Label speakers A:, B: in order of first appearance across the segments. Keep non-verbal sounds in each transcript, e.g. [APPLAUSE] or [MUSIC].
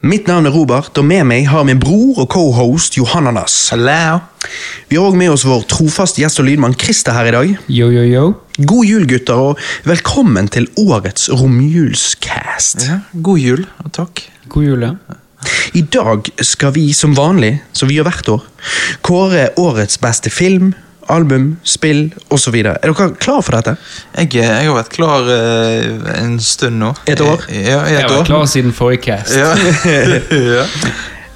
A: Mitt navn er Robert, og med meg har min bror og co-host Johananas.
B: Hello.
A: Vi har òg med oss vår trofaste gjest og lydmann Christer her i dag.
C: Yo, yo, yo.
A: God jul, gutter, og velkommen til årets romjulscast.
B: Ja, god jul, og takk.
C: God jul, ja.
A: I dag skal vi som vanlig, som vi gjør hvert år, kåre årets beste film, album, spill osv. Er dere klar for dette?
B: Jeg, jeg har vært klar eh, en stund nå.
A: Et år?
B: Ja, i
C: Jeg
B: et
C: har vært
B: år.
C: klar siden forrige cast. [LAUGHS]
B: Ja. ja.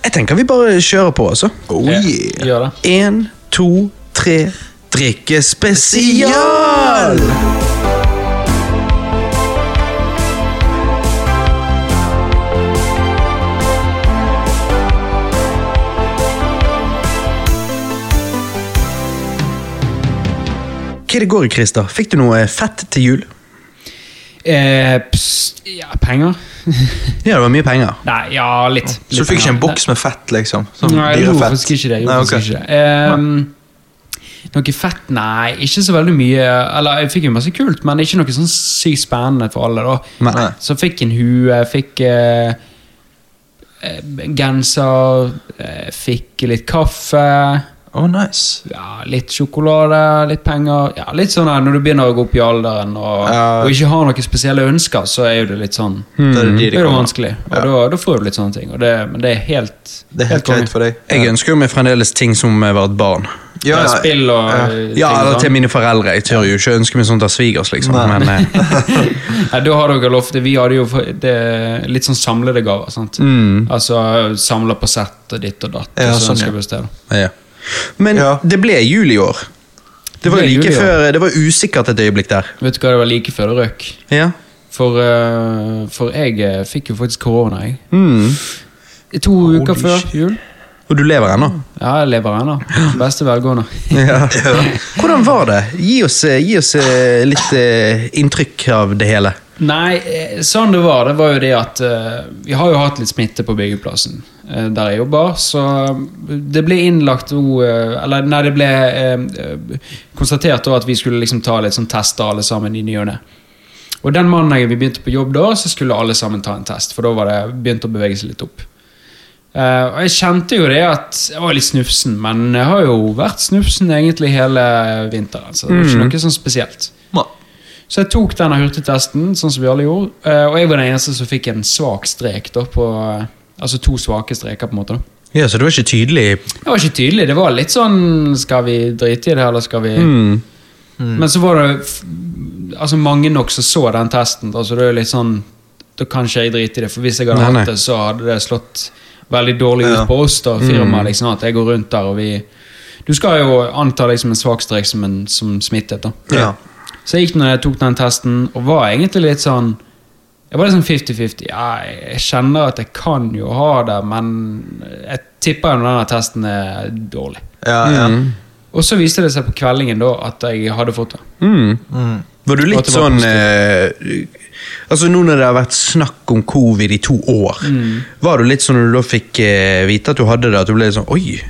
A: Jeg tenker vi bare kjører på, altså.
B: Oh
C: Ja,
B: yeah.
C: Gjør det.
A: Én, to, tre Drikkespesial! Hva er det går i, Christer? Fikk du noe fett til jul?
C: Eh, pst, ja, penger?
A: Ja, det var mye penger.
C: [LAUGHS] Nei, ja, litt.
B: Så du
C: Litt
B: fikk ikke en
C: penger.
B: boks med fett, liksom?
C: Nei,
B: Sånn
C: Nei, jeg gjorde
B: dyrefett?
C: faktisk ikke det. Jeg
B: Nei,
C: gjorde
B: ok.
C: faktisk ikke det. Ehm, noe fett? Nei, ikke så veldig mye. Eller, jeg fikk jo masse kult, men ikke noe sånn sykt spennende for alle, da.
B: Nei.
C: Så fikk en hue, fikk eh, eh, genser, eh, fikk litt kaffe.
B: Oh, nice.
C: ja, litt sjokolade, litt penger ja, Litt sånn her, Når du begynner å gå opp i alderen og,
B: Ja.
C: og ikke har noen spesielle ønsker, så er jo det litt sånn
B: Da er det de
C: Det
B: det
C: er jo
B: kommer.
C: vanskelig, og da, da får du litt sånne ting. Og det, men det er helt
B: Det er helt greit for deg.
A: Jeg ønsker jo meg fremdeles ting som jeg var et barn.
C: Ja, spill og
B: ja.
C: ting
A: Ja, eller
C: sånn.
A: til mine foreldre. Jeg tør jo ikke ønske meg sånt av svigers, liksom.
B: Nei.
A: Men, eh, [LAUGHS]
C: Nei, da har dere lov til Vi hadde jo for- det, litt sånn samlede gaver. sant? Altså samla på sett og ditt og datt.
B: Mm. Ja,
C: og så
B: sånn,
C: ønsker
B: ja.
C: vi oss det, da.
A: Ja. Men
B: Ja.
A: det ble jul i år. Det var
C: Det ble
A: like
C: jul i år.
A: før, det var usikkert et øyeblikk der.
C: Vet du hva, det var like før det røk.
A: Ja.
C: For, eh, for jeg eh, fikk jo faktisk korona, jeg. To uker før jul.
A: Mm. Og du lever ennå.
C: Ja, jeg lever ennå. Beste velgående.
A: Ja. [LAUGHS] Hvordan var det? Gi oss, eh, gi oss eh, litt eh, inntrykk av det hele.
C: Nei, eh, sånn det var, det var jo det at eh, Vi har jo hatt litt smitte på byggeplassen eh, der jeg jobber, så eh, det ble innlagt nå eh, Eller nei, det ble eh, eh, konstatert da at vi skulle liksom ta litt sånn tester alle sammen i ny og ne. Og den mandagen vi begynte på jobb da, så skulle alle sammen ta en test, for da var det begynt å bevege seg litt opp. Eh, og jeg kjente jo det at jeg var litt snufsen, men jeg har jo vært snufsen egentlig hele vinteren, så det var ikke noe sånn spesielt.
B: Nei.
C: Så jeg tok denne hurtigtesten, sånn som vi alle gjorde. eh, Og jeg var den eneste som fikk en svak strek. da på, eh, Altså to svake streker, på en måte. da.
A: Ja, Så det var ikke tydelig?
C: Det var ikke tydelig. Det var litt sånn Skal vi drite i det, eller skal vi
A: Mm.
C: Men så var det f- altså mange nok som så den testen. da, så det er litt sånn Da kan ikke jeg drite i det, for hvis jeg hadde
A: Nei, nei.
C: hatt det, så hadde det slått veldig dårlig ut
B: Ja.
C: på oss, da, firmaet. liksom, At jeg går rundt der, og vi Du skal jo anta liksom en svak strek som, en, som smittet, da.
B: Ja.
C: Så jeg gikk når jeg tok den testen, og var egentlig litt sånn Jeg var litt sånn 50-50. Ja, jeg kjenner at jeg kan jo ha det, men jeg tipper jo denne testen er dårlig.
B: Ja, ja.
C: Og så viste det seg på kveldingen da at jeg hadde fått det.
A: Mm.
B: Mm.
A: Var du
C: Og at
A: litt
C: det var
A: sånn eh, Altså Nå når det har vært snakk om covid i to år,
C: Mm.
A: var du litt sånn når du da fikk eh, vite at du hadde det, at du ble litt sånn Oi!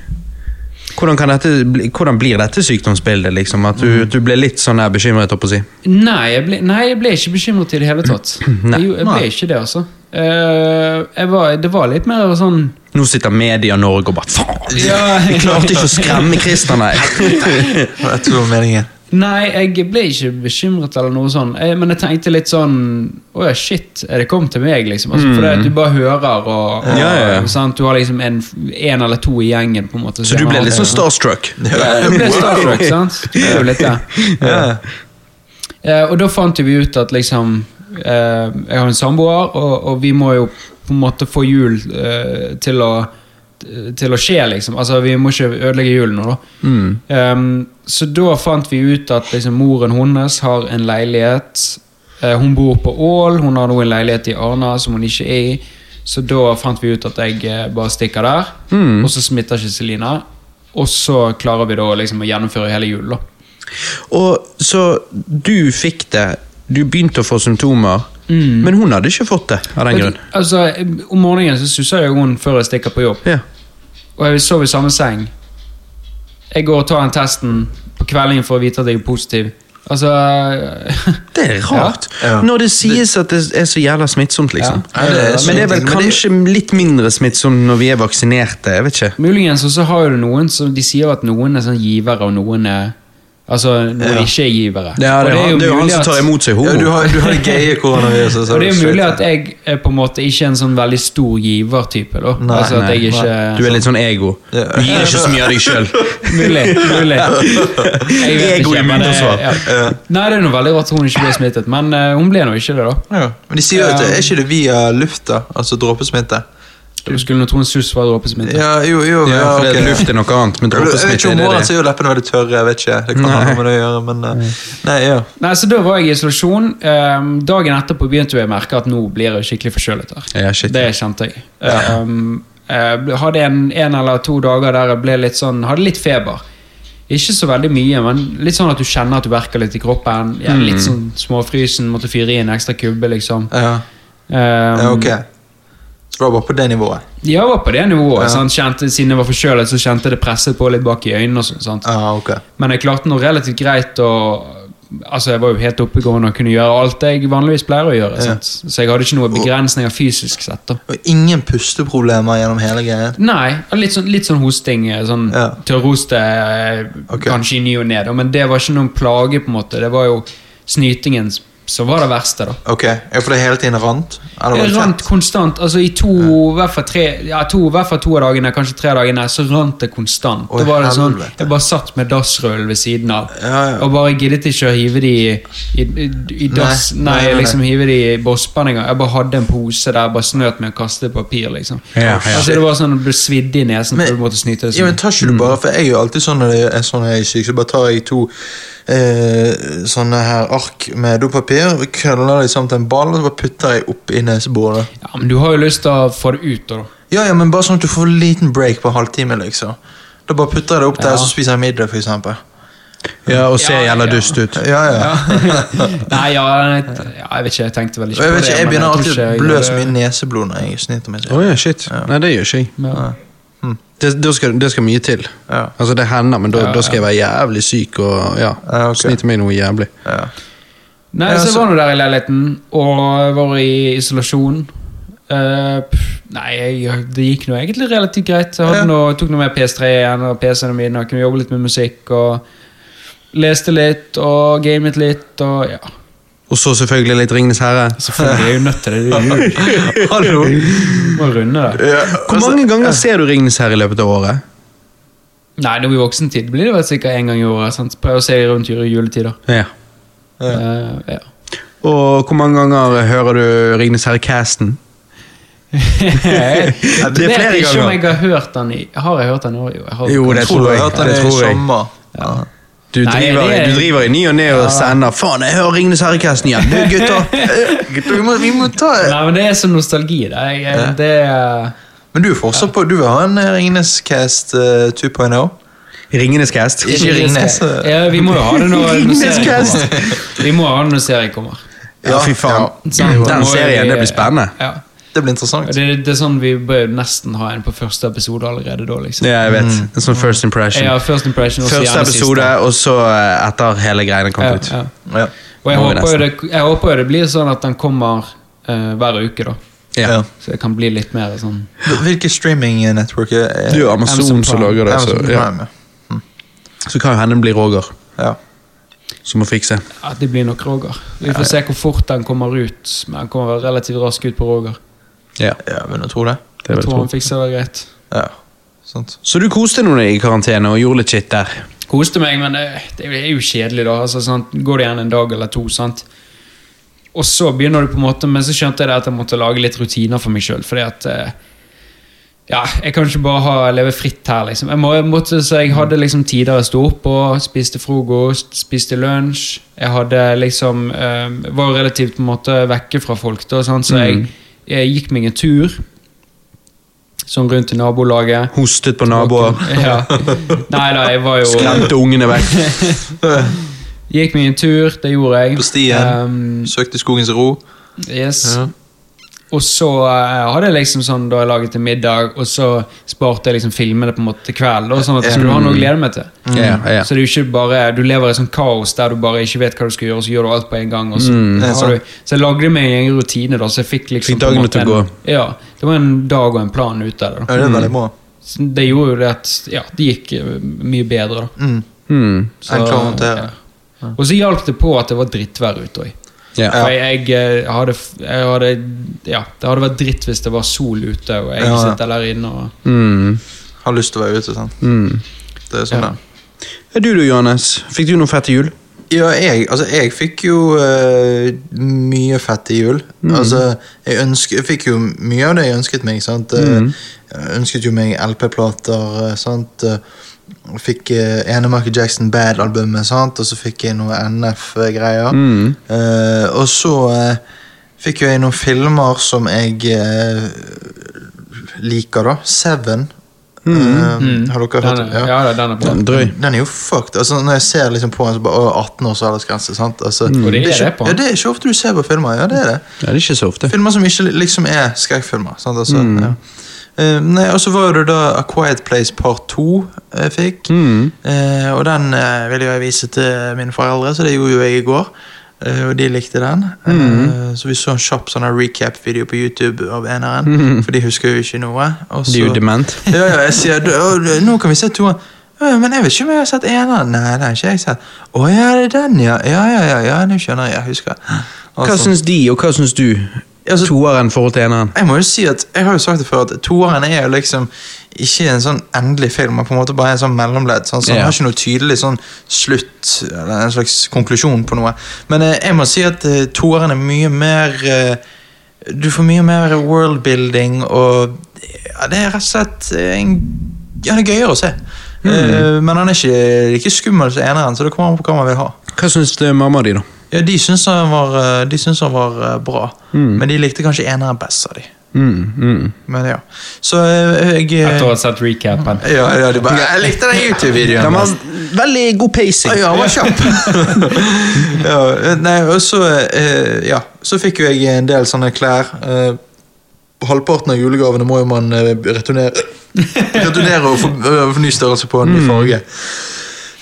A: Hvordan, kan dette, bli- hvordan blir dette sykdomsbildet, liksom? At du,
C: Mm.
A: du ble litt sånn her bekymret, holdt på å si.
C: Nei, jeg ble, nei, jeg ble ikke bekymret i det hele tatt.
A: [CLEARS THROAT] Nei.
C: Jeg, jeg ble ikke det, altså. Eh, jeg var, det var litt mer sånn
A: [CLEARS THROAT] Nå sitter media Norge og bare faen!
C: Ja.
A: Vi klarte ikke å skremme Christer, nei.
B: Jeg tror det var meningen.
C: Nei, jeg ble ikke bekymret eller noe sånn. Eh, Men jeg tenkte litt sånn Å ja, shit, er det kommet til meg, liksom? Altså, For det at du bare hører, og, og
A: Mm. Ja, ja, ja.
C: Sant? du har liksom en, en eller to i gjengen, på en måte.
A: Så du ble litt sånn starstruck?
C: Du
A: [LAUGHS]
C: ble starstruck, sant? Du ble jo litt det.
B: Ja.
C: Eh, og da fant vi ut at liksom eh, Jeg har en samboer, og, og vi må jo på en måte få jul eh, til å til å skje, liksom. Altså, vi må ikke ødelegge julen nå, da. Ehm, så da fant vi ut at liksom, moren hennes har en leilighet. Eh, hun bor på Ål, hun har nå en leilighet i Arna som hun ikke er i. Så da fant vi ut at jeg eh, bare stikker der, og så smitter ikke Celine. Og så klarer vi da liksom å gjennomføre hele julen, da.
A: Og så du fikk det, du begynte å få symptomer,
C: Mm.
A: men hun hadde ikke fått det av den
C: Og
A: grunn.
C: det- Altså, om morgenen så susser jo hun før jeg stikker på jobb.
A: Ja.
C: Og jeg sover i samme seng. Jeg går og tar den testen på kveldingen for å vite at jeg er positiv. Altså [LAUGHS]
A: Det er rart.
B: Ja.
A: Når det sies at det er så jævla smittsomt, liksom.
C: Ja.
B: Ja, det
A: Men
B: er
A: det er
B: smittsomt,
A: vel
B: men det-
A: kanskje litt mindre smittsomt når vi er vaksinerte. jeg vet ikke.
C: Muligens også har du noen som De sier at noen er sånn givere, og noen er Altså, noen
B: Ja.
C: ikke er givere.
A: Ja,
C: Og
A: det, er han- det er jo han
C: mulig
A: som tar
C: at-
A: imot seg
B: Ja,
A: homo.
B: du har, du har det gaye
C: [LAUGHS]
B: koronaviruset. så
C: Og det er
B: du
C: jo mulig
B: sliter.
C: at jeg er på en måte ikke en sånn veldig stor givertype. da.
B: Nei,
C: altså at
B: nei,
C: jeg ikke...
A: Du er litt sånn ego. Du
B: Ja.
A: gir ikke så mye av deg sjøl.
C: Mulig. mulig. Jeg vet
A: Ego i
C: ikke, men det-
A: immunforsvar.
C: ja. Nei, det er noe veldig rart at hun ikke ble smittet, men eh, hun ble nå ikke det, da.
B: Ja. Men de sier jo at det
C: Ja.
B: er ikke det via lufta, altså dråpesmitte.
C: Du skulle nå tro en suss var dråpesmitte.
B: Ja, jo, jo, ja,
A: Ja,
B: ok.
A: fordi at Luft er noe annet, men
B: Jeg vet
A: dråpesmitte
B: ikke
A: er
B: om
A: det
B: morgenen
A: det.
B: så er jo leppene veldig tørre. jeg vet ikke, Det kan ha noe med det å gjøre, men eh, Nei, ja.
C: Nei, så Da var jeg i isolasjon. Ehm, dagen etterpå begynte jeg å merke at nå blir jeg skikkelig forkjølet. her.
A: Ja, shit.
C: Det kjente jeg. Ehm, jeg ble- hadde en, en eller to dager der jeg ble litt sånn, hadde litt feber. Ikke så veldig mye, men litt sånn at du kjenner at du verker litt i kroppen. Ja, litt sånn småfrysen, måtte fyre i en ekstra kubbe, liksom.
B: ja.
C: Ehm,
B: ja ok. Så det var bare på det nivået?
C: Ja, jeg var på det nivået.
B: Ja.
C: Sant? Kjente, siden jeg var forkjølet, så kjente jeg det presset på litt bak i øynene. og sånn, sant?
B: Ja, Ah, ok.
C: Men jeg klarte noe relativt greit å Altså, jeg var jo helt oppegående og kunne gjøre alt jeg vanligvis pleier å gjøre.
B: Ja.
C: Sant? Så jeg hadde ikke noen begrensninger fysisk sett. da.
B: Og ingen pusteproblemer gjennom hele greien?
C: Nei, litt sånn, litt sånn hosting. eh, Sånn
B: Ja.
C: tørrhoste eh,
B: Ok.
C: kanskje i ny og ne, da, men det var ikke noen plage. på en måte. Det var jo snytingen som var det verste, da.
B: Ok, ja, For det hele tiden rant? Eller var
C: Det
B: det
C: rant
B: tett?
C: konstant. altså I to, i hvert fall tre, ja, to, i hvert fall to av dagene, kanskje tre dagene, så rant det konstant.
B: Oi,
C: da var det sånn,
B: helvete.
C: Jeg bare satt med dassrøl ved siden av.
B: Ja, ja.
C: Og bare giddet ikke å hive de i, i, i, i dass. Nei,
B: Nei, nei, nei,
C: liksom hive de i bosspann engang. Jeg bare hadde en pose der, bare snøt med å kaste papir, liksom.
A: Ja, ja.
C: Altså Det var sånn, det ble svidd i nesen.
B: Men-
C: for du måtte snyte det
B: Ja, men tar ikke du bare, for Jeg er jo alltid sånn når jeg er, sånn når jeg er syk, så bare tar jeg to eh, sånne her ark med dopapir, køller det sammen til en ball og så bare putter jeg opp i neseborene.
C: ja, men du har jo lyst til å få det ut,
B: [LAUGHS]
C: da.
B: Ja, ja, men bare sånn at du får en liten break på en halvtime, liksom. Da bare putter jeg det opp der,
C: Ja.
B: så spiser jeg middag, for eksempel.
A: Ja, og ser
C: Ja,
A: jævla
C: ja.
A: dust ut.
B: Ja, ja.
C: Nei, ja, jeg, ja, jeg vet ikke. Jeg tenkte vel
B: Og
C: ikke
B: jeg
C: på
B: vet
C: det.
B: ikke, jeg
C: men
B: begynner
C: tror
B: alltid
C: ikke
B: å
C: jeg
B: blø
C: gjør
B: så
C: det.
B: mye neseblod når jeg snyter meg.
A: Å ja, shit. Nei, det gjør ikke jeg.
C: Ja.
A: Det, da skal, det skal mye til.
B: Ja.
A: Altså, det hender, men da,
C: Ja,
A: da skal jeg være jævlig syk og ja,
B: Ja, ok.
A: snite meg noe jævlig.
B: Ja.
C: Nei, så
B: Ja,
C: jeg
B: så-
C: var nå der i leiligheten, og jeg var i isolasjon. Eh, pff, nei, jeg, det gikk nå egentlig relativt greit. Jeg hadde
B: Ja.
C: noe, tok noe med PS3 igjen og PC-ene mine og kunne jobbe litt med musikk. og Leste litt og gamet litt og ja.
A: Og så selvfølgelig litt Ringnes herre.
C: Selvfølgelig er jeg jo nødt til det. det er jo jul.
A: [LAUGHS]
B: Hallo!
C: Må runde det.
B: Ja,
A: Hvor
B: altså-
A: mange ganger ser du Ringnes herre i løpet av året?
C: Nei, nå i voksen tid blir det vel sikkert én gang i året. Sant? Prøv å se rundt jul- juletider.
A: Ja.
C: Eh,
A: [LAUGHS]
C: ja.
A: Og hvor mange ganger hører du Ringnes herre-casten?
C: jeg
A: Det er flere
C: vet ikke om
A: ganger.
C: jeg har hørt den i Har jeg hørt den i år? jeg har-
A: Jo,
B: Jeg tror jeg har hatt den
A: Det
B: i
A: tror jeg.
B: sommer. Ja.
A: Du
C: Nei,
A: driver,
C: det er-
A: du driver i ny og ne og sender 'Faen, jeg hører Ringnes herre-casten igjen!' Du, gutter!
B: Gutter, vi må, vi må ta
C: Nei, men det er sånn nostalgi. Det, jeg, jeg,
B: Ja.
C: det er-
B: Men du er fortsatt på, du vil ha en eh, Ringenes Cast eh, 2.0?
A: Ringenes cast.
B: Ikke Ringnes. eh.
C: Ja, vi må jo ha det når, når serien
A: Ringnes-cast.
C: kommer. Vi må ha det når serien kommer.
A: Ja, fy faen.
B: ja.
C: Sant? Nå er
A: Den serien,
C: vi-
A: det blir spennende.
C: Ja.
B: Det blir
C: Og
B: interessant.
C: Det, det er sånn Vi bør jo nesten ha en på første episode allerede da. liksom
A: Ja, jeg vet. En sånn first impression.
C: Ja, First impression og så
A: Første
C: gjerne siste.
A: episode, og så eh, etter hele greiene kom
C: Ja,
A: ut.
C: ja.
B: Ja.
C: Og jeg
A: Må vi
C: håper, jo det, jeg håper jo det blir sånn at den kommer eh, hver uke, da.
A: Ja.
B: Ja.
C: Så det kan bli litt mer sånn
B: Hvilke streaming-network er er-
A: Du er
C: Amazon
A: Amazon som
C: Prime.
A: lager det, så,
B: eh, Amazon
A: ja.
B: Prime?
A: så kan jo hende det blir Roger
B: Ja.
A: som må fikse.
C: Ja, det blir nok Roger. Vi får se hvor fort den kommer ut. Men den kommer relativt raskt ut på Roger.
A: Ja,
B: ja, vil du tro det?
A: det vil
C: Jeg
A: jeg
C: tror
A: tro.
C: han fikser det greit.
B: Ja. Sant.
A: Så du koste deg nå i karantene og gjorde litt shit der?
C: koste meg, men eh, det er jo kjedelig, da. Altså, sant? Går det igjen en dag eller to, sant. Og så begynner du på en måte Men så skjønte jeg det at jeg måtte lage litt rutiner for meg sjøl. Fordi at eh, Ja, jeg kan ikke bare ha, leve fritt her, liksom. Jeg, må, jeg måtte, så jeg hadde liksom tider jeg sto opp på, spiste frokost, spiste lunsj. Jeg hadde liksom eh, Var jo relativt på en måte vekke fra folk, da, sant? så jeg, jeg gikk meg en tur. Sånn rundt i nabolaget.
A: Hostet på naboer?
C: Ja. Nei da, jeg var jo
A: Skremte ungene vekk?
C: Gikk meg en tur, det gjorde jeg.
B: På stien.
C: Ehm,
B: Søkte skogens ro.
C: yes.
B: Ja.
C: Og så eh, hadde jeg liksom sånn da jeg laget til middag, og så sparte jeg liksom filmene på en måte til kvelden. da, Sånn at jeg skulle ha noe å glede meg til.
A: Mm. Ja, ja.
C: Så det er jo ikke bare, du lever i sånn kaos der du bare ikke vet hva du skal gjøre, og så gjør du alt på en gang. Og så,
B: Det er
C: har
B: sant.
C: du, så jeg lagde meg en egen rutine, da, så jeg fikk
A: Mm.
C: liksom
A: Fikk dagene
C: på en måte
A: til å
C: en- Ja, det var en dag og en plan ut av det.
B: Ja,
C: da.
B: det er veldig bra.
C: Så Det gjorde jo det at ja, det gikk eh, mye bedre. da.
B: Mm.
A: [LAUGHS] Hmm.
C: Så,
B: Enklere å håndtere.
C: ja. Og så hjalp det på at det var drittvær ute òg.
A: Ja.
C: For jeg, jeg, eh, hadde, f- jeg hadde Ja, det hadde vært dritt hvis det var sol ute, og jeg
B: Ja, ja.
C: sitter der inne og
A: Hmm.
B: Har lyst til å være ute, sant.
A: Hmm.
B: Det er sånn
C: Ja.
B: det.
A: Er du du, Johannes? Fikk du noe fett til jul?
B: Ja, jeg, altså, jeg fikk jo eh, mye fett i jul. Altså, jeg, ønsk, jeg fikk jo mye av det jeg ønsket meg. Sant? Eh, Jeg ønsket jo meg LP-plater. eh, sant? Eh, og Fikk eh, enemerket Jackson Bad-albumet, sant? og så fikk jeg noe NF-greier.
A: Mm. Hmm.
B: Eh, og så eh, fikk jo jeg noen filmer som jeg eh, liker, da. Seven. Eh,
C: Mm.
B: Har dere hørt
C: den,
B: om
C: er- ja, da, den er bra.
A: Drøy.
B: den er jo fucked. Altså, når jeg ser liksom på en så bare, «Å, 18 års aldersgrense sant? Altså,
C: Mm. Og det er
B: ikke,
C: det på den.
B: ja, det er ikke ofte du ser på filmer. Ja, det er
C: [LAUGHS]
B: det.
A: Ja, det er ikke så ofte.
B: Filmer som ikke liksom er skrekkfilmer. Sant? Altså,
C: Mm.
B: ja. Eh, nei, og så var det da A Quiet Place Part 2 jeg fikk.
A: Mm.
B: Eh, og den eh, ville jo jeg vise til mine foreldre, så det gjorde jo jeg i går. Eh, og de likte den. Eh,
C: Mm.
B: så vi så en kjapp sånn her recap-video på YouTube av eneren,
C: Mm.
B: for de husker jo ikke noe. Og
A: De er jo
B: så-
A: dement.
B: ja, ja, jeg sier du, å, Nå kan vi se toeren. Ja, men jeg vet ikke om jeg har sett eneren. Nei, det har ikke jeg sett. Å ja, det er den, ja. Ja, ja, ja, ja nå skjønner jeg. Jeg husker.
A: Hva
B: Altså,
A: syns de, og hva syns du?
B: Altså-
A: Toeren i forhold til eneren?
B: jeg må jo si at, jeg har jo sagt det før, at toeren er jo liksom ikke en sånn endelig film, men på en måte bare en sånn mellomledd. Sånn, så den
A: Ja.
B: har ikke noe tydelig sånn slutt, eller en slags konklusjon på noe. Men eh, jeg må si at eh, toeren er mye mer eh, Du får mye mer worldbuilding, og ja, det er rett og slett eh, en, Ja, det er gøyere å se. Eh, men han er ikke like skummel som eneren, så det kommer an på hva man vil ha.
A: Hva syns eh, mamma di, da?
B: Ja, De syns han var, eh, de syns han var eh, bra, men de likte kanskje eneren best av de.
A: Mm, mm.
B: Men ja. Så eh, jeg eh,
C: Etter å ha sett recapen.
B: ja, ja, de bare, Jeg likte den YouTube-videoen.
A: Den var veldig god pacing.
B: Ja, han var kjapp. [LAUGHS] ja, eh, nei, og så eh, Ja, så fikk jo jeg en del sånne klær. eh, halvparten av julegavene må jo man eh, returnere Returnere og få eh, få ny størrelse på en ny farge.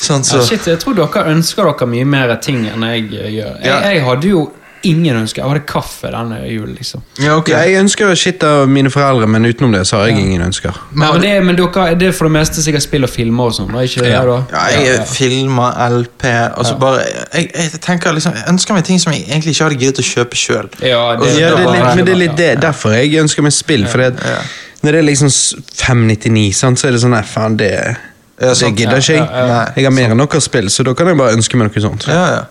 B: Sånn,
C: Ja,
B: så
C: Ah, shit, jeg tror dere ønsker dere mye mer ting enn jeg eh, gjør. Jeg,
B: Ja.
C: jeg hadde jo ingen ønsker. Jeg hadde kaffe denne julen, liksom.
B: Ja, ok.
A: Ja, jeg ønsker shit av mine foreldre, men utenom det så har jeg ingen ønsker.
C: Men, men, det, men dere, det er for det meste sikkert spill og filmer og sånn, da, ikke det?
A: Ja.
C: da?
B: Ja, jeg filmer LP altså bare, jeg, jeg tenker liksom, jeg ønsker meg ting som jeg egentlig ikke hadde giddet å kjøpe sjøl.
C: Ja, det,
A: Ja, det er litt, men det er litt det, derfor jeg ønsker meg spill. For det, når det er liksom s- 599, sant, så er det sånn Nei, faen, det,
B: Ja,
A: det
B: sant.
A: gidder ikke jeg.
B: Ja, ja, ja.
A: Jeg har mer enn nok av spill, så da kan jeg bare ønske meg noe sånt.
B: Ja, ja.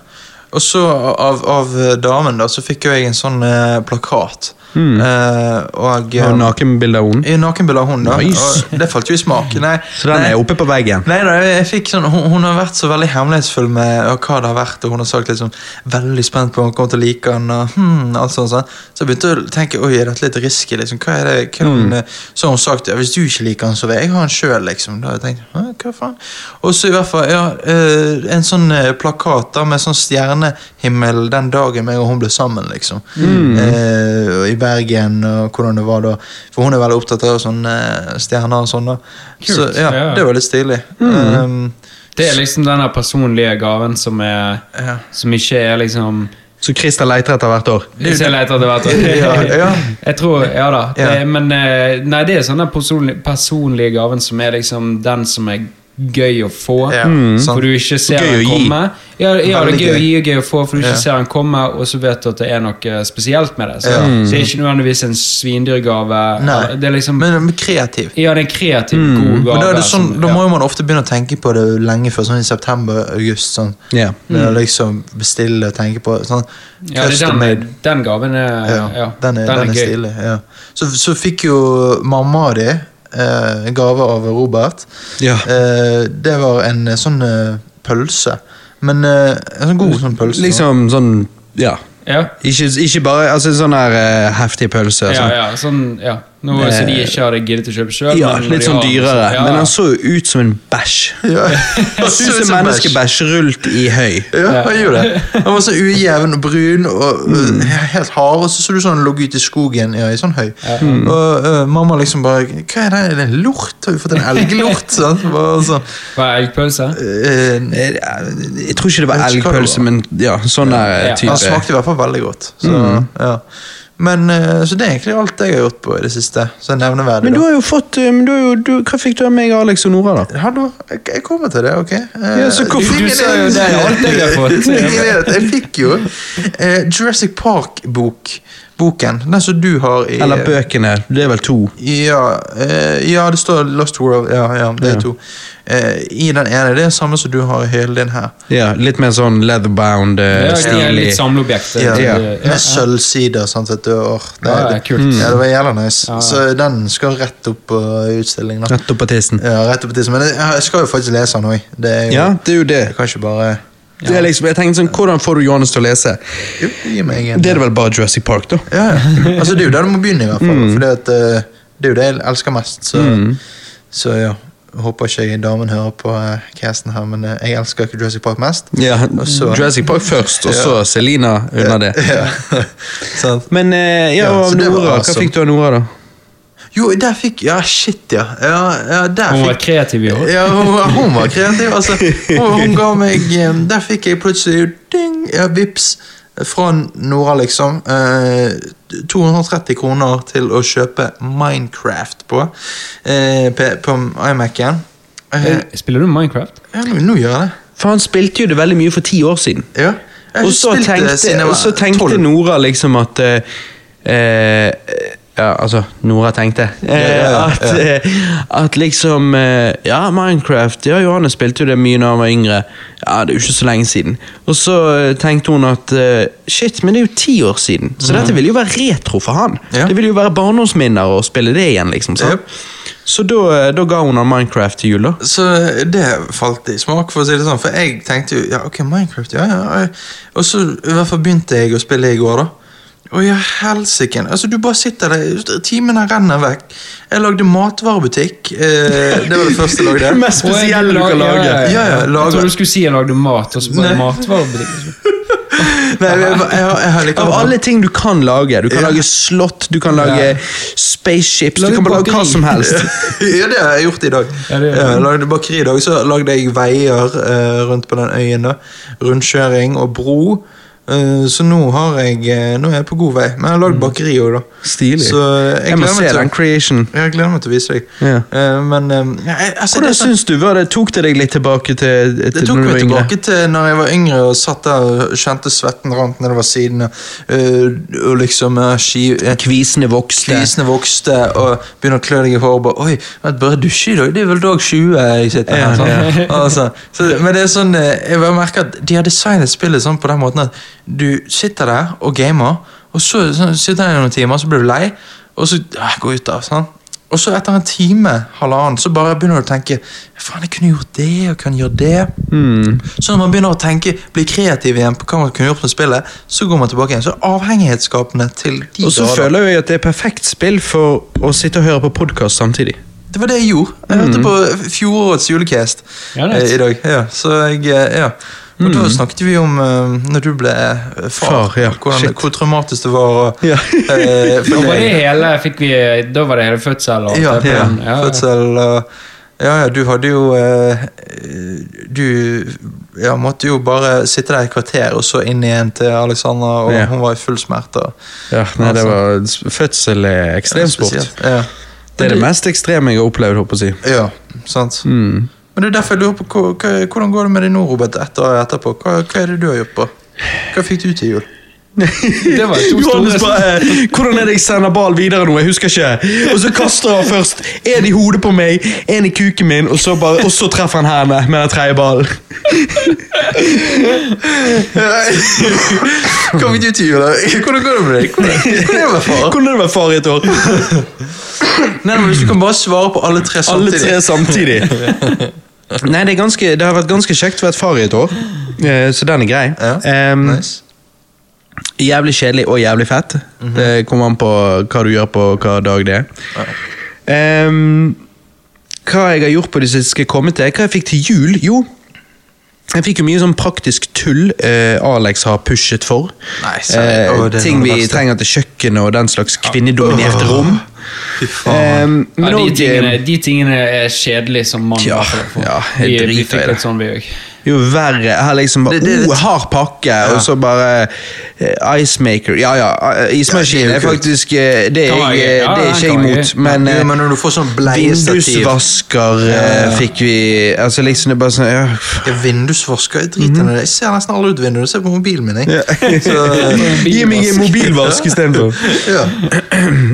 B: Og så av, av damen da, så fikk jo jeg en sånn eh, plakat.
A: Hmm.
B: Eh, og
A: Jeg har
B: eh,
A: nakenbilde av henne.
B: i nakenbilde av hun da.
A: Nice.
B: Og det falt jo i smak. Nei,
A: Så den er
B: nei,
A: oppe på veggen.
B: nei da, jeg fikk sånn, hun, hun har vært så veldig hemmelighetsfull med eh, hva det har vært, og hun har sagt liksom, veldig spent på om hun kommer til å like den, og hmm, alt sånt. sånn. Så jeg begynte å tenke, oi, er dette litt risky, liksom, hva er det, hva er hun, eh, så har hun sagt, ja, hvis du ikke liker den, så vil jeg ha den selv, liksom. Da har jeg tenkt, «Hæ, hva faen? Og så i hvert fall, ja, eh, en sånn eh, plakat da, med sånn stjernehimmel den dagen meg og hun ble sammen, liksom. Eh, og I Bergen, og hvordan det var da. For hun er veldig opptatt av sånne eh, stjerner og sånn da. Så
C: Kult,
B: ja,
C: ja.
B: det var litt stilig.
A: Mm.
B: Um,
C: Det er liksom den der personlige gaven som, er,
B: Ja.
C: som ikke er liksom
A: Så Christer leter etter hvert år.
C: Hvis jeg leter etter hvert
B: [LAUGHS] Ja, ja.
C: Jeg tror, ja da. Det,
B: Ja.
C: men eh, nei, det er sånn den personlige, personlige gaven som er liksom den som er gøy å få.
B: Ja, Mm. sant.
C: For du ikke ser
A: Gøy
C: den
A: å gi.
C: komme. Ja, ja, det
B: Veldig
C: er gøy å
B: gøy.
C: gi og gøy å få, for du ikke
B: Ja.
C: ser den komme, og så vet du at det er noe spesielt med det. Så,
B: Ja.
C: så
A: Mm.
C: det er ikke nødvendigvis en svindyrgave.
B: Nei.
C: Det er liksom,
B: men, men kreativ.
C: ja, det er en kreativ, god
A: Mm.
C: gave.
B: Men da, er det sånn,
C: som-
B: da
C: ja.
B: må jo man ofte begynne å tenke på det lenge før, sånn i september-august. Sånn.
A: Ja. Mm.
B: Med å liksom bestille og tenke på sånn,
C: ja, det er
B: custom made.
C: den, den gaven er, ja,
B: Ja, den er, den er,
C: gøy.
B: stilig. Ja. Så, så fikk jo mamma di eh, en gave av Robert.
A: Ja.
B: Eh, det var en eh, sånn eh, pølse. Men eh, en sånn god sånn pølse.
A: Liksom sånn Ja.
C: Ja.
A: Ikke, ikke bare altså, sånn her eh, heftig pølse.
C: Ja,
A: Sånn.
C: ja, sånn, ja. Nå var det så de ikke hadde giddet å kjøpe sjøl.
A: Eh, Ja, litt sånn dyrere. Men han så jo ut som en bæsj. [LAUGHS]
B: Ja. Sånn
A: Han
B: [LAUGHS]
A: så ut som menneskebæsj rullet i høy.
B: Ja, han gjorde det. Han var så ujevn og brun og øh, helt hard, og så så du sånn han lå ute i skogen ja, i sånn høy. Og øh, mamma liksom bare Hva er det, er det en lort? Har vi fått en elglort? sant? Bare sånn,
C: Var det elgpølse?
B: øh,
A: Jeg, jeg tror ikke det var
B: Jeg vet ikke hva det
A: elgpølse,
B: var.
A: men ja, sånn der
C: Ja.
B: Han
A: type.
B: smakte i hvert fall veldig godt. Så, ja. Men, øh, så det er egentlig alt jeg har gjort på i det siste. Så nevneverdig.
A: Men du
B: da.
A: har jo fått eh, men du har jo, du, Hva fikk du av meg, Alex og Nora, da?
B: Hallo, jeg jeg kommer til det, ok? Eh,
A: Ja, så hvorfor-
B: tingen
C: Du sa jo
B: er-
C: det er alt jeg har fått.
B: [LAUGHS] Tingen er at jeg fikk jo eh, Jurassic Park-bok. Boken. Den som du har i
A: Eller bøkene. Det er vel to.
B: Ja, eh, ja, det står Lost World. Ja, ja det er
A: Ja.
B: to. Eh, I den ene. Det er det samme som du har i hele din her.
A: Ja, Litt mer sånn leatherbound, eh,
C: Ja, de er
A: stilig.
C: litt sånn- samleobjekt. eh,
B: Ja,
A: ja.
B: Med sølvsider. Sant, vet du. Åh, det, Mm.
C: Ja, ja, kult.
B: ja, det var jævla nice.
C: Ja, ja.
B: Så den skal rett opp på utstillingen. Da.
A: Rett opp på tissen.
B: Ja, rett opp til, men jeg, jeg skal jo faktisk lese den òg. Det er jo
A: Ja, det er jo det.
B: Jeg kan ikke bare
A: det er liksom, jeg tenkte sånn, Hvordan får du Johannes til å lese?
B: jo, Gi meg en.
A: Det er det vel bare Mm. Jurassic Park, da.
B: Ja, ja. altså, det er jo der du må begynne, i hvert fall. Fordi at, eh, det er jo det jeg elsker mest. Så,
A: Mm.
B: så ja. Jeg Håper ikke damen hører på eh, casten her, men eh, jeg elsker ikke Jurassic Park mest.
A: Ja,
B: Og så-
A: Jurassic Park først, og så Selina under det.
B: [LAUGHS] Ja. Sant.
A: Men eh, ja,
B: Ja,
A: og
B: så det var
A: Nora, hva
B: awesome.
A: fikk du av Nora, da?
B: Jo, der fikk Ja, shit, ja. ja, ja der
C: Hun var
B: fikk
C: kreativ i år.
B: ja, hun, hun var
A: [LAUGHS]
B: kreativ. Altså, hun, hun ga meg eh, Der fikk jeg plutselig ding, ja, vips fra Nora, liksom. Eh, 230 kroner til å kjøpe Minecraft på, eh, pe- på iMac-en. Eh,
C: Eh, Spiller du Minecraft?
B: ja, nå, nå gjør jeg det.
A: For han spilte jo det veldig mye for ti år siden.
B: Ja. Jeg har
A: Og
B: ikke
A: så
B: spilt eh, det siden
A: tenkte,
B: jeg var
A: og så
B: 12.
A: tenkte Nora liksom at eh, eh, Ja, altså Nora tenkte. eh,
B: Ja, ja, ja,
A: at, eh, at liksom eh, Ja, Minecraft. Ja, Johanne spilte jo det mye da han var yngre. Ja, Det er jo ikke så lenge siden. Og så eh, tenkte hun at eh, shit, men det er jo ti år siden, så dette ville jo være retro for han.
B: Mhm. Ja.
A: Det ville jo være barndomsminner å spille det igjen, liksom. sant?
B: Jep.
A: Så da, eh, da ga hun han Minecraft til jul, da.
B: Så det falt i smak, for å si det sånn. For jeg tenkte jo ja, ok, Minecraft, ja, ja. ja. Og så i hvert fall begynte jeg å spille i går, da. Å ja, helsike. Altså, du bare sitter der, timene renner vekk. Jeg lagde matvarebutikk. Eh, det var det første
A: [LAUGHS]
B: jeg lagde.
A: mest spesielle du kan lage.
C: Ja, ja, ja.
B: Lager.
C: Jeg trodde du skulle si jeg lagde mat, og så bare
B: Nei.
C: matvarebutikk.
B: Nei, jeg, jeg, jeg, jeg har
A: Av
B: likevel
A: alle ting du kan sånn- lage. Du kan
B: Ja.
A: lage slott, du kan lage
C: Ja.
A: spaceships,
C: Lage
A: du kan bare lage
C: bakeri.
A: hva som helst.
B: [LAUGHS] ja, det har jeg gjort i dag.
C: Ja, det gjør
B: Ja,
C: du.
B: jeg lagde bakeri i dag, så lagde jeg veier eh, rundt på den øyen. da. Rundkjøring og bro. Eh, så nå, har jeg, eh, nå er jeg på god vei. Men jeg har lagd bakeri òg, da.
A: [LAUGHS] Stilig.
B: Så jeg,
A: Jeg må
B: gleder
A: se
B: meg til,
A: den creation.
B: Ja, jeg gleder meg til å vise deg.
A: Ja.
B: Eh, men eh, ja, jeg- altså, det,
A: Hvordan
B: er sånn-
A: syns du var det? Tok det deg litt tilbake til, til
B: det
A: når
B: tok
A: du
B: meg
A: var yngre?
B: tilbake til når jeg var yngre og satt der og kjente svetten rant nedover siden. eh, og liksom eh, ski... eh,
A: Kvisene vokste.
B: Klisene vokste og begynner å klø deg i håret. og bare, Oi, vent, bare dusje i dag? Det er vel dag 20 jeg sitter her. sånn. Altså, så, men det er sånn, eh, jeg bare merker at de har designet spillet sånn på den måten at du sitter der og gamer, og så, så sitter du i noen timer, så blir du lei, og så ah, går ut av. sånn. Og så etter en time, halvannen, så bare begynner du å tenke Faen, jeg kunne gjort det, og kunne gjort det.
A: Mm.
B: Så når man begynner å tenke, bli kreativ igjen på hva man kunne gjort med spillet, så går man tilbake igjen. Så avhengighetsskapende til de
A: Og så
B: dager.
A: føler jeg at det er perfekt spill for å sitte og høre på podkast samtidig.
B: Det var det jeg gjorde. Jeg hørte på fjorårets julecast
C: Ja, det er
B: eh, i
C: sant.
B: dag. Ja, så jeg, eh, ja. Og da snakket vi om eh, når du ble eh, far,
A: Far, ja,
B: hvordan,
A: shit.
B: hvor traumatisk det var. Og,
A: Ja.
B: eh,
C: [LAUGHS]
B: for
C: Da var det
B: deg.
C: hele, fikk vi, da var det hele fødsel og alt
B: [LAUGHS] Ja,
C: det på
B: ja,
C: den. Ja, ja.
B: fødsel og Ja, ja, du hadde jo eh, Du ja, måtte jo bare sitte der et kvarter, og så inn igjen til Alexandra, og
A: Ja.
B: hun var i full smerte. og-
A: Ja, nei, det var Fødsel er ekstremsport.
B: Spesielt, Ja.
A: Det er det mest ekstreme jeg har opplevd. håper jeg å si.
B: Ja, sant.
A: Mm.
B: Men det er derfor jeg lurer på hva- hva- Hvordan går det med deg nå, Robert, etter og etterpå? Hva, hva er det du har gjort på? Hva fikk du til jul?
C: Det var to
A: Johannes
C: store
A: bare eh, 'Hvordan er det jeg sender ball videre nå? Jeg husker ikke.' Og så kaster han først en i hodet på meg, en i kuken min, og så, bare, og så treffer han henne med den tredje ballen.
B: Hva fikk du til jul? [LAUGHS] da? Hvordan går det med deg? Hvordan hvordan er det med
A: [LAUGHS]
B: far?
A: Hvordan er det å være far i et år?
B: Nei, men hvis du kan bare svare på alle tre
A: Alle
B: samtidig.
A: tre samtidig. Nei, det, er ganske, det har vært ganske kjekt å være far i et år, eh, så den er grei.
B: Ja,
A: Ehm,
B: Nice.
A: Jævlig kjedelig og jævlig fett.
B: Mhm.
A: Det kommer an på hva du gjør på hva dag det er. Ehm, hva jeg har gjort på det siste skal jeg komme til. Hva jeg fikk til jul? Jo, jeg fikk jo mye sånn praktisk tull eh, Alex har pushet for.
B: Nei, seriøst?
A: Eh,
B: Åh, det er
A: ting
B: noe av det
A: vi
B: verste.
A: trenger til kjøkkenet og den slags kvinnedominerte rom.
B: Fy
A: Ehm,
B: faen.
A: men
C: ja, de,
A: også, eh,
C: tingene, de tingene er kjedelige som mann.
A: Ja,
C: i hvert fall, for-
A: ja, jeg
C: vi, vi
A: driter i
C: fikk
A: det.
C: litt sånn, vi òg.
A: Jo verre. Jeg har liksom bare,
B: Det- det er litt-
A: oh, hard pakke, og så bare eh, Icemaker. Ja ja, eh, ismaskin er
B: Ja, det er jo kult.
A: faktisk eh, Det er
C: Kan være
A: jeg,
C: gøy.
A: det er
C: Ja, den
A: ikke
C: kan
A: jeg
C: være
A: imot,
C: gøy.
A: men
B: Jo,
A: eh,
B: men når du får sånn bleiestativ
A: Vindusvasker eh, fikk vi Altså liksom det er bare sånn ja, f-
B: ja, Vindusvasker er dritende.
A: Mhm.
B: Jeg ser nesten aldri ut vinduet. Du ser på mobilen min, jeg.
A: [LAUGHS]
B: Så,
A: Gi meg en mobilvask istedenfor.
B: ja.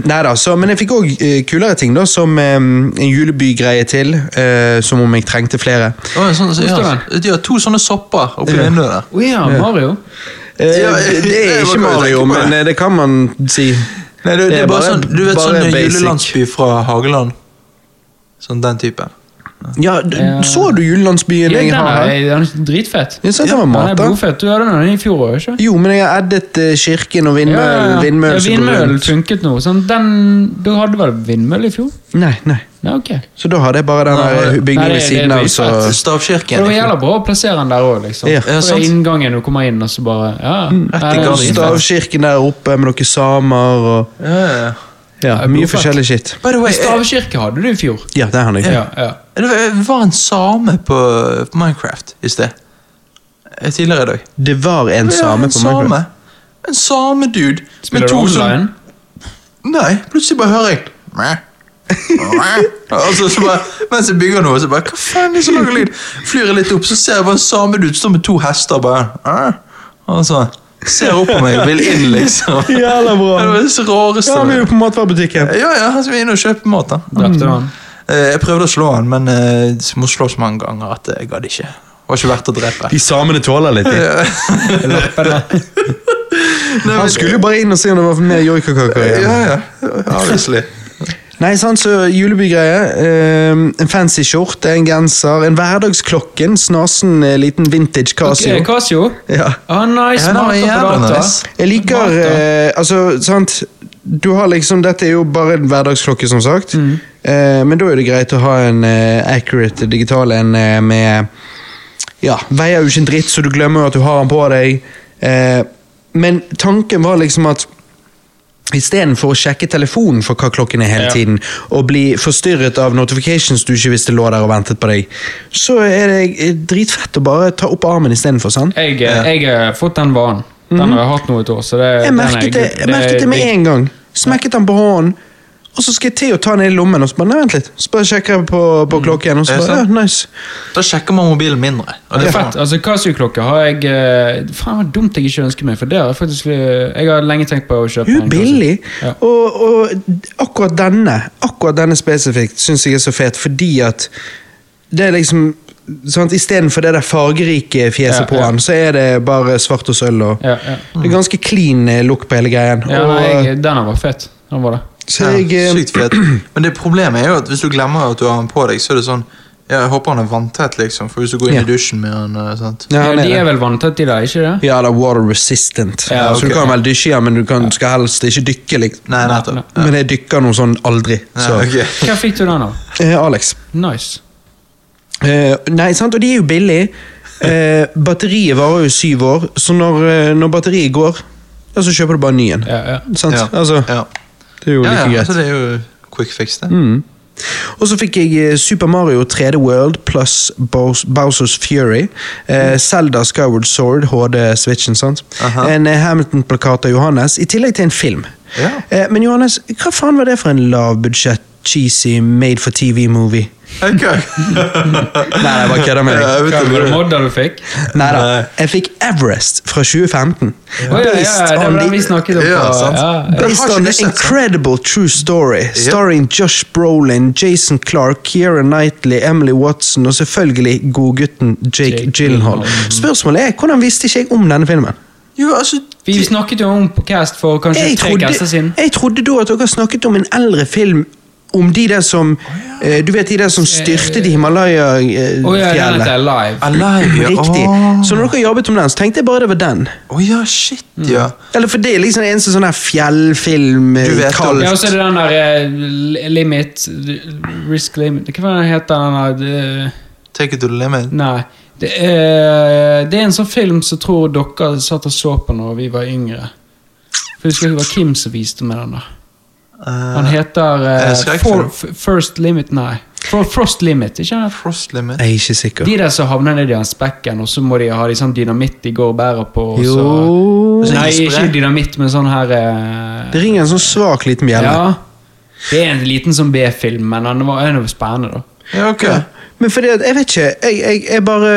A: Nei da, så, men jeg fikk òg kulere ting, da, som eh, en julebygreie til. eh, som om jeg trengte flere.
B: Å, en sånn, ja,
C: Forstår
B: de har to sånne sopper oppi vinduet der.
C: Å ja, Mario.
A: Eh,
B: Ja,
A: det
B: det
A: er ikke
B: var hva jeg
A: Mario,
B: tenker på,
A: men
B: det.
A: eh, det kan man si.
B: Nei, det, det, er bare, sånn, du vet
A: bare
B: sånn
A: basic.
B: julelandsby fra Hageland? Sånn den typen.
A: Ja, d-
C: Ja.
A: Så du julelandsbyen
C: Ja,
A: jeg
C: den
A: har her?
C: er, den er dritfett.
A: Jeg synes den var
C: Den er
A: mat, da.
C: blodfett. Du hadde den i fjor òg, ikke
A: Jo, men jeg har eddet eh, kirken og
C: Ja, ja,
A: vindmøllen.
C: ja.
A: vindmøllen
C: Ja,
A: som går
C: Vindmøllen
A: rundt.
C: funket nå. Sånn, den, du hadde vel vindmølle i fjor?
A: Nei, nei.
C: Ja, ok.
A: Så da hadde jeg bare den
B: Nei,
A: der
B: det-
A: bygningen
C: nei,
A: ved
C: det-
A: siden
C: det
A: av,
C: blir
A: så
C: fett.
B: Stavkirken.
C: Og det var
B: liksom.
C: jævla bra å plassere den der òg, liksom.
A: Ja. Mm,
B: Ja,
C: På
B: sant.
C: inngangen du kommer inn, og så bare Ja.
B: Rett i
C: Nei, det er
B: gangen.
C: fint.
A: Stavkirken der oppe med noen samer og
B: Ja, ja, ja.
A: ja,
C: Ja,
A: Mye
C: blodfett.
A: forskjellig shit.
B: By the way, eh,
C: Men Stavkirke hadde du i fjor.
A: Ja, der har jeg.
C: Ja, ja.
B: Det var, det var en same på på Minecraft i sted. Eh, Tidligere i dag.
A: Det var en
B: Ja,
A: same
B: en
A: på Minecraft.
C: [LAUGHS]
B: same. En samedude.
C: Spiller du online?
B: sånn- Nei, plutselig bare hører jeg [LAUGHS] Mæ. Mæ. altså, så bare, Mens jeg bygger noe, så bare Hva faen er det som lager lyd? Flyr jeg litt opp, så ser jeg bare en samedude stå med to hester og bare «Æ?» Og så ser opp på meg og vil inn, liksom.
C: [LAUGHS]
B: Det
A: Jævla bra.
B: var det rareste.
A: Ja, vi er jo på matvarebutikken.
B: Ja, ja, altså, han skal inn og kjøpe mat, da.
C: Drepte du han?
B: Eh, Jeg prøvde å slå han, men eh, jeg må slå så mange ganger at jeg gadd ikke. Det var ikke verdt å
A: [LAUGHS]
B: drepe.
A: De samene tåler litt. de. Han skulle jo bare inn og se om det var mer joikakaker. igjen.
B: Ja, ja. Obviously.
A: Nei, sant, så julebygreie. ehm, en fancy skjorte, en genser, en hverdagsklokken, snasen eh, liten vintage Casio.
C: Ok, Casio.
A: Ja.
C: Ah, nice,
B: Ja, den var
C: smartere på
B: jævla
C: data.
B: nice.
A: Jeg liker
C: Smart, da.
A: eh, Altså, sant Du har liksom Dette er jo bare en hverdagsklokke, som sagt.
C: Mm.
A: Eh, men da er det greit å ha en eh, accurate digital en eh, med Ja, veier jo ikke en dritt, så du glemmer jo at du har den på deg. Eh, men tanken var liksom at Istedenfor å sjekke telefonen for hva klokken er hele
C: Ja.
A: tiden, og bli forstyrret av notifications du ikke visste lå der og ventet på deg, så er det eh, dritfett å bare ta opp armen istedenfor, sant?
C: Jeg, jeg har fått den vanen. Den har jeg hatt nå et år. Så det,
A: Mhm. Jeg merket det, jeg merket det med en gang. Smekket han på hånden, og så skal jeg til å ta den ned i lommen. Og så bare, nei, vent litt. Så bare sjekker jeg på,
C: Mm.
A: på klokken, og så
B: Er det
A: bare,
B: sant?
A: ja, nice.
B: Da sjekker man mobilen mindre. Og
C: Det
B: det
C: er
B: får man.
C: fett. altså Casio-klokke har jeg eh, Faen, så dumt jeg ikke ønsker meg, for det har jeg faktisk eh, Jeg har lenge tenkt på å kjøpe
A: Hun er billig.
C: Ja.
A: Og, og akkurat denne, akkurat denne spesifikt, syns jeg er så fet, fordi at det er liksom sant, Istedenfor det der fargerike fjeset
C: Ja,
A: på
C: ja.
A: han, så er det bare svart og sølv. Og,
C: Ja, ja.
A: Det er ganske clean eh, look på hele greien.
C: Ja,
A: og,
C: nei, jeg, den var fet. Den var det.
A: så jeg,
B: ja,
A: eh,
B: sykt fet. Men det problemet er jo at hvis du glemmer at du har den på deg, så er det sånn ja, Jeg håper han er vanntett, liksom. For hvis du går inn
A: Ja.
B: i dusjen med den eh, sant?
A: Ja,
C: Ja,
A: han er
C: de
A: det.
C: er vel vanntett, de der, ikke det?
A: Ja, det er water resistant.
C: Ja,
A: Så du
B: ok.
A: kan vel dykke, ja, men du kan, skal helst ikke dykke. Liksom.
B: Nei, nettopp.
A: Men jeg dykker noe sånn aldri. Så.
B: Ja, ok.
C: Hva fikk du den av?
A: eh, Alex.
C: Nice.
A: Eh, nei, sant, og de er jo billige. Eh, batteriet varer jo syv år, så når, eh, når batteriet går, ja, så kjøper du bare en ny en.
C: Ja, ja.
A: Sant?
B: Ja.
A: Altså,
B: ja.
A: det er jo
B: ja,
A: like
B: ja, altså,
A: greit.
B: det er jo quick fix, det.
A: Mm. Og så fikk jeg eh, Super Mario 3D World pluss Bows- Bowsers Fury. Eh, Zelda Skyward Sword, HD Switchen, sant?
B: Mm. Aha.
A: En eh, Hamilton-plakat av Johannes, i tillegg til en film.
B: Ja.
A: Eh, men Johannes, hva faen var det for en lavbudsjett, cheesy, made for
B: [LAUGHS]
A: TV-movie?
B: Ok.
A: [LAUGHS] Nei, jeg bare kødder med deg.
B: Jeg vet
C: Hva
B: ikke
C: var
B: hva
C: det
B: det-
C: modder du fikk?
A: Nei da.
B: Nei.
A: Jeg fikk Everest fra 2015.
C: Å ja, ja, ja, det var den vi snakket om.
B: Ja,
C: på-
B: sant.
C: ja, ja.
B: Den
A: Based
B: har ikke
A: on
B: du
A: an
B: sett, sant?
A: incredible true story, starring Josh Brolin, Jason Clark, Keira Knightley, Emily Watson og selvfølgelig godgutten Jake,
C: Jake
A: Gyllenhaal.
B: Mm.
C: Gyllenhaal.
A: Spørsmålet er, hvordan visste ikke jeg om denne filmen?
B: Jo, altså
C: Vi snakket jo om på Cast for kanskje
A: Jeg
C: tre
A: trodde,
C: caster siden.
A: jeg trodde da at dere snakket om en eldre film om de der som eh, Du vet de der som styrtet i Himalaya-fjellet?
C: Å ja, den heter Alive.
B: Alive, ja.
A: [LAUGHS] Riktig.
B: Åh.
A: Så Mm. når dere jobbet om den, så tenkte jeg bare det var den.
B: Å ja, shit, ja.
A: Eller for det er liksom den eneste sånn her fjellfilm eh,
B: Du vet
A: kald-
C: Ja, og så er det den der eh, Limit Risk Limit Hva var det den heter den der eh, det-
B: Take it to the limit.
C: Nei. Det er, det er en sånn film som tror dere satt og så på når vi var yngre. For jeg husker det var Kim som viste meg den. der Han
B: Eh,
C: heter eh,
B: Eh, skrekkfilm?
C: For, F- First Limit Nei. For, Frost Limit. Ikke sant?
B: Frost limit.
A: Jeg er ikke sikker.
C: De der som havner nedi den spekken, og så må de ha de sånn dynamitt de går og bærer på. Og så,
A: Jo
B: Så
C: nei,
B: isbre.
C: ikke dynamitt, men sånn her eh,
A: Det ringer en sånn svak liten bjelle.
C: Ja. Det er en liten sånn B-film, men den var den var spennende, da.
B: Ja, ok.
A: Men fordi at, jeg vet ikke, jeg, jeg, jeg bare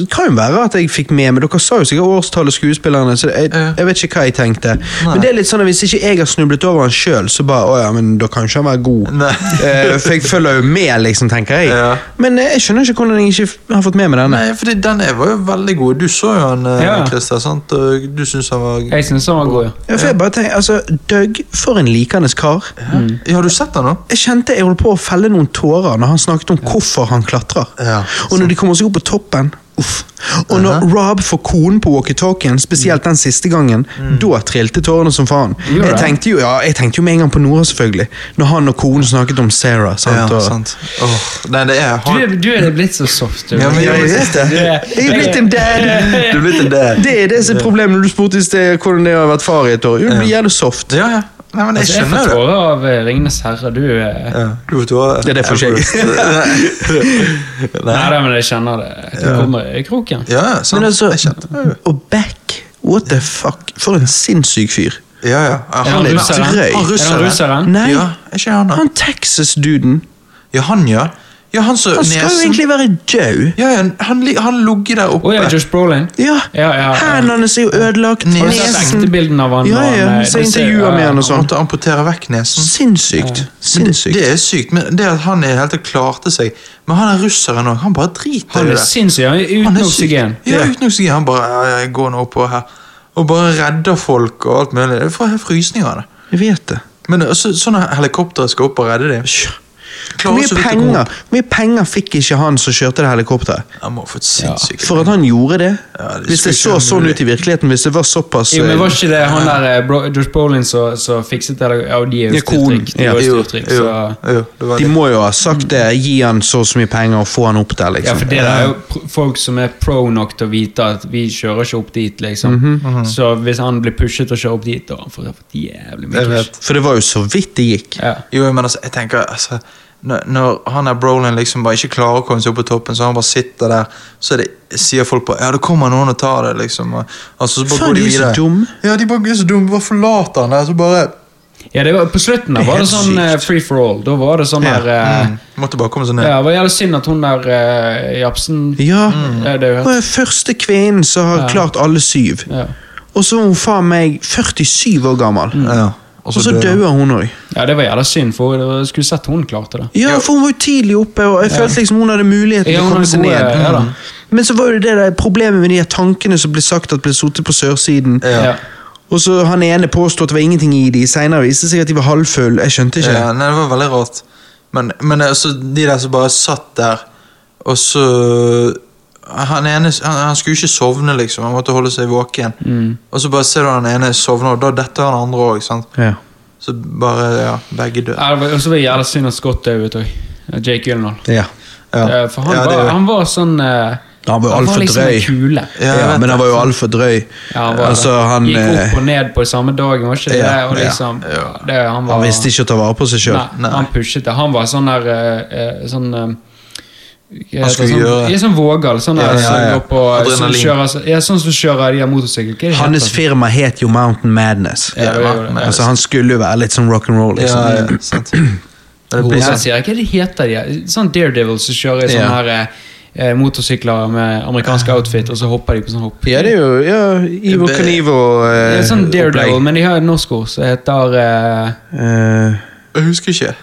A: det kan jo være at jeg fikk med meg Dere sa jo sikkert årstallet skuespillerne, så jeg,
B: Ja.
A: jeg vet ikke hva jeg tenkte.
B: Nei.
A: Men det er litt sånn at hvis ikke jeg har snublet over han sjøl, så bare Å ja, men da kan jo ikke han være god.
B: Nei.
A: Eh, for jeg følger jo med, liksom, tenker jeg.
B: Ja.
A: Men eh, jeg skjønner ikke hvordan jeg ikke f- har fått med meg denne.
B: Nei, fordi den er- var jo veldig god. Du så jo han, eh,
C: Ja.
B: Christer, sant? Og du syns han var
C: Jeg synes den var god, ja.
A: Ja, for jeg bare tenker, altså, Doug, for en likende kar. Mm.
B: Ja, har du sett han nå?
A: Jeg kjente jeg holdt på å felle noen tårer når han snakket om hvorfor han klatrer.
B: Ja,
A: og når de kommer seg opp på toppen uff. Og når Rob får konen på walkietalkien,
B: Mm.
A: spesielt den siste gangen, da trilte tårene som faen.
C: Gjorde
A: Jeg
C: det?
A: tenkte, jo, ja, jeg tenkte jo med en gang på Nora, selvfølgelig. Når han og konen snakket om Sarah. Sant?
B: Ja,
A: og,
B: sant. Åh, nei, det er
C: Du,
B: han.
C: er- du er blitt så soft. Du.
B: Ja, men
A: Ja, jeg vet det.
C: Du er-
A: Jeg er blitt en dad.
B: Du er blitt en dad.
A: Det er det som er problemet når du spurte i sted hvordan det er å ha vært far i et år. Jo, Du blir jævlig soft.
B: Ja, ja. Nei, men jeg
C: Altså, jeg får
B: skjønner det.
C: tårer av eh, 'Ringenes herre'. Du eh,
B: Ja, du får tårer.
A: Ja, det får ikke [LAUGHS]
B: Nei.
C: Nei, da, men jeg kjenner det. Du kommer i kroken.
B: Ja, ja, sant.
A: Men altså,
B: jeg kjente det.
A: og Beck, what the fuck? For en sinnssyk fyr.
B: Ja, ja. Ja,
C: Er han
A: er
C: russeren?
A: drøy.
B: Han
C: Er han
B: russeren.
C: russeren?
A: Nei,
B: Ja, er ikke han da?
A: han Texas-duden.
B: Ja, han, ja. Ja, han så
A: Han skal jo
B: nesen.
A: egentlig være død.
B: Ja, ja, han, li- han ligger
C: Å
B: der
C: ja,
B: oppe.
C: Josh Brolin?
A: Ja,
C: Ja, ja, ja.
A: hendene hans er jo ødelagt.
B: Nesen.
C: Har du sett
A: Nesen.
C: ektebildene av han?
A: Ja,
C: og
A: ja,
C: han, eh,
A: så
C: du ser-
A: intervjuer med
C: ja,
A: han og
B: Han
A: sånn.
B: måtte amputere vekk nesen.
A: Sinnssykt. Sinnssykt.
B: Det er sykt, men det at han i det hele tatt klarte seg Men han er russeren òg. Han bare driter
C: Han
B: i
C: er
B: det.
C: sinnssyk. Han er
B: Han
C: uten
B: er syk.
C: oksygen.
B: Ja, uten oksygen. Han bare eh, går nå oppå her. Og bare redder folk og alt mulig. Jeg får helt frysninger av det.
A: Jeg vet det.
B: Men øh, så, sånne helikoptre skal opp og redde dem.
A: Hvor
B: Klarer
A: mye,
B: så vidt å komme
A: penger, hvor mye penger fikk ikke han som kjørte det helikopteret?
B: opp. Han må ha fått sinnssyke
A: For at han gjorde det?
B: Ja, det
A: hvis det så
B: skulle ikke være
A: sånn ut i virkeligheten, hvis det var såpass
C: Jo, men
A: eh,
C: Var ikke det han der eh, Bro, Josh Brolin som som fikset det? eller- Ja, og de er jo
A: Ja, konen.
C: styrtrykk. De er
B: Jo,
C: jo
B: jo,
C: styrtrykk,
B: jo,
C: så
B: det var
A: eh, De
B: det.
A: må jo ha sagt det. Gi han så og så mye penger og få han opp der,
C: Ja, for
A: liksom.
C: det er jo pr- folk som er pro nok til å vite at vi kjører ikke opp dit, liksom.
B: Mhm.
C: Så hvis han blir pushet og kjører opp dit, da får han får fått jævlig mye
B: Jeg
C: push.
B: vet.
A: For det var jo så vidt det gikk.
C: Ja.
B: Jo, men altså, jeg tenker altså, når, når han der Brolin liksom bare ikke klarer å komme seg opp på toppen, så han bare sitter der, så er det, sier folk på Ja, det kommer noen og tar det, liksom. Og, altså, så bare
A: Faen,
B: går de
A: de er så
B: videre.
A: dumme.
B: Ja, de bare er så dumme. Bare forlater han der, så bare
C: ja, det var, på slutten
A: Det
C: der
A: er
C: var det
A: helt
C: sånn eh,
A: sykt.
C: free for all. Da var det sånn
A: Ja.
C: der eh,
B: mm, Måtte bare komme seg ned.
C: Ja, det var jævlig synd at hun der eh, Japsen
A: Ja.
C: Ja, det er jo
A: Hun er første kvinnen som har klart alle syv.
C: Ja.
A: Og så er hun faen meg 47 år gammel.
B: Ja,
A: Og så dauer hun òg.
C: ja, det var jævla synd, for det var- jeg skulle sett hun klarte det.
A: Ja, for hun var jo tidlig oppe, og jeg følte liksom hun hadde muligheten
C: Ja,
A: til å
C: hun
A: komme
C: hadde
A: seg
C: gode-
A: ned. Mm.
C: ja da.
A: Men så var jo det der problemet med de her tankene som ble sagt at ble sotet på sørsiden.
B: Ja.
C: Ja.
A: Og så han ene påstod at det var ingenting i de, senere viste det seg at de var halvfulle. Jeg skjønte ikke.
B: Ja, nei, det var veldig rart. Men, men altså, de der som bare satt der, og så han, ene, han, han skulle ikke sovne, liksom. Han måtte holde seg våken.
A: Mm.
B: Og så bare ser du han ene sovner, og da detter han andre òg.
A: Ja.
B: Så bare ja, begge dør.
C: Ja, det var- Og så var det jævla synd at Scott døde ut òg. Jake Gyllenhaal.
A: Ja.
B: Ja.
C: Eh, For han,
B: Ja, det
C: var,
B: gjør.
C: han var sånn eh,
A: Han var jo altfor
C: liksom
A: drøy.
C: en kule.
B: Ja, jeg
A: Ja, men
B: vet det.
A: han var jo altfor drøy.
C: Ja, han var,
A: altså, han,
C: gikk
A: eh,
C: opp og ned på samme dagen, var ikke det?
A: ja,
C: og
A: ja,
C: liksom,
B: ja.
C: Det, han, var,
A: han visste ikke å ta vare på seg sjøl.
C: Nei,
B: Nei.
C: han pushet det. Han var sånn der eh, eh, sånn, eh, hva heter
B: skulle
C: det, sånn,
B: gjøre det.
C: ja, sånn vågal. Sånn der
B: Ja, ja,
C: som
B: ja.
C: går på- som
B: Adrenalin.
C: kjører så- ja, Sånn som kjører de der motorsykkel... Hva er det
A: Hans
C: heter?
A: firma het jo Mountain Madness.
C: Ja, det gjorde det.
A: Altså, han skulle jo være litt sånn rock'n'roll.
B: Ja,
A: Liksom.
B: ja, sant. Men det blir
C: Jeg
B: sånn.
C: sier ikke hva de heter, de. Sånn Daredevil som kjører i sånne
A: Ja. Ah.
C: her eh, motorsykler med amerikansk outfit, og så hopper de på sånn hopp.
A: Ja, det er jo ja, Ivo eh,
B: Det-
C: Det er sånn Daredevil,
A: Canivo-opplegg.
C: men de har et norsk ord som heter eh,
B: Jeg husker ikke.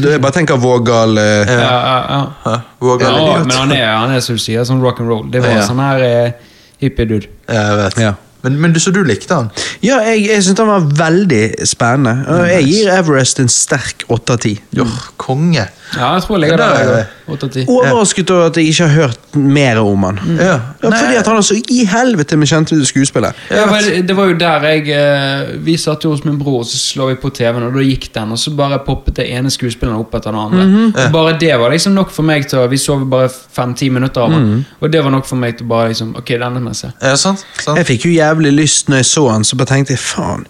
A: jeg bare tenker vågal eh,
C: ja, ja, ja.
B: Hæ? Våger
C: Ja,
B: eller
C: men
B: idiot?
C: han er, han er som du sier, sånn rock and roll. Det var
A: Ja.
C: sånn her eh, hippie dude.
B: Ja, jeg vet.
A: Ja.
B: Men, men du, så du likte han?
A: Ja, jeg, jeg syns den var veldig spennende. Og Jeg gir Everest en sterk åtte av ti.
B: Jo, konge.
C: Ja, jeg tror jeg ligger
B: Ja, det er-
C: der. 8 av 10.
A: Overrasket over at jeg ikke har hørt mer om han.
B: Ja.
A: Ja, fordi at han er så i helvete med kjente skuespillere.
C: Ja, men det var jo der jeg eh, Vi satt jo hos min bror, og så slår vi på TV-en, og da gikk den, og så bare poppet det ene skuespilleren opp etter den andre. Og Bare det var liksom nok for meg til å- Vi sov bare fem-ti minutter av den, og det var nok for meg til bare liksom Ok, denne må jeg se.
B: Ja, sant? sant?
A: Jeg fikk jo jævlig lyst når jeg så han, så bare tenkte jeg faen.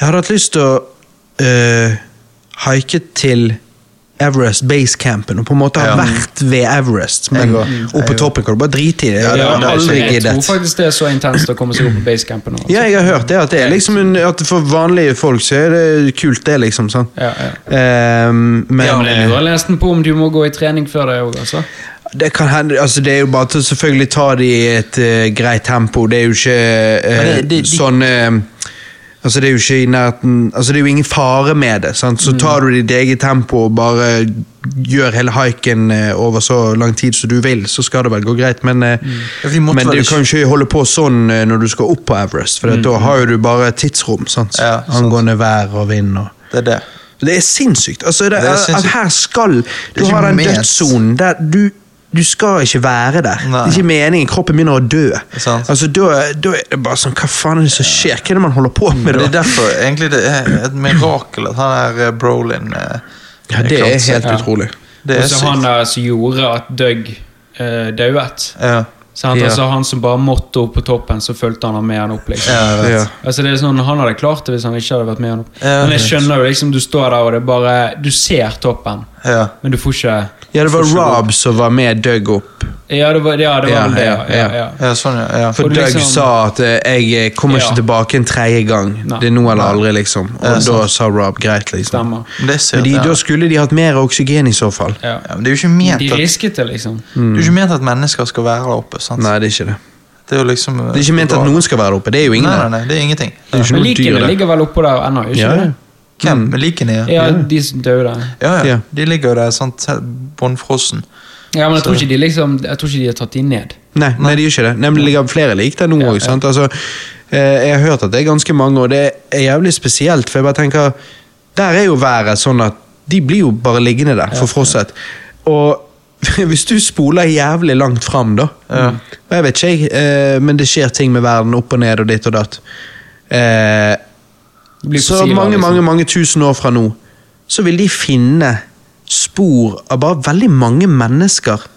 A: Jeg hadde hatt lyst til å øh, haike til Everest Base Campen og på en måte ha
B: Ja.
A: vært ved Everest, men
B: Jeg òg.
A: oppe på
B: Jeg òg.
A: toppen kan du bare drite i det.
B: Ja,
A: Jeg
B: det
A: hadde
B: var
A: aldri
C: altså, jeg tror
A: giddet.
C: faktisk det er så intenst å komme seg opp på basecampen. nå, Altså.
A: Ja, jeg har hørt det. At, det er liksom en, at for vanlige folk så er det kult, det, liksom. sånn.
C: Ja, ja.
A: Ehm, men,
C: Ja, men jeg lurer nesten på om du må gå i trening før det òg, altså.
A: det kan hende altså Det er jo bare til å selvfølgelig ta det i et eh, greit tempo. Det er jo ikke eh,
B: Men det- det- de-
A: sånn eh, Altså Det er jo ikke i nærheten Altså det er jo ingen fare med det. Sant?
B: Mm.
A: Så tar du ditt eget tempo og bare gjør hele haiken eh, over så lang tid som du vil, så skal det vel gå greit. Men, eh,
B: Mm. Ja, for de måtte
A: men
B: vel
A: du
B: ikke-
A: kan
B: Mm.
A: jo ikke holde på sånn eh, når du skal opp på Everest, for at da har jo du bare tidsrom sant?
B: Ja, sant.
A: angående vær og vind. og
B: Det er det.
A: det er sinnssykt. Altså, det,
B: Det er sinnssykt.
A: At her skal Du
B: ikke
A: har den
B: ment.
A: dødssonen der du du skal ikke være der. Det er ikke meningen. Kroppen begynner å dø.
B: Sant.
A: Altså, da, da er det bare sånn Hva faen er det som skjer? Hva er det man holder på med?
B: Men det er
A: da?
B: derfor egentlig det er et mirakel at han er eh, Brolin eh,
A: Ja, det
B: klarte
A: er
B: seg.
A: helt
C: Ja.
A: utrolig.
B: Det
C: Og
B: er
C: så han
B: sykt.
C: der som gjorde at Doug uh, dauet.
B: Ja.
C: Sant?
A: Ja.
C: Altså, han som bare måtte opp på toppen, så fulgte han han med han opp. liksom.
B: Ja, jeg vet.
A: Ja.
C: Altså, det er sånn, Han hadde klart det hvis han ikke hadde vært med han opp.
B: Ja,
C: Men jeg
B: vet.
C: skjønner jo liksom, du står der og det er bare Du ser toppen,
B: Ja.
C: men du får ikke
A: Ja, det var Rob som var med Doug opp.
C: Ja, det var, ja, det var
A: Ja,
C: vel det.
A: ja,
C: Ja, ja,
A: ja.
C: ja.
B: ja, sånn, ja. ja.
A: For
C: Og
A: Doug
C: liksom-
A: sa at eh, 'jeg kommer ikke
C: Ja.
A: tilbake en tredje gang'.
C: Nei.
A: Det er nå eller aldri, liksom. Og
B: Ja,
A: da sa Rob 'greit', liksom.
C: Stemmer.
B: Men det er
A: Men
B: sykt,
A: de,
B: ja.
A: da skulle de hatt mer oksygen i så fall.
C: Ja.
B: Ja, men det er jo ikke ment
C: De
B: at,
C: risket det, liksom.
B: det er jo ikke ment at mennesker skal være der oppe. sant?
A: Nei, det er ikke det.
B: Det er jo liksom eh,
A: Det er ikke ment at noen Mm. skal være der oppe. Det er jo ingen
B: Nei,
A: der.
B: nei, nei, det er ingenting.
A: Det er jo ikke
C: Men
A: noe dyr
C: likene
A: der.
C: ligger vel oppå der ennå, ikke
A: Ja, ja.
C: det?
B: Hvem? Likene? Ja.
C: Ja, de som døde.
B: Ja, ja.
A: Ja.
B: De ligger jo der sånt bånnfrossen.
C: Ja, men jeg tror ikke de liksom Jeg tror ikke de har tatt de ned.
A: Nei, nei, de gjør ikke det. Nei, men det ligger flere lik der nå òg. Altså, eh, jeg har hørt at det er ganske mange, og det er jævlig spesielt. For jeg bare tenker Der er jo været sånn at de blir jo bare liggende der, forfrosset. Og [LAUGHS] hvis du spoler jævlig langt fram, da og Jeg vet ikke, jeg, eh, men det skjer ting med verden opp og ned og ditt og datt. Eh,
C: De blir
A: så
C: fossiler,
A: mange,
C: liksom.
A: mange mange tusen år fra nå, så vil de finne spor av bare veldig mange mennesker.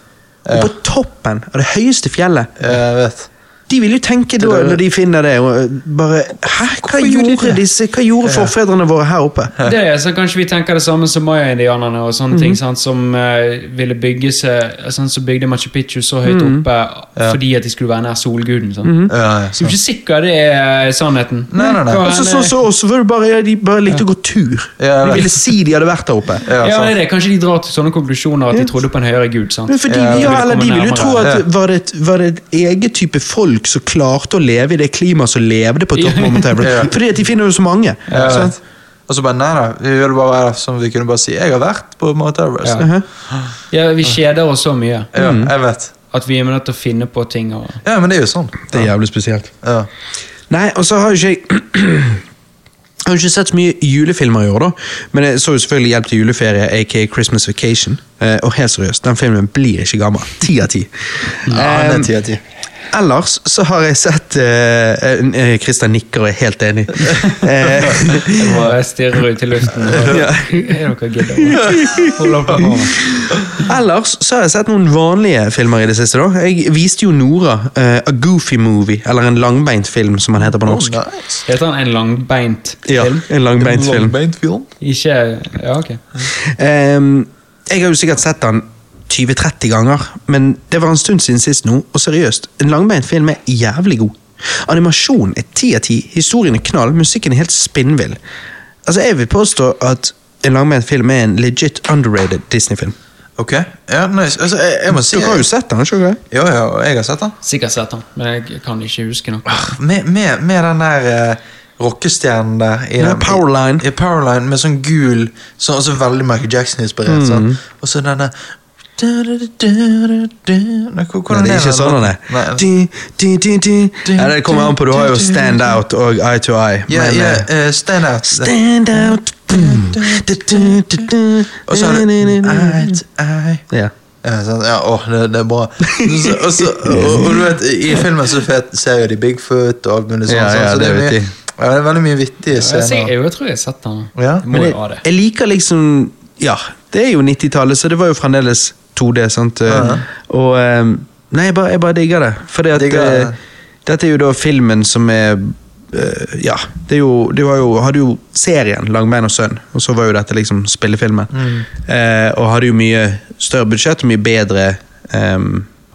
A: Og på toppen av det høyeste fjellet.
B: Ja, Jeg vet.
A: De vil jo tenke da, når de finner det, og bare Hæ, hva gjorde, disse, hva gjorde forfedrene våre her oppe?
C: Det er, så Kanskje vi tenker det samme som maya-indianerne og sånne
A: Mhm.
C: ting, sant, som eh, ville bygge seg sånn, Så bygde Machu Picchu så høyt
A: Mhm.
C: oppe fordi at de skulle være nær solguden. Sant?
B: Ja, ja,
C: Så jeg er ikke sikker det er eh, sannheten.
B: Nei, nei, nei.
C: Hva
A: Altså,
C: henne-
A: sånn som oss, var det bare, ja, de bare likte å gå tur. De
B: Ja, jeg vet.
A: ville si de hadde vært der oppe.
C: ja,
B: ja,
C: det
B: sant.
C: er det. Kanskje de drar til sånne konklusjoner at de trodde på en høyere gud. sant?
A: Men fordi, ja,
B: Ja, vi
C: vil
A: eller
C: komme
A: de vil jo
C: nærmere.
A: tro at var det, et, var det et eget type folk som klarte å leve i det klimaet som levde på toppen av Mount
B: Ja.
A: Everest? Fordi at de finner jo så mange.
B: Ja, jeg
A: sant?
B: vet. Og så bare nei, nei. Vi ville bare være som vi kunne bare si. Jeg har vært på Mount Everest.
C: Ja. Ja, Vi kjeder oss så mye
B: Ja,
A: Mm.
B: jeg vet.
C: at vi er nødt til å finne på ting. og...
B: Ja, men det er jo sånn.
A: Det er jævlig spesielt.
B: Ja.
A: Nei, og så har jo ikke jeg [CLEARS THROAT] Jeg har jo ikke sett så mye julefilmer i år, da. Men jeg så jo selvfølgelig Hjelp til juleferie, aka Christmas Vacation. Eh, og helt seriøst, den filmen blir ikke gammel. Ti av ti.
B: Ja,
A: Em,
B: det er 10 av 10.
A: Ellers så har jeg sett uh, Christian nikker og er helt enig. Eh,
C: Jeg bare stirrer ut i luften. Og, er dere gidder? Hold opp med hånda.
A: Ellers så har jeg sett noen vanlige filmer i det siste. da. Jeg viste jo Nora eh, A Goofy Movie, eller en langbeint film som han heter på norsk.
B: Oh, nice.
C: Heter han en langbeint
A: Ja,
C: film?
A: en langbeint film.
B: Langbeint film.
C: Ikke Ja, ok.
A: Ehm, jeg har jo sikkert sett den 20-30 ganger, men det var en stund siden sist nå, og seriøst, en langbeint film er jævlig god. Animasjonen er ti av ti, historien er knall, musikken er helt spinnvill. Altså, jeg vil påstå at en langbeint film er en legit underrated Disney-film.
B: Ok. Ja, nice. Altså, jeg, jeg må si
A: Du har jo sett den, ikke sant?
B: Ja, ja, og jeg har sett den.
C: Sikkert sett han, men jeg kan ikke huske noe.
B: Med, med, med den der eh, rockestjernen der. I
A: Ja,
B: den-
A: Powerline. Mm.
B: I, i Powerline med sånn gul, sånn, også veldig Michael Jackson-inspirert. sant? Og så denne Nei, hvor- hvordan
A: Nei, det er
B: den
A: ikke sånn han
B: låten?
A: er.
B: Nei.
A: Du, du, du, du. Nei, det kommer an på. Du har jo Stand Out og Eye to Eye.
B: Ja,
A: men,
B: ja,
A: eh,
B: eh, stand out.
A: Stand Out boom. Du, du, du, du.
B: Og så har du Eit, ei.
A: Ja.
B: Ja, sånn, ja, åh, det, det er bra. Så, og, så, og, og du vet, I filmen så fet, ser jo de Bigfoot og alt mulig sånt.
A: Ja, ja,
B: sånn, så det, er
A: det vet
B: mye,
A: de.
B: ja, det er veldig mye vittige
C: Jeg, jeg,
B: scener.
C: jeg tror jeg har sett den.
B: Ja,
C: Må
A: Men
C: jo
A: jeg,
C: ha det.
A: jeg liker liksom Ja, det er jo 90-tallet, så det var jo fremdeles 2D, sant?
B: Ja.
A: Og eh, Nei, jeg bare, jeg bare digger det. Fordi at
B: Digger det.
A: eh, Dette er jo da filmen som er eh, ja. Det er jo, du har jo, hadde jo serien Langbein og sønn, og så var jo dette liksom spillefilmen.
B: Mm.
A: Eh, og hadde jo mye større budsjett og mye bedre eh,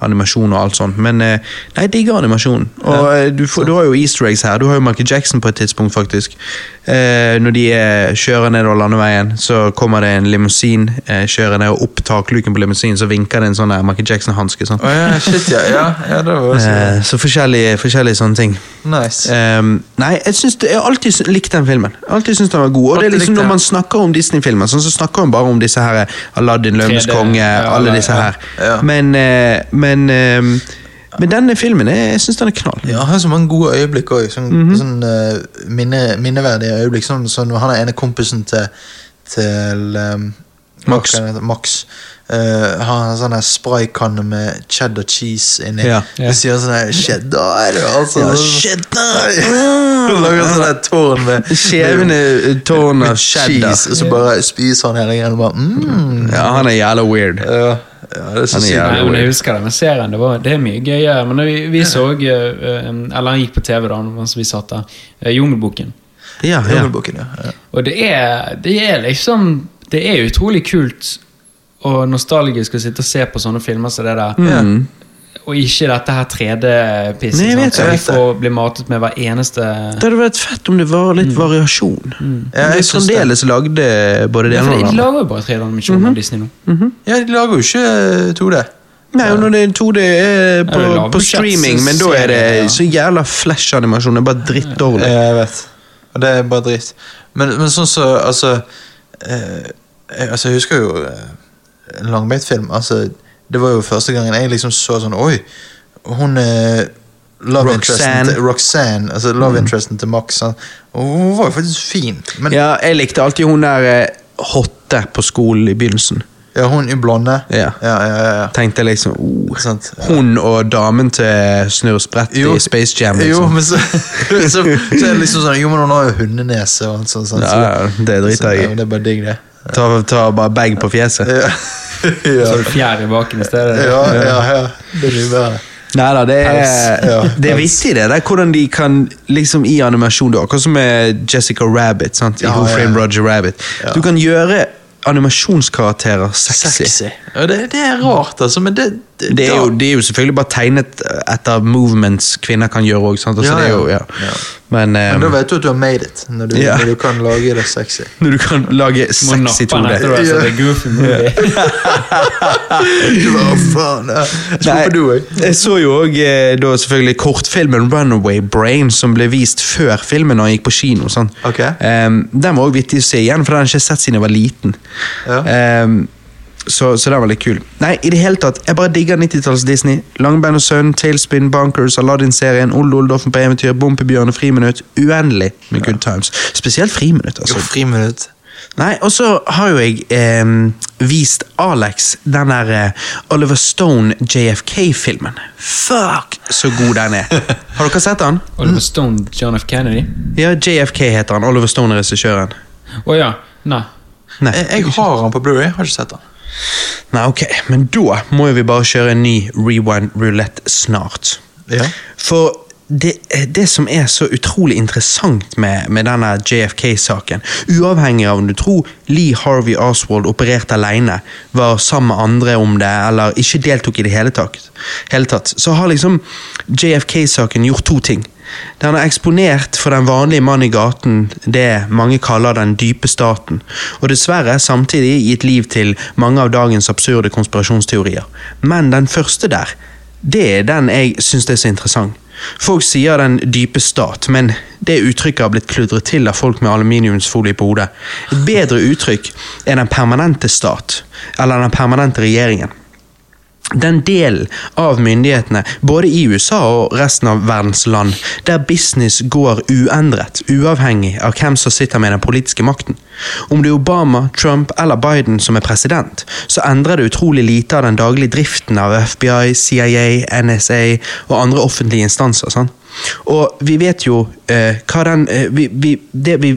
A: animasjon og alt sånt. Men eh, nei, jeg digger animasjon. Og eh, du, får, du har jo easter eggs her. Du har jo Michael Jackson på et tidspunkt, faktisk. Eh, når de eh, kjører nedover landeveien, så kommer det en limousin eh, kjørende, og opp takluken på limousinen så vinker det en sånn der Michael Jackson-hanske. Sånn.
B: Å ja, shit, ja. ja, ja det var også
A: Eh, så forskjellige, forskjellige sånne ting.
B: nice.
A: Ehm, nei, jeg, syns det, jeg har alltid syn- likt den filmen. Jeg har Alltid synes den var god. Og det er
B: Alltid
A: liksom
B: likt
A: Når
B: den.
A: man snakker om Disney-filmer, sånn, så snakker man bare om disse her eh, Aladdin, Løvenes
C: 3D,
A: konge,
C: ja,
A: alle
C: ja,
A: disse her.
B: ja.
A: Men, eh, men, ehm, men denne filmen, jeg, jeg syns den er knall.
B: Ja, han har så mange gode øyeblikk òg. Sånn,
A: Mhm.
B: sånn eh, minne, minneverdige øyeblikk. Sånn som når han er ene kompisen til, til ehm,
A: Max.
B: hva heter han? Max. eh, har en sånn her spraykanne med cheddar cheese inni.
A: Ja.
C: Ja.
B: Det sier sånn her 'cheddar'. Altså,
A: Ja,
B: [LAUGHS] cheddar! Og lager sånn her tårn med
A: Skjevne eh, tårn
B: med
A: av cheddar.
B: [LAUGHS] cheese, og så bare spiser han hele greia og bare mm.
A: Ja, han er jævla weird.
B: ja, ja, det er så
A: Han er
B: sykt.
A: jævlig
C: Nei,
A: weird.
C: men jeg husker denne serien. Det, var, det er mye gøyere. Men vi, vi så eh, eh, Eller han gikk på TV da mens vi satt der. eh, Jungelboken.
A: Ja, ja.
B: Jungelboken, ja. ja.
C: Og det er, det er liksom Det er utrolig kult og nostalgisk å sitte og se på sånne filmer som det der.
A: Mm.
C: Og ikke dette her 3D-pisset.
A: Nei, jeg vet
C: sant, som
B: det.
C: vi får bli matet med hver eneste
A: Det hadde vært fett om det var litt variasjon. Mm.
B: Ja, jeg
A: jeg
B: syns det.
A: fremdeles lagde eh, både det
C: Ja,
A: ene
C: for
A: og det Mhm.
C: De
A: andre.
C: lager jo bare 3D-animasjoner av Disney nå.
B: ja, de lager jo ikke eh, 2D.
A: Nei, og når det er 2D er eh, på,
C: det er lavbudsjett,
A: på streaming,
C: så
A: men da
C: ser
A: er
C: jeg
A: det
C: det,
A: så jævla flash-animasjon. Det er bare drittdårlig.
B: Ja, jeg vet. Og det er bare drit. Men, men sånn så, altså, eh, jeg, altså Jeg husker jo eh, en langbeitfilm. Altså, det var jo første gangen jeg liksom så sånn Oi, hun eh, Love interesten
A: Roxanne. Mm.
B: til Roxanne, altså love interesten til Max. Han, og hun var jo faktisk fin, men ja.
A: Ja, jeg likte alltid hun der eh, hotte på skolen i begynnelsen.
B: hun er blonde.
A: Ja.
B: ja, ja, ja.
A: Tenkte jeg liksom oh.
B: Sant, ja.
A: Hun og damen til Snurr Sprett i Space Jam.
B: Jo,
A: Liksom.
B: men så, [LAUGHS] så, så er det liksom sånn Jo, men hun har jo hundenese og alt sånt. sånn,
A: Ja,
B: så-
A: ja, det driter
B: så-
A: jeg i.
B: ja, men Det er bare digg, det.
A: Ta, ta bare bag på fjeset.
B: Ja.
C: Så
B: [LAUGHS] ja.
C: er det fjær i baken i stedet.
B: Ja, ja, ja. Det er mye bedre.
A: Nei da, det
B: Pels, ja,
A: er, det er
B: pels.
A: vittig, det. der, Hvordan de kan liksom i animasjon da, Akkurat som med Jessica Rabbit sant? i
B: Ja,
A: Who
B: ja.
A: Framed Roger Rabbit. Du kan gjøre animasjonskarakterer sexy.
B: Ja, det, det er rart, altså, men det, det,
A: Det er,
B: da-
A: jo, det er jo selvfølgelig bare tegnet etter movements kvinner kan gjøre òg. Altså,
B: Ja,
A: det er
B: ja.
A: jo- ja.
B: Ja.
A: Men,
B: Men
A: ehm,
B: da vet du at du har made it, når du,
A: Ja.
B: når du kan lage det sexy.
A: Når du kan lage
C: Må
A: sexy
C: nappe den
A: 2D.
C: etter deg, så det er goofy movie.
B: [LAUGHS] Du bare, «Å, faen, ja. Jeg tror
A: Nei,
B: på du òg.
A: jeg så jo òg da selvfølgelig kortfilmen 'Runaway Brain', som ble vist før filmen når jeg gikk på kino. sant?
B: Ok.
A: Ehm, den var òg vittig å se igjen, for den har jeg ikke sett siden jeg var liten.
B: Ja.
A: Ehm, så, så den var litt kul. Nei, i det hele tatt, jeg bare digger 90-talls Disney. Langbein og sønn, Tailspin, Bunkers, Aladdin-serien, Olde Oldoffen på eventyr, Bompebjørn og Friminutt. Uendelig med good times. Spesielt Friminutt, altså.
B: Friminutt.
A: Nei, og så har jo jeg em, vist Alex den der eh, Oliver Stone JFK-filmen. Fuck, så god den er! Har dere sett den?
C: Oliver Stone, John F. Kennedy.
A: Ja, JFK heter han. Oliver Stone er regissøren.
C: Å ja. Nei.
A: Nei.
B: Jeg, jeg har han på Blu-ray, har ikke sett han.
A: Nei, ok, men da må jo vi bare kjøre en ny Rewind Roulette snart.
B: Ja.
A: For det, det som er så utrolig interessant med, med denne JFK-saken, uavhengig av om du tror Lee Harvey Oswald opererte alene, var sammen med andre om det, eller ikke deltok i det hele tatt, hele tatt så har liksom JFK-saken gjort to ting. Den er eksponert for den vanlige mann i gaten, det mange kaller den dype staten, og dessverre samtidig gitt liv til mange av dagens absurde konspirasjonsteorier. Men den første der, det er den jeg syns er så interessant. Folk sier den dype stat, men det uttrykket har blitt kludret til av folk med aluminiumsfolie på hodet. Et bedre uttrykk er den permanente stat, eller den permanente regjeringen. den delen av myndighetene, både i USA og resten av verdens land, der business går uendret, uavhengig av hvem som sitter med den politiske makten. Om det er Obama, Trump eller Biden som er president, så endrer det utrolig lite av den daglige driften av FBI, CIA, NSA og andre offentlige instanser. sant? Og vi vet jo eh, hva den eh, vi, vi, det vi,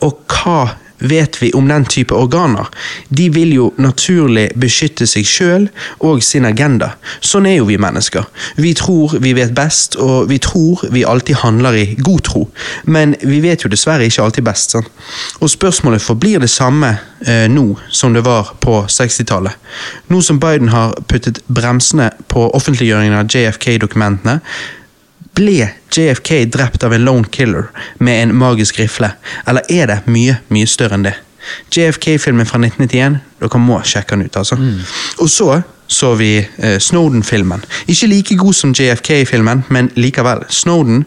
A: Og hva vet vi om den type organer? De vil jo naturlig beskytte seg sjøl og sin agenda. Sånn er jo vi mennesker. Vi tror vi vet best, og vi tror vi alltid handler i god tro. Men vi vet jo dessverre ikke alltid best. Sant? Og spørsmålet forblir det samme eh, nå som det var på 60-tallet. Nå som Biden har puttet bremsene på offentliggjøringen av JFK-dokumentene, ble JFK drept av en lone killer med en magisk rifle, eller er det mye, mye større enn det? JFK-filmen fra 1991, dere må sjekke den ut, altså. Og så så vi eh, Snowden-filmen. Ikke like god som JFK-filmen, men likevel. Snowden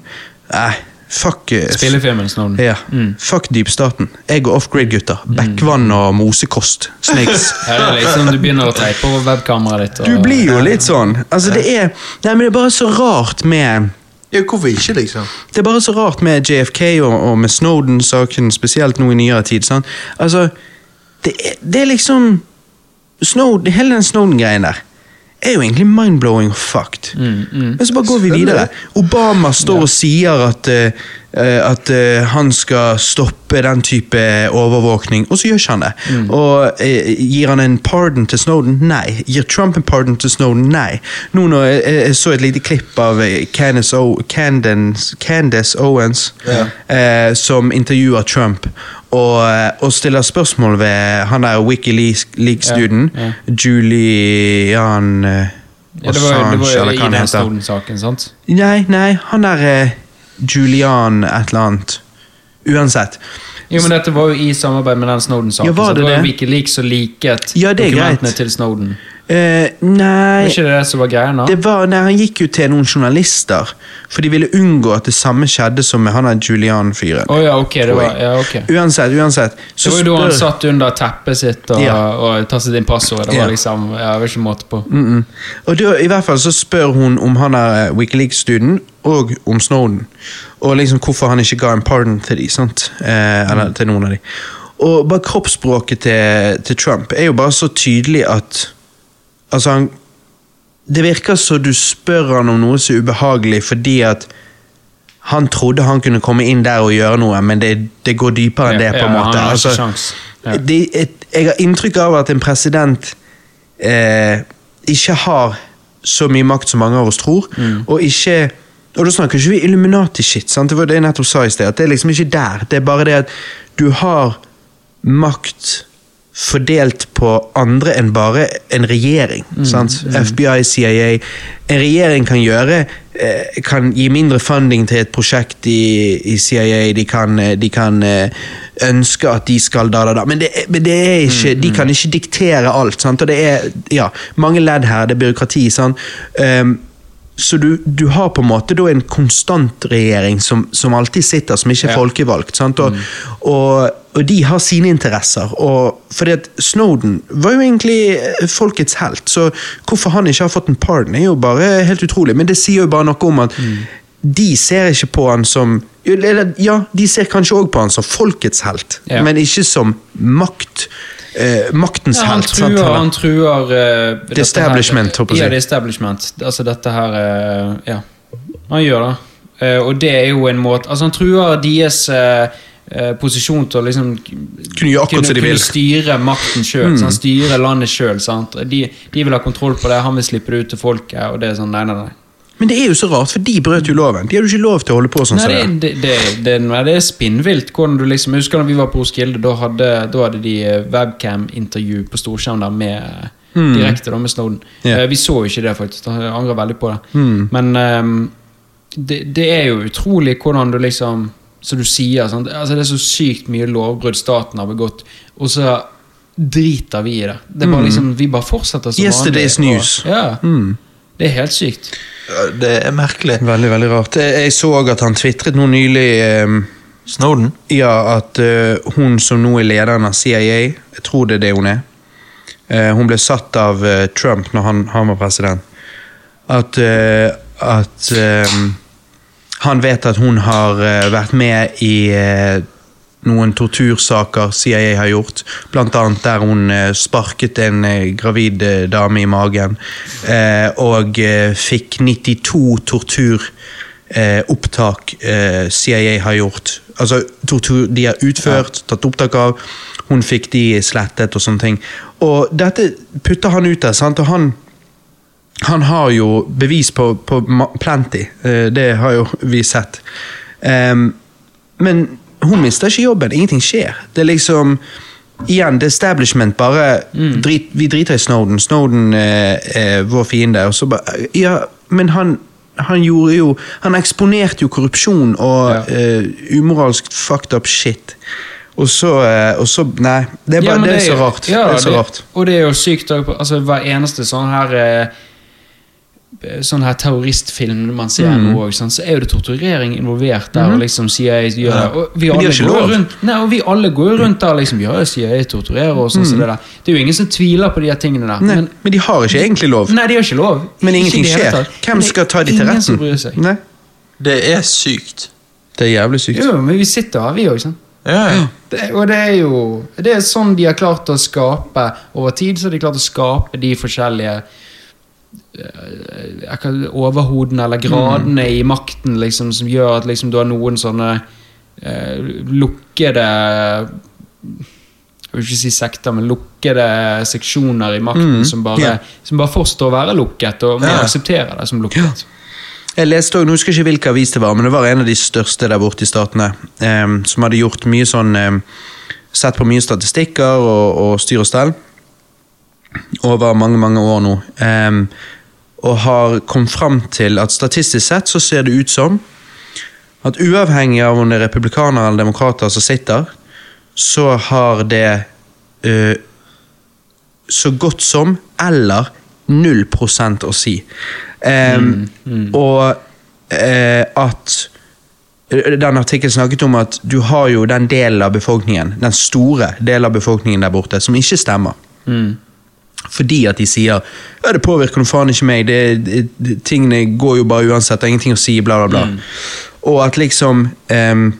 A: eh, Fuck eh,
C: Spillefilmen Snowden.
A: ja. Fuck dypstaten. Jeg og off-grid, gutter. Bekkvann og mosekost. Snakes.
C: Her er det liksom du begynner å teipe over webkameraet ditt. og-
A: Du blir jo litt sånn. Altså, det er Nei, men det er bare så rart med
B: Ja, hvorfor ikke, liksom?
A: Det er bare så rart med JFK og, og med Snowden-saken, spesielt nå i nyere tid. Sant? Altså, det er, det er liksom Snowden, Hele den Snowden-greien der er jo egentlig mind-blowing og fucked.
C: Mm.
A: Men så bare går vi videre. Obama står og sier at, eh, eh, at eh, han skal stoppe den type overvåkning, og så gjør ikke han det.
C: Mm.
A: Og eh, Gir han en pardon til Snowden? Nei. Gir Trump en pardon til Snowden? Nei. Nå når jeg, jeg- jeg så et lite klipp av eh, Candace, o Candence- Candace Owens eh, som intervjuer Trump, og, eh, og stiller spørsmål ved han der Wikileaks-duden,
C: Ja,
A: Julian eh,
C: Ja, det var jo, det
A: Assange,
C: var jo
A: eller hva
C: i
A: han
C: den
A: heter.
C: Snowden-saken, sant?
A: Nei, nei, han der eh, Julian et eller annet. Uansett.
C: Jo, men dette var jo i samarbeid med den Snowden-saken.
A: Ja, var
C: så
A: det
C: det var jo
A: det?
C: Wikileaks som liket
A: Ja, det er
C: dokumentene
A: greit.
C: til Snowden.
A: Eh,
C: Var
A: nei,
C: ikke det det som var greia nå?
A: det var, nei, han gikk jo til noen journalister, for de ville unngå at det samme skjedde som med han der Julian-fyren.
C: Å ja, ok. Det
A: tror
C: var,
A: jeg.
C: ja, ok.
A: Uansett, uansett.
C: Det
A: Så
C: var jo da han
A: spør-
C: satt under teppet sitt og,
A: Ja.
C: og tastet inn passord. Det
A: Ja.
C: var liksom, ja, det var ikke måte på.
A: Mm -mm. Og da, i hvert fall så spør hun om han er Wikileaks-studien, og om Snowden. Og liksom hvorfor han ikke ga en pardon til de, sant? Eh, eller til noen av de. Og bare kroppsspråket til, til Trump er jo bare så tydelig at Altså, han Det virker som du spør han om noe som er ubehagelig fordi at han trodde han kunne komme inn der og gjøre noe, men det, det går dypere enn det, på en måte.
C: Han har
A: Altså,
C: ikke sjans. Ja.
A: det, et, jeg har inntrykk av at en president eh, ikke har så mye makt som mange av oss tror,
C: Mm.
A: og ikke og da snakker ikke vi Illuminati-shit, sant? det var det jeg nettopp sa i sted, at det er liksom ikke der, det er bare det at du har makt fordelt på andre enn bare en regjering, sant? FBI, CIA, en regjering kan gjøre eh, kan gi mindre funding til et prosjekt i, i CIA. De kan, eh, de kan eh, ønske at de skal da, da, da. Men det, er- men det er ikke, de kan ikke diktere alt. Sant? Og det er ja, mange ledd her. Det er byråkrati. Sant? Ehm, så du, du har på en måte da en konstant regjering som, som alltid sitter, som ikke er
C: Ja. Mm.
A: folkevalgt. Sant? Og, og, og de har sine interesser. Og, fordi at Snowden var jo egentlig eh, folkets helt, så hvorfor han ikke har fått en pardon, er jo bare helt utrolig. Men det sier jo bare noe om at
C: Mm.
A: de ser ikke på han som jo, eller, Ja, de ser kanskje òg på han som folkets helt,
C: Ja.
A: men ikke som makt. eh, maktens
C: Ja, han
A: helt. sant?
C: truer,
A: Eller-
C: han truer eh, dette her-
A: establishment, håper jeg å si.
C: Ja, det er establishment. Altså dette her eh, Ja. Han gjør det. Eh, og det er jo en måte Altså, han truer deres eh, eh, posisjon til å liksom
A: Kunne gjøre akkurat som de vil. Hmm.
C: Kunne styre makten sjøl. han Styre landet sjøl. De, de vil ha kontroll på det, han vil slippe det ut til folket, og det er sånn Nei, nei, nei.
A: Men det er jo så rart, for de brøt jo loven. De hadde jo ikke lov til å holde på sånn.
C: Nei,
A: som
C: det,
A: det er.
C: det, det, det, nei, det er spinnvilt. Hvordan du liksom, jeg husker da vi var på Roskilde, da hadde, da hadde de eh, webcam-intervju på storskjerm der med, eh, direkte da, med Snowden.
A: Hmm. Ja. Hmm.
C: Eh, Vi så jo ikke det, faktisk. Jeg angrer veldig på det. Men ehm, det, det er jo utrolig hvordan du liksom Som du sier, sant? Altså, det er så sykt mye lovbrudd staten har begått, og så driter vi i det. det
A: Hmm.
C: er bare, liksom, vi bare fortsetter som
A: Yesterday's
C: vanlig, og-
A: news. Hmm.
C: Ja.
A: Mm.
C: Det er helt sykt.
B: Ja, Det er merkelig.
A: Veldig, veldig rart. Jeg, Eh, jeg så at han tvitret noe nylig ehm,
B: Snowden?
A: eh, Ja, at eh, hun som nå er lederen av CIA, jeg tror det er det hun er, eh, hun ble satt av eh, Trump når han, han var president. At, eh, at eh, han vet at hun har eh, vært med i eh, noen tortursaker CIA har gjort. Blant annet der hun eh, sparket en eh, gravid eh, dame i magen. eh, Og eh, fikk 92 tortur eh, opptak eh, CIA har gjort. Altså tortur de har utført, tatt opptak av. Hun fikk de slettet og sånne ting. Og dette putter han ut der, sant? og han han har jo bevis på, på ma- plenty. Eh, Det har jo vi sett. Ehm, men hun mister ikke jobben. Ingenting skjer. Det er liksom Igjen, the establishment bare
C: Mm.
A: drit, Vi driter i Snowden. Snowden eh, er vår fiende. Og så bare Ja, men han han gjorde jo Han eksponerte jo korrupsjon og
C: Ja.
A: eh, umoralsk fucked up shit. Og så, eh, og så Nei. Det er, bare,
C: men
A: det er så rart.
C: ja,
A: det er så rart.
C: Og det er jo sykt også, altså, hver eneste sånn her eh, Sånn her terroristfilm man ser
A: Mm.
C: nå også, sant, så er jo det torturering involvert der. Og liksom CIA gjør
B: Ja.
C: det Og vi
A: Mhm. Men de har ikke
C: alle går
A: lov.
C: rundt Nei, og vi alle går rundt der liksom Ja, CIA torturerer og sånn som det der. Det er jo ingen som tviler på de her tingene der.
A: Mm. Nei,
C: Men,
A: men de har ikke egentlig lov.
C: nei, de har ikke lov.
A: Men ingenting
C: Ikke i det hele
A: skjer.
C: tatt.
A: Hvem
C: Men
A: skal ta de til
C: ingen
A: retten?
C: som bryr seg.
A: Nei.
B: Det er sykt.
A: Det er jævlig sykt.
C: Jo, men vi sitter her, vi òg, sant.
B: Ja, ja.
C: Det, og det er jo Det er sånn de har klart å skape Over tid så har de klart å skape de forskjellige eh, jeg kan- Overhodene
A: Mm.
C: eller gradene i makten liksom, som gjør at liksom, du har noen sånne eh, lukkede Jeg vil ikke si sekter, men lukkede seksjoner i makten
A: Mm,
C: som, bare,
A: ja.
C: som bare forstår å være lukket, og må
B: Ja.
C: akseptere det som lukket.
A: Jeg leste også, nå husker jeg ikke hvilken avis det var, men det var en av de største der borte i statene, em, som hadde gjort mye sånn em, Sett på mye statistikker og, og styr og stell over mange, mange år nå. em, og har kommet fram til at statistisk sett så ser det ut som at uavhengig av om det er republikanere eller demokrater som sitter, så har det eh, så godt som eller 0 å si. Ehm, Og eh, at eh, den artikkelen snakket om at du har jo den delen av befolkningen, den store delen av befolkningen der borte, som ikke stemmer.
C: Mm.
A: Fordi at de sier ja, det påvirker noe faen ikke meg, det, det, det, tingene går jo bare uansett, det er ingenting å si, bla, bla, bla.
C: Mm.
A: Og at liksom ehm,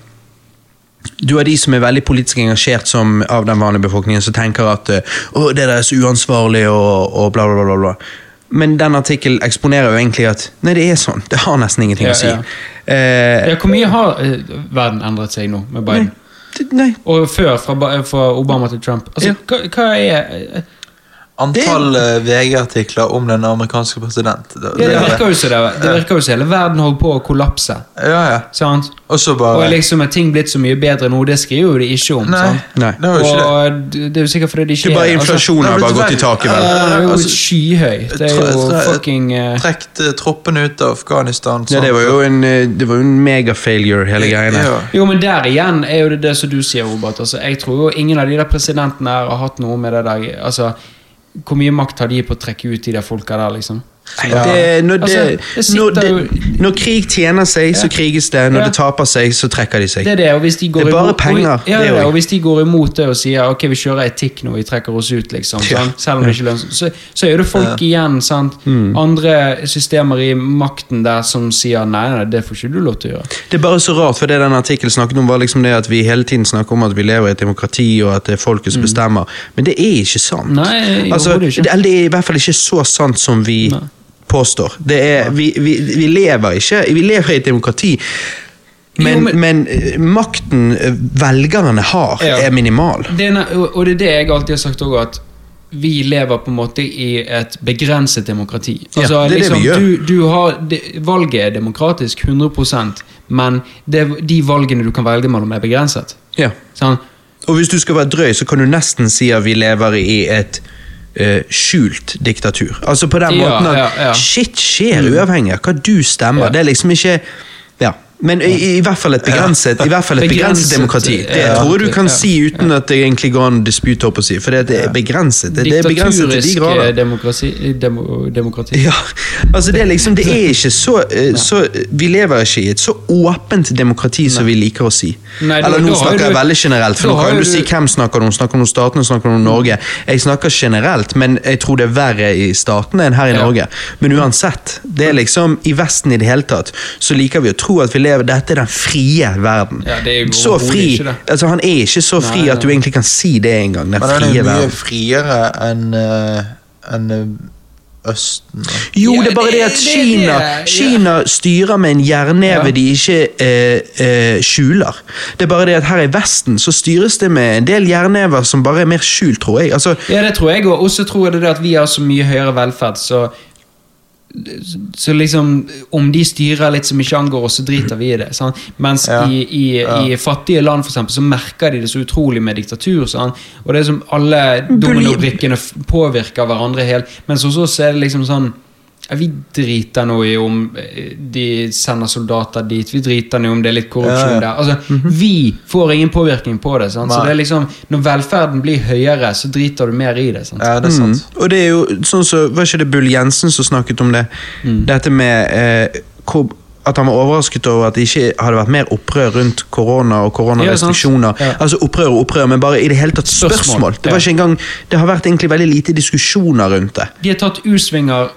A: du har de som er veldig politisk engasjert som av den vanlige befolkningen, som tenker at eh, å, det der er så uansvarlig og, og bla, bla, bla, bla, bla. Men den artikkelen eksponerer jo egentlig at nei, det er sånn. Det har nesten ingenting
C: Ja,
A: å si.
C: ja.
A: Eh,
C: Ja, hvor mye har eh, verden endret seg nå med Biden?
A: nei, det- nei,
C: Og før, fra, Ba- fra Obama til Trump. Altså,
A: Ja.
C: hva, hva er
B: Antall eh, VG-artikler om den amerikanske president. Det,
C: ja, Det
B: det-
C: virker jo som det, det virker jo som hele verden holder på å kollapse.
B: ja, ja.
C: Sant?
B: Og så
C: Og
B: bare
C: liksom er ting blitt så mye bedre nå, det skriver jo de ikke om.
B: Nei,
C: Sant?
A: Nei.
B: det var jo ikke det.
C: Og det er jo sikkert fordi det ikke
A: det er bare
C: altså,
A: inflasjonen har
B: Nei, men
A: bare gått i
B: dessverre-
A: taket, vel.
C: ja, det er jo
B: Altså,
C: skyhøy. Det er
B: tre-
C: jo
B: tre-
C: fucking eh,
B: Trekt eh, troppene ut av Afghanistan.
A: Ja,
B: sånn.
A: det var jo en, eh, det var jo en megafailure, hele greia.
B: Ja.
C: Jo, men der igjen er jo det det som du sier, Robert. Altså, jeg tror jo ingen av de der presidentene her har hatt noe med det der Altså, hvor mye makt har de på å trekke ut de der folka der, liksom?
A: Nei,
B: Ja.
A: det- Når
C: Altså,
A: det-
C: det sitter
A: når det-
C: jo-
A: når krig tjener seg, så kriges det. Når
C: Ja.
A: det taper seg, så trekker de seg.
C: Det er det, og hvis de går
A: Det er bare
C: imot,
A: penger,
C: Og, ja,
A: det
C: det
A: er jo-
C: og hvis de går imot det og sier ok, vi kjører etikk nå, vi trekker oss ut, liksom,
A: [LAUGHS] Ja.
C: sant? selv om det ikke lønner seg, så, så er det folk igjen, sant?
A: Mm.
C: Andre systemer i makten der som sier nei, nei, det får ikke du lov til å gjøre.
A: Det er bare så rart, for det den artikkelen snakket om, var liksom det at vi hele tiden snakker om at vi lever i et demokrati, og at det er folket som bestemmer. Men det er ikke sant.
C: Mm. Nei,
A: altså,
C: overhodet ikke.
A: det- Eller det er i hvert fall ikke så sant som vi
C: Nei.
A: påstår. Det er, vi, vi, vi lever ikke Vi lever i et demokrati. Men,
C: Jo,
A: men,
C: men-
A: eh, makten eh, velgerne har,
C: Ja.
A: er minimal.
C: Det er, ne- og og det er det jeg alltid har sagt òg, at vi lever på en måte i et begrenset demokrati. Altså,
A: Ja,
C: liksom,
A: det er det vi gjør.
C: Du, du har, det, valget er demokratisk 100 men det, de valgene du kan velge mellom, er begrenset.
A: Ja.
C: Sant?
A: Og hvis du skal være drøy, så kan du nesten si at vi lever i et eh, skjult diktatur. Altså på den
C: Ja,
A: måten at
C: ja, ja.
A: shit skjer uavhengig av hva du stemmer.
C: Ja.
A: Det er liksom ikke Ja. Men i, i hvert fall et begrenset, i hvert fall et begrenset
C: Begrenset,
A: demokrati. Det
C: ja.
A: tror jeg du kan
C: Ja.
A: si uten at det egentlig går an dispute, holdt på å si. For det, at det er begrenset. Det, det er begrenset til de
C: Diktaturisk
A: grader.
C: eh, demokrasi, demo, demokrati.
A: Ja, altså det er liksom Det er ikke så, eh, så Vi lever ikke i et så åpent demokrati som vi liker å si.
C: Nei, da-
A: Eller nå
C: da har
A: snakker jeg
C: du-
A: veldig generelt, for
C: da
A: nå
C: har
A: kan
C: jo
A: du si
C: du-
A: hvem snakker du om. Snakker du om statene, snakker du om Norge? Jeg snakker generelt, men jeg tror det er verre i statene enn her i
C: Ja. Mm.
A: Norge. Men uansett, det er liksom I Vesten i det hele tatt så liker vi å tro at vi lever Dette er den frie verden.
C: Ja, det er jo
A: så
C: overhodet
A: fri.
C: ikke det.
A: Altså, han er ikke så fri
C: Nei,
A: at du egentlig kan si det engang. Den
B: Men den er
A: frie
B: jo mye
A: verden.
B: friere enn eh, enn, eh, Østen. da.
A: Jo,
C: Ja,
A: det er bare
C: det-
A: det at
C: det-
A: Kina,
C: det- ja.
A: Kina styrer med en jernneve
C: Ja.
A: de ikke eh, eh, skjuler. Det er bare det at her i Vesten så styres det med en del jernnever som bare er mer skjult, tror jeg. Altså,
C: Ja, det tror jeg, og også tror jeg det er at vi har så mye høyere velferd, så så liksom, om de styrer litt som ikke angår oss, så driter vi i det. Sant? Mens
B: Ja.
C: i, i, i fattige land for eksempel, så merker de det så utrolig med diktatur. Sant? Og det er som alle dominobrikkene f- påvirker hverandre helt. Mens hos oss er det liksom sånn ja, Vi driter nå i om eh, de sender soldater dit, vi driter nå i om det er litt korrupsjon
B: Ja, ja.
C: der. Altså, Vi får ingen påvirkning på det. Sant? Så
B: Nei.
C: det er liksom, når velferden blir høyere, så driter du mer i det. Sant?
B: Ja, det er sant.
A: og det er jo sånn så, Var ikke det Bull Jensen som snakket om det?
C: Mm.
A: Dette med eh, hvor, at han var overrasket over at det ikke hadde vært mer opprør rundt korona og koronarestriksjoner.
C: Ja, sant. Ja.
A: Altså opprør og opprør, men bare i det hele tatt spørsmål.
C: Spørsmål,
A: Det var
C: ja.
A: ikke engang, det har vært egentlig veldig lite diskusjoner rundt det.
C: De har tatt U-svinger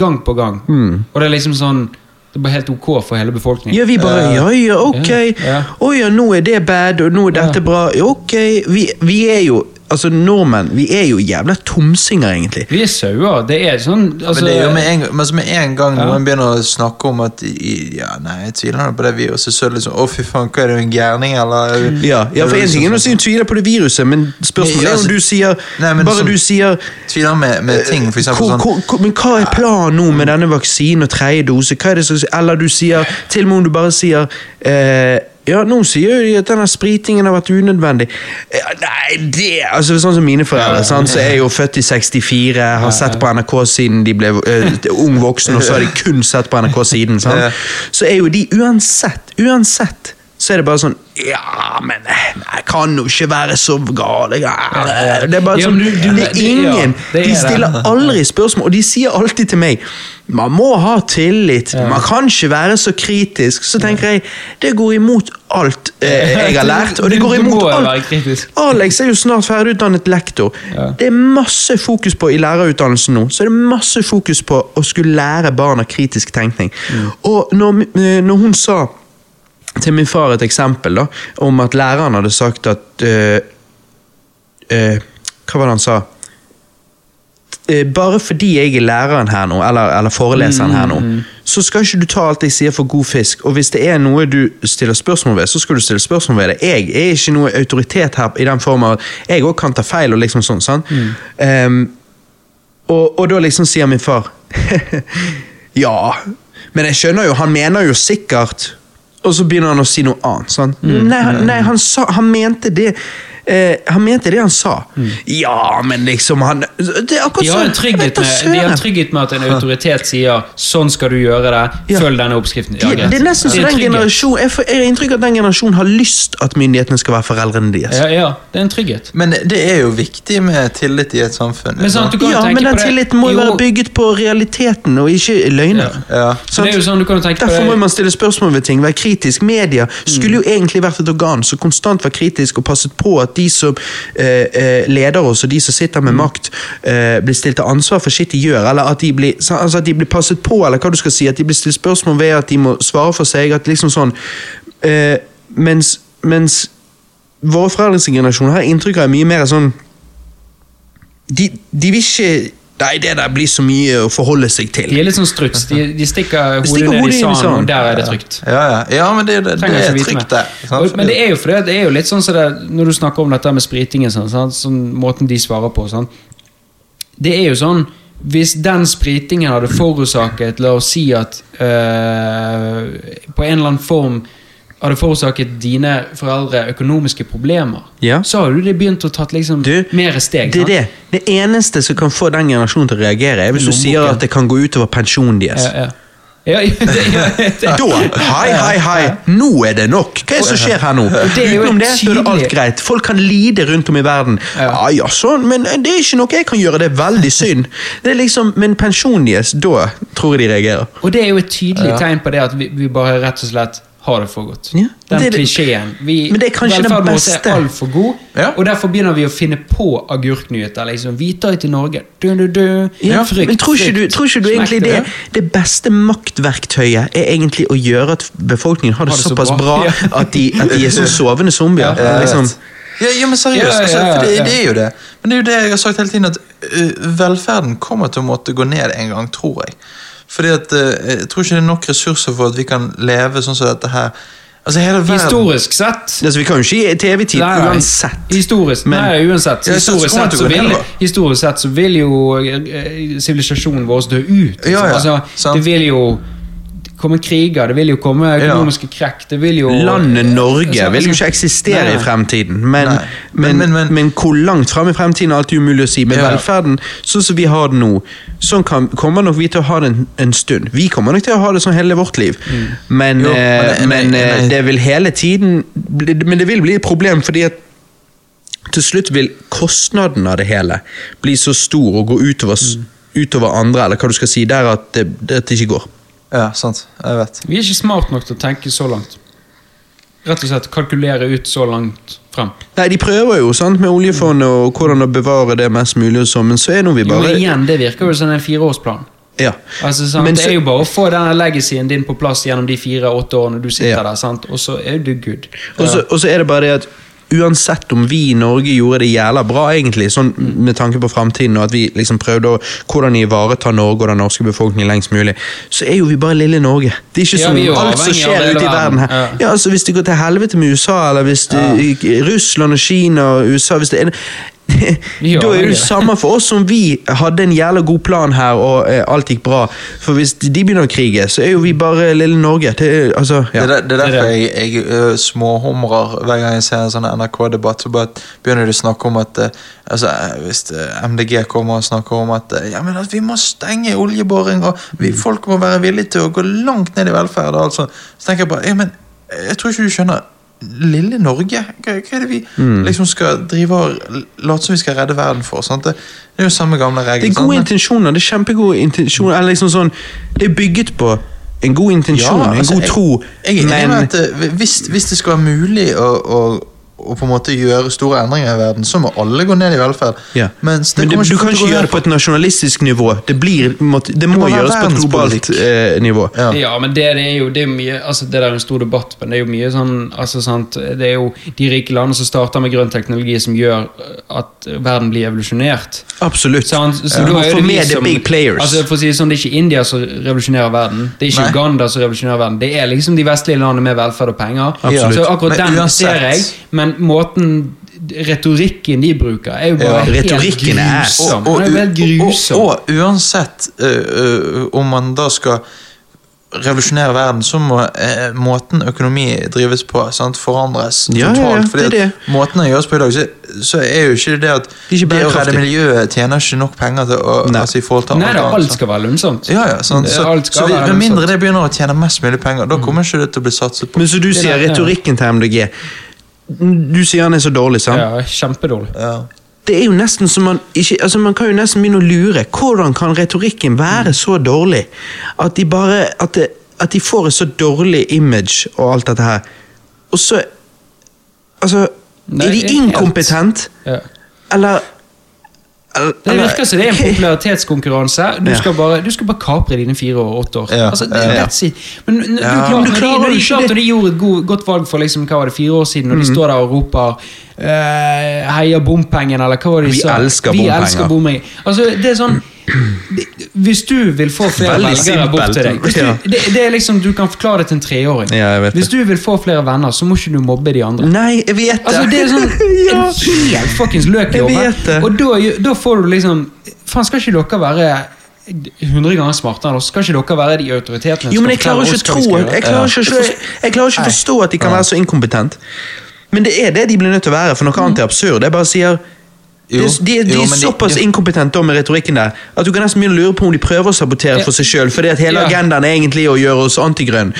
C: gang på gang.
B: Mm.
C: Og det er liksom sånn Det er bare helt ok for hele befolkningen.
A: Ja, vi bare
B: Eh,
A: Ja, ja, ok.
C: ja,
A: Å ja.
C: ja.
A: nå er det bad, og nå er dette
C: Ja.
A: bra. Ja, Ok. Vi, vi er jo Altså, nordmenn, vi er jo jævla tomsinger, egentlig.
C: Vi er sauer. Det er sånn altså,
B: men det er jo med en, gang- men så med en gang
C: Ja.
B: noen begynner å snakke om at i- Ja, nei, jeg tviler nå på det, vi også. Så er det liksom Å, fy faen, hva er det, en gærning, eller?
A: Ja, ja for
B: Det er
A: en ting er
B: liksom
A: å si du tviler på det viruset, men spørsmålet
B: Nei,
A: er om
B: altså-
A: du sier
B: Nei, men
A: Bare
B: sånn-
A: du sier
B: sånn- Tviler med, med ting, for
A: Eh,
B: eksempel
A: hvor,
B: sånn
A: hvor, hvor, men hva er planen nå med denne vaksinen og tredje dose? Hva er det som, eller du sier, til og med om du bare sier eh, Ja, nå sier jo de at denne spritingen har vært unødvendig. Ja, nei, det altså Sånn som mine foreldre, sant, så er jeg jo født i 64, har sett på NRK siden de ble eh, ung voksen, og så har de kun sett på NRK siden.
B: Ja.
A: sant? Så er jo de uansett, uansett så er det bare sånn Ja, men eh, jeg kan jo ikke være så gal. jeg er-" Det er bare
C: Ja,
A: sånn
C: men du-
A: Det
C: du-
A: er
C: det- ja,
A: ingen
C: det er
A: De
C: det.
A: stiller aldri spørsmål, og de sier alltid til meg man må ha tillit, man kan ikke være så kritisk. Så tenker jeg, det går imot alt
C: [LAUGHS]
A: eh, jeg har lært, og det
C: Du-
A: går
C: du
A: imot
C: må jo være
A: alt.
C: kritisk.
A: Alex er jo snart ferdigutdannet lektor.
C: Ja.
A: Det er masse fokus på i lærerutdannelsen nå, så er det masse fokus på å skulle lære barna kritisk tenkning.
C: Mm.
A: Og når, mi- eh, når hun sa til min far et eksempel da, om at læreren hadde sagt at eh, eh, Hva var det han sa? Eh, bare fordi jeg er læreren her nå, eller, eller foreleseren her nå, så skal ikke du ta alt jeg sier for god fisk. Og hvis det er noe du stiller spørsmål ved, så skal du stille spørsmål ved det. Jeg er ikke noe autoritet her i den form at jeg òg kan ta feil og liksom sånn. sant? Ehm, og, og da liksom sier min far [LAUGHS] Ja, men jeg skjønner jo, han mener jo sikkert Og så begynner han å si noe annet. Sant?
C: Mm.
A: Nei, han- nei han, sa, han mente det eh, Han mente det han sa. Ja, men liksom han Det er akkurat
C: Mm. de har, en
A: sånn.
C: trygghet
A: Vet da
C: med, de har
A: søren.
C: en trygghet med at en autoritet sier 'sånn skal du gjøre det',
A: Ja.
C: følg denne oppskriften. Ja,
A: De- det,
C: greit.
A: er nesten så
C: en
A: den
C: trygghet.
A: generasjon Jeg får jeg har inntrykk av at den generasjonen har lyst at myndighetene skal være foreldrene deres.
C: Ja, ja, det er en trygghet.
B: Men det er jo viktig med tillit i et samfunn.
C: Men sant, du kan jo
A: Ja,
C: tenke
A: men
C: på
A: den
C: det-
A: tilliten må jo være bygget på realiteten og ikke løgner.
B: Ja.
C: Så det er jo sånn du kan jo tenke på
A: Derfor
C: det-
A: må
C: Mm.
A: man stille spørsmål ved ting, være kritisk. Media skulle jo egentlig vært et organ som konstant var kritisk og passet på at de som eh, eh, leder oss, og de som sitter
C: Mm.
A: med makt, eh, blir stilt til ansvar for shit de gjør, eller at de, blir, sa- altså at de blir passet på, eller hva du skal si, at de blir stilt spørsmål ved at de må svare for seg, at liksom sånn eh, Mens, mens våre foreldres generasjon har jeg inntrykk av er mye mer sånn de, de vil ikke Nei, det der blir så mye å forholde seg til.
C: De er litt sånn struts. De, de stikker hodet
A: Stikker
C: ned
A: hodet
C: i
A: inn i
C: sanden,
A: sanden.
C: og der er det trygt.
B: Ja, ja. ja, men det, det, det
C: Trenger
B: er
C: ikke vite
B: trygt,
C: mer.
B: det. sant?
C: Og- Men det er jo fordi at det er jo litt sånn som det, når du snakker om dette med spritingen, sånn, sant? sånn måten de svarer på sånn. Det er jo sånn Hvis den spritingen hadde forårsaket La oss si at eh, på en eller annen form hadde forårsaket dine foreldre økonomiske problemer,
A: Ja.
C: så hadde de begynt å tatt liksom
A: Du,
C: mer steg.
A: Det er
C: sant?
A: det. Det eneste som kan få den generasjonen til å reagere, er hvis du
C: Lommeboken.
A: sier at det kan gå utover pensjonen deres.
C: Ja, ja. Ja, [LAUGHS] ja, det, ja, det.
A: Da, hei, hei, hei, nå er det nok! Hva er det som skjer her nå?
C: det er jo
A: Utenom det så er det alt
C: tydelig-
A: greit. Folk kan lide rundt om i verden. Ja, ja, sånn, men det er ikke noe jeg kan gjøre, det er veldig synd. Det er liksom, Men pensjonen deres, da tror jeg de reagerer.
C: Og det er jo et tydelig tegn på det at vi, vi bare rett og slett har det for godt.
A: Ja,
C: Den
A: det er det-
C: klisjeen. Vi,
A: Men det er kanskje den
C: velferden vår
A: beste.
C: er altfor god,
B: Ja.
C: og derfor begynner vi å finne på agurknyheter. Liksom. Vi tar til Norge. Du, du, du.
A: Ja, men tror ikke, du,
C: frykt,
A: tror ikke du
C: smekk
A: egentlig det, det beste maktverktøyet er egentlig å gjøre at befolkningen har det,
C: Har det så
A: såpass bra,
C: bra. Ja.
A: at, de, at de er som sovende zombier?
B: Ja, jeg
A: liksom.
B: vet. Eh, ja, ja, men seriøst,
C: Ja, ja,
B: altså, for det,
C: ja, ja.
B: det er jo det. Men det er jo det jeg har sagt hele tiden, at øh, velferden kommer til å måtte gå ned en gang, tror jeg. Fordi at øh, jeg tror ikke det er nok ressurser for at vi kan leve sånn som dette her. Altså, hele verden
C: Historisk sett
A: Altså, vi kan jo ikke gi TV-tid
C: Nei, nei.
A: uansett.
C: Historisk,
A: Men-
C: nei, uansett.
B: Ja, jeg synes det
C: Historisk
B: kommer
C: sett,
B: til å
C: så
B: gå
C: vil,
B: nedover.
C: historisk sett så vil jo eh, sivilisasjonen vår dø ut. Liksom.
B: Ja, ja,
C: altså,
B: sant.
C: det vil jo komme kriger, det vil jo komme økonomiske krekk, det vil jo
A: Landet Norge
C: Altså,
A: vil jo ikke eksistere
C: Nei, nei.
A: i fremtiden, men,
B: Nei.
A: men,
B: Men-
A: men,
B: men- men-
A: hvor langt fram i fremtiden er alltid umulig å si. Men
B: Ja.
A: velferden, sånn som vi har den nå, sånn kan, kommer nok vi til å ha den en stund. Vi kommer nok til å ha det sånn hele vårt liv, men,
B: Jo,
A: eh,
B: men-
A: men,
B: men-
A: eh,
B: men-
A: det vil hele tiden bli- Men det vil bli et problem, fordi at til slutt vil kostnaden av det hele bli så stor og gå utover, s- utover andre, eller hva du skal si, der at det, at det ikke går.
B: Ja, sant. Jeg vet.
C: Vi er ikke smart nok til å tenke så langt. Rett og slett kalkulere ut så langt frem.
A: Nei, de prøver jo sant, med oljefondet og hvordan å bevare det mest mulig, og sånn, men så er nå vi
C: Jo,
A: bare
C: igjen, det virker jo som en fireårsplan.
A: ja.
C: Altså, sant?
A: Men
C: det
A: så-
C: er jo bare å få denne legacyen din på plass gjennom de fire-åtte årene du sitter
A: Ja.
C: der, sant? og så er du good.
A: Og så- og så er det bare det at uansett om vi i Norge gjorde det jævla bra, egentlig, sånn med tanke på framtiden, og at vi liksom prøvde å hvordan ivareta Norge og den norske befolkningen lengst mulig, så er jo vi bare lille Norge. Det er ikke
C: Ja,
A: sånn
C: vi er jo
A: alt som
C: avhengig av
A: skjer
C: hele
A: ute i verden
C: verden.
A: her.
C: Ja.
A: Ja, altså Hvis det går til helvete med USA, eller hvis det, Russland og Kina og USA hvis det er, [LAUGHS]
C: Ja,
A: Da er det
C: det.
A: jo samme for oss som vi hadde en jævla god plan her, og eh, alt gikk bra. For hvis de begynner å krige, så er jo vi bare lille Norge. Det er, altså, ja.
B: Det, er der- det er
C: Det er
B: derfor jeg, jeg øh, småhumrer hver gang jeg ser en sånn NRK-debatt. Så bare begynner de å snakke om at øh, altså, øh, Hvis øh, MDG kommer og snakker om at øh, ja, men at vi må stenge oljeboring, og vi,
A: Mm.
B: folk må være villige til å gå langt ned i velferd, og alt sånt. Så tenker jeg bare ja, men eh, jeg tror ikke du skjønner Lille Norge? Hva, hva er det vi
A: Mm.
B: liksom skal drive og late som vi skal redde verden for? Sant? Det, det er jo samme gamle regel.
A: Det er
B: sant?
A: gode
B: Men-
A: intensjoner. Det er kjempegode intensjoner. Eller liksom sånn, det er bygget på en god intensjon,
B: altså,
A: en god tro,
B: Jeg, jeg, jeg
A: men
B: mener at eh, hvis, hvis det skal være mulig å, å, å på en måte gjøre store endringer i verden, så må alle gå ned i velferd.
A: ja.
B: Mens det
A: Men
B: kommer
A: det, du
B: til
A: kan
B: å
A: ikke
B: gå
A: gjøre
B: ned.
A: det på et nasjonalistisk nivå. Det, blir, måtte, det, må,
B: må være
A: gjøres på et globalt eh, nivå.
B: Ja.
C: Ja, men det, det er jo det er jo mye altså Det der er en stor debatt, men det er jo mye sånn altså sant, Det er jo de rike landene som starter med grønn teknologi, som gjør eh, at verden blir evolusjonert.
A: Absolutt.
C: Så, han, så
A: Du
C: da
A: må
C: er
A: få
C: det vi
A: med the
C: som-
A: big players.
C: Altså, for å si det sånn, Det er ikke India som revolusjonerer verden. Det er ikke
B: Nei.
C: Uganda som revolusjonerer verden. Det er liksom de vestlige landene med velferd og penger.
A: Absolutt.
C: Så akkurat
B: Men
C: den
B: uansett-
C: ser jeg, men måten Retorikken de bruker, er jo bare
B: Ja,
C: helt
A: retorikken er-
C: grusom. Den er jo helt grusom.
B: Og, og, og uansett eh, eh, om man da skal revolusjonere verden, så må eh, måten økonomi drives på, sant, forandres
A: Ja, ja, ja,
B: totalt.
A: det er
B: at
A: det.
B: måten det gjøres på i dag, så, så er jo ikke det at
A: er ikke
B: det å
A: bærekraftig.
B: redde miljøet tjener ikke nok penger til å
A: Nei.
B: altså, i forhold til
C: Nei da,
B: annet,
C: alt
B: sant.
C: skal være lønnsomt.
B: Ja, ja, sant.
C: Det-
B: Så,
C: alt skal
B: så vi,
C: være
B: med mindre
C: lønnsomt.
B: det begynner å tjene mest mulig penger, da kommer ikke det til å bli satset på.
A: Men så du sier
C: der-
A: retorikken til MDG. Du sier han er så dårlig, sant?
C: Ja, kjempedårlig.
B: Ja.
A: Det er jo nesten som man ikke Altså, man kan jo nesten begynne å lure. Hvordan kan retorikken være så dårlig at de bare At, det, at de får et så dårlig image og alt dette her, og så Altså
C: Nei,
A: Er de
C: helt.
A: inkompetent,
C: Ja.
A: eller eller-
C: Det virker som det er en popularitetskonkurranse. Du
A: Ja.
C: skal bare, du skal bare kapre dine fire år, åtte år.
B: Ja,
C: Altså, det,
B: ja, ja.
C: that's it. Men n- det er jo
B: Ja.
C: klart,
A: Men du
C: når
A: klarer
C: de, når
A: jo
C: de,
A: ikke
C: klart,
A: det. Mhm.
C: når de gjorde et god, godt valg for liksom, hva var det, fire år siden, når de står der og roper uh, 'heia bompengen', eller hva var det de
A: Vi
C: sa?
A: elsker
C: Vi
A: bompenger.
C: elsker bompenger. Altså, det er sånn det- Hvis du vil få flere
A: Veldig
C: velgere bort til deg
A: simpelt.
C: hvis du,
A: Ja.
C: det, det er liksom, Du kan forklare det til en treåring.
A: Ja, jeg vet det.
C: hvis du vil få flere venner, så må ikke du mobbe de andre.
A: Nei, jeg vet det.
C: Altså, det er
A: [LAUGHS]
C: sånn
A: Ja.
C: en helt fuckings løk i
A: Jeg
C: hodet.
A: vet det.
C: Og da, da får du liksom Faen, skal ikke dere være 100 ganger smartere enn oss? Skal ikke dere være de autoritetene? som
A: Jo, men jeg
C: skal
A: klarer
C: fortelle
A: ikke å
C: oss hva
A: tro
C: vi skal
A: Jeg
C: gjøre?
A: klarer ikke, å- jeg klarer ikke å forstå at de
C: Mm.
A: kan være så inkompetent. Men det er det de blir nødt til å være, for noe annet er absurd. Jeg bare sier Det er- de, de
B: jo,
A: er
B: men
A: såpass
B: de-
A: inkompetente da med retorikken der at du kan nesten begynne å lure på om de prøver å sabotere
C: Ja.
A: for seg sjøl, fordi at hele
C: Ja.
A: agendaen er egentlig å gjøre oss antigrønn.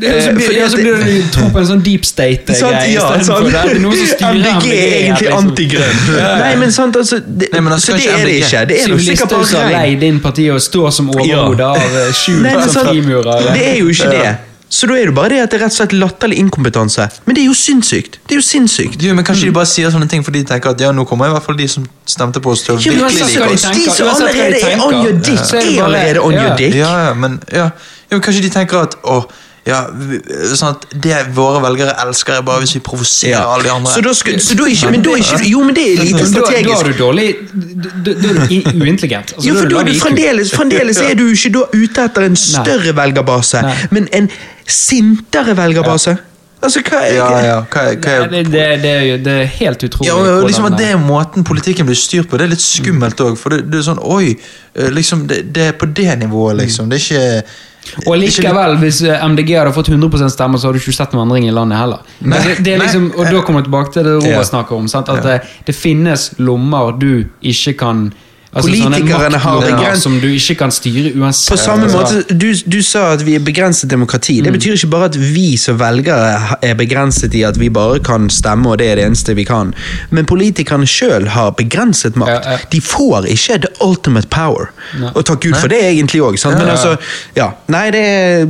C: Ja, så
A: Eh,
C: blir-
A: fordi
C: ja,
A: at
C: så
A: det-
C: blir det tro på en sånn deep
A: Sant,
C: state-greie.
A: ja, sant.
C: Det er noen
A: [LAUGHS]
C: som styrer
A: MDG er egentlig
C: liksom.
A: antigrønn. Nei, men sant, altså det,
B: Nei, men altså,
A: Så det
B: kanskje
A: er det
B: MDG.
A: ikke. Det er nok sikkert
C: Sivilister som
A: bare
C: har
A: regn.
C: leid inn partiet og står som overhode
A: Ja. [LAUGHS]
C: av eh, skjult
A: Nei, men
C: som
A: sant,
C: frimurere.
A: det er jo ikke det. Så da er det bare det at det er rett og slett latterlig inkompetanse. Men det er jo sinnssykt. Det er jo sinnssykt.
B: Jo, men Kanskje de bare sier sånne ting fordi de tenker at ja, nå kommer i hvert fall de som stemte på oss til å
A: Ja, men
B: virkelig
A: altså,
C: uansett hva
B: like
C: de
B: oss.
A: de
C: tenker,
A: som
C: uansett hva de
A: allerede er
C: tenker,
A: on your dick,
C: så
A: er
C: det bare-
A: allerede on your
C: ja.
A: dick.
B: Ja, ja, men ja. ja, men Kanskje de tenker at å, ja, vi- sånn at det våre velgere elsker, er bare hvis vi provoserer
A: Ja.
B: alle de andre.
A: Så da skal, så da er ikke, men da er ikke Jo, men det er
C: Men
A: lite
C: Da, da er
A: strategisk.
C: du dårlig Da da- da er du i- uintelligent. Altså,
A: Jo, for da er
C: lav
A: du
C: IQ.
A: fremdeles, fremdeles er du ikke da ute etter en større velgerbase,
C: Nei.
A: men en sintere velgerbase. Altså, hva er
B: ja, ja, hva, er- hva
C: Nei,
B: er
C: det, det, det, er jo- det er helt utrolig.
B: Ja, og
C: hvordan
B: liksom at Det er måten politikken blir styrt på. Det er litt skummelt òg. For det, det er sånn Oi! eh, liksom, Det, det er på det nivået, liksom. Det er ikke
C: Og
B: ikke-
C: likevel, hvis eh, MDG hadde fått 100 stemmer, så hadde du ikke sett noen endring i landet heller.
B: Nei,
C: Altså, det er
B: nei.
C: liksom, og da kommer jeg tilbake til det Robert
A: Ja.
C: snakker om. Sant? At det, det finnes lommer du ikke kan altså,
A: Politikerne har
C: maktlommer
A: begrenset-
C: som du ikke kan styre uansett.
A: På samme
C: Altså,
A: måte, du, du sa at vi er begrenset demokrati.
C: Mm.
A: Det betyr ikke bare at vi som velgere ha- er begrenset i at vi bare kan stemme, og det er det eneste vi kan. Men politikerne sjøl har begrenset makt.
C: Ja, ja.
A: De får ikke the ultimate power.
C: Nei.
A: Og takk Gud for det, egentlig òg. Men altså, ja. Nei, det er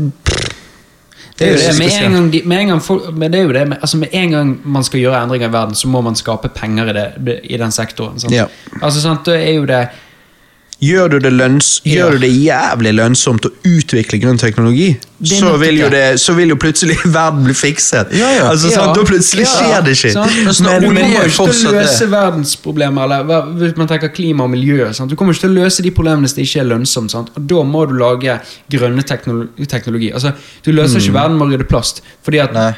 C: Det er jo det.
A: så
C: Med en
A: spesielt.
C: gang, de, med en gang, folk, men det er jo det, med, altså med en gang man skal gjøre endringer i verden, så må man skape penger i, det, i den sektoren. Sant?
A: Ja.
C: Altså, sant, da er jo det
A: Gjør du det, lønns,
C: Ja.
A: gjør du det jævlig lønnsomt å utvikle grønn teknologi,
C: Det er
A: så
C: nettopp
A: vil, jo
C: det.
A: det, så vil jo plutselig [LAUGHS] verden bli fikset.
B: Ja, ja.
A: Altså,
C: Ja.
A: sant? Da plutselig
C: Ja.
A: skjer det shit.
C: Sant? Altså,
B: Men-
C: du
B: men-
C: kommer ikke til å
B: fortsatt det.
C: løse verdensproblemer, eller hva- hvis man tenker klima og miljø. Sant? Du kommer ikke til å løse de problemene hvis det ikke er lønnsomt. Sant? Og da må du lage grønne teknolo- teknologi. Altså, du løser ikke
A: Mm.
C: verden med å rydde plast. Fordi at,
B: Nei.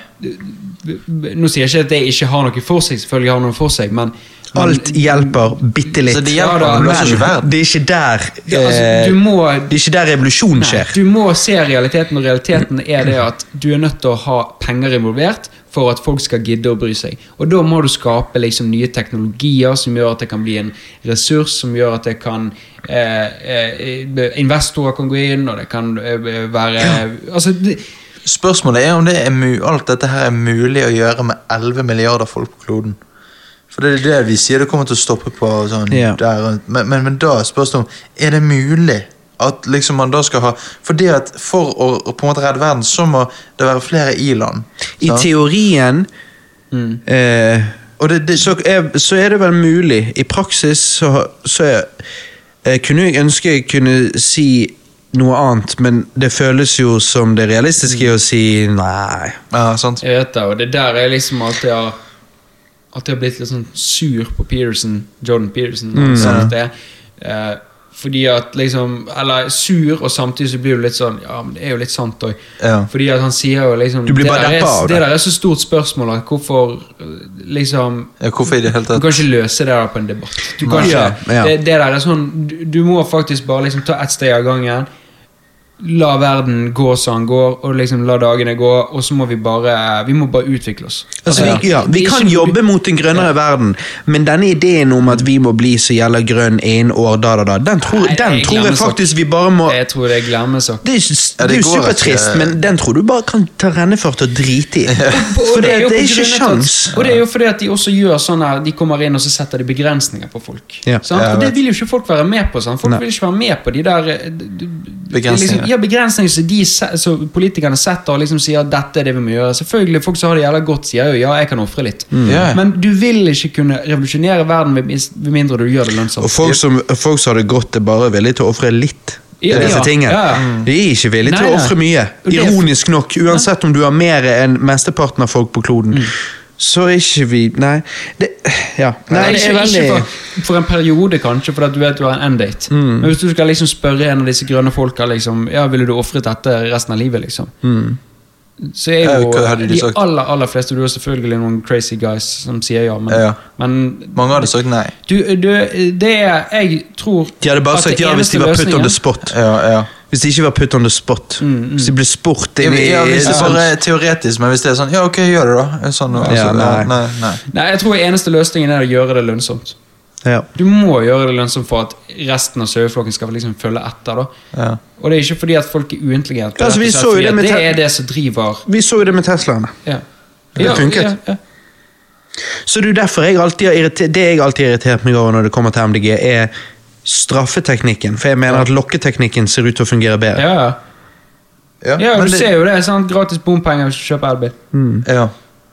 C: Nå sier jeg ikke at det ikke har noe for seg, selvfølgelig har det noe for seg, men, men
A: Alt hjelper bitte litt.
B: Så det hjelper,
C: Ja da,
B: men det
A: Men
B: løser ikke verden.
A: det er ikke der
C: Ja, altså,
A: eh,
C: du må
A: Det er ikke der revolusjonen
C: Nei,
A: skjer.
C: du må se realiteten, og realiteten er det at du er nødt til å ha penger involvert for at folk skal gidde å bry seg. Og da må du skape liksom nye teknologier som gjør at det kan bli en ressurs, som gjør at det kan eh, eh, Investorer kan gå inn, og det kan eh, være Altså, det,
B: Spørsmålet er om det er mu alt dette her er mulig å gjøre med 11 milliarder folk på kloden. For det er det vi sier det kommer til å stoppe på. Sånn,
A: Ja.
B: der, og- men, men, men da spørs det om Er det mulig at liksom man da skal ha For det at for å å på en måte redde verden, så må det være flere i-land.
A: I
B: sant?
A: teorien
B: Mm.
A: eh,
B: Og det, det,
A: så, er, så er det vel mulig. I praksis så, har- så er, eh, kunne jeg ønske jeg kunne si noe annet, men det føles jo som det realistiske å si nei.
B: ja, sant?
C: Jeg vet det, og det der er liksom alltid har Alltid har blitt litt sånn sur på Peterson, Jordan Peterson. når
A: Mm.
C: han har sagt det. Eh, fordi at liksom Eller sur, og samtidig så blir du litt sånn Ja, men det er jo litt sant òg.
B: Ja.
C: Fordi at han sier jo liksom
A: Du blir bare
C: det, der er,
A: deppa av det.
C: det der er så stort spørsmål at hvorfor eh, liksom
B: Ja, hvorfor i det hele
C: du
B: tatt?
C: kan ikke løse det der på en debatt. Du kan
A: eh, Nei.
C: ikke,
A: Ja, ja.
C: Det, det der er sånn, du, du må faktisk bare liksom ta ett steg av gangen. La verden gå som den går, og liksom la dagene gå, og så må vi bare Vi må bare utvikle oss.
A: Altså, vi, ja,
C: Det
A: vi
C: er
A: kan
C: ikke-
A: jobbe mot en grønnere verden, men denne ideen om at vi må bli så jævla grønn innen år, da, da, da, den tror,
C: Nei, det er
A: den tror jeg
C: glemmesak.
A: faktisk vi bare må
C: Jeg tror det er glemmesak.
A: Det er, jo- det
B: Ja, det
A: er jo
B: går
A: supertrist,
B: ikke-
A: men den tror du bare kan ta renneført og drite [LAUGHS] i. For
C: Og
A: det,
C: jo
A: det er
C: på
A: ikke
C: grunn av at-
A: sjans.
C: Og det er jo fordi at de også gjør sånn her De kommer inn og så setter de begrensninger på folk.
A: Ja.
C: Sant?
B: Ja, jeg
C: Og det
B: vet.
C: vil jo ikke folk være med på. Sant? Folk
A: Nei.
C: vil ikke være med på de der eh, d- d-
B: Begrensninger.
C: Liksom, ja, begrensninger som de se- som politikerne setter og liksom sier at dette er det vi må gjøre. Selvfølgelig, Folk som har det jævla godt, sier jo ja, jeg kan ofre litt.
A: Mm.
B: Ja.
C: Men du vil ikke kunne revolusjonere verden med mis- med mindre du gjør det
A: Og
C: lønnsomt.
A: folk som, folk som har det godt, er bare villige til å ofre litt.
C: Ja,
A: til disse
C: ja,
A: tingene.
C: ja, ja.
A: De er ikke villige til
C: Nei,
A: å
C: nei.
A: ofre mye.
C: Og det er-
A: Ironisk nok. Uansett om du har mer enn mesteparten av folk på kloden,
C: Mm.
A: så er ikke vi Nei. Det, ja. nei, det
C: ikke,
A: er
C: ikke
A: veldig Mm.
C: for, for en periode, kanskje, fordi at du vet du har en end-date. Men hvis du skal liksom spørre en av disse grønne folka liksom, Ja, ville du ofret dette resten av livet, liksom?
A: Mm.
C: Så er
B: Ja,
C: jo
B: hva hadde de
C: de
B: sagt?
C: aller aller fleste Du har selvfølgelig noen crazy guys som sier ja, men,
B: Ja, ja.
C: men
B: Mange hadde sagt nei.
C: du, du, det er Jeg tror
A: De hadde bare
C: at
A: sagt
C: det
A: ja hvis de
C: eneste
A: var put on
C: løsningen- Mm,
A: the spot.
B: Ja, ja.
A: Hvis de ikke var put on the spot. Hvis de ble spurt
B: Ja,
A: inn i
B: hvis det
A: sånn-
B: bare er teoretisk, men hvis det er sånn Ja, ok, gjør det, da. Sånn, altså,
A: Ja,
B: ja,
A: nei.
B: nei, nei.
C: Nei, jeg tror eneste løsningen er å gjøre det lønnsomt.
A: Ja.
C: Du må gjøre det lønnsomt for at resten av saueflokken skal liksom følge etter. da
B: Ja.
C: Og det er ikke fordi at folk er uintelligente.
A: Ja, altså, vi
C: rett og
A: så
C: slett
A: jo
C: fordi
A: det
C: at
A: med te-
C: det er det som driver
A: Vi så jo det med Teslaene.
C: ja.
A: Det
C: Ja,
A: funket.
C: Ja, ja.
A: Så det er jo derfor jeg alltid har irritert, det jeg alltid har irritert meg over når det kommer til MDG, er straffeteknikken. For jeg mener at lokketeknikken ser ut til å fungere bedre.
C: ja, ja.
B: Ja,
C: ja
B: men
C: du
B: det-
C: ser jo det. Sant? Gratis bompenger hvis du kjøper elbil.
B: Ja.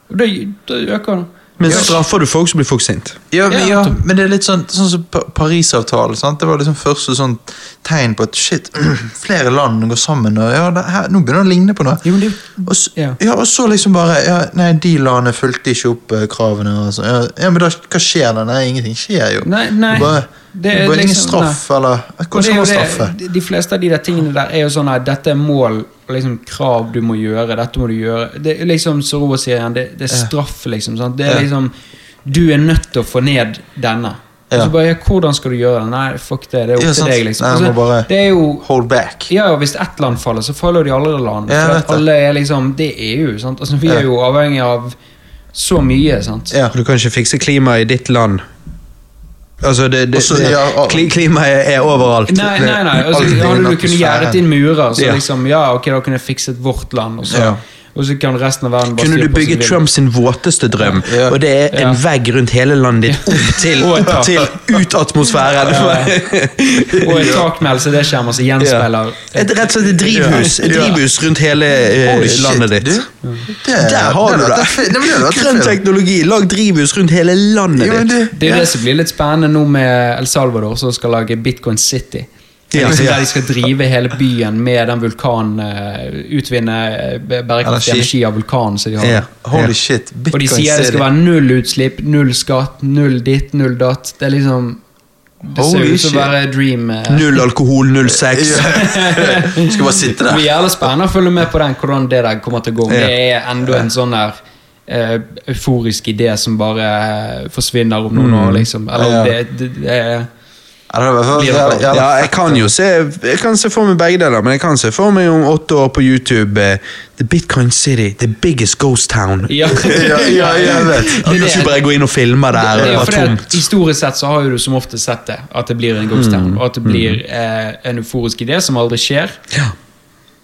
C: Og Da da øker det.
A: Men straffer du folk, så blir folk sinte.
B: Ja, men,
C: Ja.
B: ja, men det er litt sånn, sånn som Pa- Parisavtalen. sant? Det var liksom første sånn tegn på at shit, [CLEARS THROAT] flere land går sammen. og ja, det her, Nå begynner det å ligne på noe.
C: Jo, men det er jo-
B: Og, s-
C: Ja.
B: ja. og så liksom bare ja, Nei, de landene fulgte ikke opp eh, kravene. Og så, ja, ja, Men da, hva skjer da? Nei, ingenting skjer jo.
C: Nei, nei.
B: Det bare,
C: Det er
B: bare ingen
C: liksom-
B: straff, eller
C: Og
B: Hvordan
C: det er
B: skal
C: jo
B: man straffe?
C: det, de- de fleste av de der tingene der er jo sånn at dette er mål og liksom krav du må gjøre. Dette må du gjøre. Det er liksom Soroa sier igjen, det, det er straff, liksom. Sant? Det er
B: Ja.
C: liksom Du er nødt til å få ned denne. Og
B: Ja.
C: så bare, ja, Hvordan skal du gjøre det? Nei, fuck det. Det er opp
B: Ja,
C: til
B: sant.
C: deg, liksom.
B: Nei, man
C: Altså,
B: bare-
C: det er jo
B: Hold back.
C: ja, og hvis ett land faller, så faller jo de alle land.
B: Ja, jeg
C: For
B: vet
C: at
B: det.
C: alle er liksom, det er EU. sant? Altså, vi er
B: Ja.
C: jo avhengig av så mye. sant?
B: Ja.
A: Og Du kan ikke fikse klimaet i ditt land. Altså, det, det,
B: Og så-
A: det,
B: ja, og-
A: kli, klimaet er overalt.
C: Nei, nei, nei. Altså,
B: Alt er
C: hadde du
B: innenfor
C: kunnet gjerdet inn murer, så
A: Ja.
C: liksom, ja, ok, da kunne jeg fikset vårt land. Og så,
B: Ja.
C: og så kan resten av verden bare
A: Kunne
C: styre
A: du
C: på
A: bygge
C: som de vil.
A: Trump sin våteste drøm,
B: Ja.
A: og det er en
C: Ja.
A: vegg rundt hele landet ditt opp til,
C: Og et
A: opp
C: tak.
A: til ut atmosfæren? [LAUGHS]
C: Og et tak med LCD-skjermer som gjenspeiler
A: Et, rett og slett et drivhus, et
B: Ja.
A: drivhus rundt hele eh,
B: Holy shit,
A: landet
B: du.
A: ditt.
B: Det,
A: Der Eh, har du
B: det. [LAUGHS]
A: det!
B: det- men det hadde vært en
A: Grønn
B: film.
A: teknologi, lag drivhus rundt hele landet
B: Ja, men
A: ditt.
B: det-
C: Det er jo det som blir litt spennende nå med El Salvador, som skal lage Bitcoin City. Det er
A: Ja,
C: liksom
A: ja.
C: Der de skal drive hele byen med den vulkanen eh, Utvinne eh, bærekraftig
B: Energi.
C: energi av vulkanen som de har.
A: Ja.
B: Holy shit.
C: Og de sier det skal være null utslipp, null skatt, null ditt, null datt. Det er liksom Det ser
B: Holy
C: ut som å
B: shit.
C: være dream. eh.
A: Null alkohol, null sex.
B: Skal bare
C: Det [LAUGHS]
B: sitte der.
C: blir jævlig spennende å følge med på den, hvordan det der kommer til å gå. Om
A: Ja.
C: Det er enda en sånn der eh, euforisk idé som bare eh, forsvinner om
A: Mm.
C: noen år, liksom. Eller om
B: Ja.
C: det, det, det er
B: Ja, det var-
C: Blir det
B: ja,
C: bra?
B: ja.
A: Ja, jeg kan jo se Jeg kan se for meg begge deler, men jeg kan se for meg om åtte år på YouTube eh, The Bitcoin City, the biggest ghost town. [LAUGHS]
C: Ja.
B: Ja, ja, jeg vet.
C: [LAUGHS]
A: YouTubere går inn og filmer
C: Det
A: der.
C: er
A: Det
C: jo
A: var
C: fordi at
A: tomt.
C: Historisk sett så har jo du som ofte sett det, at det blir en ghost
A: Mm.
C: town. Og at det blir eh, en euforisk idé som aldri skjer.
A: Ja.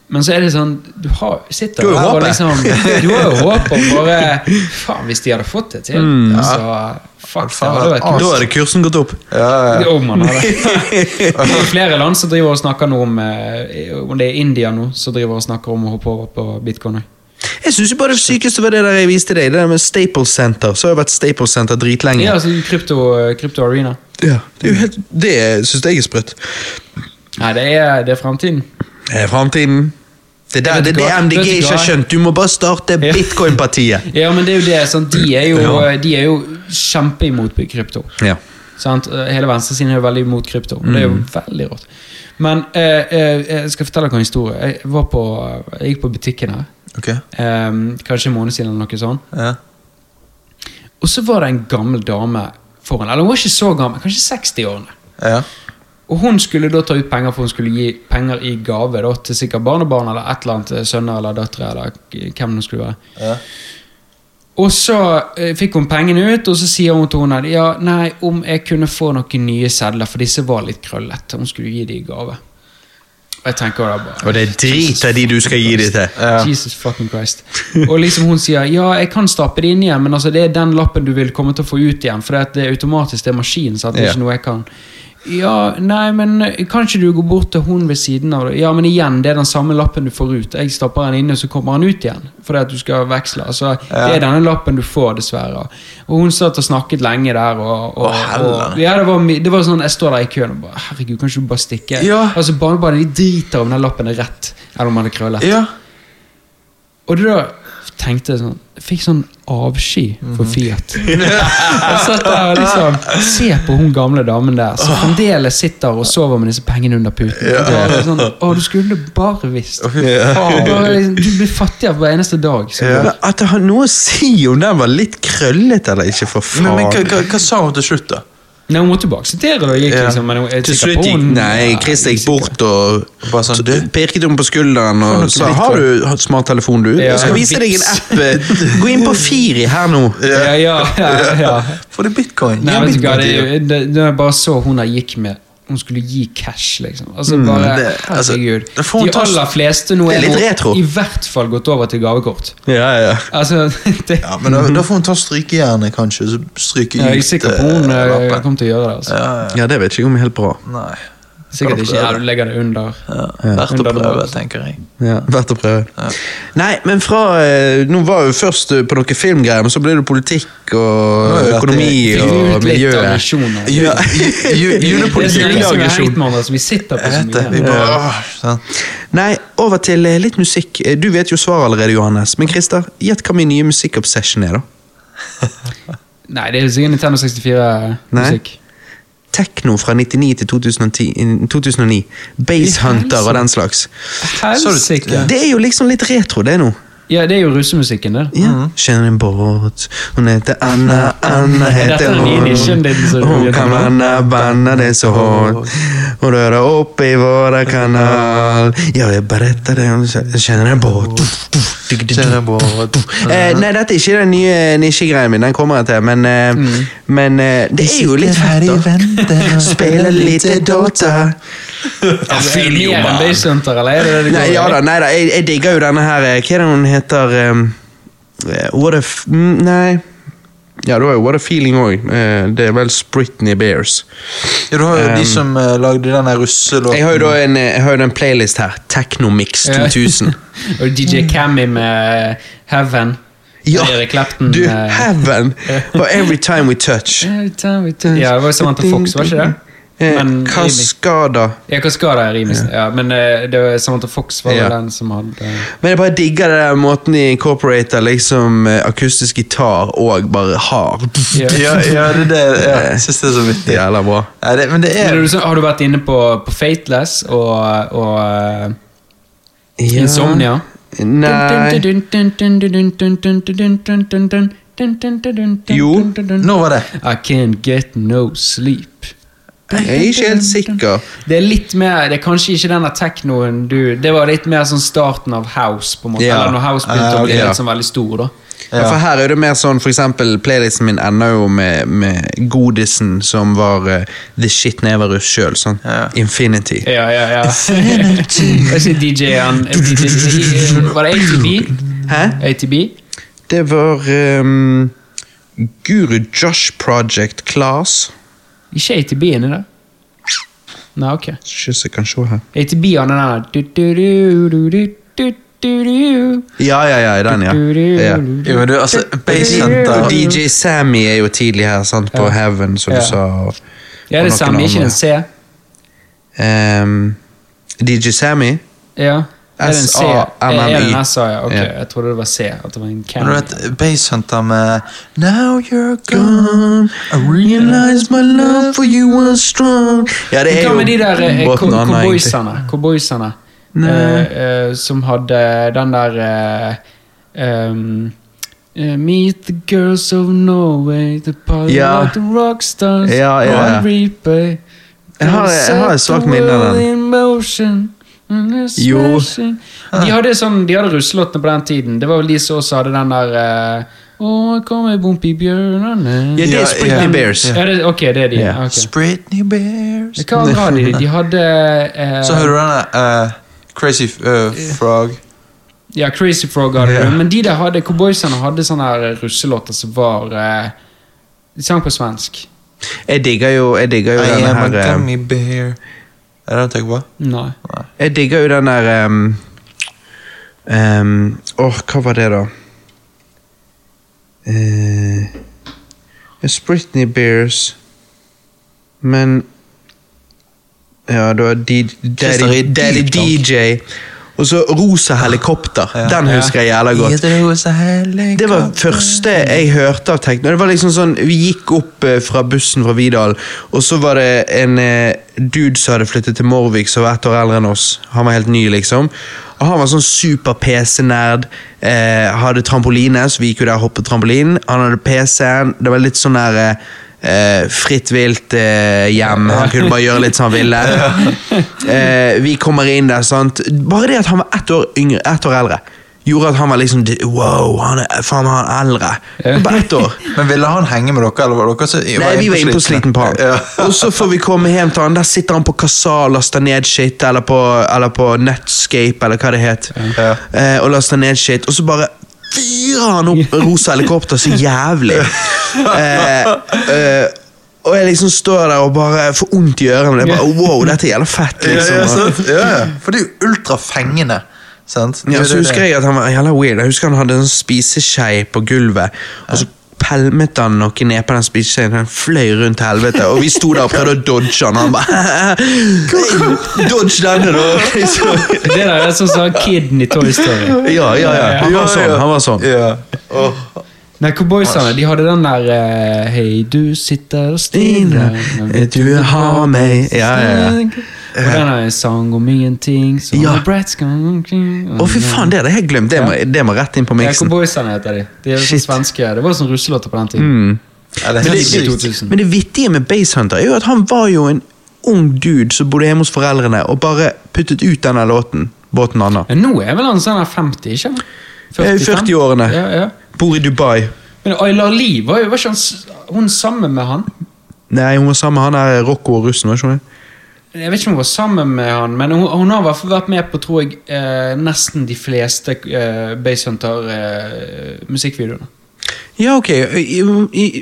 C: Men så er det sånn Du har, sitter
A: Du har jo
C: der og
A: håpet.
C: liksom Du har jo håp om bare
A: [LAUGHS]
C: Faen, hvis de hadde fått det til,
A: Mm.
C: så Fuck, det
B: Faen,
C: hadde vært
A: Da hadde kursen gått opp.
B: Ja, ja.
C: Om man har det. Det er flere land som driver og snakker nå om eh, Om det er India nå, som driver og snakker om å hoppe over på bitcoin.
A: Jeg syns bare det sykeste var det der jeg viste deg. Det der med Staples Center. Så har jeg vært Staples Center dritlenge.
C: Ja, altså krypto, krypto arena.
A: Ja, det er jo helt- det syns jeg er sprøtt.
C: Nei, det er, det er fremtiden.
A: Det er fremtiden. Eh, Det er
C: Vet
A: det,
C: du
A: det, det
C: hva?
A: MDG
C: Vet du
A: ikke har
C: hva?
A: skjønt. Du må bare starte
C: Ja.
A: Bitcoin-partiet.
C: Ja, men det er jo det. Sant? De er jo, eh, de er jo kjempeimot krypto.
A: Ja.
C: Sant? Eh, Hele venstresiden er jo veldig imot krypto. Det er jo veldig rått. Men eh, eh, jeg skal fortelle dere en historie. Jeg, var på, jeg gikk på butikken her,
B: Ok.
C: eh, kanskje en måned siden eller noe sånt.
B: Ja.
C: Og så var det en gammel dame foran. Eller hun var ikke så gammel, kanskje 60-årene.
B: Ja.
C: Og hun skulle da ta ut penger for hun skulle gi penger i gave da, til sikkert barnebarn eller et eller annet, eh, sønner eller døtre eller k- hvem det skulle være.
B: Ja.
C: Og så eh, fikk hun pengene ut, og så sier hun til hun at ja, nei, om jeg kunne få noen nye sedler, for disse var litt krøllete. Hun skulle gi dem i gave. Og jeg tenker da bare
A: Og det er drit av de du skal gi dem til.
B: Ja.
C: Jesus fucking Christ. Og liksom hun sier ja, jeg kan stappe det inn igjen, men altså det er den lappen du vil komme til å få ut igjen, for det at det er automatisk, det er maskin, så at det er
A: Ja.
C: ikke noe jeg kan. Ja, nei, men kan ikke du gå bort til hun ved siden av det? Ja, men igjen, det er den samme lappen du får ut. Jeg stapper den inn, og så kommer den ut igjen. Fordi at du skal veksle. Altså, Det er denne lappen du får, dessverre. Og hun satt og snakket lenge der, og, og,
B: Å, helvete.
C: og Ja, det var, my- det var sånn, jeg står der i køen og bare Herregud, kan ikke du bare stikke?
B: Ja.
C: Altså, Barnebarnet de driter om den lappen er rett, eller om den er krøllet.
B: ja.
C: Og da tenkte jeg sånn Jeg fikk sånn avsky for Fiat. jeg satt der og liksom Se på hun gamle damen der som fremdeles sitter og sover med disse pengene under puten. Og Bare sånn, å, du skulle bare visst.
B: Å, fy faen.
C: Bare, liksom, du blir fattigere for hver eneste dag. Så.
A: Men At det har noe å si om den var litt krøllete eller ikke, for
B: Men, men hva,
A: faen.
B: hva, hva sa hun til slutt, da?
C: Nei, hun måtte tilbake til det, og gikk
B: Ja.
C: liksom, men hun er
A: Til
C: sikker
A: slutt
C: på
A: gikk
C: hun-
A: Nei,
C: Ja,
A: Christer gikk
C: sikker.
A: bort og
B: Og bare sånn,
A: så
B: du?
A: pirket henne på skulderen og sa
B: bitcoin?
A: har du hatt smarttelefon, du?
C: Ja.
A: Jeg skal vise deg en app. eh, Gå inn på Firi her nå.
C: Ja, ja, ja, ja.
B: Få deg bitcoin.
C: Nei,
B: Gi
C: vet du hva,
B: bitcoin
C: det,
B: til dem.
C: det, det, jeg bare så hun der gikk med hun skulle gi cash, liksom. Altså bare,
B: det- altså,
C: herregud.
B: det får hun
C: De
B: ta-
C: aller fleste nå
A: Det er
C: er
A: litt
C: nå
A: retro.
C: i hvert fall gått over til gavekort.
A: Ja, ja.
C: Altså, [LAUGHS] det,
B: Ja, men da, da får hun ta strykejernet, kanskje. Så stryke
C: jeg er
B: ut
C: sikker på
B: eh,
C: hun eh,
B: lappen.
C: kommer til å gjøre det. Altså.
A: ja det vet jeg ikke om er helt bra.
B: Nei.
C: Sikkert
B: Kan du
C: ikke. Ja,
B: prøve?
C: du legger det under.
B: Ja. Verdt å
C: Hundre dollar.
B: prøve, tenker jeg.
A: Ja, Verdt å prøve. Nei, men fra eh, Nå var jo først eh, på noen filmgreier, men så ble det politikk
B: har
A: og
B: vi vært
A: økonomi
B: i-
C: Fikk
A: og
C: ut litt av
A: miljøet.
C: misjoner. [LAUGHS]
A: Ja.
C: Det er
B: Julepolitikk.
C: sånn
A: Juleagresjon.
C: liksom heitmann, altså, vi sitter på
B: Jeg
C: så
B: vet det. Vi
C: mye.
B: bare, åh, sant.
A: Nei, over til eh, litt musikk. Eh, Du vet jo svaret allerede, Johannes. Men Christer, gjett hva min nye musikkobsession er, da.
C: Nei, det er sikkert Nintendo eh,
A: Nei.
C: 64-musikk.
A: Tekno fra 99 til 2010, eh, 2009. Base
C: I
A: Hunter
C: helsike.
A: og den slags.
C: Helsike!
A: Det er jo liksom litt retro, det nå.
C: Ja, det er jo russemusikken, det.
A: Ja. Kjenner en båt, hun heter Anna, Anna
C: Dette
A: heter
C: er den nye
A: hun.
C: nisjen din. så du
A: Hon
C: vet
A: kan
C: om.
A: banna, banna det så hårt och röra upp i våra kanal. Jag vill berätta det om jag känner en båt.
B: Kjenner på-
A: Eh, nei, dette er ikke den nye nisjegreien min. Den kommer jeg til. Men, eh, men eh, det er jo litt fett, da. Spille lite Dota.
C: Er det mer enn Base Hunter, eller er det det det
A: Nei,
C: går i?
A: ja da, nei da. Jeg, jeg digger jo denne her eh, Hva er det hun heter eh, eh, What a f... Mm, nei. Ja, det var jo What a Feeling òg. det er vel Britney Bears.
B: Ja, du har jo de
C: Um,
B: som eh, lagde den der russelåten.
A: Jeg har jo da en, jeg har jo da en playlist her. Technomix
C: Ja. [LAUGHS]
A: 2000.
C: Og DJ Cammy med Heaven. Eric Clapton.
A: du,
C: eh, [LAUGHS]
A: heaven! Og Every Time We Touch.
C: Every time we touch- Ja, det var jo Samantha Fox, var ikke det?
A: Eh,
C: Men-
A: Kaskada.
C: Ja, hva skal det i remixen? Ja, men eh, det var Samantha Fox var
A: Ja.
C: vel den som hadde
A: Men jeg bare digger den der måten de incorporater liksom eh, akustisk gitar og bare hard.
C: Ja.
B: Ja, ja, det er det. Ja, jeg synes det er så vittig.
A: Jævla bra.
B: Nei, det, men det er
C: Men er du så- Har du vært inne på, på Fateless og, og eh,
A: Ja.
C: Insomnia?
A: Nei Jo.
B: Nå var det.
C: I can't get no sleep.
A: Jeg er ikke helt sikker.
C: Det er litt mer, det er kanskje ikke denne teknoen du Det var litt mer sånn starten av House, på en måte.
A: Ja.
C: Eller når House begynte
B: Ah,
C: å bli
A: ok.
C: litt sånn veldig stor, da.
A: Ja. for her er det mer sånn, for eksempel Playlisten min ender jo med, med godisen som var eh, The Shit Neverus sjøl. Sånn.
B: Ja.
A: Infinity.
C: Ja, ja, ja. Jeg sier DJ-en DJ, Var det ATB?
A: Hæ?
C: ATB?
A: Det var ehm, Guru Josh Project Class.
C: Ikke ATB inni der? Nei, ok.
A: Ikke så jeg kan se her.
C: ATB han er den der
A: Ja, ja, ja, i den, ja. ja.
B: Jo, men du, altså, Base
A: Og
B: Hunter
A: DJ Sammy er jo tidlig her, sant, på Heaven, som
C: Ja.
A: du sa. og-
C: Ja,
A: og
C: det
A: noen
C: samme. Ikke
A: andre.
C: den C.
A: Ehm, DJ Sammy?
C: Ja. Er det en C?
A: S-A-M-M-Y.
C: Er det en SA, ja. Ok,
A: Ja.
C: jeg trodde det var C. At det var en
B: Men du
C: camera.
B: vet, Base Hunter med Now you're gone
A: I realize my love for you was strong. Ja, det er
C: Hva
A: jo
C: med de der eh,
A: båten
C: ko-
A: han har, egentlig.
C: cowboysene? Cowboysene eh, eh, som hadde den der eh, ehm, eh, Meet the girls of Norway, the party
A: Ja.
C: like the rockstars
A: Ja, ja, ja.
C: on replay.
A: Jeg har- jeg har et svagt minne av den.
C: Set the world in motion, and it's
A: Jo. Ah.
C: smashing. De hadde, sånn, de hadde russelåtene på den tiden. Det var vel de som også hadde den der eh, Å, kommer Bompi bjørnene
A: Ja, det
B: Ja,
A: er Spritney
B: ja.
A: Bears.
C: Ja, det, ok, det er de.
A: Ja.
C: ok.
B: Britney Bears
A: [LAUGHS]
C: Hva andre hadde de? De hadde eh,
B: Så hører du den der eh, Crazy eh, Frog.
C: Ja, Crazy Frog hadde det, men de der hadde, cowboysene hadde sånne her russelåter som var eh, De sang på svensk.
A: Jeg digger jo, jeg digger jo
B: I
A: denne
B: am a
A: her eh,
B: gummy bear. Er det den du tenker på?
C: Nei.
A: Jeg digger jo den der um, um, Åh, hva var det da? Uh, Britney Eh, Bears Men Ja, det var D
B: Christer
A: Daddy,
B: i
A: Daddy
B: dyp tank.
A: DJ Og så Rosa Helikopter Den husker jeg jævla godt det var første jeg hørte av tekno. Det var liksom sånn, Vi gikk opp eh, fra bussen fra Vidal, og så var det en eh, dude som hadde flyttet til Morvik, som var ett år eldre enn oss. Han var helt ny, liksom. Og Han var sånn super PC-nerd. Eh, hadde trampoline, så vi gikk jo der og hoppet trampolinen. Han hadde PC-en. Det var litt sånn der eh, eh, fritt vilt eh, hjem. Han kunne bare gjøre litt som han ville. Eh, vi kommer inn der, sant. Bare det at han var ett år, yngre, ett år eldre, gjorde at han var liksom Wow, han er faen meg han er eldre.
C: Ja.
A: På ett
B: [LAUGHS]
A: år.
B: Men ville han henge med dere, eller var dere så
A: Nei, vi var inne på
B: innpåslitne?
A: sliten på han.
B: Ja.
A: Og så får vi komme hjem til han. Der sitter han på kassa og laster ned shit, eller på, eller på Netscape, eller hva det het.
B: Ja.
A: Eh, og laster ned shit, og så bare fyrer han opp rosa helikopter så
B: [LAUGHS]
A: jævlig. Eh, eh, og jeg liksom står der og bare får vondt i ørene. Jeg bare, wow, dette er jævla fett, [LAUGHS]
B: Ja,
A: liksom.
B: ja, sant? ja, ja. For det er jo ultrafengende. Sant? Det er
A: Ja,
B: jo
A: så
B: det-
A: husker jeg at han var jævla weird. Jeg husker han hadde en spiseskje på gulvet. Og så pelmet han noe ned på den spiseskjeen, og den fløy rundt til helvete. Og vi sto der og prøvde å dodge han, og han bare [LAUGHS] Dodge denne, da! Liksom.
C: Det der er sånn som Kidden i Toy Story.
A: [LAUGHS] Ja, ja, ja. Han var sånn. Han var sånn.
B: Ja. Åh.
C: Nei, Cowboysene de hadde den der eh, Hei, du sitter stille
A: Stine, du har meg Ja, ja, ja.
C: Og den er en sang om ingenting som
A: Ja.
C: ja. brats Å,
A: Å, fy faen, det hadde jeg helt glemt. Det må, det må rett inn på
C: Ja,
A: miksen.
C: Cowboysene heter de. De er sånn
A: Shit.
C: svenske. Det var sånn russelåter på den tiden.
B: Ja, det
C: Men
B: er helt
C: det-
B: sykt.
A: Men det vittige med Basehunter er jo at han var jo en ung dude som bodde hjemme hos foreldrene, og bare puttet ut denne låten. Båten Anna.
C: Men nå er vel han sånn her 50, ikke sant?
A: Ja, i 40-årene.
C: Ja, ja.
A: Bor i Dubai.
C: Men Aylar Lie var jo var ikke han, s- hun sammen med han?
A: Nei, hun var sammen med han der Rocco og russen, var ikke hun?
C: Jeg vet ikke om hun var sammen med han, men hun, hun har i hvert fall vært med på tror jeg, eh, nesten de fleste eh, Basehunter-musikkvideoene.
A: Ja, ok. I, i,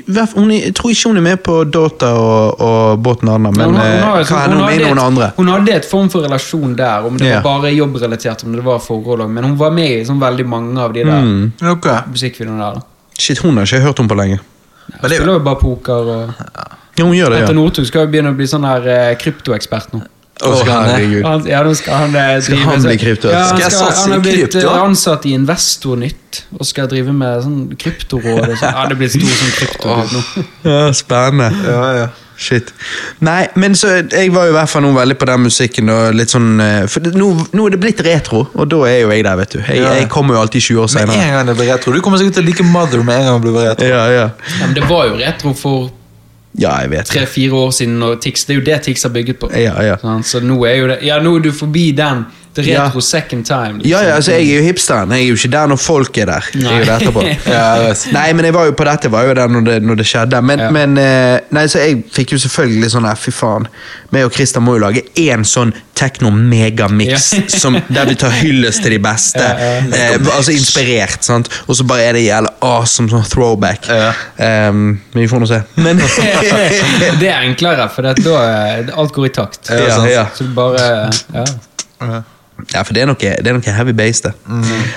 A: hvert fall- hun, er- jeg tror ikke hun er med på Dota og, og Båten Anna, men
C: hun, har-
A: eh,
C: har-
A: hva hender hun med
C: hadde
A: noen
C: et-
A: andre?
C: Hun hadde et form for relasjon der, om det
A: Ja.
C: var bare jobbrelatert, om det var forhold også, men hun var med i sånn veldig mange av de der
A: Mm.
B: Dere.
C: musikkvideoene der. da.
A: Shit, hun har ikke jeg hørt om på lenge.
B: Men
C: Hun
B: det er jo-
C: spiller jo bare poker og
A: Ja, hun gjør det,
C: Petter
A: ja.
C: Northug skal jo begynne å bli sånn her eh, kryptoekspert nå.
A: Å,
B: Å,
A: herregud.
C: Han, ja, nå skal han, eh,
A: Skal
C: drive
A: han
C: seg-
A: bli krypto?
C: Ja, han,
B: Skal jeg
C: skal,
B: satse
C: han
B: i
C: har blitt
B: krypto?
C: eh, ansatt i Investornytt og skal drive med sånn kryptoråd. Og sånn. ja, det blir stor sånn kryptogud nå.
A: Ja, spennende.
B: Ja, ja.
A: Shit. Nei, men så Jeg var jo i hvert fall nå veldig på den musikken og litt sånn eh, For det, nå, nå er det blitt retro, og da er jo jeg der, vet du. Jeg,
B: Ja.
A: jeg kommer jo alltid 20 år
B: Med
A: senere.
B: en gang det blir retro. Du kommer sikkert til å like Mother med en gang det blir retro.
A: Ja, ja.
C: Ja, men det var jo retro for
A: Ja, jeg vet det.
C: tre-fire år siden, og Tix, det er jo det Tix har bygget på.
A: Ja, ja.
C: Sånn, så nå er jo det Ja, nå er du forbi den. Det er
A: Ja.
C: retro second time. liksom.
A: Ja, ja, altså, jeg er jo hipsteren. Jeg er jo ikke der når folk er der. Jeg er jo der
C: [LAUGHS]
A: etterpå. altså.
B: Ja, jeg vet.
A: Nei, men jeg var jo på dette var jo der når det, når det skjedde. Men,
C: Ja.
A: men eh, nei, så jeg fikk jo selvfølgelig sånn her, fy faen. Meg og Christian må jo lage én sånn techno-megamix
C: Ja.
A: [LAUGHS] som- der vi tar hyllest til de beste. Eh, altså inspirert, sant. Og så bare er det jævla awesome sånn throwback.
B: Ja.
A: Eh, men vi får nå se. Men
C: [LAUGHS] [LAUGHS] det er enklere, for det, da eh, alt går i takt.
B: Ja, sant.
A: ja.
C: Så du bare ja.
B: Ja.
A: Ja, for det er noe, det er noe heavy base, det.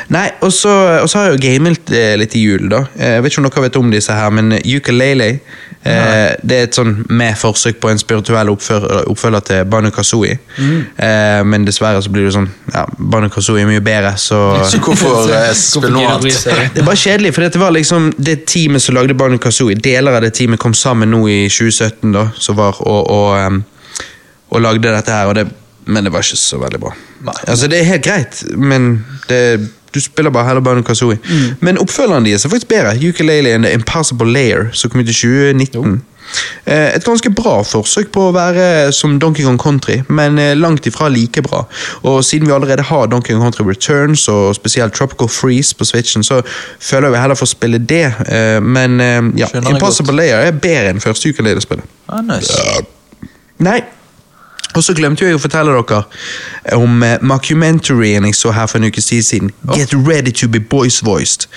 A: Nei, og så, og så har jeg jo gamet eh, litt i jul, da. Eh, Jeg vet ikke om dere vet om disse her, men Ukulele eh, Det er et sånn med forsøk på en spirituell oppfører, oppfølger til Banu Kazooie. Eh, men dessverre så blir det sånn ja, Banu Kazooie er mye bedre, så [LAUGHS]
B: Så hvorfor eh, spille noe
C: gidder du bry
B: annet?
C: seg?
A: det var kjedelig, for det var liksom det teamet som lagde Banu Kazooie. Deler av det teamet kom sammen nå i 2017, da, som var og, og, ehm, em, og lagde dette her, og det, men det var ikke så veldig bra.
B: Nei.
A: Altså, det er helt greit, men det, du spiller bare heller Banu Kazooie.
B: Mm.
A: Men oppfølgeren deres er faktisk bedre. Ukulele and The Impossible Layer, som kom ut i 2019. Eh, Et ganske bra forsøk på å være som Donkey Kong Country, men eh, langt ifra like bra. Og siden vi allerede har Donkey Kong Country Returns og spesielt Tropical Freeze på Switchen, så føler jeg vi heller får spille det. eh, Men eh, ja,
B: Skjønner det
A: Impossible Layer er bedre enn første ukulelespillet.
B: Ah, nice.
A: Nei. Og så glemte jo jeg å fortelle dere om eh, mockumentaryen jeg så her for en ukes tid siden. Get Ready To Be Boys Voiced.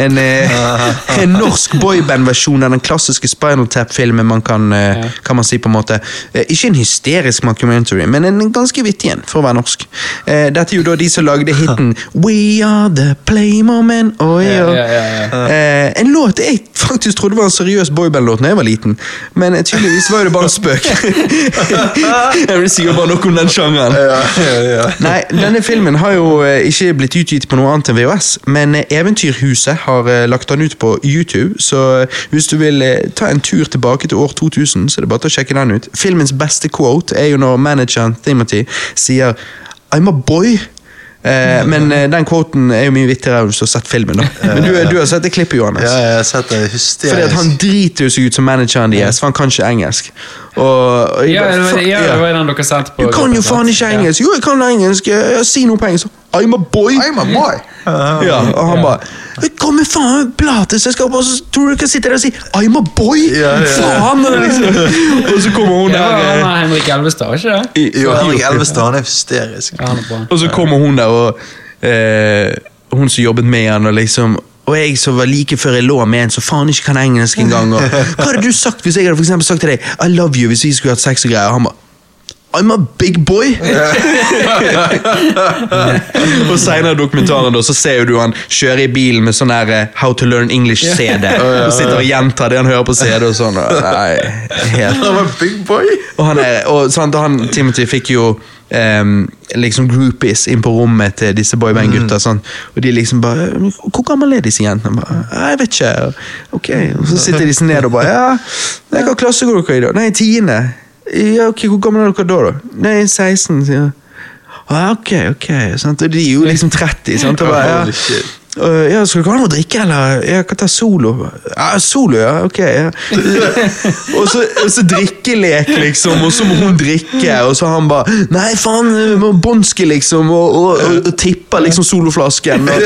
A: En, eh, [LAUGHS] en norsk boyband-versjon av den klassiske Spinal Tap-filmen man kan, eh,
C: Ja.
A: kan man si på en måte. Eh, ikke en hysterisk mockumentary, men en ganske vittig en, for å være norsk. Eh, dette er jo da de som lagde
C: [LAUGHS]
A: hiten We Are The Playmomen. Oi,
C: Ja,
A: oi.
C: ja, ja,
A: Eh, en låt jeg faktisk trodde var en seriøs boyband-låt da jeg var liten, men eh, tydeligvis var jo det bare en
B: [LAUGHS]
A: spøk. jeg vil si jo bare noe om den sjangeren.
B: Ja, ja, ja.
A: Nei, denne filmen har jo eh, ikke blitt utgitt på noe annet enn VHS, men eh, Eventyrhuset har eh, lagt den ut på YouTube, så eh, hvis du vil eh, ta en tur tilbake til år 2000, så er det bare til å sjekke den ut. Filmens beste quote er jo når manageren Timothy sier I'm a boy. Eh, men eh, den quoten er jo mye vittigere hvis du har sett filmen. da. Men du, du har sett det klippet, Johannes.
B: Ja, jeg har sett det hysterisk.
A: Fordi at han driter jo seg ut som manageren deres, for han kan ikke engelsk. Og, og jeg
C: Ja,
A: bare,
C: det var,
A: fuck,
C: ja,
A: ja.
C: det var den dere sendte på.
A: Du kan jo faen ikke
C: Ja.
A: engelsk! Jo, jeg kan engelsk! Jeg, jeg, si noe på engelsk! I'm a boy!
B: I'm a boy!
A: [LAUGHS] ja, og han bare Kom med faen plateselskap, og så tror du ikke jeg sitter der og sier I'm a boy!
B: Ja, ja.
A: Faen! Og, liksom. [LAUGHS] og så kommer hun
C: Ja,
A: der
C: han
A: eh,
C: er Henrik Elvestad, var ikke det?
A: i-
B: Jo, Henrik Elvestad han er hysterisk.
C: Ja, han er bra.
A: Og så kommer hun der og eh, Hun som jobbet med han og liksom og jeg som var like før jeg lå med en som faen ikke kan engelsk engang. og, Hva hadde du sagt hvis jeg hadde for eksempel sagt til deg I love you hvis vi skulle hatt sex og greier? Og han bare I'm a big boy! og seinere i dokumentaren da, så ser jo du han kjøre i bilen med sånn her eh, How to learn English-CD. Og sitter og gjentar det han hører på CD og sånn. Og, nei, helt
B: Han var big boy!
A: og, han er, og, sant, og han, Timothy fikk jo em, liksom groupies inn på rommet til disse
B: Mm.
A: boyband-gutta. sånn. Og de liksom bare 'Hvor gammel er disse jentene?' Bare, «Nei, 'Jeg vet ikke.' Ok, Og så sitter de sånn ned og bare 'Ja, nei, hva klasse går dere i, da?' 'Nei, tiende.' Ja, ok, 'Hvor gammel er dere da?' da? 'Nei, 16.' sier han. «Ah, ok, ok. Sant? Og de er jo liksom 30. Sant? Og bare, ja.
B: Holy shit.
A: «Øh, ja, skal dere ha noe å drikke, eller? Jeg kan ta solo. Ja, solo, ja, ok. Ja. og, så, og så drikkelek, liksom, og så må hun drikke, og så han bare Nei, faen, vi må bånske, liksom, og, og, og, og tipper liksom soloflasken. Og,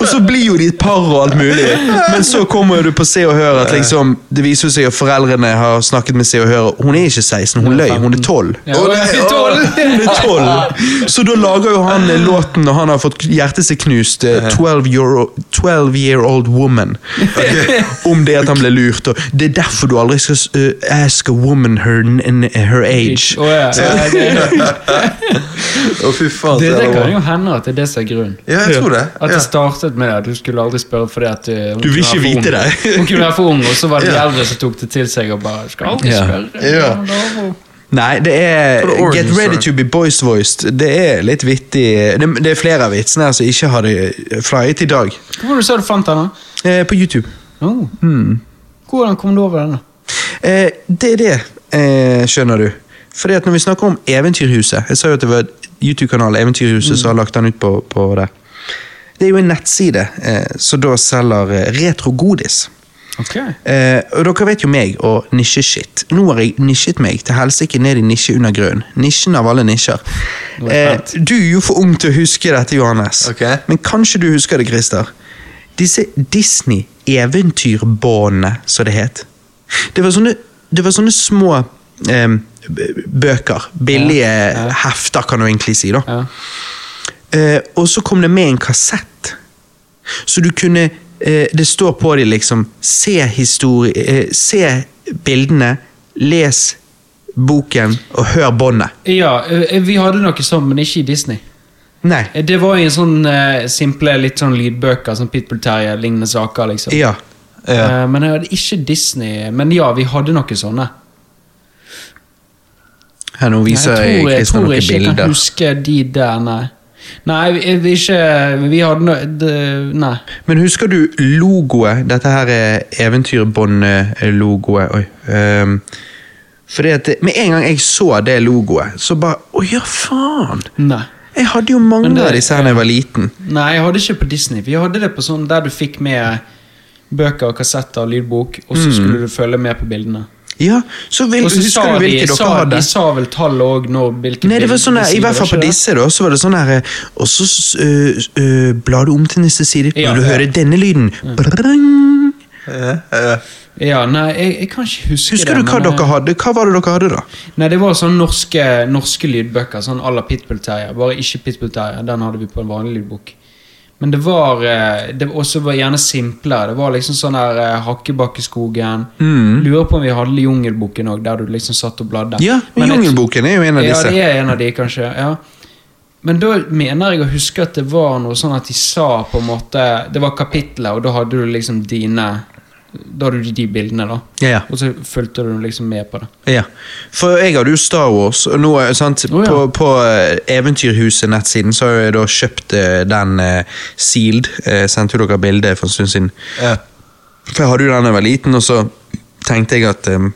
A: og så blir jo de et par og alt mulig, men så kommer du på Se og Hør at liksom, det viser seg at foreldrene har snakket med Se og Hør, og hun er ikke 16, hun løy, hun er 12.
C: Ja,
B: Å,
C: og
B: nei, å.
A: Hun er 12. Så da lager jo han eh, låten når han har fått hjertet sitt knust. eh, 12 year, 12 year old woman. Om det at han ble lurt. Og det er derfor du aldri skal eh, ask a woman her, n- her age.
C: ja. ja, det,
B: Å, fy faen.
C: det, det
B: så jævla
C: kan
B: bra.
C: jo hende at det er det som er grunnen.
B: Ja, jeg tror det.
C: At
B: Ja.
C: det startet med det. at Du skulle aldri spørre fordi at eh, hun
A: Du vil
C: kunne
A: ikke
C: være for ung.
A: vite det.
C: Hun kunne være for ung, og så var det de
B: Ja.
C: eldre som tok det til seg og bare skal aldri
A: Ja.
C: spørre.
B: Ja.
A: Nei, det er
B: For the origin
A: Get ready
B: story.
A: to be boys voiced. Det er litt vittig. Det, det er flere av vitsene her som ikke hadde flyet i dag.
C: Hvor var det du sa du fant den? da?
A: Eh, på YouTube. Hmm.
C: Oh. Hvordan kom du over den? da?
A: Eh, det er det, eh, skjønner du. Fordi at når vi snakker om Eventyrhuset Jeg sa jo at det var YouTube-kanalen Eventyrhuset som har lagt den ut på, på det. Det er jo en nettside eh, som da selger eh, retrogodis.
C: Ok.
A: Eh, og dere vet jo meg og nisjeshit. Nå har jeg nisjet meg til helsike ned i nisje under grunnen. Nisjen av alle nisjer.
C: Nå er jeg
A: Eh, du er jo for ung til å huske dette, Johannes.
B: Ok.
A: Men kanskje du husker det, Christer. Disse Disney-eventyrbåndene, som det het. Det var sånne, det var sånne små eh, b- bøker. Billige
C: Ja, ja.
A: hefter, kan du egentlig si. da.
C: Ja.
A: Eh, og så kom det med en kassett. Så du kunne eh, Det står på dem liksom Se histori... Eh, se bildene, les boken og hør båndet.
C: ja, eh, vi hadde noe sånt, men ikke i Disney.
A: Nei.
C: Eh, Det var i en sånn eh, simple, litt sånn lydbøker, sånn Pitbull Terje-lignende saker, liksom.
A: Ja.
B: Ja.
C: Eh, Men jeg hadde ikke Disney Men ja, vi hadde noe sånne.
A: Her nå
C: Nei,
A: viser jeg
C: jeg
A: Kristian
C: tror
A: noen
C: ikke jeg kan
A: bilder.
C: huske de der, nei. Nei, vi, vi ikke Vi hadde noe det- Nei.
A: Men husker du logoet? Dette her er eventyrbånd-logoet. Oi. ehm, fordi at det, Med en gang jeg så det logoet, så bare Å ja, faen!
C: Nei.
A: Jeg hadde jo mange
C: Men det-
A: av disse her da jeg var liten.
C: Nei, jeg hadde ikke på Disney. Vi hadde det på sånn der du fikk med bøker, kassetter, lydbok, og så skulle du følge med på bildene.
A: Ja, så vil,
C: Og så sa
A: Mm. Husker du
C: de,
A: hvilke dere
C: sa,
A: hadde?
C: de sa vel tallet òg når hvilke
A: Nei, det var
C: bilder-
A: sånn der, I
C: sider,
A: hvert fall på
C: var ikke det?
A: disse, da, så var det sånn her eh, Og så øh, øh, blar du om til neste side, når
C: Ja,
A: du
C: ja.
A: hører denne lyden Brrrring.
B: Ja, ja.
C: Ja, nei, jeg, jeg kan ikke huske
A: Husker
C: det.
A: du hva
C: men,
A: dere hadde? Hva var det dere hadde, da?
C: eh, Nei, det var sånn norske, norske lydbøker, sånn à la Pitbull Terrier. Bare ikke Pitbull Terrier, den hadde vi på en vanlig lydbok. Men det var eh, Det var også var gjerne simplere. Det var liksom sånn der eh, Hakkebakkeskogen. Lurer på om vi hadde Jungelboken òg, der du liksom satt og bladde.
A: Mm. Ja,
C: Men jeg-
A: Jungelboken er jo en av
C: Ja,
A: disse.
C: det er en av de, kanskje. ja. Men da mener jeg å huske at det var noe sånn at de sa på en måte Det var kapitler, og da hadde du liksom dine Da hadde du de bildene, da.
A: Ja,
C: Og så fulgte du liksom med på det.
A: ja. For jeg hadde jo Star Wars, og nå eh, sant,
C: Å, ja.
A: på, på eh, Eventyrhuset-nettsiden så har jeg da kjøpt eh, den eh, sealed. Eh, sendte jo dere bilde for en stund siden.
B: Ja.
A: For jeg hadde jo den da jeg var liten, og så tenkte jeg at eh,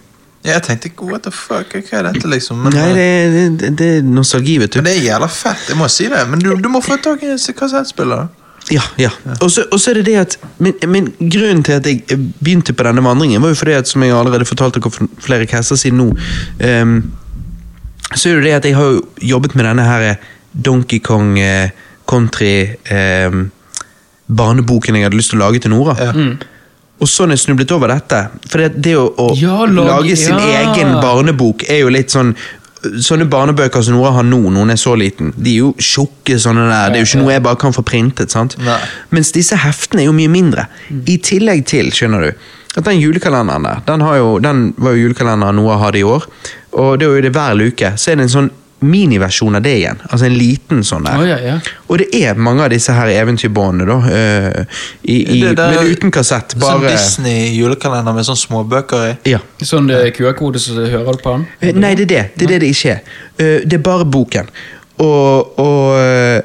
B: Jeg tenkte what the fuck, hva er dette, liksom? Men,
A: Nei, det, det, det er nostalgi, vet du.
B: men det er jævla fett, jeg må si det. Men du, du må få tak i en kassettspiller.
A: Ja, ja. Og så og så er det det at men, men grunnen til at jeg begynte på denne vandringen, var jo fordi at, som jeg allerede fortalte dere for flere kasser siden nå, ehm, så er det jo det at jeg har jo jobbet med denne her eh, Donkey Kong eh, Country ehm, barneboken jeg hadde lyst til å lage til Nora.
B: Ja.
C: Mm.
A: Og sånn er jeg snublet over dette. For det, det å, å
C: Ja, lag-
A: lage sin
C: ja.
A: egen barnebok er jo litt sånn Sånne barnebøker som Nora har nå, når hun er så liten, de er jo tjukke. sånne der, Det er jo ikke noe jeg bare kan få printet. sant?
B: Nei.
A: Mens disse heftene er jo mye mindre. I tillegg til, skjønner du, at den julekalenderen der, den, har jo, den var jo julekalenderen Noah hadde i år, og det er jo det hver uke, så er det en sånn miniversjon av det igjen. Altså en liten sånn der.
C: Å, ja, ja.
A: Og det er mange av disse her eventyrbåndene, da. eh, i, i,
B: Det der-
A: men uten kassett.
B: Sånn
A: Bare
B: Disney-julekalender med sånn småbøker i.
A: Ja.
C: Sånn det er QR-kode, så hører du på den?
A: Eh, Nei, det er det. Det er det det ikke er. Eh, Det er bare boken. Og, og eh,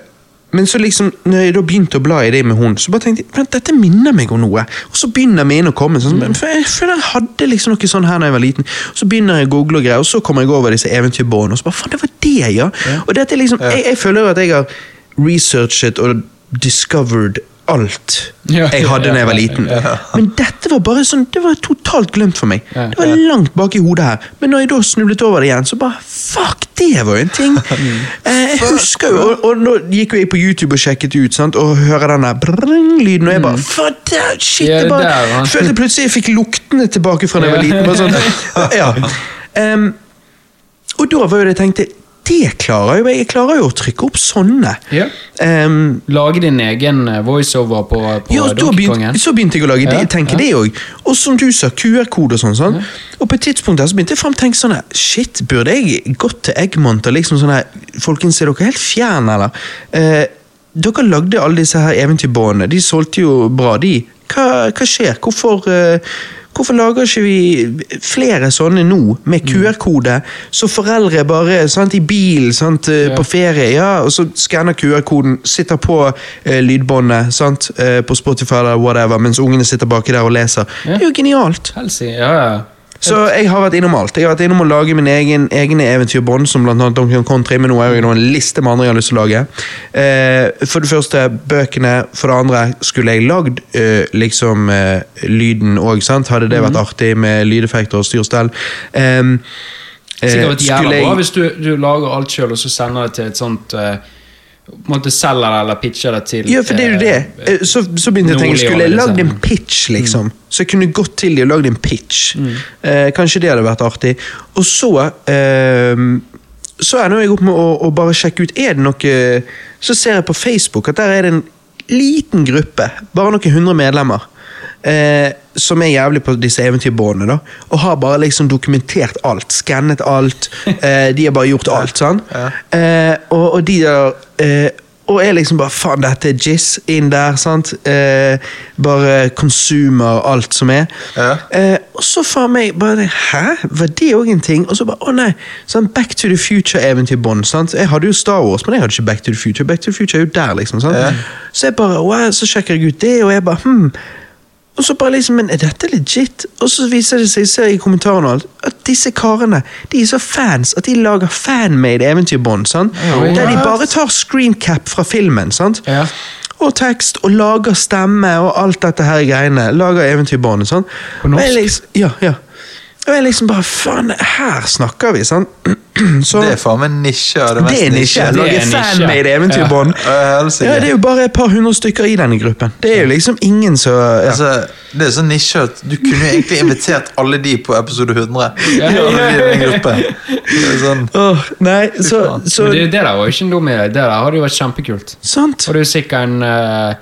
A: Men så liksom, når jeg da begynte å bla i det med hun, så bare tenkte jeg vent, dette minner meg om noe. Og så begynner min å komme. Sånn, men for jeg føler jeg hadde liksom noe sånn her da jeg var liten. Så begynner jeg å google og greier, og så kommer jeg over disse eventyrbåndene, og så bare faen, det var det, ja! Og dette er liksom, jeg, jeg føler jo at jeg har researchet og discovered alt
C: Ja.
A: jeg hadde da jeg var liten.
C: Ja.
A: Men dette var bare sånn, det var totalt glemt for meg.
C: Ja.
A: Det var langt bak i hodet her. Men når jeg da snublet over det igjen, så bare Fuck, det var jo en ting! Eh, jeg husker jo, og, og nå gikk jo jeg på YouTube og sjekket ut, sant, og hører den der brrrring-lyden, og jeg bare Fuck, det- shit!
C: Ja,
A: Jeg bare
C: det der, ja.
A: følte plutselig jeg fikk luktene tilbake fra da jeg var liten. Bare sånn, ja. Em, og da var jo det jeg tenkte Det klarer jo jeg. Jeg klarer jo å trykke opp sånne.
C: Ja.
A: Em,
C: Lage din egen eh, voiceover på, på
A: ja, og da
C: Donkey
A: begynte,
C: Kongen?
A: så begynte jeg å lage det,
C: Ja,
A: tenke
C: ja.
A: det òg. Og som du sa, QR-kode og sånn. sånn. Og på et tidspunkt der så begynte jeg frem tenke sånn her, Shit, burde jeg gått til Eggmont og liksom sånn her Folkens, er dere helt fjern, eller? Eh, dere lagde alle disse her eventyrbåndene. De solgte jo bra, de. Hva, hva skjer? Hvorfor eh, Hvorfor lager ikke vi flere sånne nå,
C: Mm.
A: med QR-kode? Så foreldre bare sant, i bil sant, eh,
C: Ja.
A: på ferie, ja, og så skanner QR-koden, sitter på eh, lydbåndet sant, eh, på Spotify eller whatever, mens ungene sitter baki der og leser.
C: Ja.
A: Det er jo genialt!
C: Helsing, ja, ja.
A: Så jeg har vært innom alt. Jeg har vært innom å lage mine egen, egne eventyrbånd, som blant annet Donkey Kong Country, men nå er jo en liste med andre jeg har lyst til å lage. Eh, for det første bøkene, for det andre skulle jeg lagd eh, liksom eh, lyden òg, sant? Hadde det
C: Mhm.
A: vært artig med lydeffekter og styrstell? Um, Eh,
C: Sikkert vært jævla bra hvis du, du lager alt sjøl, og så sender det til et sånt eh, på en måte selger det eller pitcher det til
A: Ja, for det er jo det.
C: eh,
A: Eh, Så, så begynte jeg å tenke,
C: Nordli
A: skulle jeg
C: og
A: lagd en
C: liksom.
A: pitch, liksom? Så jeg kunne gått til de og lagd en pitch.
C: Mm.
A: Eh, kanskje det hadde vært artig. Og så eh, Så ender jeg opp med å, å bare sjekke ut Er det noe Så ser jeg på Facebook at der er det en liten gruppe, bare noen hundre medlemmer. Eh, som er jævlig på disse eventyrbåndene, da. Og har bare liksom dokumentert alt. Skannet
C: [LAUGHS]
A: alt. Eh, de har bare gjort alt, sånn. Eh, og, og de har eh, og jeg liksom bare Faen, dette er jizz inn der. sant? Eh, bare consumer alt som er.
B: Ja.
A: Eh, og så faen meg bare Hæ? Var det òg en ting? Og så bare Å nei. Sånn Back to the Future-eventyrbånd. sant? Jeg hadde jo Star Wars, men jeg hadde ikke Back to the Future. Back to the Future er jo der, liksom. sant?
B: Ja.
A: Så jeg bare wow, Så sjekker jeg ut det, og jeg bare Hm. Og så bare liksom, men er dette legit? Og så viser det seg, ser jeg i kommentarene og alt, at disse karene de er så fans at de lager fanmade eventyrbånd. sant?
C: ja.
A: Der de bare tar screencap fra filmen, sant?
C: Ja.
A: Og tekst, og lager stemme og alt dette her greiene. Lager eventyrbånd og sånn.
C: På norsk?
A: Og jeg liksom, ja, ja. Og jeg liksom bare, faen, her snakker vi, sant? [CLEARS THROAT] Så,
B: Det er faen meg nisje av det mest
A: det er nisje.
C: Det er
A: Lager
C: nisje.
A: fanmade eventyrbånd.
B: Ja, helsike.
A: Ja, det er jo bare et par hundre stykker i denne gruppen. Det er jo liksom ingen som ja.
B: Altså, det er sånn nisje at du kunne jo egentlig invitert alle de på episode 100.
C: Ja.
B: Alle de i den gruppen. Det er sånn,
A: Åh, nei, så,
B: faen.
A: så
C: Men det, det der var jo ikke en dum idé. Det der hadde jo vært kjempekult.
A: Sant?
C: Og det er jo sikkert en eh,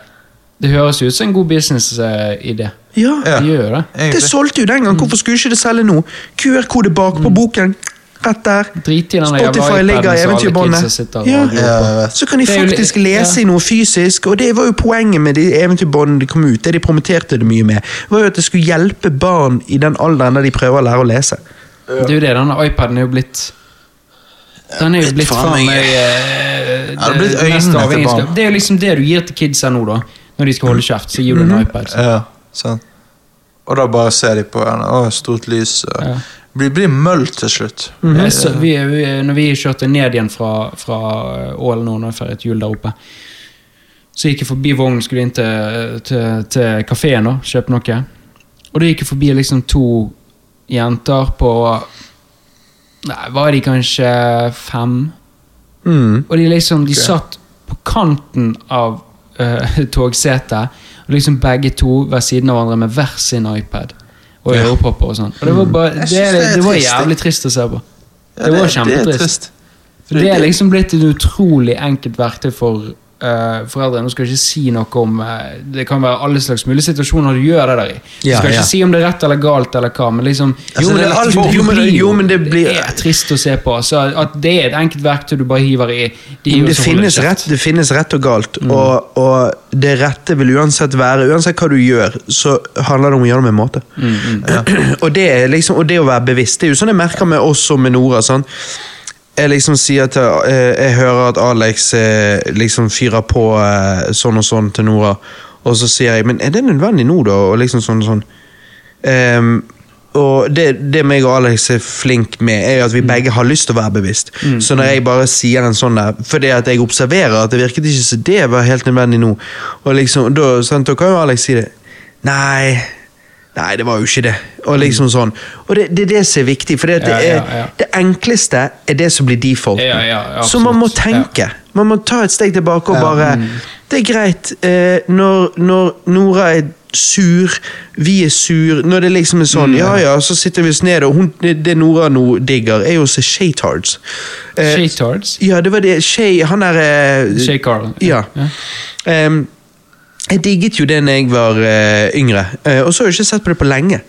C: Det høres ut som en god businessidé.
A: Ja.
B: Ja.
C: Det gjør jo det.
A: Det
B: egentlig.
A: solgte jo den gang, hvorfor skulle ikke det selge nå? QR-kode bak på boken. Rett der.
C: Mm. Drit i den jævla
A: Spotify
C: iPaden
A: ligger i
C: som alle
A: eventyrbåndet.
C: kidsa sitter og
A: Ja.
C: lager
B: Ja, jeg vet.
A: Så kan de
C: Det er jo li-
A: faktisk lese i noe fysisk, og det var jo poenget med de eventyrbåndene de kom ut. Det de promoterte det mye med, var jo at det skulle hjelpe barn i den alderen der de prøver å lære å lese.
C: Det er jo det, denne iPaden er jo blitt Den er jo blitt
B: faen
C: faen
B: meg-
C: meg eh,
B: Ja, det er blitt
C: mest
B: øynene til
C: avhengigste.
B: barn.
C: Det er jo liksom det du gir til kidsa nå, da. Når de skal holde kjeft, så gir
B: liksom.
C: du en iPad.
B: Ja, Mm. sånn. Og da bare ser de på en, å, stort lys. Og,
C: Ja.
B: blir, blir møll til slutt.
C: Jeg Eh, så, vi, vi, når vi kjørte ned igjen fra, fra Ål nå, når jeg feiret jul der oppe, så gikk jeg forbi vognen, skulle inn til, eh, til, til kafeen og kjøpe noe. Og da gikk jeg forbi liksom to jenter på Nei, var de kanskje fem?
A: Mm.
C: Og de liksom, de satt på kanten av uh, [LAUGHS] togsetet, og liksom begge to ved siden av hverandre med hver sin iPad. Og
B: Ja.
C: ørepropper og sånn. Og det
A: Mm.
C: var, bare,
B: Jeg
C: det,
B: synes det er
C: det var
B: trist, det.
C: jævlig trist å se på.
B: Ja,
C: det var
B: Det er
C: kjempetrist.
B: trist. For
C: Det
B: det-
C: er liksom blitt et utrolig enkelt verktøy for eh, foreldre. Nå skal jeg ikke si noe om eh, Det kan være alle slags mulige situasjoner du gjør det der i. Du
A: Ja,
C: skal
A: ja.
C: ikke si om det er rett eller galt, eller hva, men liksom
A: Jo, men det er alt- jo, men det- jo, men det blir-
C: er trist å se på. Så at det er et enkelt verktøy du bare hiver i. de
A: Men det
C: som holder
A: finnes,
C: kjeft.
A: rett, det finnes rett og galt, og, og det rette vil uansett være Uansett hva du gjør, så handler det om å gjøre det med en måte. og, det er liksom, og det å være bevisst. Det er jo sånn jeg merker med oss og med Nora. Sånn. Jeg liksom sier til eh, Jeg hører at Alex eh, liksom fyrer på eh, sånn og sånn til Nora, og så sier jeg Men er det nødvendig nå, da? Og liksom sånn og sånn. Ehm, og det, det meg og Alex er flink med, er jo
C: Mm.
A: at vi begge har lyst til å være bevisst. Så når jeg bare sier en sånn der, fordi at jeg observerer at det virket ikke som det var helt nødvendig nå, og liksom, da, sant, da kan jo Alex si det. Nei, nei, det var jo ikke det. Og liksom sånn. Og det, det er det som er viktig, for det, at det,
C: Mm. Ja,
A: er,
C: ja, ja.
A: det enkleste er det som blir defaulten.
C: Ja, ja,
A: Så man må
C: absolutt. Ja.
A: tenke. Man må ta et steg tilbake og bare Det er greit eh, når, når Nora er sur, vi er sur, når det liksom er sånn Ja ja, så sitter vi oss ned, og hun, det det Nora nå digger, er jo å se Shaytards. Eh,
C: Shaytards.
A: ja, det var det Shay Han er eh,
C: Shay Carlin.
A: Ja. Em, jeg digget jo det når jeg var eh, yngre, eh, og så har jeg ikke sett på det på lenge.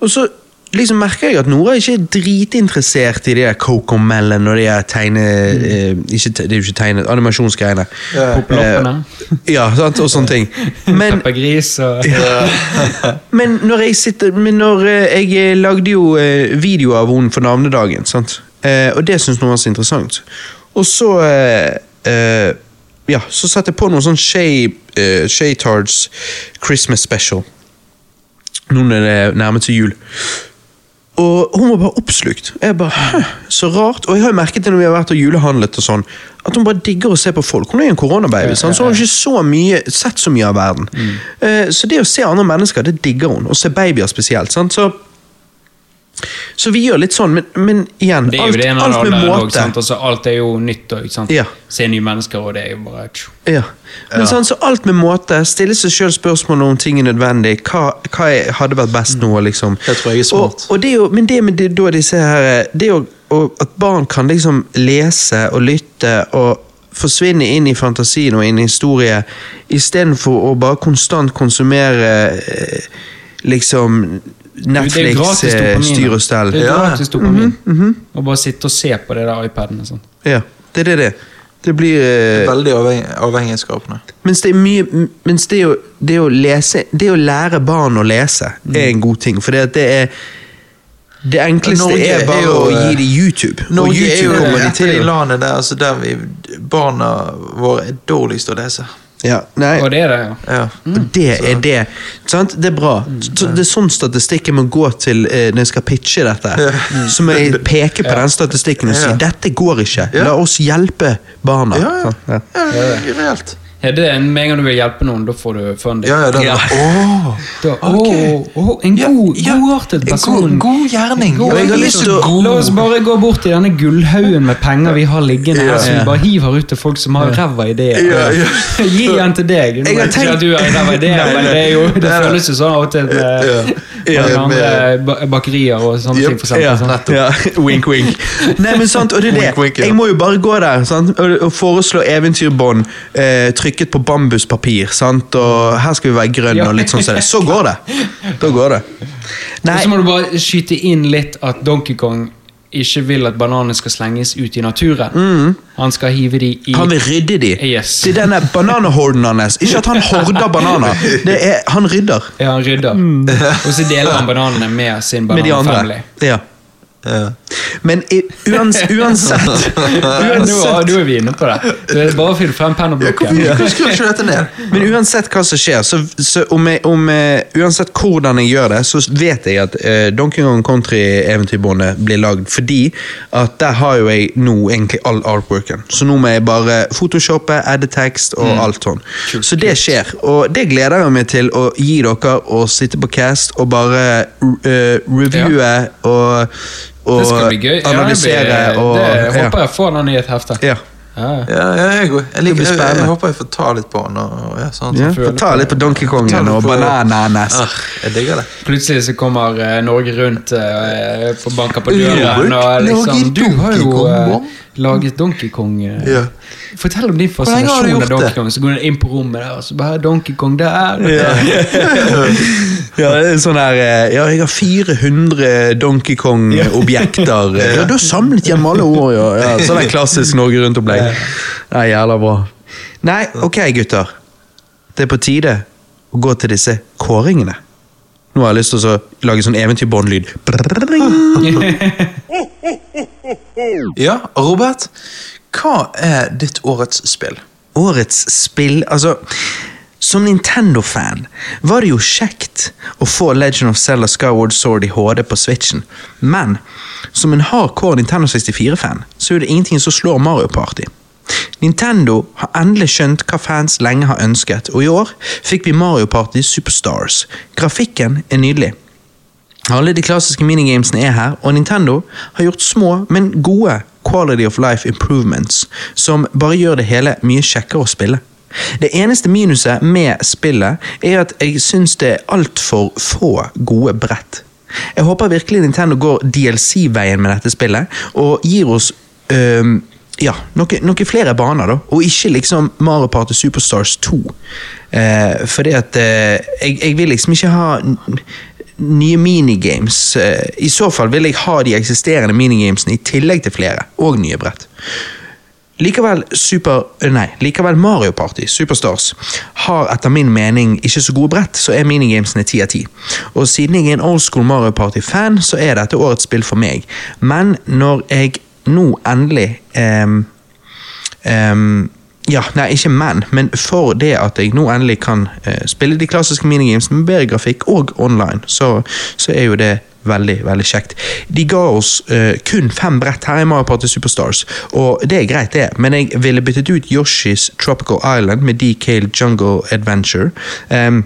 A: Og så liksom merker jeg at Nora ikke er dritinteressert i det der Coco Melon og det der tegne... eh, ikke, te- det er jo ikke tegne, animasjonsgreiene.
B: Ja.
C: Poploppene.
A: Eh, ja, sant, og sånne ting. eh, Men,
C: Peppa Gris og
A: men når jeg sitter Men når eh, jeg lagde jo eh, video av henne for navnedagen, sant? Eh, og det syns noen var så interessant. Og så eh, eh, Ja, så satte jeg på noen sånn Shay, eh, Shaytards Christmas Special. Nå når det nærmet seg jul. Og hun var bare oppslukt. Og Jeg bare, «Hæ, Så rart. Og jeg har jo merket det når vi har vært og julehandlet og sånn, at hun bare digger å se på folk. Hun er jo en koronababy, sant? så hun har ikke så mye, sett så mye av verden.
C: Mm.
A: Eh, Så det å se andre mennesker, det digger hun. Og se babyer spesielt. sant? Så, så vi gjør litt sånn, men, men igjen,
C: Det er jo
A: alt,
C: det en
A: alt
C: eller
A: med
C: annen dag.
A: måte.
C: Altså, alt er jo nytt. Og, ikke sant?
A: Ja.
C: Se nye mennesker, og det er jo bare
A: Ja. Men sånn, så alt med måte. Stille seg sjøl spørsmål om ting er nødvendig. Hva, hva er, hadde vært best nå? Liksom.
B: Det tror jeg er smart.
A: Og, og det er jo, men det med det, da disse her eh, Det er jo og at barn kan liksom lese og lytte og forsvinne inn i fantasien og inn i historie, istedenfor å bare konstant konsumere eh, liksom
C: Det er
A: Netflix,
C: gratis
A: eh, Mhm,
C: dopamin.
A: styr og stell.
C: Det er
B: Ja.
C: gratis dopamin. Og bare sitte og se på det der iPaden. og Sånn.
A: Ja, det er det det. Det blir eh,
B: Veldig avheng- avhengighetsskapende.
A: Mens det er mye m- Mens det å, det å lese Det å lære barn å lese
B: Mm.
A: er en god ting, for det er Det enkleste
B: Norge
A: er
B: er
A: bare
B: jo,
A: å
B: eh,
A: gi dem YouTube. og
B: Norge er
A: YouTube
B: jo
A: kommer de
B: et av de
A: til. å-
B: landene der, altså der vi, barna våre er dårligst å lese.
A: Ja, nei,
C: Og det er det, ja.
B: Ja.
A: og det er det. Sant? Det er bra.
B: Mm.
A: Så Det er sånn statistikken må gå til eh, når jeg skal pitche dette. Så må jeg peke på den statistikken og si
B: Mm. Ja.
A: 'dette går ikke'.
B: Ja.
A: La oss hjelpe barna.
B: Ja, ja.
A: Sånn, ja.
B: ja, det er reelt.
C: ja det er en, med en gang du vil hjelpe noen, da får du funding.
B: Ja, ja, den,
A: Ja.
B: Åh.
C: Da,
B: Ok.
C: åh, åh, en
B: Ja,
C: god,
B: ja.
C: godartet
B: En
C: person.
B: God, god gjerning.
C: God,
B: Ja, jeg har
A: gjerning.
B: lyst til å-
C: La oss bare gå bort til denne gullhaugen med penger vi har liggende her, som vi bare hiver ut til folk som har ræva ideer.
B: Ja, ja.
C: [LAUGHS] Gi den til deg. Nå
A: Jeg har
C: er det
A: tenkt-
C: Ikke at du har ræva ideer, men det, er jo, det
B: Nei, nei.
C: føles jo sånn av og til med,
B: Ja.
C: med
B: Ja,
C: andre
B: med-
C: ba- bakerier og sånne ting.
B: Jep,
C: For eksempel,
A: ja,
C: sånn.
A: nettopp. Wink, wink. Nei, men sant, og det er det.
B: Wink, wink, ja.
A: Jeg må jo bare gå der sant? og, og foreslå eventyrbånd eh, trykket på bambuspapir. Sant? Og her skal vi være grønne og litt sånn som det. Så går det. Da går det. Nei,
C: Og så må du bare skyte inn litt at Donkey Kong ikke vil at bananene skal slenges ut i naturen.
B: Mm.
C: Han skal hive de i
A: han vil rydde de.
C: Yes.
A: Det er denne bananahorden hans. Ikke at han horder bananer. Det er, han rydder
C: Ja, han rydder. Og så deler han bananene med sin
A: Mm. med de andre.
C: bananfamilie.
A: Ja.
B: Ja.
A: Men i- uans, uansett
C: Ja, nå, er-
A: Uansett
C: nå er vi inne på det. Du er bare å fylle frem penn og blokk.
B: Hvorfor
C: igjen.
B: hvorfor skriver ikke du dette ned?
A: [LAUGHS] men uansett hva som skjer, så, så om jeg, om jeg, uansett hvordan jeg gjør det, så vet jeg at eh, Donkey Kong Country-eventyrbåndet blir lagd, fordi at der har jo jeg nå egentlig all artworken. Så nå må jeg bare photoshoppe, adde tekst og
B: Mm.
A: alt sånn. Så det skjer, og det gleder jeg meg til å gi dere å sitte på cast og bare eh, reviewe og, og
C: Det skal bli gøy. Ja, det, blir,
A: analysere og
C: det
A: ja.
C: håper jeg får den i et hefte.
A: Ja.
C: Ja, ja.
B: Ja, ja, jeg, går. jeg, liker,
A: blir
B: jeg, jeg,
A: spennende.
B: håper jeg får ta litt på den. Og, ja, sånn.
A: Ja, få ta litt på Donkey
B: Ta
A: Kongen
B: litt
A: og
B: på-
A: Bananas. [LAUGHS]
B: Ah, jeg digger det.
C: Plutselig så kommer eh, Norge Rundt eh, på banker på
B: Ja.
C: døren. Og liksom,
B: Norge
C: du har jo
B: Donkey
C: eh,
B: Kong-bom.
C: laget Donkey Kong. eh.
B: Ja.
C: Fortell om din
B: lenge har du
C: fascinasjon av
B: gjort
C: Donkey
B: det?
C: Kong. Så går du inn på rommet der, og så bare Donkey Kong der.
A: Ja, det er sånn her eh, Ja, jeg har 400 Donkey Kong-objekter. Ja, du har samlet hjem alle år, ja. ja sånn er klassisk Norge Rundt-opplegg. Ja, jævla bra. Nei, ok, gutter. Det er på tide å gå til disse kåringene. Nå har jeg lyst til å så lage sånn eventyrbåndlyd. Ah. Mm.
B: ja, Robert. Hva er ditt årets spill?
A: årets spill Altså, som Nintendo-fan var det jo kjekt å få Legend of Zelda Skyward Sword i HD på Switchen, men som en hardcore Nintendo 64-fan, så er det ingenting som slår Mario Party. Nintendo har endelig skjønt hva fans lenge har ønsket, og i år fikk vi Mario Party Superstars. Grafikken er nydelig. Alle de klassiske minigamesene er her, og Nintendo har gjort små, men gode quality of life improvements, som bare gjør det hele mye kjekkere å spille. Det eneste minuset med spillet er at jeg syns det er altfor få gode brett. Jeg håper virkelig Nintendo går DLC-veien med dette spillet, og gir oss øhm, ja, noen noe flere baner, da. Og ikke liksom Mario Party Superstars 2. Eh, fordi at eh, jeg, jeg vil liksom ikke ha n- nye minigames. eh, I så fall vil jeg ha de eksisterende minigamesene i tillegg til flere, og nye brett. Likevel, super, eh, nei, likevel Mario Party, Superstars, har etter min mening ikke så gode brett, så er minigamesene 10 av 10. Og siden jeg er en old school Mario Party-fan, så er dette årets spill for meg. Men når jeg nå endelig ehm, Ehm, ja, nei, ikke men, men for det at jeg nå endelig kan eh, spille de klassiske minigamesene med bedre grafikk og online, så, så er jo det veldig, veldig kjekt. De ga oss eh, kun fem brett her i Mario Party Superstars, og det er greit det, men jeg ville byttet ut Yoshi's Tropical Island med DK Jungle Adventure. Ehm,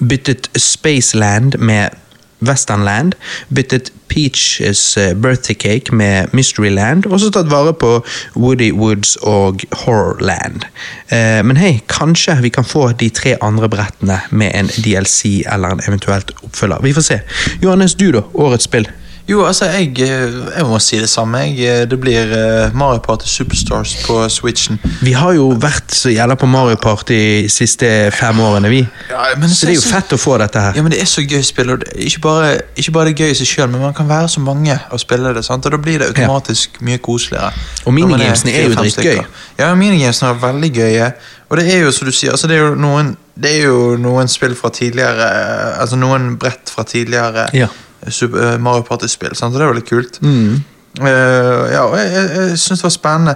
A: byttet Spaceland med Westernland, byttet Peaches eh, Birthday Cake med Mysteryland, og så tatt vare på Woody Woods og Horrorland. Eh, men hei, kanskje vi kan få de tre andre brettene med en DLC eller en eventuelt oppfølger. Vi får se. Johannes, du da? Årets spill?
B: Jo, altså, jeg, eh, jeg må si det samme. Jeg, eh, det blir eh, Mario Party Superstars på Switchen.
A: Vi har jo vært så jævla på Mario Party de siste fem årene, vi.
B: Ja, men
A: så det er jo
B: så-
A: fett å få dette her.
B: Ja, men Det er så gøy spill. og det er Ikke bare, ikke bare det er gøy i seg sjøl, men man kan være så mange og spille det. sant? Og Da blir det automatisk mye koseligere.
A: Og
B: Når man
A: minigamesene er jo
B: fire-fem
A: dritgøy.
B: stykker. Ja, minigamesene er veldig gøye. Og det er jo som du sier, altså det er jo noen, det er jo noen spill fra tidligere eh, Altså noen brett fra tidligere
A: Ja. Mm.
B: Super, eh, Mario Party-spill, sant? så det er veldig kult. Eh, ja, og jeg, jeg, jeg syns det var spennende.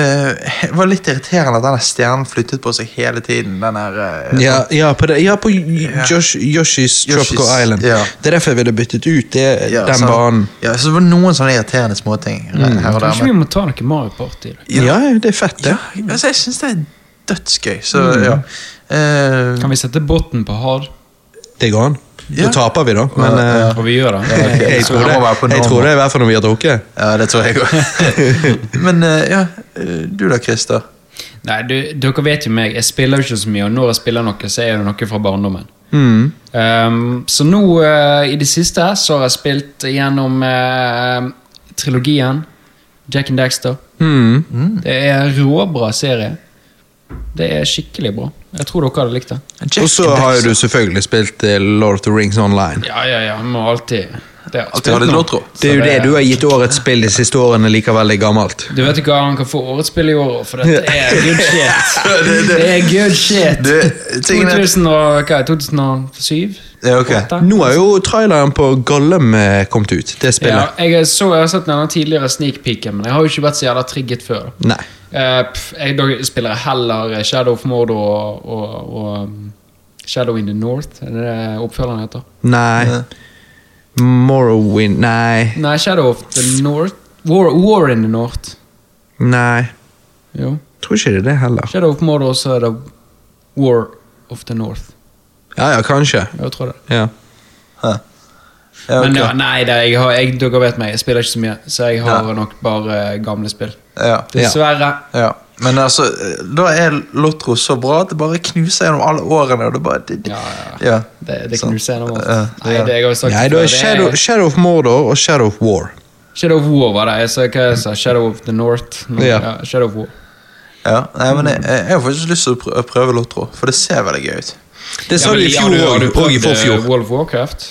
B: Eh, det var litt irriterende at denne stjernen flyttet på seg hele tiden. Den her, eh,
A: Ja, ja, på, det, ja, på Yosh, Yoshi's Tropical
B: Yoshi's,
A: Island.
B: ja.
A: Det er derfor jeg ville byttet ut det,
B: Ja,
A: den
B: sant.
A: banen.
B: Ja, så det var noen sånne irriterende småting mm. her og der.
C: Kanskje
B: Men,
C: vi må ta noe Mario Party? Da?
A: Ja. det er Mm. fett, det.
B: ja, altså, jeg syns det er dødsgøy, så ja. Eh,
C: Kan vi sette bunnen på hard?
A: Det går an. Da
B: Ja.
A: taper vi, da. Men eh,
C: Og vi gjør det.
A: jeg, tror
B: Så
A: det,
B: det må være på
A: jeg
B: normal.
A: tror det er i hvert fall når vi har drukket.
B: ja, det tror jeg òg.
A: [LAUGHS]
B: men eh, ja, eh, du da, Christer?
C: Nei, du, dere vet jo meg, jeg spiller jo ikke så mye, og når jeg spiller noe, så er det noe fra barndommen.
B: Mm.
C: Ehm, så nå, eh, i det siste, så har jeg spilt gjennom eh, trilogien Jack and Dexter.
A: Mm.
B: Mm.
C: Det er en råbra serie. Det er skikkelig bra. Jeg tror dere hadde likt det.
A: Og så har jo du selvfølgelig spilt eh, Lord of the Rings online.
C: Ja, ja, ja, må alltid Det er
B: At vi hadde et låtråd.
A: Det er jo det du har gitt årets spill de siste årene likevel det er gammelt.
C: Du vet ikke hva han kan få årets spill i år, for dette
A: [LAUGHS]
C: er good shit. [LAUGHS] Det er good shit.
B: Du, tingene-
C: 2000 og, hva, er det, 2007?
B: Ja, ok.
C: Åtte?
A: Nå er jo traileren på Gollum eh, kommet ut, det
C: Ja,
A: spillet.
C: jeg, så, jeg har sett denne tidligere sneakpeaken, men jeg har jo ikke vært så jævla trigget før.
A: Nei.
C: Eh, pff, jeg da spiller jeg heller eh, Shadow of Mordor og, og, og um, Shadow in the North, er det det oppfølgeren heter?
A: Nei. Morrowind Nei.
C: Nei, Shadow of the North War, War in the North.
A: Nei.
C: Jo.
A: Tror ikke det er det heller.
C: Shadow of Mordor, så er det War of the North.
A: Ja ja, kanskje.
C: Jeg tror det.
A: Ja.
B: Hæ. Ja, ok.
C: Men ja, nei, det, jeg har, jeg, dere vet meg, jeg spiller ikke så mye, så jeg har nok bare eh, gamle spill.
B: Ja.
C: Dessverre.
B: Ja, men altså, da er Lotro så bra at det bare knuser gjennom alle årene. Og det bare, det,
C: Ja, ja.
B: ja.
C: Det, det
B: Sant.
C: kan du se noe om.
B: Ja,
C: Nei, det jeg har jo sagt
A: Nei, da
C: det før,
A: er Shadow,
C: det er
A: Shadow of Mordor og Shadow of War.
C: Shadow of War var det. Jeg sa hva jeg sa. Shadow of the North. Nå,
A: Ja.
C: Ja, Shadow of War.
B: ja. Nei, men jeg, jeg har faktisk lyst til å prø- prøve Lotro, for det ser veldig gøy ut.
A: Det sa du
C: Ja, men
A: i
C: har
A: fjor
C: har
A: òg, og i
C: prøvd, eh,
A: forfjor.
C: World of Warcraft.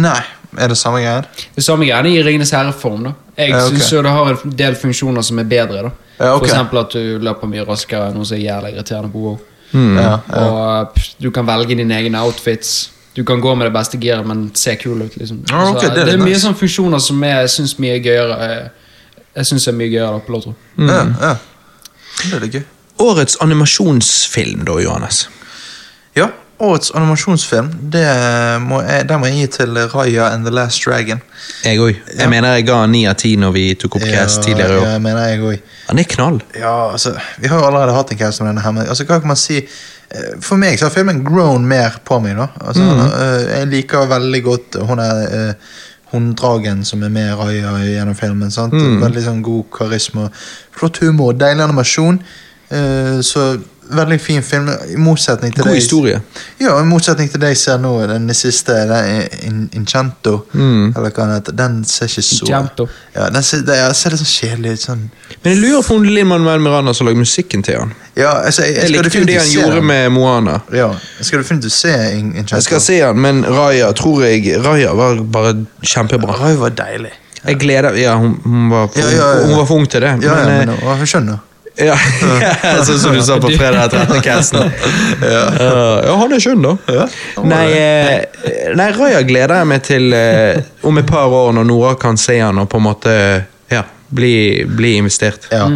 B: Nei, er det samme greien?
C: Det samme greiene i Ringenes herre-form. da Jeg
B: Ja, ok.
C: synes jo det har en del funksjoner som er bedre. da
B: Ja, ok.
C: For eksempel at du løper mye raskere, noe som er jævlig irriterende på WoW.
A: Mm.
B: Ja,
C: Og eh, pff, du kan velge dine egne outfits. Du kan gå med det beste giret, men se kul ut. liksom
B: Ja, ok,
C: Så,
B: det er
C: Det er
B: litt
C: mye
B: nice.
C: sånne funksjoner som jeg syns mye gøyere eh, Jeg synes er mye gøyere da, på Lotro.
A: Mm.
B: ja, ja. Det er litt gøy.
A: Årets animasjonsfilm, da, Johannes.
B: Ja, årets animasjonsfilm, det eh, må jeg, den må jeg gi til Raya and the Last Dragon.
A: Jeg òg. Jeg mener jeg ga ni av ti når vi tok opp cast tidligere i
B: Ja,
A: år.
B: jeg mener jeg også.
A: Han er knall.
B: Ja, altså, vi har jo allerede hatt en cast om denne her, men altså, hva kan man si? Eh, For meg så har filmen grown mer på meg, da.
A: Mm.
B: Altså, eh, jeg liker veldig godt hun er eh, Hunddragen som er med Raja gjennom filmen. sant?
A: Mm.
B: Veldig sånn god karisma. Flott humor, deilig animasjon. eh, så veldig fin film. I motsetning til
A: God
B: det jeg-
A: historie.
B: Ja, i motsetning til det jeg ser nå, den siste, eh, den In- Incento,
A: Mm.
B: eller hva den heter, den ser ikke så
C: Incento.
B: Ja, den ser, den ser litt sånn kjedelig ut. sånn
A: Men jeg lurer på om Linn Manuel Miranda som lagde musikken til han.
B: ja, altså, jeg, jeg
A: Jeg
B: skal
A: likte jo det
B: definitivt
A: han
B: se
A: gjorde
B: den.
A: med Moana.
B: Ja, jeg skal definitivt se In- Enchanted.
A: Jeg skal se han, men Raja tror jeg Raja var bare kjempebra.
B: Rai var deilig.
A: Jeg gleder Ja, hun, hun, var, for,
B: Ja, ja, ja.
A: hun var for ung til det.
B: Ja, ja,
A: men,
B: men
A: eh,
B: jeg skjønner.
A: [LAUGHS] ja, Sånn som du sa på fredag etter denne casten. [LAUGHS] Ja. ja, han er skjønn, da. Nei, eh, nei, Raja gleder jeg meg til eh, om et par år, når Nora kan se han og på en måte ja, bli, bli investert.
B: Ja,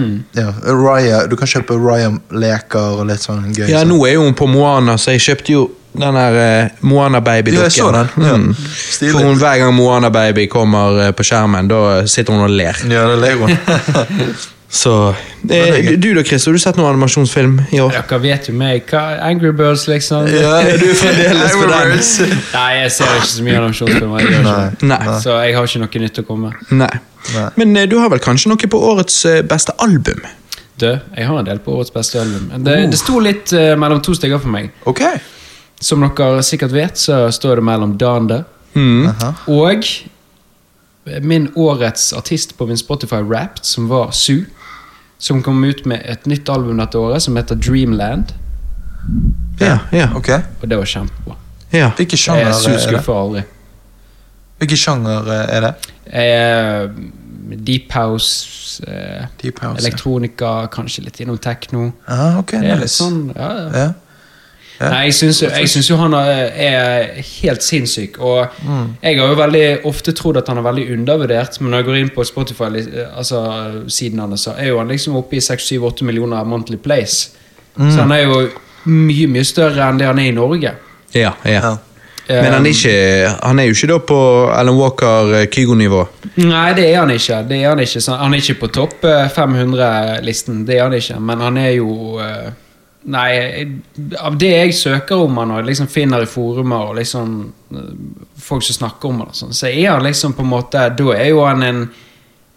B: ja. Raya, du kan kjøpe Raya-leker og litt sånn gøy.
A: Ja,
B: sånn.
A: nå er jo hun på Moana, så jeg kjøpte jo den der eh, Moana-babydukken.
B: Ja, jeg så den. Ja.
A: Mm.
B: Stilig.
A: For hun, hver gang Moana-baby kommer eh, på skjermen, da sitter hun og ler.
B: Ja, det er Legoen.
A: Så eh, Du da, Chris, har du sett noen animasjonsfilm i år?
C: Dere vet jo meg. Hva, Angry Birds, liksom.
A: Ja, du er fremdeles på den. [LAUGHS]
B: den.
C: Nei, jeg ser ikke så mye animasjonsfilmer. jeg gjør ikke det.
A: Nei. Nei.
C: Så jeg har ikke noe nytt å komme med.
A: Nei.
B: Nei.
A: Men eh, du har vel kanskje noe på årets eh, beste album?
C: Du, jeg har en del på årets beste album. Det, det sto litt eh, mellom to stykker for meg.
B: Ok.
C: Som dere sikkert vet, så står det mellom Dande
A: Mm.
B: Aha.
C: og min årets artist på min Spotify Wrapped, som var Sue. Som kom ut med et nytt album dette året som heter Dreamland.
A: Ja, ja,
B: Ok.
C: Og det var kjempebra.
A: ja.
B: Hvilken
C: Jeg
B: sjanger
C: er Sue
B: er det?
C: skuffer aldri.
B: Hvilken sjanger eh, er det?
C: Eh, deep House, eh,
B: Deep House. ja.
C: elektronika, kanskje litt innom techno.
B: Ah, ok,
C: Det er litt
B: nice.
C: sånn, ja, ja.
B: Ja. Ja.
C: Nei, jeg syns, jo- jeg syns jo han er- er helt sinnssyk. Og jeg har jo veldig ofte trodd at han er veldig undervurdert, men når jeg går inn på Spotify-siden altså, siden hans, så er jo han liksom oppe i 6-7-8 millioner monthly plays. Så han er jo mye, mye større enn det han er i Norge.
A: ja, ja.
B: Ja.
A: Men
C: Um,
A: han er, ikke, han er jo ikke da på Alan Walker eh, Kygo-nivå.
C: Nei, det er han ikke. Det er han, ikke. Så han er ikke på topp 500-listen, det er han ikke. Men han er jo eh, Nei, av det jeg søker om han og liksom finner i forumer og liksom eh, folk som snakker om han, og sånn, så er han liksom på en måte Da er jo han en,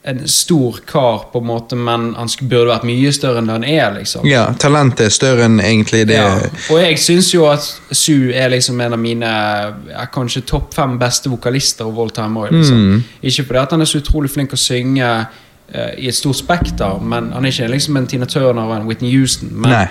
C: en stor kar, på en måte, men han sk- burde vært mye større enn det han er, liksom.
A: Ja, talentet er større enn egentlig det
C: Ja, Og jeg syns jo at Sue er liksom en av mine ja, kanskje topp fem beste vokalister of all time. Også, liksom.
A: Mm.
C: Ikke fordi at han er så utrolig flink å synge eh, i et stort spekter, men han er ikke liksom en Tina Turner og en Whitney Houston. Men
A: Nei.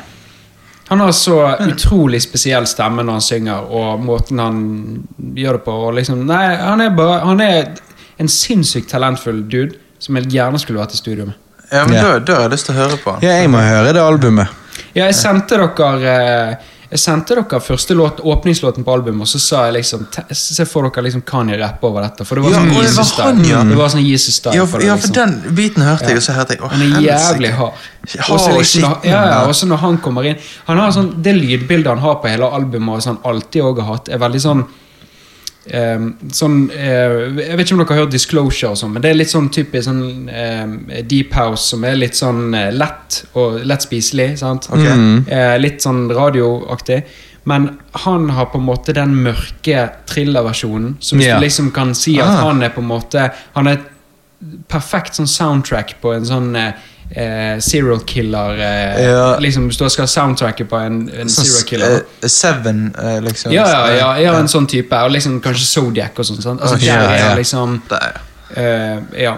C: Han har så utrolig spesiell stemme når han synger, og måten han gjør det på. Og liksom, nei, han er, bare, han er en sinnssykt talentfull dude som jeg gjerne skulle vært i studio med.
B: Ja, men
A: Ja.
B: da, da har jeg lyst til å høre på han.
A: Ja, jeg må høre det albumet.
C: Ja, jeg sendte dere eh, Jeg sendte dere første låt, åpningslåten på albumet, og så sa jeg liksom "Te- Se for dere liksom Kanye rappe over dette, for det var
B: Ja,
C: sånn
B: og det var han, ja.
C: Jesus-style. Det var sånn Jesus-style
B: Ja,
C: på
B: for,
C: det,
B: ja,
C: liksom.
B: for den biten hørte jeg, og så hørte jeg å,
C: Han er
B: helsike.
C: jævlig hard.
B: Hard
C: Også
B: og
C: liksom,
B: skitten,
C: ja, ja,
B: ja.
C: også når han kommer inn Han har sånn, Det lydbildet han har på hele albumet, og sånn alltid også har hatt, er veldig sånn ehm, sånn eh, Jeg vet ikke om dere har hørt Disclosure, og sånn, men det er litt sånn typisk sånn, ehm, deep house som er litt sånn eh, lett og lett spiselig. Sant?
B: Ok.
C: Eh, litt sånn radioaktig. Men han har på en måte den mørke thriller-versjonen. Så hvis
A: Ja.
C: du liksom kan si at
B: Ah.
C: han er på en måte Han er et perfekt sånn soundtrack på en sånn eh, eh, serial killer eh,
B: Ja.
C: Liksom Hvis du skal soundtracke på en, en
B: Sånn,
C: serial killer. da.
B: eh, Seven, eh, liksom.
C: Ja, ja, ja, ja, en sånn type. Og liksom kanskje Zodiac og sånn. sant? Altså,
B: Ok,
C: der
B: ja, ja.
C: er liksom
B: Der, ja.
C: eh, Ja.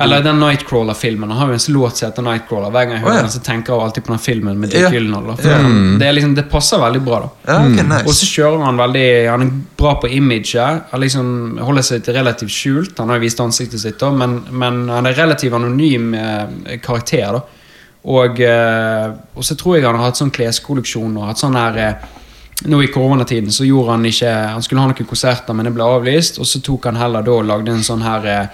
C: Eller den Nightcrawler-filmen. Han har jo en låt som heter Nightcrawler. Hver gang jeg hører
B: Å, ja.
C: den, så tenker jeg alltid på den filmen med Dick
B: Ja.
C: Gyllenhaal. da. For
B: Ja.
C: han- Det, er liksom, det passer veldig bra, da.
B: Ja, ok, nice.
C: Mm. Og så kjører han veldig Han er bra på imaget. Han liksom holder seg til relativt skjult. Han har jo vist ansiktet sitt, da, men, men han er relativt anonym eh, karakter. da Og, eh, og så tror jeg han har hatt sånn kleskolleksjon og hatt sånn her eh, nå I koronatiden så gjorde han ikke Han skulle ha noen konserter, men det ble avlyst. Og så tok han heller da og lagde en sånn her eh,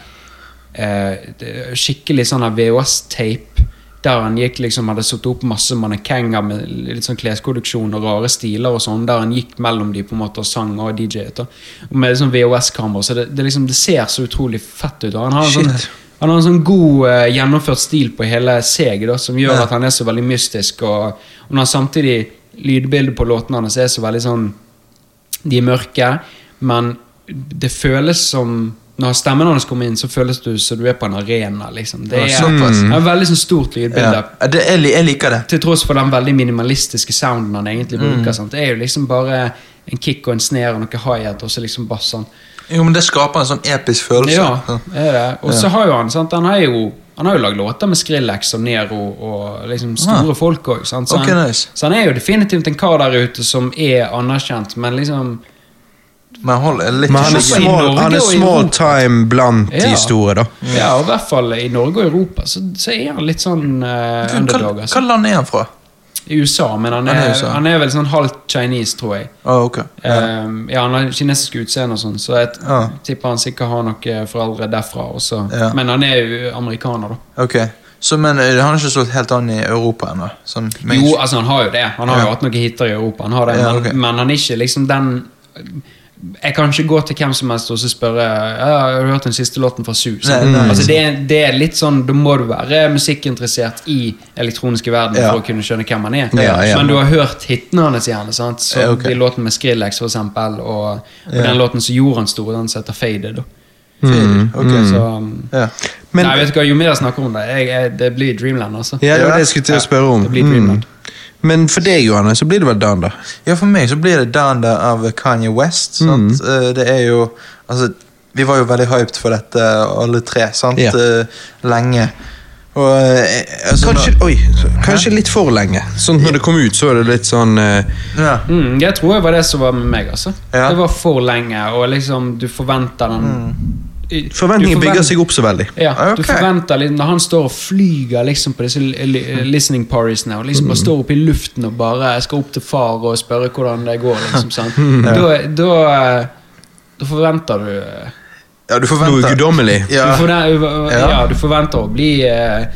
C: eh, det- skikkelig sånn her VHS-tape der han gikk liksom hadde satt opp masse mannekenger med litt sånn kleskolleksjon og rare stiler og sånn, der han gikk mellom de på en måte og sang og DJ-et. da. Og Med sånn VHS-kamera, så det, det, liksom, det ser så utrolig fett ut. og Han har en sånn,
B: Shit.
C: han har en sånn god eh, gjennomført stil på hele seg, da, som gjør
B: Ja.
C: at han er så veldig mystisk. Og, og når han samtidig lydbildet på låtene hans er så veldig sånn de er mørke, men det føles som Når stemmen hans kommer inn, så føles du som du er på en arena. liksom. Det er,
B: Ja, såpass.
C: det er et veldig sånn stort lydbilde.
B: Ja. Det, jeg, li- jeg liker det.
C: Til tross for den veldig minimalistiske sounden han egentlig
B: Mm.
C: bruker. Sant? Det er jo liksom bare en kick og en snare og noe hi-hat og så liksom bass. Sant?
B: Jo, men det skaper en sånn episk følelse.
C: Ja, det er det. Og så har jo han sant? Han har jo, han har jo lagd låter med Skrillex og Nero og liksom store
B: Ah.
C: folk òg. Så,
B: Ok,
C: han-
B: nice.
C: så han er jo definitivt en kar der ute som er anerkjent, men liksom
B: Men hold er litt
A: Men han er
B: skyggen.
C: i
A: small,
C: Norge
A: han er
C: og i
A: small
C: Europa.
A: time blant
C: Ja.
A: de store, da.
C: Ja, og i hvert fall i Norge og Europa så, så er han litt sånn eh,
B: Hva-
C: underdog.
B: Hva
C: Altså.
B: land er han fra?
C: I USA, men han
B: Han
C: er,
B: er i
C: han
B: USA.
C: er, vel sånn halvt kinesisk, tror jeg.
B: Å, Ah, ok.
C: Ja. ja, Han har kinesisk utseende og sånn, så jeg t-
B: Ja.
C: tipper han sikkert har noen foreldre derfra. Også.
B: Ja.
C: Men han er jo amerikaner, da.
B: Ok. Så, men eh, han har ikke slått helt an i Europa ennå? Sånn, men-
C: Jo, altså han har jo det. Han har
B: Ja.
C: jo hatt noen hiter i Europa, han har det,
B: Ja,
C: men,
B: ok.
C: men han er ikke liksom den Jeg kan ikke gå til hvem som helst og så spørre «Ja, Har du hørt den siste låten fra Sus?
B: Nei, nei.
C: Altså, det, er- det er litt sånn, Da må du være musikkinteressert i elektroniske verden
B: Ja.
C: for å kunne skjønne hvem han er.
A: Ja, ja.
C: Men du har hørt hitene hans gjerne. sant? Så
B: Ja, ok.
C: De låtene med Skrillex, for eksempel, og, og den låten som gjorde han stor, den som heter Faded. da. mm,
B: Ok,
C: Så,
B: ja.
A: Mm. Men-
C: nei, vet du hva, Jo mer jeg snakker om det, jeg, jeg, det blir Dreamland, altså.
A: Ja, det var det jeg skulle til å spørre om.
C: det blir Dreamland.
A: Mm. Men for deg, Johanne, så blir det vel Dan, da.
B: Ja, for meg så blir det Down There av Kanye West.
A: Mm.
B: Sant? Eh, Det er jo Altså, vi var jo veldig hyped for dette, alle tre, sant?
A: Ja.
B: Eh, Lenge. Og eh, altså,
A: Kanskje, oi, kanskje litt for lenge. Sånn når det kom ut, så er det litt sånn eh,
B: nå- ja.
C: Mm, jeg tror det var det som var med meg. altså
B: Ja. Mm.
C: Det var for lenge, og liksom du forventer den I-
A: Forventningen
C: du forvent-
A: bygger seg opp så veldig.
C: Ja, du
B: Ah, Ok.
C: forventer litt Når han står og flyger liksom på disse li- li-
B: Mm.
C: listening pariesene og liksom bare står oppe i luften og bare skal opp til far og spørre hvordan det går,
B: [LAUGHS]
C: liksom sant? Da, da, eh, da forventer du eh,
B: ja, du
A: Noe
B: forventer
A: guddommelig.
B: Ja.
C: du, forventer,
B: Ja.
C: ja, du forventer å bli eh,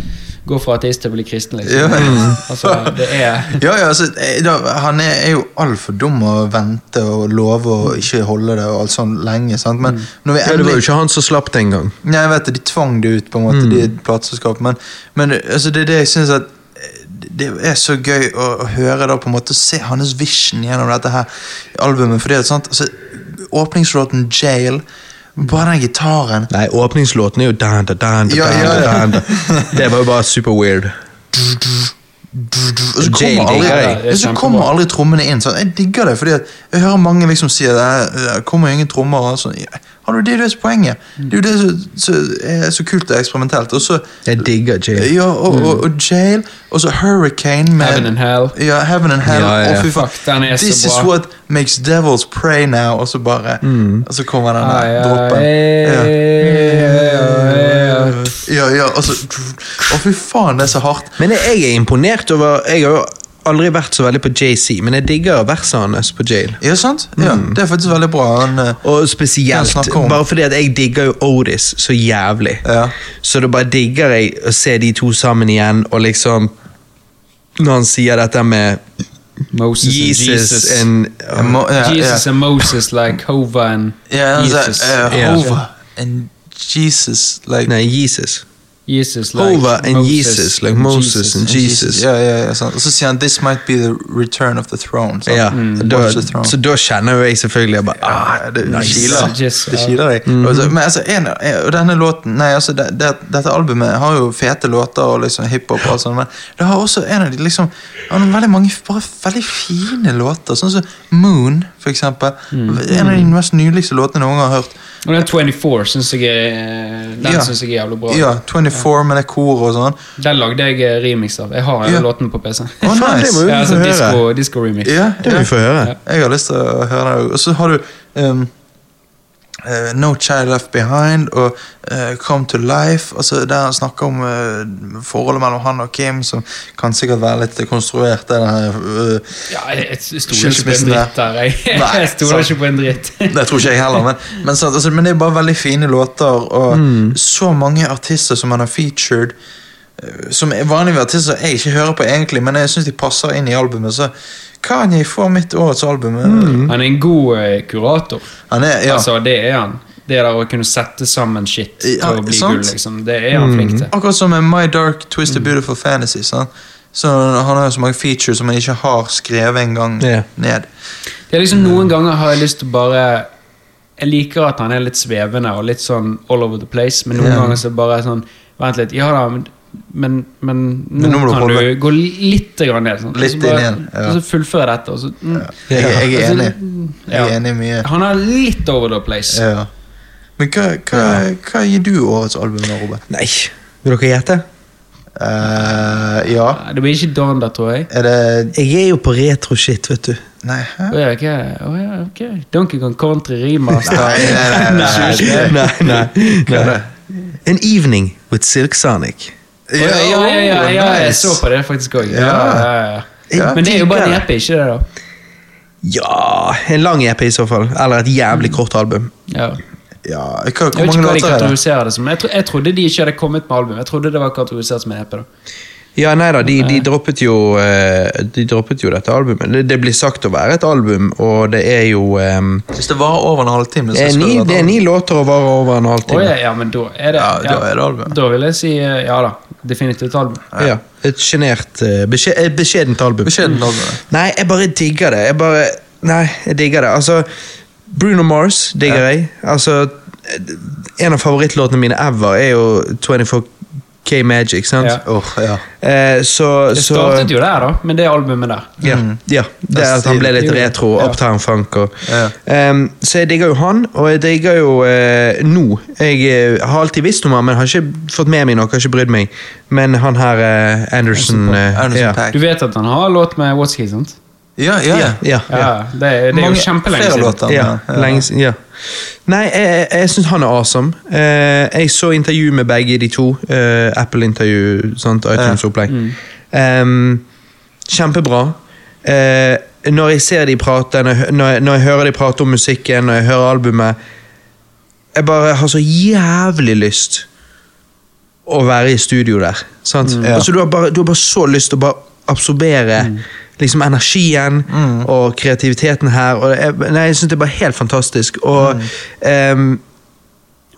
C: Gå fra ateist til å bli kristen,
B: Ja.
C: liksom. Altså, det
B: [LAUGHS]
C: er
B: Ja, ja, altså, eh, da, han er, er jo altfor dum å vente og love og ikke holde det og alt sånn lenge. sant? Men når
A: Mm.
B: vi
A: Ja, det var
B: endelig-
A: jo ikke han som slapp det engang.
B: Nei, jeg vet det, de tvang det ut, på en måte,
C: Mm.
B: de plateselskapene. Men, men altså, det er det jeg syns at eh, det er så gøy å, å høre da, på en måte, se hans vision gjennom dette her albumet. For det er sant, altså, Åpningslåten 'Jail', bare den gitaren
A: Nei, åpningslåten er jo dan, da, dan, da,
B: Ja,
A: dan, da,
B: ja, ja.
A: dan, da. [LAUGHS] Det var jo bare super weird.
B: Og så
A: Jail
B: kommer aldri,
A: digger jeg.
B: ja,
C: Det er
B: så kommer
C: kjempebra.
B: aldri trommene inn. Sånn. Jeg digger det, fordi at jeg hører mange liksom si at det, det kommer jo ingen trommer. og Sånn. Jeg- Han, det er jo det som er poenget. Det er jo det som som er så kult og eksperimentelt. Og så
A: Jeg digger Jail.
B: Ja, og, og, og Jail, og så Hurricane med
C: mm. Heaven and Hell.
B: Ja, Heaven and Hell.
A: Ja, ja, ja.
B: Å, fy faen.
C: Fuck, den er så
B: This is
C: bra. Mm.
B: what makes devils pray now. Og så bare Og så kommer den der
C: Ai, ai,
B: dråpen. Ja.
C: ai, ai, ai.
B: Ja, ja, og så Å, fy faen, det er så hardt.
A: Men jeg er imponert over Jeg har jo aldri vært så veldig på JC, men jeg digger verset hans på Jail.
B: Ja, sant? Ja,
C: Mm.
B: Det er faktisk veldig bra. Han, eh,
A: Og
B: Den
A: spesielt,
B: snakker om.
A: bare fordi at jeg digger jo Otis så jævlig.
B: Ja.
A: Så da bare digger jeg å se de to sammen igjen, og liksom Når han sier dette med
C: Moses and
A: Jesus,
C: Jesus.
A: and
B: jeg må- ja, ja.
C: Jesus and Moses, like Hova and
B: Ja, altså,
C: Jesus.
B: eh,
A: Ja.
B: Hova and Jesus like,
A: Nei, Jesus.
C: Jesus, like
A: Hova and
C: Moses
A: Jesus, like
C: and
A: Moses and Jesus.
B: Ja, ja, ja, sant. Og så sier han 'This might be the return of the throne'. sant?
A: Ja, da,
B: Mm. Watch the throne.
A: så da kjenner jo jeg selvfølgelig jeg bare ah,
B: Ja, det det
A: nice.
B: kiler.
C: Yes,
B: Det
C: ja.
B: kiler deg. Og så- Men altså, en, en- og denne låten Nei, altså, det, det, dette albumet har jo fete låter og liksom hiphop og alt sånt, men det har også en av de liksom har noen veldig mange bare veldig fine låter, sånn som Moon, for eksempel. En av de mest nydeligste låtene jeg noen gang har hørt.
C: Og den 24 syns jeg er eh, Den
B: Ja.
C: synes jeg er jævlig bra.
B: Ja, 24 med det koret og sånn.
C: Den lagde jeg eh, remix av. Jeg har
B: Ja.
C: ja. låten på PC.
B: Å,
A: Faen, det må
B: nice.
A: vi
C: [LAUGHS] Ja, altså
A: få høre.
C: disco, disco remix.
B: Ja,
A: Det må
B: ja.
A: vi få høre.
B: Jeg har lyst til å høre det òg. Og så har du ehm, eh, No Child Left Behind og eh, Come to Life. Altså Der han snakker om eh, forholdet mellom han og Kim, som kan sikkert være litt konstruert. Det, der, eh,
C: Ja, jeg, jeg stoler ikke på en
B: Skilsmissen
C: dritt der, jeg.
B: Nei,
C: [LAUGHS] jeg stoler
B: sant.
C: ikke på en dritt.
B: det tror ikke jeg heller, men, men, sant, altså, men det er bare veldig fine låter. Og så mange artister som han har featured, eh, som er vanlige artister jeg ikke hører på egentlig, men jeg syns de passer inn i albumet. Så Kanye får mitt årets album. eh,
C: Han er en god eh, kurator.
B: Han er, ja.
C: Altså, det er han. Det der å kunne sette sammen shit til
B: Ja,
C: å bli
B: sant.
C: gull, liksom. Det er han flink til.
B: Akkurat som med My Dark Twisted
A: Mm.
B: Beautiful Fantasy. Sant? Så Han har jo så mange features som han ikke har skrevet engang
A: Ja.
B: ned.
C: Det er liksom Noen ganger har jeg lyst til å bare Jeg liker at han er litt svevende og litt sånn all over the place, men noen
B: Ja.
C: ganger så bare er det sånn Vent litt. Ja da, men men, men nå,
B: Men nå må du
C: kan du
B: holde-
C: gå litt grann ned. Sånn.
B: Litt
C: og så bare,
B: inn igjen, ja.
C: Og så fullføre dette. Og så, mm.
B: Jeg, jeg er
C: Altså,
B: enig. Jeg
C: ja.
B: er enig i mye.
C: Han er litt over the place.
B: Ja. Men hva, hva, hva gir du årets album, da, Robert?
A: Nei, vil dere gjette?
B: Eh, ja.
C: Nei, Det blir ikke Donda, tror jeg.
B: Er det
A: Jeg er jo på retro-shit, vet du.
B: Nei, hæ?
C: Å ja, ok. Å ja, ok. Donkey Kong Country remaster.
B: Nei, nei, nei, nei, nei,
A: Nei, nei, nei. An Evening with Silk Sonic.
C: Å ja, ja, ja, ja, ja, jeg
B: nice.
C: så på det faktisk òg. Ja,
B: Ja.
C: ja, ja.
A: Ja.
C: Men det er jo bare en EP, ikke det? da?
A: Ja En lang EP i så fall. Eller et jævlig kort album.
C: Ja.
B: Ja, hva,
C: Jeg
B: Hvor
C: vet ikke hva
B: mange
C: de
B: låter er det?
C: kategoriserer det som. Jeg, tro, jeg trodde de ikke hadde kommet med album. Jeg trodde det var kategorisert som en EP. da.
A: Ja, nei da, de, de, droppet jo, eh, de droppet jo dette albumet. Det, det blir sagt å være et album, og det er jo ehm,
B: Hvis det varer over en halvtime,
A: det
B: så
A: er,
B: skal
A: ni,
B: det
A: det er
B: være
A: ni låter og varer over en
C: Å
A: halvtime.
C: ja, ja, men da er det
B: Ja, da er det album.
C: Da vil jeg si eh, ja da. Definitivt album.
A: Ja, et sjenert eh, beskje, eh, Beskjedent album.
B: Beskjeden album.
A: Nei, jeg bare digger det. Jeg bare Nei, jeg digger det. Altså, Bruno Mars digger jeg. Altså, en av favorittlåtene mine ever er jo 24K Magic, sant?
C: Ja.
B: Åh, ja.
A: Eh, så,
C: Det
A: så
C: startet Mm. jo der, da, med det albumet der.
A: Ja, ja. det er at han ble litt
C: Jo, ja.
A: retro.
C: Ja.
A: Uptown Funk. Og,
B: Ja.
A: Ehm, så jeg digger jo han, og jeg digger jo eh, nå Jeg eh, har alltid visst om han, men har ikke fått med meg noe, har ikke brydd meg. Men han her, eh, Anderson, eh,
B: Anderson
A: ja.
B: Paak.
C: Du vet at han har låt med Watsky, sant?
B: Ja, ja, ja.
A: Ja,
C: Ja,
A: ja.
C: Det, er- det er
B: Mange-
C: jo kjempelenge
B: flere
C: siden.
B: låter.
A: Ja,
B: Ja.
A: lenge siden. Ja. Nei, jeg, jeg, jeg syns han er awesome. Eh, jeg så intervju med begge de to. eh, Apple-intervju, sant, iTunes-opplegg.
B: Mm.
A: Ehm, kjempebra. Eh, når jeg ser de prate, når jeg, hø- når, jeg, når jeg hører de prate om musikken, når jeg hører albumet Jeg bare har så jævlig lyst å være i studio der. Sant?
B: Mm. Ja. Mm.
A: Altså, du, har bare, du har bare så lyst til å bare absorbere liksom, energien og kreativiteten her. Og jeg, nei, jeg syns det er bare helt fantastisk. Og ehm,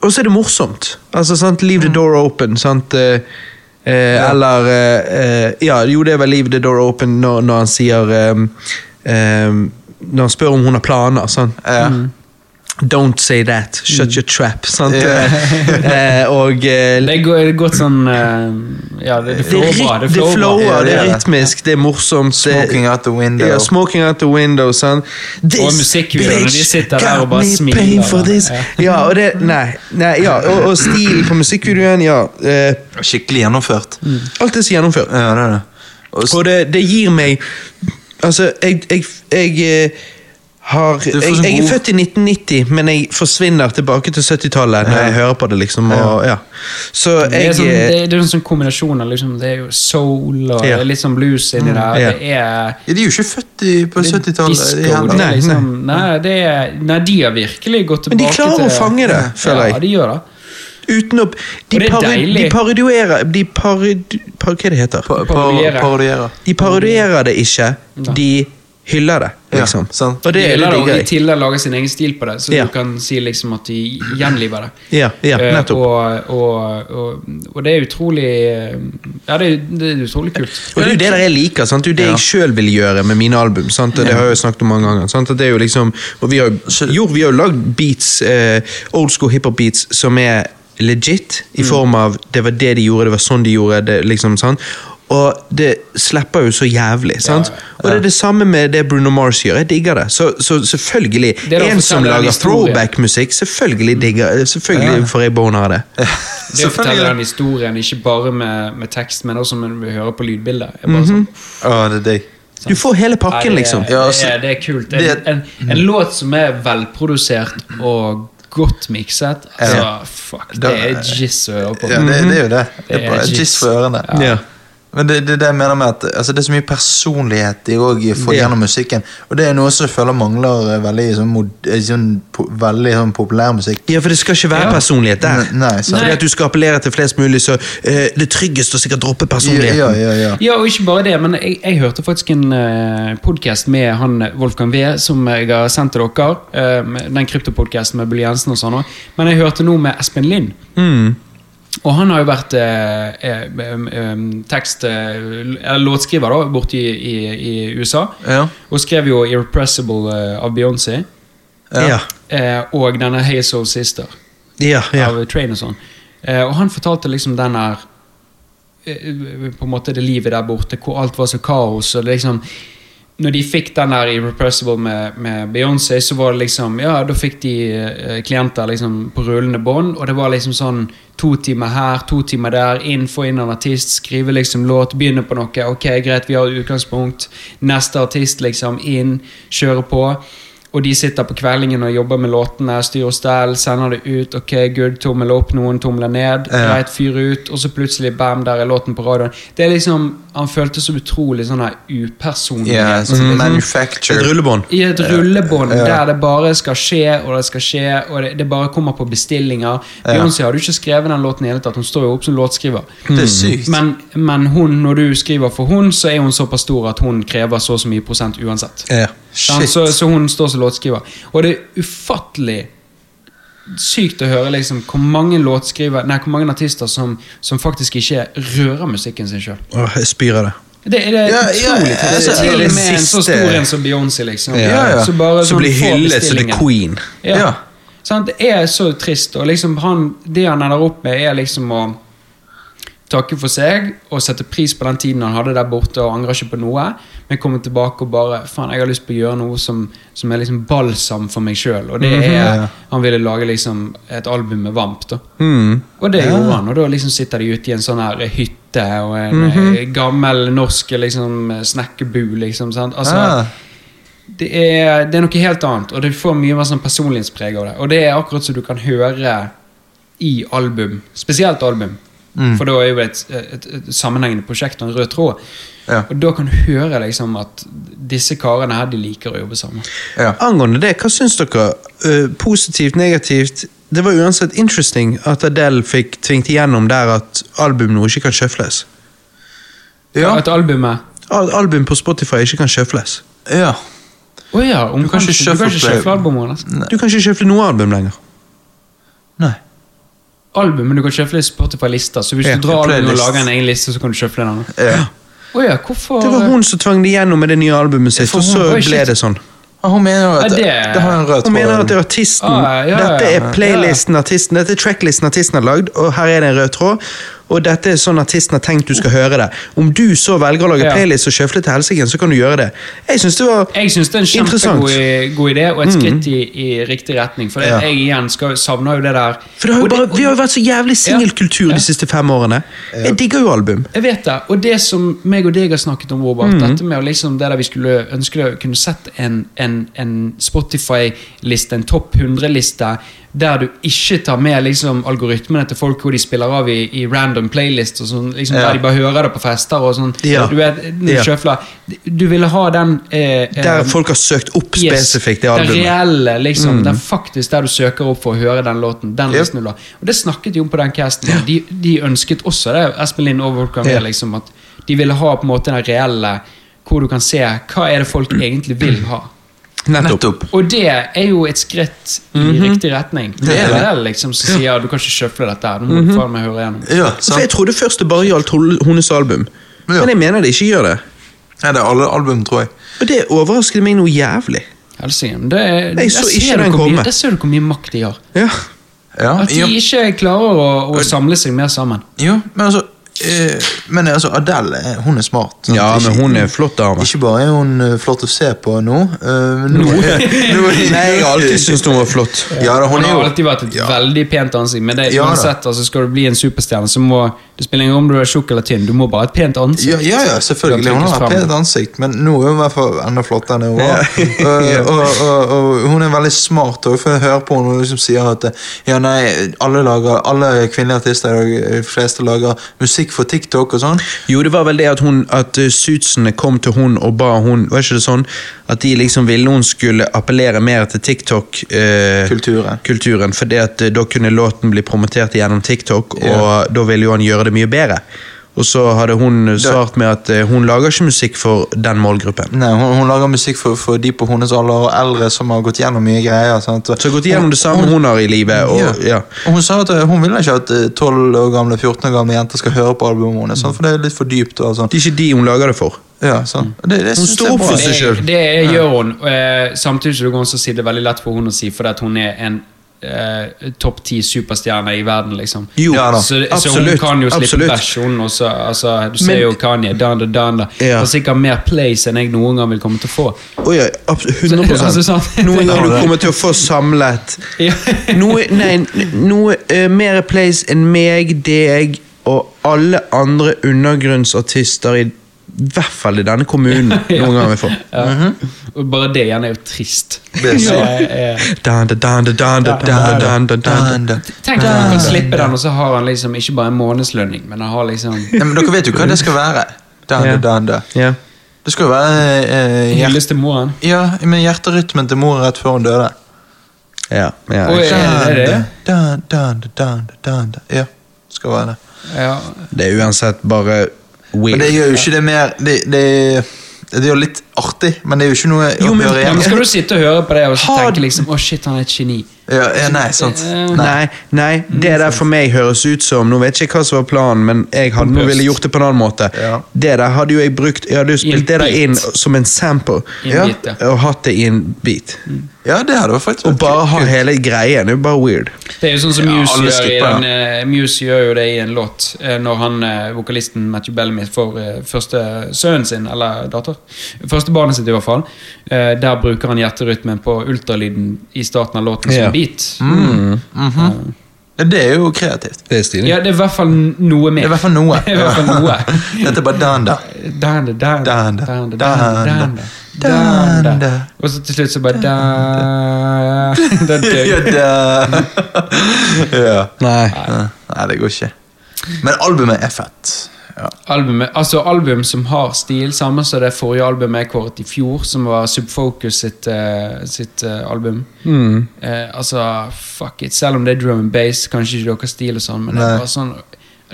A: og så er det morsomt. Altså, sant? Leave the door open. Sant? Eh, eh, Eller eh, eh, ja, Jo, det er vel leave the door open når, når han sier ehm, ehm, Når han spør om hun har planer. Sant?
B: Ja.
A: Don't say that, shut your trap. Sant? Eh, og eh,
C: Det går det er godt sånn eh, Ja, det, det
A: det,
C: flower bra.
A: rit- det
C: Det flower bra.
B: Ja,
A: flower, det
B: det gjør
A: er
B: det.
A: rytmisk, det er morsomt.
B: Smoking out the window.
A: Det, ja, smoking out the window, sant. This
C: Og musikkvideoene, de
A: bitch
C: sitter der og
A: got
C: bare
A: me
C: smiler,
A: paying For
C: da.
A: this. Ja, og det Nei. nei ja, og, og stilen på musikkvideoen, ja. eh,
B: Skikkelig gjennomført.
A: alt er så gjennomført.
B: Ja, det er det. Og s-
A: Og det, det gir meg Altså, jeg, jeg, jeg eh, har
B: får
A: jeg,
B: sånn
A: jeg er
B: god-
A: født i 1990, men jeg forsvinner tilbake til 70-tallet når
B: Ja.
A: jeg hører på det, liksom. Og, ja. Så
C: Det
A: jeg
C: er, sånn,
A: eh,
C: det, det er en sånn kombinasjon av liksom, Det er jo soul og
A: Ja.
C: det er litt sånn blues inni der.
A: ja.
C: Det er
B: Mm. Ja, de er jo ikke født i, på 70-tallet.
C: Disco,
B: de her.
C: det er
A: Nei,
C: liksom, nei. det er, nei, de har virkelig gått
A: Men
C: tilbake
A: de klarer å fange det, føler
C: Ja,
A: jeg.
C: de gjør det.
A: Uten å De,
C: Og det er
A: pari,
C: deilig.
A: de parodierer De parodi... Par, hva det heter
B: Pa- pa-
C: Parodiere.
B: Parodiere.
A: De parodierer det ikke,
C: Nei.
A: de hyller det,
B: Ja,
A: liksom.
B: sant.
A: Og det er
C: de,
A: det
C: lager,
A: digger
C: de
A: jeg.
C: tidligere lager sin egen stil på det, så
A: Ja.
C: du kan si liksom at de gjenliver det.
A: Ja, ja,
C: Eh,
A: nettopp.
C: og, og, og, og det er utrolig eh, Ja, det er, det er utrolig kult.
A: Og det er jo det der jeg liker. sant? Det er jo det jeg sjøl vil gjøre med mine album. sant? Og Det har jeg jo snakket om mange ganger. sant? At det er jo liksom, og vi har jo, jo, vi har jo lagd beats, eh, old school hiphop-beats, som er legit, i
C: Mm.
A: form av det var det de gjorde, det var sånn de gjorde det, liksom, sant? Og det slipper jo så jævlig. sant? Og det er det samme med det Bruno Mars gjør. Jeg digger det. Så, så selvfølgelig.
C: Det er å
A: En som
C: fortelle en
A: lager
C: historie.
A: throwback-musikk, selvfølgelig digger Selvfølgelig får jeg boner av det.
C: Det å fortelle den
B: Selvfølgelig.
C: historien, ikke bare med, med tekst, men også når vi hører på lydbildet. er bare
A: Mhm.
C: sånn,
B: Å, det er deg.
A: Du får hele
C: nei,
A: pakken,
C: det,
A: liksom.
C: er-
B: Ja,
C: det,
B: altså,
C: er, det er kult. En,
B: det- Mm.
C: en, en låt som er velprodusert og godt mikset, altså fuck, det er jizz å høre på.
B: Ja, det, det er jo det. Det
C: Mhm. Det
B: er
C: er
B: bare
C: jizz.
B: jizz for ørene.
A: Ja.
B: Men det, det, er det jeg mener med at altså, det er så mye personlighet de også får
A: Ja.
B: gjennom musikken. Og det er noe som jeg føler mangler eh, veldig i sånn, mod- eh, sånn, po veldig sånn populær musikk.
A: Ja, for det skal ikke være
C: Ja.
A: personlighet der.
B: Ne- nei, sant.
A: Fordi
C: Nei.
A: at du skal appellere til flest mulig, så eh, det tryggeste å sikkert droppe personligheten.
B: Ja, ja, ja.
C: Ja, og ikke bare det, men jeg, jeg hørte faktisk en uh, podkast med han eh, Wolfgang V, som jeg har sendt til dere. eh, med den kryptopodkasten med Bull Jensen og sånn også. Men jeg hørte nå med Espen Lind.
A: Mm.
C: Og han har jo vært eh, eh, em, em, tekst... eh, l- eller låtskriver, da, borte i, i, i USA.
B: Ja.
C: Og skrev jo 'Irrepressible' eh, av Beyoncé.
A: Ja,
C: eh, og denne 'Hey Soul Sister'
A: ja, ja.
C: av Train og sånn. Eh, og han fortalte liksom den her eh, På en måte det livet der borte, hvor alt var så kaos. og det liksom når de fikk den der Irrepressible med, med Beyoncé, så var det liksom Ja, da fikk de eh, klienter liksom på rullende bånd, og det var liksom sånn To timer her, to timer der, inn, få inn en artist, skrive liksom låt, begynne på noe. Ok, greit, vi har utgangspunkt. Neste artist, liksom. Inn, kjøre på. Og de sitter på kveldingen og jobber med låtene, styr og stell, sender det ut. Ok, good, tommel opp, noen tomler ned. Greit, fyr ut. Og så plutselig, bam, der er låten på radioen. Det er liksom Han følte så utrolig sånn her upersonlighet.
B: Ja, sånn manufacture.
A: Mhm. Et rullebånd.
C: I et rullebånd der det bare skal skje og det skal skje, og det, det bare kommer på bestillinger. Beyoncé hadde jo ikke skrevet den låten i det hele tatt, hun står jo opp som låtskriver.
B: Det er
A: Mm.
B: sykt.
C: Men, men hun, når du skriver for hun, så er hun såpass stor at hun krever så og så mye prosent uansett.
A: Ja.
C: Sant?
B: Shit.
C: Så, så hun står som låtskriver. Og det er ufattelig sykt å høre liksom, hvor mange låtskriver Nei, hvor mange artister som, som faktisk ikke rører musikken sin sjøl.
A: Åh, jeg spyr av det.
C: Det er det
B: Ja,
C: utrolig
B: ja,
C: til.
B: altså,
C: til og
B: det
C: med en så
B: siste-
C: stor en som Beyoncé, liksom.
B: Ja, ja.
C: Så, bare,
A: Så
C: sånn,
A: blir
C: få
A: hyllet som the
C: bestillingen.
A: queen.
C: Ja.
B: Ja.
C: Sant? Det er så trist, og liksom han, det han ender opp med, er liksom å takke for seg og sette pris på den tiden han hadde der borte og angrer ikke på noe, men kommer tilbake og bare Faen, jeg har lyst på å gjøre noe som, som er liksom balsam for meg sjøl. Og det er Han ville lage liksom et album med Vamp, da.
A: Mm.
C: Og det gjorde han, og da liksom sitter de ute i en sånn her hytte og en
B: Mhm.
C: eh, gammel norsk liksom, snekkerbu, liksom. Sant? Altså,
B: Ja.
C: det er, det er noe helt annet, og det får mye mer sånn personlighetspreg av det. Og det er akkurat som du kan høre i album, spesielt album.
B: Mm.
C: For da er jo et, et, et sammenhengende prosjekt og en rød tråd.
B: Ja.
C: Og da kan du høre liksom at disse karene her, de liker å jobbe sammen.
B: Ja.
A: Angående det, hva syns dere? Eh, positivt, negativt? Det var uansett interesting at Adele fikk tvingt igjennom der at album nå ikke kan sjøfles.
B: Ja.
C: At albumet
A: Al album på Spotify ikke kan sjøfles.
B: ja.
C: Å ja, om
B: Du kan ikke
C: kanskje- du kan
B: shuffle
C: ikke
B: play.
C: shuffle albumet nesten.
A: Du kan ikke sjøfle noe album lenger.
B: Nei.
C: Album, men du kan shuffle Spotify-lister. Så hvis
A: Ja,
C: du drar albumet og
B: playlist.
C: lager en egen liste, så kan du shuffle den.
B: Ja.
C: Å ja, hvorfor
A: Det var hun som tvang det igjennom med det nye albumet sitt,
C: For
A: og
C: hun-
A: så
C: Oi, shit.
A: ble det sånn.
B: Ja, Hun mener jo at
C: Ja,
B: det,
C: det-
B: har en rød tråd.
A: Hun mener at det er artisten.
C: Ah, ja, ja,
A: dette
C: ja.
A: er playlisten artisten, dette er tracklisten artisten har lagd, og her er det en rød tråd. Og dette er sånn artisten har tenkt du skal høre det. Om du så velger å lage
C: Ja.
A: playlist og sjøfle til helsike, så kan du gjøre det. Jeg syns det var
C: eh, Jeg syns det er en
A: Interessant. Mm.
C: kjempegod i- god idé, og et skritt i, i riktig retning. For det-
B: Ja.
C: jeg igjen skal, savner jo det der
A: For det har
C: Og
A: jo bare, vi har jo vært så jævlig singelkultur
C: Ja.
A: de siste fem årene. Jeg digger jo album.
C: Jeg vet det, og det som meg og deg har snakket om, Robert,
A: Mm.
C: dette med å liksom det der vi skulle ønske å kunne sett en, en, en Spotify-liste, en topp 100-liste, der du ikke tar med liksom algoritmene til folk hvor de spiller av i, i random playlist, og sånn, liksom,
B: Ja.
C: der de bare hører det på fester og sånn.
A: Ja.
C: Du vet,
A: Ja.
C: sjøfler. Du ville ha den eh, eh,
A: Der folk har søkt opp
C: Yes,
A: spesifikt det albumet.
C: reelle, liksom. Den faktisk der du søker opp for å høre den låten. Den
B: Yep.
C: listen du la. Og det snakket de om på den casten. De, de ønsket også det, Espen Lind og Volkan
A: Ja.
C: Wee, liksom, at de ville ha på en måte den reelle hvor du kan se hva er det folk egentlig vil ha.
A: Nettopp.
B: Nettopp.
C: Og det er jo et skritt i riktig retning. Det
B: er
C: er
B: det.
C: det liksom som sier du kan ikke sjøfle dette her. Nå må du faen meg høre igjennom.
B: Ja,
A: For jeg
B: sant?
A: trodde først det bare gjaldt hol- hennes album,
B: Ja.
A: men jeg mener det ikke gjør det.
B: Nei, det er alle album, tror jeg.
A: Og det overrasker meg noe jævlig.
C: Helsike, men Det, er-
A: Nei,
C: der
A: så
C: ser
A: ikke
C: du
A: den
C: hvor mye-
A: komme.
C: Der ser du hvor mye makt de har.
A: Ja.
B: Ja,
C: At de
B: jo,
C: ikke klarer å, å samle seg mer sammen.
B: jo, men altså eh, Men altså, Adele eh, hun er smart. sant?
A: ja, men
B: Ikke-
A: hun er flott dame.
B: Ikke bare er hun eh, flott å se på nå eh, men nå-
A: [LAUGHS] Nei,
B: nå-
A: jeg har alltid syntes hun var flott.
B: Ja, da, hun
C: Han
B: er
C: har
B: jo
C: alltid vært et
B: ja.
C: veldig pent ansikt, men det,
B: Ja da.
C: uansett, altså, skal du bli en superstjerne, så må det spiller ingen rolle om du er tjukk eller tynn, du må bare ha et pent ansikt.
B: Ja, ja, ja, selvfølgelig. Hun har et pent ansikt, men nå er hun i hvert fall enda flottere enn hun
A: [LAUGHS]
B: var. Eh,
A: Ja.
B: og, og, og, og hun er veldig smart òg, for jeg hører på henne og liksom sier at eh, ja, nei, alle, lager, alle kvinnelige artister i dag, eh, fleste lager musikk for TikTok og sånn.
A: Jo, det var vel det at, hun, at eh, suitsene kom til hun og ba hun Var ikke det sånn at de liksom ville hun skulle appellere mer til TikTok-kulturen?
B: Kulturen.
A: fordi at eh, da kunne låten bli promotert gjennom TikTok, og da ville jo han gjøre det mye bedre. Og så hadde hun eh, svart med at eh, hun lager ikke musikk for den målgruppen.
B: Nei, hun, hun lager musikk for, for de på hennes alder og eldre som har gått gjennom mye greier. Sant?
A: Så gått gjennom det samme hun har i livet, og ja.
B: Og Hun sa at eh, hun vil ikke at eh, 12 år gamle, 14 år gamle jenter skal høre på albumet hennes, sant? for det er litt for dypt. Og sånn.
A: Det er ikke de hun lager det for.
B: Ja, sant? Det, det synes
A: Mm. står
B: jeg er
A: opp
B: bra.
A: for seg selv.
C: Det, det gjør hun, eh, samtidig så det går an å si det er veldig lett for hun å si, fordi at hun er en eh, topp ti superstjerne i verden, liksom.
A: Jo,
B: Ja da.
C: Så, så hun
A: absolutt,
C: kan jo slippe
A: absolutt.
C: bæsj, hun også. Altså, du ser
A: Men-
C: jo Kanye. Dan, dan, dan, da.
A: Ja.
C: Har sikkert mer plays enn jeg noen gang vil komme til å
B: [LAUGHS]
C: få.
A: Å ja, abs- 100
C: Altså, sant?
A: Noen ganger du kommer til å få samlet
C: Ja.
A: Noe, nei, n- noe eh, mer plays enn meg, deg og alle andre undergrunnsartister i hvert fall i denne kommunen noen gang vi får.
C: [LAUGHS] Ja. Og bare det igjen er jo trist.
B: Mhm. Det er så-
C: Eh, eh,
A: Dun, dun, dun, dun, dun, dun, dun, dun, dun.
C: Tenk at
B: Ah.
C: han kan slippe den, og så har han liksom ikke bare en månedslønning, men han har liksom
B: Ja, men dere vet jo hva det skal være. Dan,
A: Ja.
B: dan, da.
A: Ja.
B: Det skal jo være eh, hjert
C: Hylles til moren.
B: [LAUGHS] ja, men hjerterytmen til mor rett før hun døde.
A: Ja, ja.
C: Oi. Er det det?
B: Dan, dan, dan, dan, dan, dan. Ja, det skal være det.
C: Ja.
A: Det er uansett bare
B: Men det
A: weird.
B: gjør jo ikke det mer Det, det, det er jo litt artig, men det er jo ikke noe
A: Jo,
B: å
A: men-
B: høre
C: ja, men
B: igjen.
C: skal du sitte og høre på det og så
A: Har-
C: tenke liksom 'Å, shit, han er et geni'?
B: Ja, ja, nei, sant.
C: Eh,
B: Nei. Mm.
A: Nei, nei, det der for meg høres ut som Nå vet jeg ikke hva som var planen, men jeg hadde nå ville gjort det på en annen måte.
B: Ja.
A: Det der hadde jo jeg brukt Jeg hadde jo
C: I en
A: spilt det der
C: beat.
A: inn som en sample,
C: I en
A: Ja,
C: beat, ja.
A: og hatt det i en beat.
B: Ja, det hadde jo faktisk
A: Og
B: vært
A: bare ha
B: Mm. kult.
A: hele greien. Det er bare weird.
C: Det er jo sånn som
B: Ja,
C: Muse
B: alle
C: gjør i
B: skipper,
C: den eh, Muse gjør jo det i en låt eh, når han, eh, vokalisten Matthew Bellamy får eh, første sønnen sin, eller datter Første barnet sitt, i hvert fall. Eh, der bruker han hjerterytmen på ultralyden i starten av låten som
A: Ja.
C: beat.
B: Mm. Mhm. Ja, Det er jo kreativt.
A: Mm. Det er stilig.
C: Ja, det er i hvert fall noe
B: Det
C: mer.
B: er i hvert fall noe.
C: [LAUGHS] Det er i hvert fall noe.
B: [LAUGHS] Dette er bare
C: [LAUGHS]
B: dan, da.
C: Danda, danda,
B: Danda,
C: danda,
B: danda,
C: danda,
B: danda.
C: danda. Og så til slutt så bare [LAUGHS] danda
B: Ja,
C: døgn.
B: da. [LAUGHS] ja.
A: Nei.
B: Nei, Nei, det går ikke. Men albumet er fett. Ja.
C: Albumet, altså album som har stil, samme som det forrige albumet jeg kåret i fjor, som var Subfocus sitt, eh, sitt eh, album.
B: Mm.
C: Eh, altså, fuck it. Selv om det er drum and bass, kanskje ikke dere har sstil og sånn, men det
B: Nei.
C: er bare sånn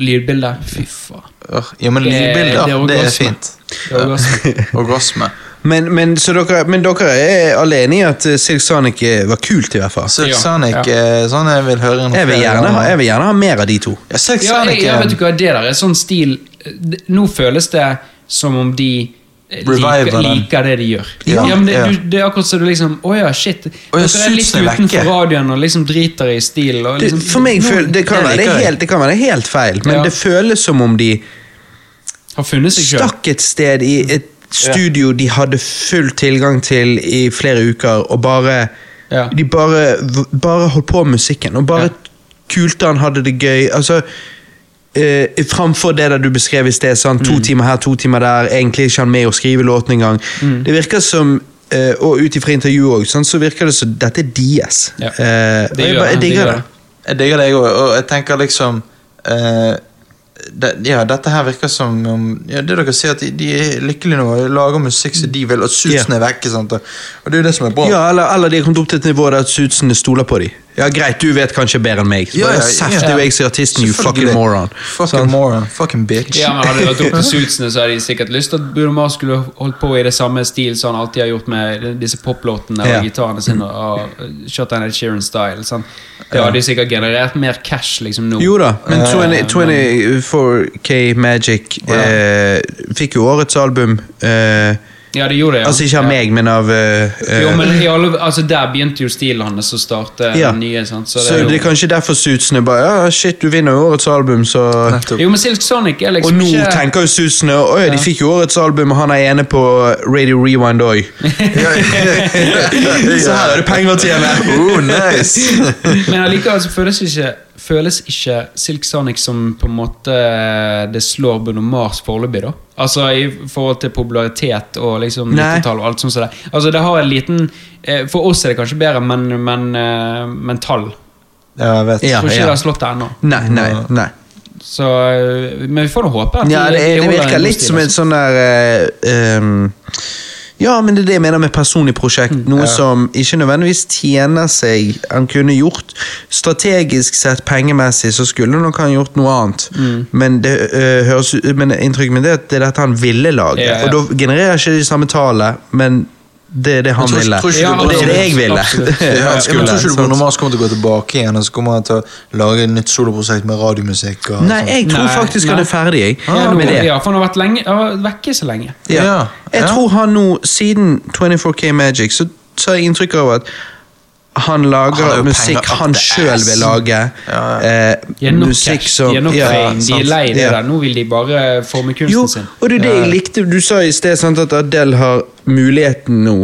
C: Lydbilde. Fy faen.
B: Ør, Ja, men
C: Det- det
B: lydbilder,
C: er
B: det, er
C: orgasme.
B: fint.
C: Det var godt. [LAUGHS]
B: Orgasme.
A: Men, men, så dere, men dere er alene i at eh, Silk Sonic eh, var kult, i hvert fall.
B: Silk
C: Ja,
B: Sonic
C: ja.
B: eh, sånn jeg vil høre den
A: Jeg vil
B: flere
A: gjerne ha,
B: ganger.
A: jeg vil gjerne ha mer av de to.
B: Ja, Silk
C: Ja,
B: Sonic
C: jeg, jeg
B: er-
C: vet ikke hva det der er. Sånn stil eh, d- Nå føles det som om de
B: Reviver
C: liker,
B: den.
C: liker det de gjør.
B: Ja,
C: Ja, men det,
B: ja.
C: du, det er akkurat som du liksom Å ja, shit. Dere er litt
B: suitsen er vekke.
C: utenfor radioen og liksom driter i stilen. og
A: Det,
C: Liksom,
A: for meg
C: noen
A: føl, det, kan
B: det
A: være, det,
B: liker
A: er
B: jeg.
A: helt, det kan være helt feil, men
C: Ja.
A: det føles som om de
C: Har funnet seg sjøl.
A: stakk et sted i et studio de hadde full tilgang til i flere uker, og bare
C: Ja.
A: De bare, v- bare holdt på med musikken, og bare
C: Ja.
A: kulte han hadde det gøy. Altså eh, Framfor det der du beskrev i sted, sånn,
C: Mm.
A: to timer her, to timer der, egentlig ikke han med å skrive låten engang.
C: Mm.
A: Det virker som eh, og ut ifra intervjuet òg, sånn, så virker det som dette er deres.
C: Ja.
A: Eh, og jeg,
C: Digger
A: bare- jeg digger
C: det, digger
A: det.
C: det.
B: Jeg digger det, jeg òg. Og jeg tenker liksom eh, det, Ja, dette her virker som om ja, Det dere sier, at de, de er lykkelige nå og lager musikk som de vil, og susen er vekke. sant? Og, og det er jo det som er bra.
A: Ja, eller, eller de har kommet opp til et nivå der suitsene stoler på dem. Ja, greit, du vet kanskje bedre enn meg. Så
B: Ja,
A: bare
B: ja,
A: Seff,
B: ja.
A: det er jo jeg som er artisten, you fucking
B: Selvfølgelig.
A: moron.
B: Fucking moron. Fucking bitch.
C: Ja, men Hadde det vært
A: [LAUGHS]
C: opp til suitsene, så hadde de sikkert lyst til at Bruno Mars skulle holdt på i det samme stil som han alltid har gjort med disse poplåtene og
A: Ja.
C: gitarene sine. og og Shot and Ed Sheeran-style. sant? Det hadde de sikkert generert mer cash liksom nå.
A: Jo da, men
C: Eh,
A: 20, 24K Magic eh, fikk jo årets album. Eh,
C: Ja, det gjorde det, ja.
A: altså ikke av
C: Ja.
A: meg, men av eh, eh,
C: Jo, men i alle, altså Der begynte jo stilen hans å starte
A: Ja.
C: den nye. sant? Så det
A: Så
C: er jo-
A: det er kanskje derfor suitsene bare Ja, shit, du vinner jo årets album, så
B: Nettopp.
C: Jo, men Silk Sonic er
A: Og
C: liksom
A: nå
C: ikke
A: tenker jo suitsene Å ja, de fikk jo årets album, og han er ene på Radio Rewind [LAUGHS] òg. Så her er det penger å tjene. [LAUGHS]
B: Oh, nice.
C: Men allikevel så føles ikke, føles ikke Silk Sonic som på en måte eh, det slår Bruno Mars foreløpig, da. Altså i forhold til popularitet og liksom
A: Nei.
C: 90-tall og alt sånt. som det. Altså det har en liten eh, For oss er det kanskje bedre, men, men, eh, men tall.
B: Ja, jeg vet.
A: Ja.
C: Tror ikke det har slått det ennå.
A: Nei, nei, nei.
C: Så, eh, Men vi får nå håpe. at
A: Ja,
C: de-
A: det,
C: de
A: er, det
C: holder
A: virker
C: en god
A: litt
C: stil,
A: som en
C: altså.
A: sånn der eh, ehm, Ja, men det er det jeg mener med personlig prosjekt. Noe som ikke nødvendigvis tjener seg. Han kunne gjort strategisk sett, pengemessig, så skulle han nok ha gjort noe annet. Men, det, eh, høres, ut- men inntrykket mitt er at det er dette han ville lage.
C: Ja, ja.
A: Og da genererer ikke de samme tallet, men det er det han
B: tror-
A: ville.
B: tror ikke
C: Ja,
A: og det er det jeg ville. [LAUGHS]
C: absolutt.
B: Ja,
A: Han
B: jeg
A: skulle,
B: tror ikke du
A: sant?
B: Bruno Mars kommer til å gå tilbake igjen og så kommer han til å lage et nytt soloprosjekt med radiomusikk. Og sånn.
A: Nei, jeg tror
C: Nei,
A: faktisk han
C: nei.
A: er ferdig, jeg.
C: Ja,
A: med det.
C: nå, ja, for han har vært lenge, han har vært vekke så lenge.
A: Ja.
B: Ja,
A: Jeg
B: ja.
A: tror han nå, siden 24K Magic, så tar jeg inntrykk av at han lager
B: Han har jo
A: musikk
B: penger up
A: han
B: the
A: sjøl
B: ass.
A: vil lage.
C: De
A: Eh,
C: er nok
A: musikk
C: cash,
A: som
C: de er nok
A: ja,
C: fame, de
A: sant.
C: er lei det
A: Ja.
C: der. Nå vil de bare forme
A: Jo,
C: kunsten sin.
A: og det er det jeg likte Du sa i sted sant, at Adele har muligheten nå,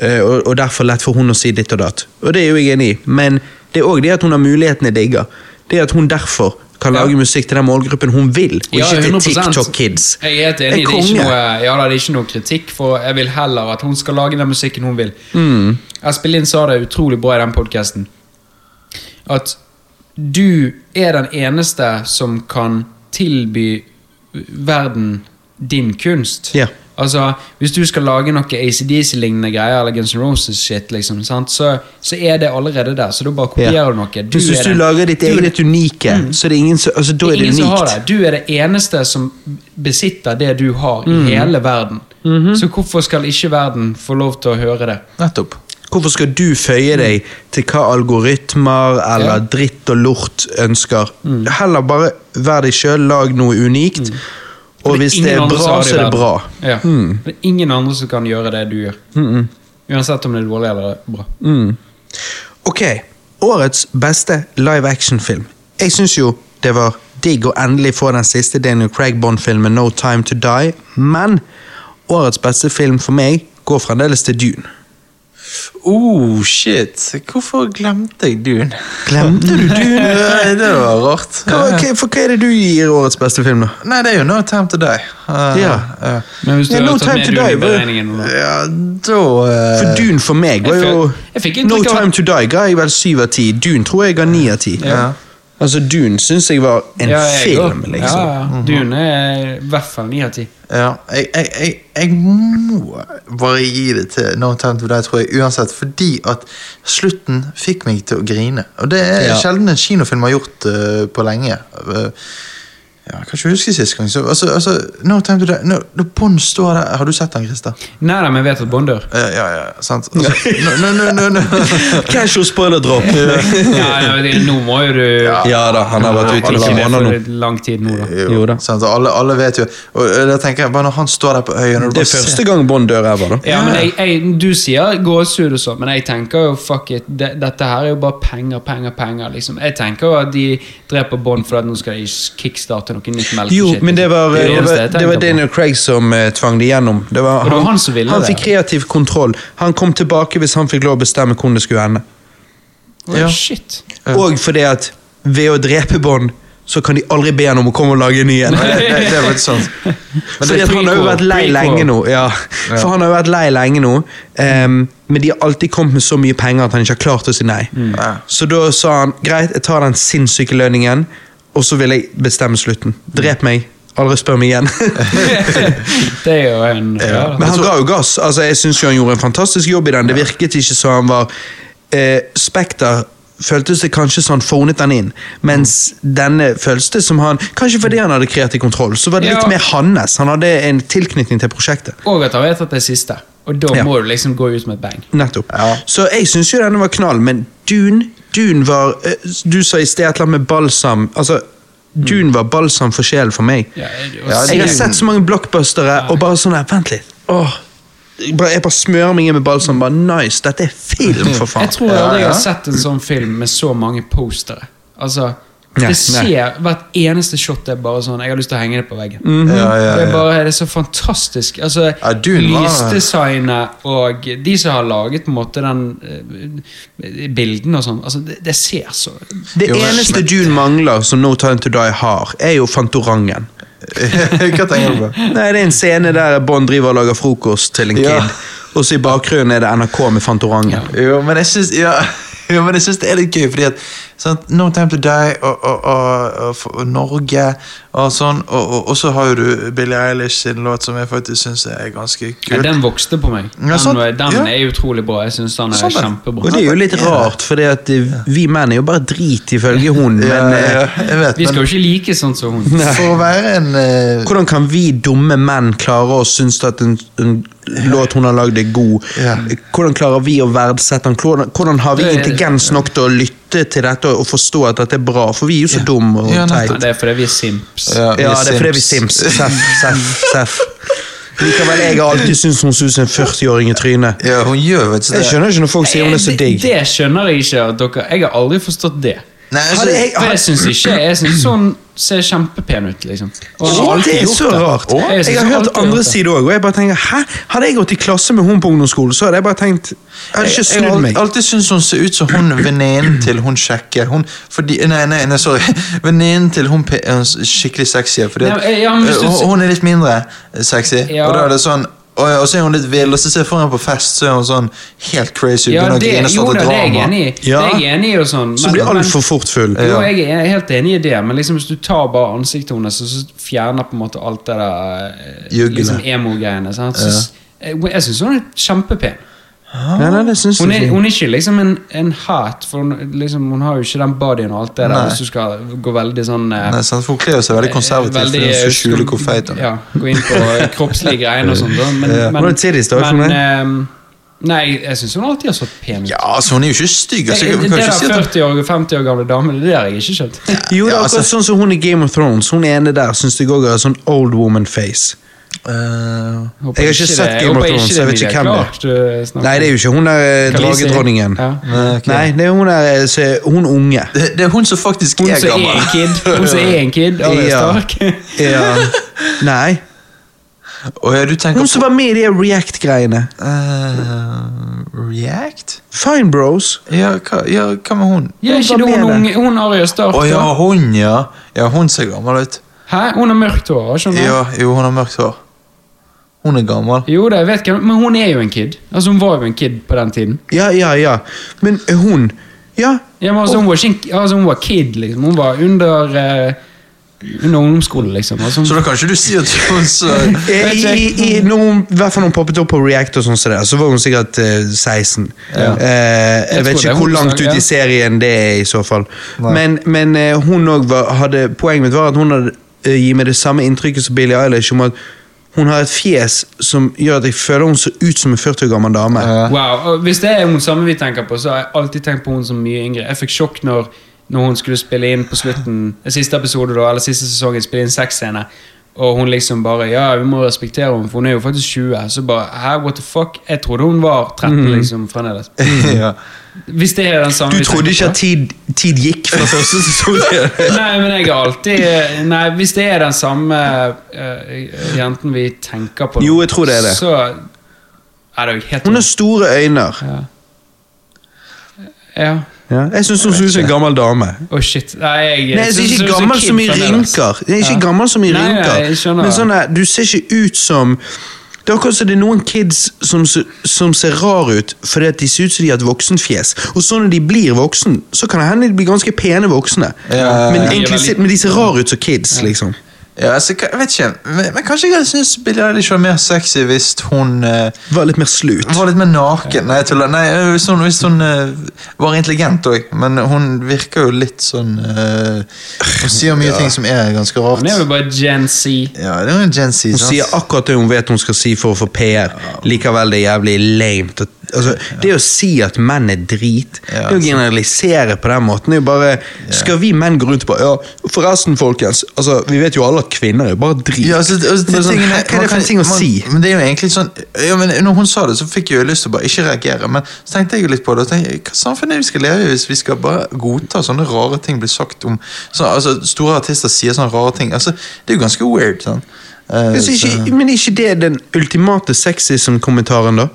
A: eh, og, og derfor lett for hun å si ditt og datt. Og det er jo jeg enig i, men det er òg det at hun har muligheten jeg digger. Det at hun derfor kan
C: Ja.
A: lage musikk til den målgruppen hun vil, og
C: Ja,
A: ikke til
C: 100%.
A: TikTok Kids.
C: Jeg er helt enig,
A: Jeg
C: det er, ikke
A: konge.
C: noe, ja, da, det er ikke noe kritikk, for jeg vil heller at hun skal lage den musikken hun vil.
A: Mm.
C: Espen Lind sa det utrolig bra i den podkasten. At du er den eneste som kan tilby verden din kunst.
A: Ja.
C: Altså, Hvis du skal lage noe ACDC-lignende greier, eller Guns N' Roses-shit, liksom, sant? så, så er det allerede der. Så da bare kopierer
A: Ja.
C: du noe.
A: Hvis du,
C: er den-
A: lager ditt
C: du er
A: eget unike, så er det ingen som altså, Da er det
C: ingen som har
A: unikt.
C: det. Du er det eneste som besitter det du har
A: Mm.
C: i hele verden.
A: Mhm.
C: Så hvorfor skal ikke verden få lov til å høre det?
B: Nettopp.
A: Hvorfor skal du føye deg til hva algoritmer eller
C: Mm. Ja. Mm.
A: dritt og lort ønsker? Heller bare vær deg sjøl, lag noe unikt. Og hvis det er
C: ingen andre som
A: bra,
C: har i
A: så er det
C: verden.
A: bra. Mm,
C: Ja. Det er ingen andre som kan gjøre det du gjør. Uansett om det er dårlig eller bra.
A: mm. Ok, årets beste live action-film. Jeg syns jo det var digg å endelig få den siste Daniel Craig Bond-filmen No Time To Die, men årets beste film for meg går fremdeles til Dune.
B: Oh, shit. Hvorfor glemte jeg Dune?
A: Glemte du Dune?
B: [LAUGHS] Nei, det var rart.
A: Hva, hva, for hva er det du gir årets beste film, da?
B: Nei, det er jo No Time To Die. Eh,
A: Ja.
B: eh,
C: Men hvis du
A: Ja,
C: hadde
A: No
C: tatt
A: Time
C: med
A: to
C: Dune
A: Die
C: i
A: var-
C: beregningen nå, da.
B: ja, da eh,
A: For Dune for meg var
C: Jeg
A: jo
C: føl- jeg fikk
A: No
C: inntrykk av-
A: Time To Die ga jeg vel syv av ti. Dune tror jeg ga ni av ti.
B: Ja.
A: Altså, Dune syns jeg var en
C: Ja, jeg
A: film,
C: går.
A: liksom.
C: Ja, ja. Dune er i hvert fall ni av ti.
B: Ja, jeg, jeg, jeg, jeg må bare gi det til No Time To Die, tror jeg, uansett. Fordi at slutten fikk meg til å grine. Og det er
A: Ja.
B: sjelden en kinofilm har gjort eh, på lenge. Eh, Ja, jeg kan ikke huske sist gang. Så, altså, altså, no time to die. No, no, Bond står der. Har du sett den, Christer? Eh,
C: Nei da, men jeg vet at Bond
A: [LAUGHS]
C: dør.
B: Ja, ja, ja, sant. Altså, no, no, no, no, no.
A: Casual spoiler drop.
C: Ja, ja, det- nå må jo du
A: ja da, han har vært ute i
C: Ikke
A: noen
C: det
A: måneder nå.
C: for lang tid nå, da.
A: [LAUGHS] Jo da.
B: Sant, og alle, alle vet jo Og eh, da tenker jeg bare Når han står der på øya når du
A: Det
B: bare
A: er
B: ser-
A: første gang Bond dør ræva, da.
C: Ja, men jeg, jeg, Du sier gåsehud og sånn, men jeg tenker jo fuck it, det, dette her er jo bare penger, penger, penger. liksom. Jeg tenker jo at de dreper Bond for at nå skal de kickstarte noe nytt melk.
A: Jo, men det var, eh,
C: det,
A: det
C: eneste
A: var,
C: jeg
A: det var
C: tenker på.
A: Daniel Craig som eh, tvang det gjennom. Det var,
C: det var han som ville
A: han
C: det.
A: fikk kreativ kontroll. Han kom tilbake hvis han fikk lov å bestemme hvordan det skulle ende.
B: Ja.
C: Å, Shit.
A: Og fordi at ved å drepe Bond, så kan de aldri be han om å komme og lage en
C: [LAUGHS]
A: ny en.
B: Nei, det, det, det er litt sant. [LAUGHS]
C: det
A: Fordi
C: er
A: at han har jo
C: prequel,
A: vært lei
C: prequel.
A: lenge nå. Ja. For han har jo vært lei lenge nå, ehm, men de har alltid kommet med så mye penger at han ikke har klart å si nei.
C: Mm.
B: Ja.
A: Så da sa han greit, jeg tar den sinnssyke lønningen, og så vil jeg bestemme slutten. Drep meg. Aldri spør meg igjen.
C: [LAUGHS]
A: [LAUGHS]
C: Det er jo en ja,
A: Men
C: da.
A: han ga jo gass. Altså, jeg syns han gjorde en fantastisk jobb i den. Det virket ikke som han var eh, Spekter føltes det kanskje som han phonet den inn, mens denne føltes det som han Kanskje fordi han hadde kreativ kontroll, så var det litt
C: Ja.
A: mer hans. Han hadde en tilknytning til prosjektet.
C: Og at han vet at det er siste. Og da
A: Ja.
C: må du liksom gå ut med et bang.
A: Nettopp.
B: Ja.
A: Så jeg syns jo denne var knall, men Dune, Dune var eh, Du sa i sted et eller annet med balsam. Altså, Dune var balsam for sjelen for meg.
C: Ja, og
B: Ja,
C: si-
A: Jeg har sett så mange blockbustere og bare sånn her, vent litt. Åh, jeg bare, jeg bare smører meg inn med balsam. Bare nice, dette er film, for faen.
C: Jeg tror aldri jeg
B: Ja, ja.
C: har sett en sånn film med så mange postere. Altså,
A: Nei,
C: det
A: nei.
C: ser Hvert eneste shot er bare sånn Jeg har lyst til å henge det på veggen.
B: Ja, ja,
C: Det
B: ja.
C: er bare det er så fantastisk. Altså,
B: Ja, Dune var-
C: Lysdesignet og de som har laget på en måte den eh, bilden og sånn, altså, det, det ser så
A: Det
B: Jo, men-
A: eneste
B: men-
A: Dune mangler som No Time To Die har, er jo Fantorangen.
B: Hva tenker du på?
A: Nei, Det er en scene der Bond driver og lager frokost til en kid,
B: Ja.
A: og så i bakgrunnen er det NRK med Fantorangen.
B: Jo, men jeg syns ja, [LAUGHS] jo, men jeg synes det er litt gøy, fordi at sant, No Time To Die og, og, og, og, for- og Norge og sånn, og, og, og så har jo du Billie Eilish sin låt som jeg faktisk syns er ganske
C: ja,
B: kul.
C: Den vokste på meg. Den,
B: Ja, sant.
C: var- den
B: Ja.
C: er utrolig bra. Jeg syns den er
B: Sant
A: Og
B: det.
C: kjempebra.
A: det er jo litt rart, for vi menn er jo bare drit ifølge hun, men
B: Ja,
A: eh,
B: ja, jeg vet,
C: Vi skal
B: men
C: jo ikke like sånn som hun.
B: for å være en eh,
A: Hvordan kan vi dumme menn klare å synes at en, en låt hun har lagd er god?
B: Ja.
A: Hvordan klarer vi å verdsette den? Hvordan, hvordan har vi
C: Det er-
A: intelligens nok til å lytte til dette og og forstå at dette er bra? For vi er jo så dumme og
B: Ja,
C: Ja,
B: nettopp.
A: teite.
C: det er fordi vi er simps.
B: Ja, vi
A: Ja, det er fordi vi er
B: Sims.
A: sims. Seff, seff, [LAUGHS] seff. Likevel, jeg har alltid syntes hun ser ut som en 40-åring i trynet.
B: Ja, hun gjør vet du
A: Jeg skjønner ikke når folk sier hun er så digg.
C: Eh, Det, det skjønner jeg ikke. At dere, jeg har aldri forstått det.
B: Nei, altså,
A: Hadde jeg-
C: For jeg syns ikke Jeg syns sånn ser kjempepen ut, liksom. Og jeg har
A: Å,
C: alltid
A: det er
C: gjort
A: så
C: det.
A: rart.
C: Jeg synes
A: Jeg har
C: jeg
A: hørt
C: alltid har
A: andre
C: gjort det.
A: sider òg, og jeg bare tenker hæ? Hadde jeg gått i klasse med hun på ungdomsskolen, så hadde jeg bare tenkt Jeg hadde ikke
B: Jeg har
A: snudd
B: al-
A: meg.
B: alltid syntes hun ser ut som hun venninnen til hun kjekke. Hun, fordi, nei, nei, nei, sorry. Venninnen til hun pe- hun skikkelig sexy. Fordi at,
C: Nei, ja, men hvis du
B: eh,
C: ser-
B: hun er litt mindre sexy.
C: Ja.
B: Og da er det sånn og, og så er hun litt vill, og så ser jeg for meg på fest, så er hun sånn helt crazy.
C: Ja,
B: begynner å
C: det,
B: grine,
C: jo,
B: starter
C: da, det er jeg
B: drama.
C: enig i.
A: Ja.
C: Det er jeg enig i og sånn.
A: Så blir altfor fort full.
C: Jo, jeg er helt enig i det, men liksom hvis du tar bare ansiktet hennes, og så fjerner på en måte alt det der eh,
B: Juggene.
C: liksom emo-greiene sant? Så s- eh, Jeg syns hun er kjempepen.
A: Nei, nei, det syns
C: Hun
A: jeg
C: er,
A: ikke.
C: hun er ikke liksom en, en hat, for hun, liksom, hun har jo ikke den bodyen og alt det der,
B: Nei.
C: hvis du skal gå veldig sånn eh,
B: Nei, sant, for Hun kler seg veldig konservativt. for
C: Veldig, eh,
B: hun skal skjule hvor feit hun er.
C: Ja, gå inn på eh,
A: [LAUGHS]
C: kroppslige greiene og sånt. da, Men,
A: Ja. Hvordan ser de større ut for
C: men ehm, Nei, jeg syns hun alltid har stått pen Eh, ut.
B: Ja, altså, hun er jo ikke stygg. Altså,
C: det
B: jeg,
C: det
B: kan ikke
C: der
B: si at hun
C: 40 år og 50 år gamle damen, det der har jeg ikke skjønt.
A: Jo, det er
B: Ja,
A: akkurat sånn som hun i Game of Thrones. Hun ene der syns jeg òg har sånn old woman-face.
B: Eh,
C: Håper
A: Jeg har ikke
C: det-
A: sett Game
C: håper
A: of Thrones,
C: ikke
A: jeg vet
C: Emilia
A: ikke hvem det er.
C: Clarke du snakker
A: Nei, det er jo ikke hun der eh,
C: eh, om. Khaleesi.
A: dragedronningen.
C: Ja.
B: nei, ok.
A: Nei, det er hun der eh, se, Hun unge.
B: Det, det er hun som faktisk
C: Hun
B: er
C: som er [LAUGHS]
B: gammel.
C: en kid, hun som er en
A: [LAUGHS]
C: kid, Arya
A: Ja.
C: Stark.
A: Ja. Nei.
B: Og ja, du tenker
A: Hun som var med i de React-greiene.
B: Eh, React?
A: Fine Bros.
B: Ja, hva, ja, hva med hun?
C: Ja, er ikke det hun, unge- hun Arya Stark,
B: Å ja,
C: da?
B: hun, ja. Ja, Hun ser gammel ut.
C: Hæ? Hun har mørkt hår, har ikke hun? det?
B: Ja, jo, hun har mørkt hår. Hun er gammel.
C: Jo da, jeg vet hvem, men hun er jo en kid. Altså, hun var jo en kid på den tiden.
A: Ja, ja, ja. Men eh, hun Ja.
C: Ja, men altså, hun, var ikke, en- altså, hun var kid, liksom. Hun var under, eh, under ungdomsskolen, liksom. Altså, hun-
B: Så da kan ikke du si at hun så
A: I, i, Eh, i, når hun, i hvert fall når hun poppet opp på React, og sånn som det, så var hun sikkert eh, 16. Eh, jeg,
C: Jeg tror
A: vet
C: det
A: ikke
C: er
A: hvor
C: hun som-
A: langt ut
C: ja.
A: i serien det er, i så fall.
B: Nei.
A: Men, men eh, hun òg var hadde Poenget mitt var at hun hadde eh, gir meg det samme inntrykket som Billie Eilish, om at hun har et fjes som gjør at jeg føler hun ser ut som en 40 år gammel dame.
B: [LAUGHS] Ja.
C: Wow, og Hvis det er hun samme vi tenker på, så har jeg alltid tenkt på hun som mye yngre. Jeg fikk sjokk når, når hun skulle spille inn på slutten eh, siste episode da, eller siste sesongen, spille inn sexscener. Og hun liksom bare Ja, vi må respektere henne, for hun er jo faktisk 20. Så bare Hæ, what the fuck? Jeg trodde hun var 13, liksom, fremdeles.
B: [LAUGHS] ja.
C: Hvis det er den samme
A: Mhm. Du
C: vi
A: trodde
C: tenker
A: ikke
C: på.
A: at tid, tid gikk fra første sesong? til-
C: Nei, men jeg har alltid eh, Nei, hvis det er den samme eh, jenten vi tenker på nå,
A: Jo, jeg tror det er det.
C: Så er det jo helt
A: Hun har store øyne.
C: ja. ja.
A: Ja. Jeg syns hun ser ut som en gammel dame.
C: Å, shit. Nei, jeg,
A: Nei, altså,
C: synes
A: ikke
C: det er så
A: gammel
C: kid
A: som i
C: fremdeles.
A: rynker. Det er ikke
C: Ja.
A: gammel som i
C: Nei, nei, jeg
A: rynker.
C: skjønner.
A: Men sånn der, du ser ikke ut som det er akkurat som det er noen kids som, ser- som ser rar ut fordi at de ser ut som de har et voksenfjes. Og så når de blir voksen, så kan det hende de blir ganske pene voksne.
B: Ja.
A: men,
C: De er
A: egentlig,
C: veldig-
A: ser- men de ser rar ut som kids, liksom.
B: Ja, altså, ka- jeg vet ikke, men, men kanskje jeg hadde syntes Billie Eilish var mer sexy hvis hun eh,
A: Var litt mer slut.
B: var litt mer naken. Nei, jeg tuller. Nei, eh, hvis hun, hvis hun eh, var intelligent òg, men hun virker jo litt sånn eh, Hun sier mye ting som er ganske rart.
C: Han er vel bare Gen Z.
B: Ja, det er jo en Gen Z,
A: Hun sier
B: sant?
A: akkurat det hun vet hun skal si for å få PR. Likevel det er jævlig lame. at- Altså, det å si at menn er drit,
B: Ja,
A: det
B: altså.
A: å
B: sant.
A: generalisere på den måten, det er jo bare Skal vi menn gå rundt og bare Ja, forresten, folkens. Altså, vi vet jo alle at kvinner er bare drit.
B: Ja, altså, altså,
A: Men
B: de
A: sånn,
B: tingene-
A: hæ, hva er
B: man
A: det for en
B: kan-
A: ting å
B: man-
A: si?
B: Men det er jo egentlig sånn ja, men Når hun sa det, så fikk jeg jo lyst til å bare ikke reagere. Men så tenkte jeg jo litt på det. og tenkte, jeg, Hva samfunn er det vi skal leve i hvis vi skal bare godta sånne rare ting blir sagt om så, altså, Store artister sier sånne rare ting. Altså, det er jo ganske weird. Sånn. Eh,
A: Altså,
B: så-
A: ikke, men er ikke det den ultimate sexism-kommentaren, da?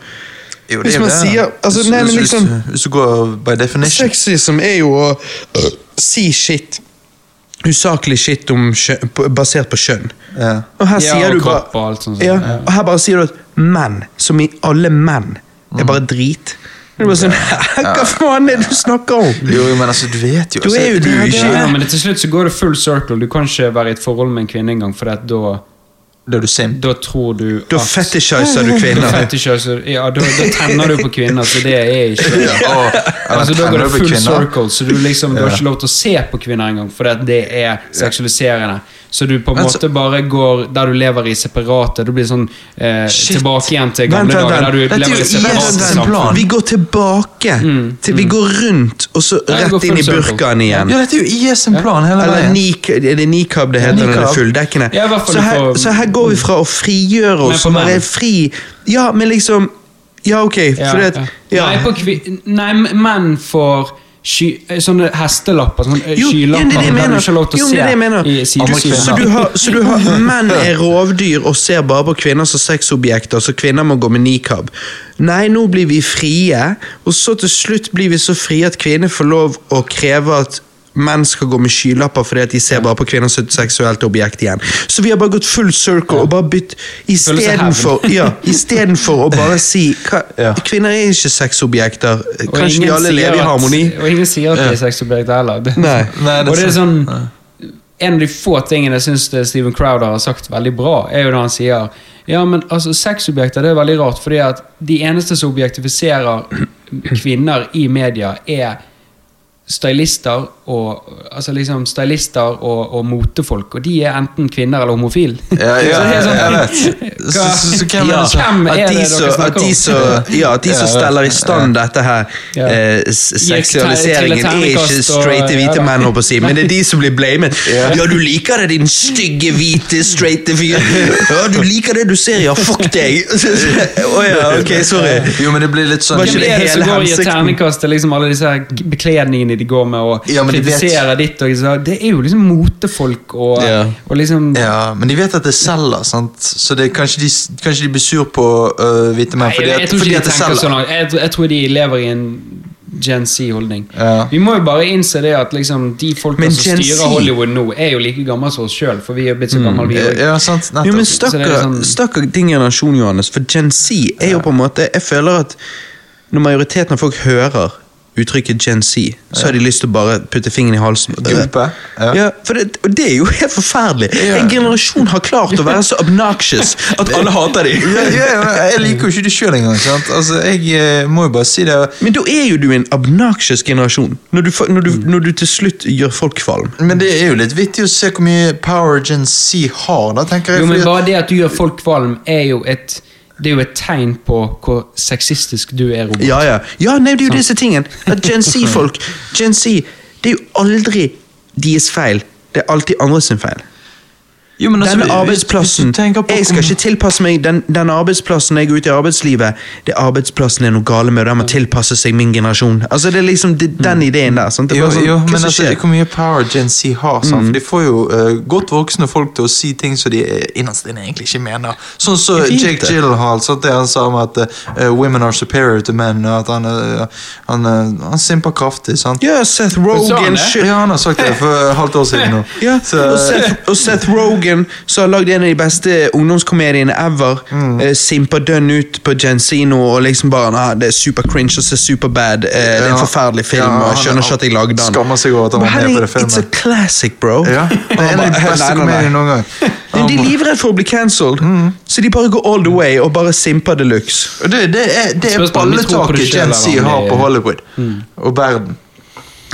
B: jo, det
A: hvis
B: er
A: man
B: det.
A: sier- altså,
B: Hvis-
A: nei, men
B: hvis-
A: liksom-
B: hvis, hvis du går by definition
A: Sexism er jo å øh, si shit. Usaklig shit om kjø på- basert på kjønn.
B: Ja.
A: Og her
C: Ja,
A: sier
C: og
A: du
C: kropp
A: bare
C: og alt sånt sånt.
A: ja,
C: Ja.
A: Og her bare sier du at menn, som i alle menn, er bare drit. Det er bare sånn, [LAUGHS] Hva faen er det du snakker om?
B: Jo, men altså, du vet jo
A: Du
B: altså,
A: er jo
B: det
A: du,
B: ikke
C: Ja, men til slutt så går det full circle. Du kan ikke være i et forhold med en kvinne engang, for at da,
B: Da er du simp.
A: [LAUGHS]
C: da tror du
A: Da
C: at-
A: fetishiser du
C: Da
A: kvinner.
C: fetishiser- Ja, da, da tenner du på kvinner, så det er ikke
B: Ja, og-
C: Altså, da går
B: tenner
C: det
B: på
C: full
B: kvinner.
C: circle, så du liksom du har ikke lov til å se på kvinner engang, for det, det er seksualiserende. Så du på en
B: Men så-
C: måte bare går der du lever i separate Du blir sånn eh,
B: Shit.
C: tilbake igjen til
A: Vent,
C: gamle
A: vent,
C: dager, der
A: vent.
C: du
A: Dette er
C: lever i
A: jo
B: separat
A: igjen
C: separate
A: den
C: samfunn. Mm.
B: plan.
A: Vi går tilbake. til, vi går rundt, og så
C: Ja, vi går
A: rett inn i
C: full circle.
A: burkaen igjen.
B: Ja, dette er jo IS sin plan hele
A: Eller
B: veien.
A: nik, er det nikab det heter når det er
B: niqab.
A: fulldekkende?
C: Ja, i hvert fall
A: så, her,
C: for-
A: så her går vi fra å frigjøre
C: Men
A: oss,
C: for
A: og være
C: menn.
A: fri Ja, men liksom Ja, ok,
C: Ja,
A: for det at
C: ja.
A: ja.
C: Nei, på kvi, nei, menn får sky, eh, sånne hestelapper, sånne eh,
A: Jo, jo,
C: skylapper,
A: det er det jeg
C: der du
A: mener.
C: ikke har lov til
A: Jo, det
C: å se
A: er det jeg mener.
C: i
A: Du,
C: sideskrinet.
A: så, du har, så du har
C: [LAUGHS]
A: menn er rovdyr og ser bare på kvinner som sexobjekter, så kvinner må gå med nikab. Nei, nå blir vi frie, og så til slutt blir vi så frie at kvinner får lov å kreve at menn skal gå med skylapper fordi at de ser bare på kvinner som et seksuelt objekt igjen. Så vi har bare gått full circle og bare bytt
C: seg hevn.
A: Istedenfor ja,
C: [LAUGHS]
A: istedenfor å bare si hva,
B: Ja.
A: Kvinner er ikke sexobjekter.
C: Og
A: Kanskje de
C: ingen
A: alle
C: sier
A: lever i
C: at-
A: harmoni?
C: Og ingen sier at de er sexobjekter heller. Det-
A: Nei.
B: Nei, det er
C: og det er
B: sant.
C: sånn En av de få tingene jeg syns Steven Crowder har sagt veldig bra, er jo da han sier ja, men altså, sexobjekter det er veldig rart, fordi at de eneste som objektifiserer [CLEARS THROAT] kvinner i media, er stylister og altså liksom stylister og, og motefolk, og de er enten kvinner eller homofile.
B: Ja, ja,
C: [LAUGHS] Så det er sånn-
B: jeg vet. Så,
C: Hva-
B: så, så hvem er det som
C: Hvem er
A: At
C: det
A: de
C: dere
A: som-
C: snakker
A: at de
C: om?
A: som- ja, at de som
B: Ja, ja.
A: steller i stand dette her,
C: Ja.
A: eh, s- seksualiseringen, er ikke
C: terningkast og-
A: straighte hvite
C: ja da.
A: menn, holdt på å si, men det er de som blir blamet. Ja, du liker det, din stygge, hvite, straighte fyr. Ja, du liker det du ser, ja, fuck deg. [LAUGHS] Å ja, ok, sorry.
B: Jo, men det blir litt sånn
A: Var ikke
C: Hvem
A: det
C: er det som
A: hele
C: går i et
A: hensikten?
C: terningkast til liksom alle disse her k- bekledningene de går med, og
B: Ja, men de vet-
C: kritiserer ditt? Og så, det er jo liksom motefolk og,
A: Ja.
C: og liksom
B: Ja, men de vet at det selger, sant? Så det, kanskje, de, kanskje de blir sur på øh, hvite menn
C: Nei,
B: fordi,
C: jeg,
B: at,
C: tror
B: fordi
C: ikke
B: at
C: de
B: det
C: tenker
B: selger.
C: sånn. Jeg, jeg tror de lever i en Gen Z-holdning.
B: Ja.
C: Vi må jo bare innse det at liksom, de folka
A: Men
C: som
A: Gen Z
C: styrer Hollywood nå, er jo like gamle som oss sjøl, for vi er blitt så gamle, vi òg.
B: Mm. Ja, sant? Nettopp.
A: Jo, men
C: Så det er
A: stakkar
B: liksom-
C: sånn-
A: stakkar din generasjon, Johannes, for Gen Z er jo på en måte Jeg føler at når majoriteten av folk hører uttrykket Gen Z, så har de lyst til å bare putte fingeren i halsen.
B: Jumpe,
A: Ja.
B: ja.
A: for det, og det er jo helt forferdelig.
B: Ja.
A: En generasjon har klart å være så
B: [LAUGHS]
A: obnoxious at alle hater dem.
B: Ja, ja, men jeg liker jo ikke det sjøl engang. sant? Altså, Jeg eh, må jo bare si det.
A: Men da er jo du en obnoxious generasjon, når du, fa- når, du, når du til slutt gjør folk kvalm.
B: Men det er jo litt vittig å se hvor mye power Gen Z har, da, tenker jeg.
C: Jo, men
B: fordi at-
C: Bare det at du gjør folk kvalm, er jo et det er jo et tegn på hvor sexistisk du er. Robert.
A: Ja, ja. ja nei, det er jo disse tingene. At Gen
B: [LAUGHS]
A: Z-folk Gen Z, Det er jo aldri deres feil. Det er alltid andre sin feil.
B: Jo, men altså,
A: Denne
B: hvis- hvis
A: arbeidsplassen
B: du tenker på
A: Jeg skal
B: hvor-
A: ikke tilpasse meg den, den arbeidsplassen jeg er ute i arbeidslivet. Det er arbeidsplassen det er noe gale med, og den må tilpasse seg min generasjon. Altså, Det er liksom det, den ideen der. sant? Det er
B: Mm. Jo,
A: bare sånn,
B: jo,
A: hva
B: men
A: som
B: altså, det er
A: skjer? Mm.
B: hvor mye power Gen Z har. sant? For de får jo eh, godt voksne folk til å si ting som de eh, innerst inne egentlig ikke mener. Sånn som
A: Jeg vet
B: Jake
A: det.
B: Gyllenhaal, sant? det han sa om at eh, women are superior to men. og At han, eh, han, eh, han simper kraftig. sant?
A: Ja, Seth
C: Sa han
A: Rogan
C: det?
A: shit.
B: Ja, han har sagt det for et halvt år siden nå.
A: Ja,
B: [LAUGHS] Så- eh,
A: og Seth, og Seth Rogan, som har lagd en av de beste ungdomskomediene ever,
B: Mm.
A: eh, simper dønn ut på Gen Z nå og liksom bare nah, Det er super cringe og så super bad. Eh, det er en
B: Ja.
A: forferdelig film,
B: Ja,
A: og jeg skjønner
B: han-
A: ikke at jeg lagde den.
B: Skammer seg over at han
A: Men
B: var med på
A: herregud,
B: det filmet.
A: It's a classic, bro.
B: Ja, Det er en av de beste komediene noen gang.
A: De, de er livredde for å bli cancelled,
B: Mm.
A: så de bare går all the way og bare simper de luxe.
B: Og Det, det er, det er
C: Spørsmålet om de tror på det selv,
B: balletaket Gen Z
C: eller om
B: har
C: de-
B: på Hollywood
A: Mm.
B: og verden.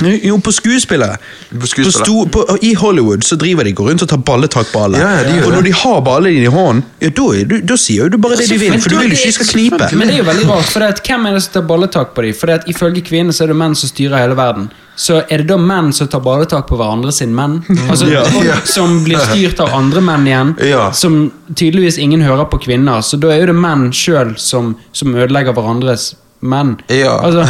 A: Jo, på skuespillere.
B: På skuespillere.
A: På sto, på, I Hollywood så driver de går rundt og tar balletak på alle.
B: Ja, ja, de gjør
A: og når
B: det.
A: de har ballene dine i hånden, ja, da, er du- da sier jo du bare det de vil,
C: Men
A: for du
C: da-
A: vil jo ikke de skal knipe.
C: Men det er jo veldig rart, for det at, hvem er det som tar balletak på dem? For det at, ifølge kvinnene så er det menn som styrer hele verden. Så er det da menn som tar balletak på hverandre sin menn? Altså,
A: [LAUGHS] Ja.
C: folk Som blir styrt av andre menn igjen,
A: [LAUGHS]
B: Ja.
C: som tydeligvis ingen hører på kvinner. Så da er jo det menn sjøl som, som ødelegger hverandres menn.
B: Ja.
A: [LAUGHS]
C: Altså,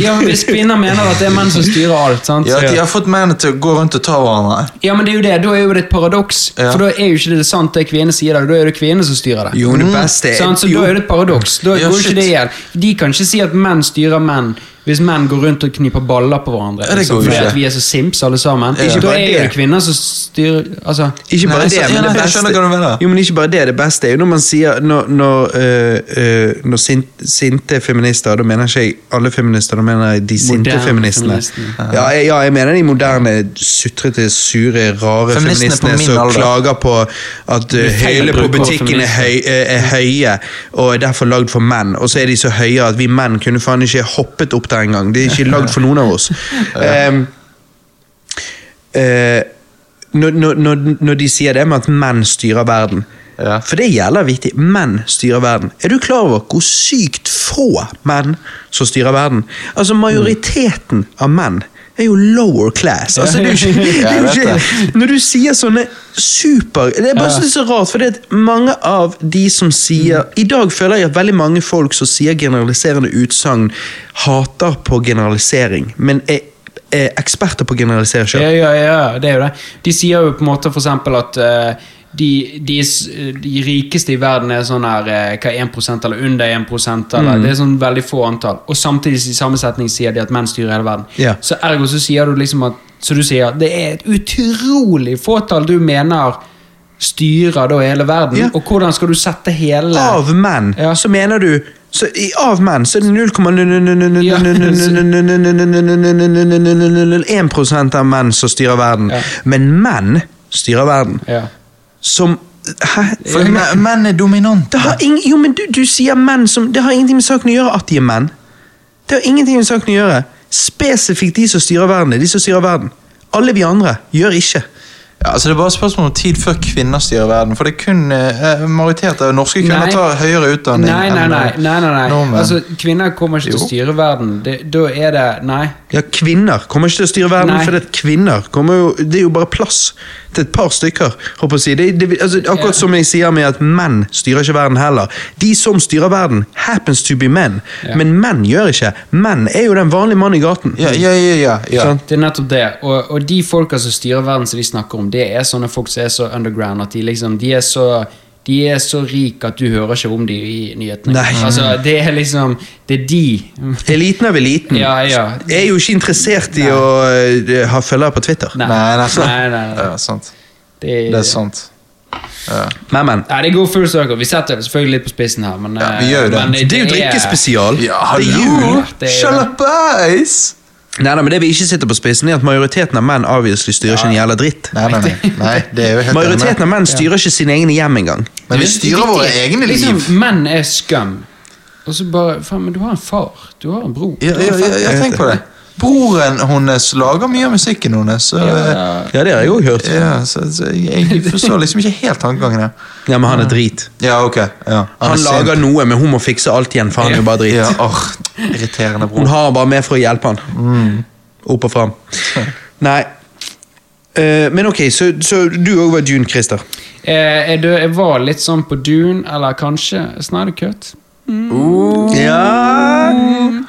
C: ja, men hvis kvinner mener at det er menn som styrer alt, sant?
B: Ja, De har fått mennene til å gå rundt og ta hverandre.
C: Ja, men det er jo det, da er jo det et paradoks.
B: Ja.
C: For da er jo ikke det sant det kvinnene sier, da er det kvinnene som styrer det.
A: Jo, det beste er
C: Sant, så
A: jo,
C: da er det et paradoks. Da
B: Ja,
C: går
B: shit.
C: ikke det igjen. De kan ikke si at menn styrer menn hvis menn går rundt og kniper baller på hverandre.
B: Ja, det
C: liksom,
B: går jo
C: fordi
B: ikke.
C: at vi er så simps alle sammen.
A: Ikke
C: Da
A: bare
C: er jo
A: det.
C: det kvinner som styrer altså,
A: Ikke bare
B: Nei,
A: det,
B: så- ja,
A: men
B: nei,
A: det
B: jeg
A: beste
B: skjønner hva du mener.
A: Jo, men ikke bare det, det beste er jo når man sier Når, når, øh, øh, når sint, sinte feminister, da mener ikke jeg alle feminister, da mener jeg de sinte
C: Moderne
A: feministene.
C: feministerne.
A: Ja jeg, ja, jeg mener de moderne, sutrete, sure, rare
B: Feministene
A: feministene,
B: på min
A: som
B: alder.
A: klager på at øh,
C: feil
A: høylene på
C: bruk av
A: butikken er,
C: feminister.
A: høy, øh, er høye og er derfor lagd for menn, og så er de så høye at vi menn kunne faen ikke hoppet opp der engang. De er ikke lagd for noen av [LAUGHS] oss. Um, eh, når, når, når, når de sier det med at menn styrer verden.
B: Ja.
A: For det gjelder viktig. Menn styrer verden. Er du klar over hvor sykt få menn som styrer verden? Altså Majoriteten av menn er jo lower class. Altså, det er jo ikke, det er jo
B: [LAUGHS] Ja, jeg
A: ikke, [LAUGHS] når du sier sånne super Det er bare så- det er så rart, for det at mange av de som sier I dag føler jeg at veldig mange folk som sier generaliserende utsagn, hater på generalisering, men er, er eksperter på å generalisere sjøl.
C: Ja, ja, ja, det er jo det. De sier jo på en måte for eksempel at eh, de, de, s- de rikeste i verden er sånn her eh, hva 1 eller under 1 eller
B: Mm.
C: Det er sånn veldig få antall. Og samtidig i samme setning sier de at menn styrer hele verden.
A: Ja.
C: Så ergo så sier du liksom at så du sier, det er et utrolig fåtall du mener styrer da hele verden.
A: Ja.
C: Og hvordan skal du sette hele
B: Ah.
A: Av menn,
C: Ja.
A: så mener du så, i, Av menn så er det 0,001 av menn som styrer verden.
C: Ja.
A: Men menn styrer verden.
C: ja.
A: Som Hæ?
B: For me- menn er dominante.
A: Det har ingen, jo, men du, du sier menn som Det har ingenting med saken å gjøre at de er menn. Det har ingenting med saken å gjøre. Spesifikt de som styrer verden. er De som styrer verden. Alle vi andre gjør ikke.
B: Ja, altså det er bare et spørsmål om tid før kvinner styrer verden. For det er kun eh, majoriteten av norske kvinner
C: Nei.
B: tar høyere utdanning
C: Nei, nei,
B: enn
C: nei.
B: eh,
C: nei, nei, nei.
B: nordmenn.
C: Altså, kvinner kommer ikke til å styre verden. Det, da er det Nei.
A: Ja, Kvinner kommer ikke til å styre verden,
C: Nei.
A: for det at kvinner kommer jo, det er jo bare plass til et par stykker. håper jeg å si. Det, det, altså, akkurat som jeg sier med at menn styrer ikke verden heller. De som styrer verden, happens to be men.
C: Ja.
A: Men menn gjør ikke. Menn er jo den vanlige mannen i gaten.
B: ja, ja, ja, ja, ja.
A: Sant?
C: Det er nettopp det. Og, og de folka som styrer verden, som de snakker om, det er sånne folk som er så underground at de liksom De er så de er så rike at du hører ikke om de i nyhetene.
A: Nei.
C: Altså, det er liksom Det er de.
A: Eliten av eliten
C: Ja, ja.
A: er jo ikke interessert i å eh, ha følgere på Twitter.
C: Nei.
B: Nei, nei, sant.
C: Nei, nei, nei.
B: Ja, sant.
C: Det er,
B: Det er sant.
A: Men, men.
C: Nei, det går full circle. Vi setter det selvfølgelig litt på spissen her, men eh,
B: Ja, vi gjør jo det.
C: men
A: Det er jo drikkespesial.
B: Ja,
A: det er
B: hallo!
A: jul.
C: Det er-
B: Sjalabais!
A: Nei, nei, men Det vi ikke sitter på spissen, er at majoriteten av menn obviously styrer ikke en jævla dritt.
B: Nei, nei, nei. nei det er jo helt
A: Majoriteten av menn styrer ikke sine egne hjem engang.
B: Men vi styrer våre
C: Riktig.
B: egne liv.
C: Liksom, menn er skam. Og så bare Faen, men du har en far. Du har en bror.
B: Ja, ja, ja, ja, tenk på det. Broren hennes lager mye av musikken hennes. Så, eh,
C: Ja.
A: Ja, det har jeg òg hørt.
B: ja, så, så jeg forstår liksom ikke helt tankegangen her.
A: Ja, men han er drit.
B: Ja, ok. Ja. er
A: Han
B: sint.
A: lager noe, men hun må fikse alt igjen, for han er jo bare
B: ja,
A: drit.
B: åh, Irriterende bror.
A: Hun har han bare med for å hjelpe han. Opp og fram. Nei. Eh, men ok, så, så du òg var June Christer.
C: Eh, er du, jeg var litt sånn på Dune, eller kanskje Snyder Cut.
A: Ja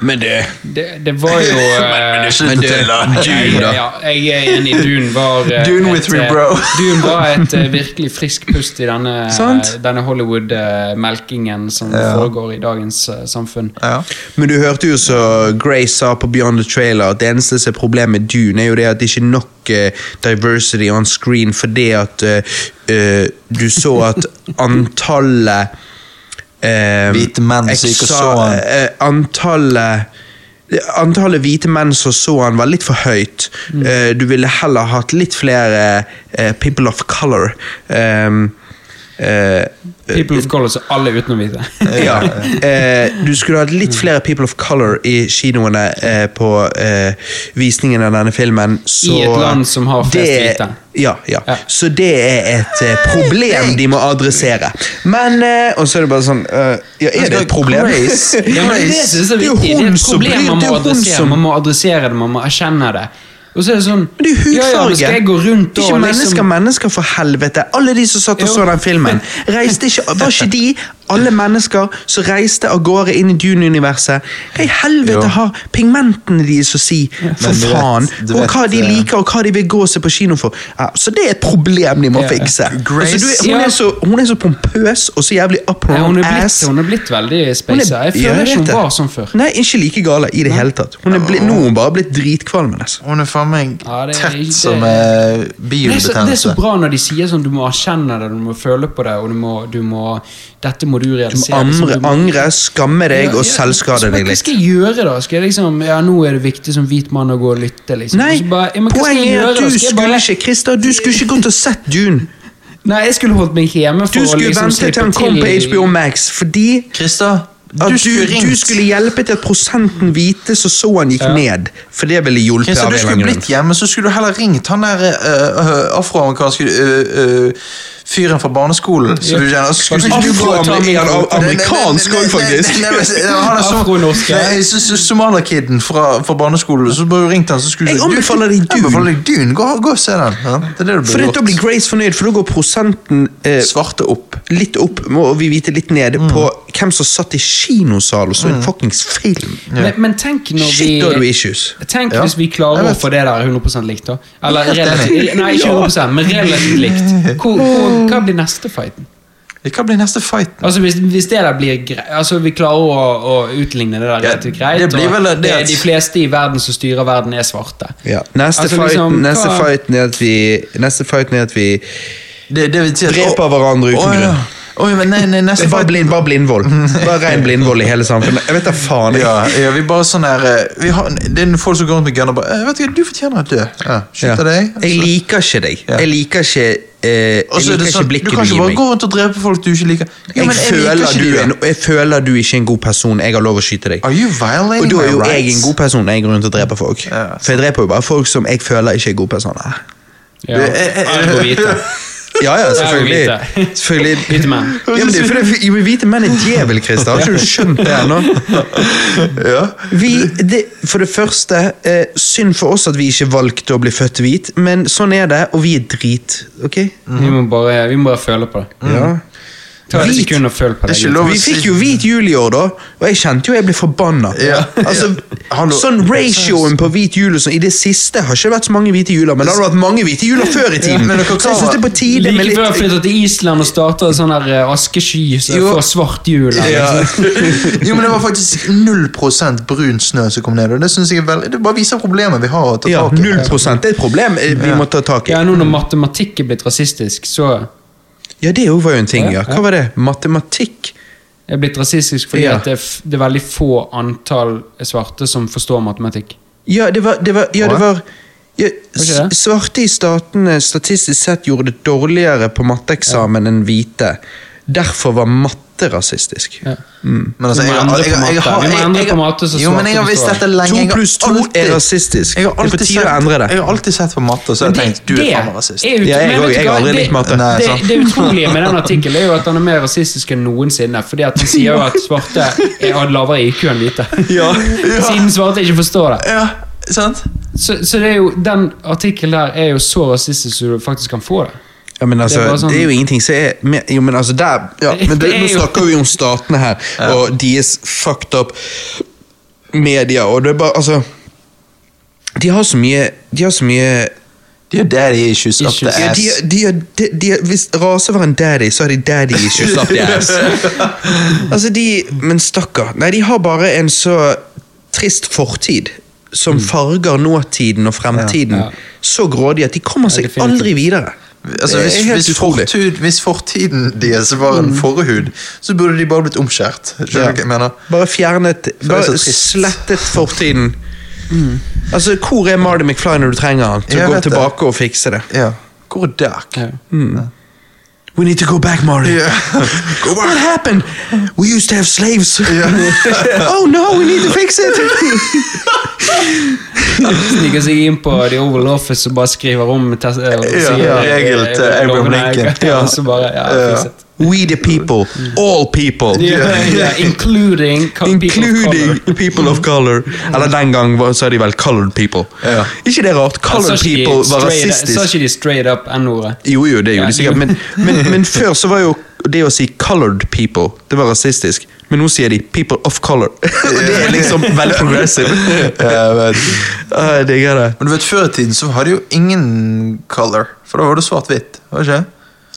A: Men det
C: Det, det var
A: [LAUGHS]
C: jo eh,
A: Men det Dune, da.
C: Ja, jeg er enig. Dune var eh,
B: Dune with
C: et,
B: me,
C: eh,
B: bro.
C: Dune var et
A: [LAUGHS]
C: eh, virkelig friskt pust i denne,
A: Sant.
C: eh, denne Hollywood-melkingen som
B: Ja.
C: foregår i dagens eh, samfunn.
B: Ja.
A: Men du hørte jo så Grace sa på Beyond the Trailer at det eneste som er problemet med Dune, er jo det at det ikke er nok eh, diversity on screen fordi at eh, eh, du så
B: [LAUGHS]
A: at antallet eh,
B: Hvite menn som ikke
A: eksa-
B: så han.
A: eh, Antallet Antallet hvite menn som så han var litt for høyt.
B: Mm.
A: Eh, du ville heller hatt litt flere eh, people of color. eh, Um,
C: People of color, så alle uten å vite. [LAUGHS]
A: ja. Eh, du skulle hatt
C: Mm.
A: litt flere People of Color i kinoene eh, på eh, visningen av denne filmen. Så
C: I et land som har flest
A: det-
C: hvite.
A: Ja, ja.
C: Ja.
A: Så det er et eh, problem de må adressere. Men eh, Og så er det bare sånn eh, Ja, [LAUGHS] er det et problem? [LAUGHS]
B: Grace-
C: Altså, Ja, men det, synes jeg er
A: Det er jo
C: viktig. Det er
A: hun
C: et
A: som
C: problem
A: bryr-
C: man
A: det er
C: må
A: jo hun
C: adressere.
A: som-
C: Man må adressere det, man må erkjenne det. Og så er det sånn
A: Men det er jo
C: Ja, ja,
A: hudfarge.
C: men skal jeg gå rundt
A: Det er
C: og
A: ikke mennesker,
C: liksom
A: mennesker, for helvete. Alle de som satt og
C: Jo.
A: så den filmen, reiste ikke Var ikke de alle mennesker som reiste av gårde inn i Dune-universet? Hei, helvete
B: Jo.
A: har pigmentene deres å si! For
B: Men du vet-
A: faen!
B: du
A: Og
B: vet,
A: hva de
B: eh,
A: liker, og hva de vil gå seg på kino for. Ja, så det er et problem de må
C: Ja.
A: fikse.
B: Grace-
A: Altså, du, er- hun,
C: Ja.
A: er så, hun er så pompøs og så jævlig up her
C: ja, hun,
A: own
C: er blitt,
A: ass.
C: hun er blitt veldig spaisa. Jeg
A: Ja,
C: føler ikke
A: vet
C: hun
A: det.
C: var sånn før.
A: Nei, ikke like gale i det hele tatt. Hun er blitt, nå er hun bare blitt dritkvalm. Altså.
B: Hun er faen meg
C: Ja, det er
B: tett
C: ikke-
B: som eh,
C: Det er, så, det er så
B: bilbetennelse.
C: bra når de sier sånn du må erkjenne det, du må føle på det, og du må, du må Dette må du realisere. liksom,
A: Amre,
C: du må-
A: angre, skamme deg og
C: Ja, ja,
A: selvskade
C: så,
A: deg
C: Hva
A: litt.
C: skal jeg gjøre, da? Skal jeg liksom Ja, nå er det viktig som hvit mann å gå og lytte, liksom.
A: Nei,
C: Og så bare, ja, men hva skal
A: poenget
C: jeg
A: er
C: gjøre,
A: at
C: da?
A: du
C: Skal jeg
A: skulle
C: bare-
A: ikke Christer, du skulle ikke gått og sett Dune.
C: Nei, jeg skulle holdt meg hjemme for
A: Du
C: å
A: skulle
C: liksom
A: vente til
C: slippe
A: han kom på
C: til-
A: HBO Max fordi
B: Krista, du,
A: at du,
B: skulle
A: du
B: ringt.
A: skulle hjelpe til at prosenten hvite så så han gikk
C: Ja.
A: ned. For det ville hjulpet. av
B: Christian,
A: en
B: du
A: eller
B: skulle
A: annen
B: blitt hjemme, så skulle du heller ringt han der øh, øh, afroamerikanske øh, øh, fyren fra barneskolen. Så du kjenner, så skulle ikke du gå
A: Afroamer-
B: Nei, nei,
A: er han
B: nei, nei,
A: amerikansk
B: nei, nei,
A: også, faktisk?
B: nei, nei, nei, nei, nei, Han er som-
C: Afronorske.
B: Nei, så- så- Somalia-kiden fra, fra barneskolen. Så bare ringt han, så skulle du
A: Jeg
B: du-
A: anbefaler deg
B: Jeg anbefaler deg Dune. Gå, gå og se den. Ja, det er det du
A: For
B: burde
A: det, da blir
B: gjort.
A: Grace fornøyd, for da går prosenten eh,
B: Svarte opp.
A: litt opp, må vi vite litt ned,
C: Mm.
A: på hvem som satt i kinosal og så en fuckings film.
C: Men, men tenk når vi
A: Shit, da har du issues.
C: Tenk
B: Ja,
C: hvis vi
B: jeg
C: klarer å
B: vet.
C: få det der 100 likt, da. Eller relativt Nei, ikke 100 men relativt likt.
A: [LAUGHS]
C: Hvor, hvor, hva blir neste fighten?
B: Hva blir neste fight?
C: Altså hvis, hvis det der blir greit Altså vi klarer å, å utligne det der
B: Ja,
C: relativt greit,
B: det blir
C: og
B: vel det
C: det
B: at-
C: er de fleste i verden som styrer verden, er svarte.
A: Ja. Neste,
C: Altså,
A: fight,
C: liksom,
A: neste,
C: hva-
A: fighten er at vi, neste fighten er at vi
B: Det, det vil si at
A: dreper hverandre uten
B: Å, ja.
A: grunn.
B: Å, ja, men nei, nei, neste
A: Det er Bare,
B: fight
A: blind, bare
B: [LAUGHS]
A: blindvold. Bare ren blindvold i hele samfunnet. Jeg vet da faen. Jeg.
B: Ja, ja, vi bare sånn her eh, vi har, Det er folk som går rundt med gunner og bare eh, Vet du, hva, du fortjener å dø. Ja,
A: Ja.
B: Skyter deg.
A: Jeg liker ikke deg.
B: Ja.
A: Jeg liker ikke, eh,
B: Og
A: jeg
B: så er
A: liker
B: det
A: ikke
B: sånn,
A: blikket
B: du
A: du
B: kan ikke
A: gir
B: bare
A: meg.
B: gå rundt og drepe folk du ikke liker. Ja,
A: Jeg
B: men
A: føler,
B: liker ikke
A: du
B: de,
A: er,
B: da.
A: en- jeg føler du ikke er en god person. Jeg har lov å skyte deg.
B: Are you violating
A: Og da er jo
B: my
A: jeg
B: rights?
A: en god person når jeg går rundt og dreper folk.
B: Ja.
A: For jeg dreper jo bare folk som jeg føler ikke er gode personer.
C: Ja.
B: Det er- er- er-
C: Ergo
B: [LAUGHS]
C: hvite. [LAUGHS]
A: Ja, ja, selvfølgelig.
C: Jeg er hvite.
A: selvfølgelig.
C: [LAUGHS] Hvite menn.
A: Ja, men det er fordi jo, men hvite menn er djevel, Christer. Har ikke du skjønt det ennå?
B: Ja.
A: [LAUGHS] Vi, det, for det første, eh, synd for oss at vi ikke valgte å bli født hvit, men sånn er det, og vi er drit. ok?
B: Mhm.
C: Vi må bare Vi må bare føle på det.
A: Ja.
C: Ta et
A: Hvit.
C: sekund og føl på det.
B: Det er ikke
C: gutter.
B: Mm. lov å
A: Vi
B: si
A: fikk jo hvit jul i år, da, og jeg kjente jo jeg ble forbanna.
B: Ja. [LAUGHS]
A: Altså,
B: Hallo.
A: sånn ratioen på hvit jul og sånn, i det siste har ikke vært så mange hvite juler, men det har vært mange hvite juler før i tiden.
B: Ja, [LAUGHS] men dere
A: så jeg
B: klarer-
A: synes det er på tide med
C: Like før jeg
A: litt
C: flyttet til Island og startet en sånn der eh, askesky så jeg
B: Jo.
C: får svart jul. eller
A: Ja.
C: noe sånt.
B: Jo, men det var faktisk 0 brun snø som kom ned. Og det synes jeg er veldig Det bare viser problemet vi [LAUGHS] har å ta
A: ja,
B: tak i.
A: 0 det er et problem eh, vi må ta tak i.
C: Ja, nå når matematikk er blitt rasistisk, så
A: Ja, det jo var jo en ting, ja. Hva var det? Matematikk?
C: er jeg blitt rasistisk fordi
A: Ja.
C: at det er, f det er veldig få antall svarte som forstår matematikk.
A: Ja, det var, det var, ja, det
C: Hva?
A: var ja,
C: ikke det?
A: s- Svarte i statene statistisk sett gjorde det dårligere på matteeksamen enn hvite. Derfor var matte rasistisk.
C: Ja.
B: Men altså,
C: Vi må
B: jeg, har-
C: endre
B: jeg,
C: på
B: jeg, jeg,
C: matte.
B: har-
C: Vi må
B: jeg-
C: endre
B: jeg-
C: på matte så
B: Jo, men
C: svarte
B: jeg har visst
C: består.
B: dette lenge.
A: To
B: Jeg har
A: pluss to
B: alltid-
A: er rasistisk.
B: Jeg har
A: Det er på
B: alltid
A: tide å
B: sett-
A: endre det.
B: Jeg har alltid sett på matte, og så har
C: Men
B: jeg tenkt du er faen meg rasist.
C: er ut-
A: Ja, jeg
C: men vet
A: òg.
C: du
A: Jeg
C: hva?
A: har aldri
C: Det-
A: likt matte. sånn.
B: Nei,
C: Det,
B: sant.
C: det utrolige med den artikkelen er jo at han er mer rasistisk enn noensinne. Fordi at han sier jo at svarte er- har lavere IQ enn hvite.
B: [LAUGHS] Ja, ja,
C: Siden svarte ikke forstår det.
B: ja, sant?
C: Så, så det er jo, den artikkelen der er jo så rasistisk som du faktisk kan få det.
A: Ja, men altså,
C: Det er
A: det er,
C: bare sånn-
A: jo ingenting som er mer- Jo, men altså, der ja, men det,
C: Det er
A: Nå
C: jo-
A: snakker vi om statene her, og deres fucked up media, og det er bare Altså De har så mye De har så mye
B: Det er jo daddy issues up the
C: Issues.
A: ja,
B: ass.
A: de, de, de, de, Hvis rase var en daddy, så har de daddy
B: [LAUGHS]
A: issues up the ass. [LAUGHS] Altså, de Men stakkar. Nei, de har bare en så trist fortid.
B: Mm.
A: Som farger nåtiden og fremtiden
C: Ja.
A: så grådig at de kommer seg
C: definitivt.
A: aldri videre.
B: Altså,
A: Det
B: hvis,
A: er helt
B: hvis,
A: utrolig.
B: fortud, hvis fortiden deres var en
C: Mm.
B: forhud, så burde de bare blitt omskjært. Skjønner du hva jeg mener?
A: Bare fjernet
B: det er
A: Bare
B: så trist. Mm.
A: slettet fortiden. Altså, hvor er Marty McFly når du trenger han til
B: Jeg
A: å gå
B: vet det.
A: tilbake og fikse det?
B: Ja. Hvor er Dirk?
C: Ja.
A: We need to go back, Marty.
B: [LAUGHS] Ja.
A: Go
B: [LAUGHS]
A: back. What happened? We used to have slaves. [LAUGHS] oh no, we need to fix it!
C: Sniker seg inn på The Oval Office og bare skriver om tes- eh, og sier,
B: ja,
C: eh,
B: regel til
C: eh,
B: Abraham
C: loven er-
B: Lincoln.
C: Ja,
B: Ja.
C: og [LAUGHS] så bare, ja,
B: Ja.
C: fix it.
A: [LAUGHS] We the people. All people.
B: [LAUGHS]
C: Ja, Including co- people of color.
A: Including people of color. Mm. Eller den gang var- så er de vel colored people.
B: Ja.
A: Ikke det rart?
C: Sa
A: Colored
C: ikke de
A: people var
C: straight-
A: rasistisk.
C: Sa ikke de straight up N-ordet?
A: Jo, jo, det gjorde
C: Ja,
A: de sikkert,
C: jo.
A: men,
C: [LAUGHS]
A: men, men før så var jo det å si 'colored people' det var rasistisk. Men nå sier de 'people of color'. [LAUGHS] Og det er liksom veldig [LAUGHS] progressive.
B: Jeg vet.
A: Ja, Ah, Jeg digger det.
B: Men du vet, Før i tiden så hadde jo ingen color, for da var det svart-hvitt. var det ikke?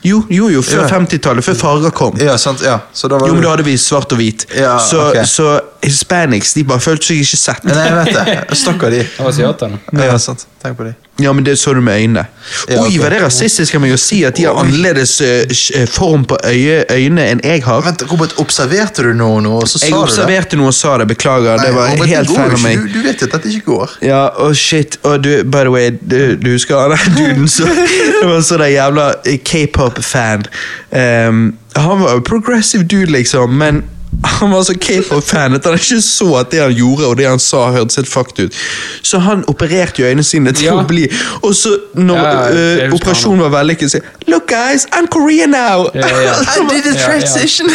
A: Jo, jo, jo før
B: Ja.
A: 50-tallet, før farger kom.
B: Ja, sant, ja. Så da var
A: Jo, men
B: det-
A: da hadde vi svart og hvit.
B: Ja,
A: så,
B: ok.
A: så hispanics de bare følte seg ikke sett.
B: Nei, jeg vet det. Stakkar de.
C: Jeg var asiater,
B: Ja, sant. Tenk på de.
A: Ja, men det så du med øynene.
B: Ja,
A: Oi,
B: ok.
A: var det rasistisk av meg å si at de har annerledes eh, sj- form på øye, øynene enn jeg har?
B: Vent, Robert, observerte du noe nå, og så sa
A: Jeg
B: du det?
A: observerte noe og sa det, beklager. Det
B: Nei,
A: var
B: Robert, det
A: helt
B: går jo
A: feil av
B: ikke.
A: meg.
B: Du, du vet jo at dette ikke går.
A: Ja, og shit, og du, by the way, du, [LAUGHS] du husker han der duden som Det var sånn der jævla k-pop-fan. Ehm, han var en progressive dude, liksom, men han var så k-pop-fan at han ikke så at det han gjorde og det han sa, hørtes helt fucked ut. Så han opererte jo øynene sine til
C: Ja.
A: å bli Og så, når
C: Ja, ja, jeg
A: eh,
C: husker
A: operasjonen var vellykket, så Look, guys, I'm Korean now! [LAUGHS]
C: Ja, ja.
A: I did
C: Ja,
A: a
C: ja.
A: transition!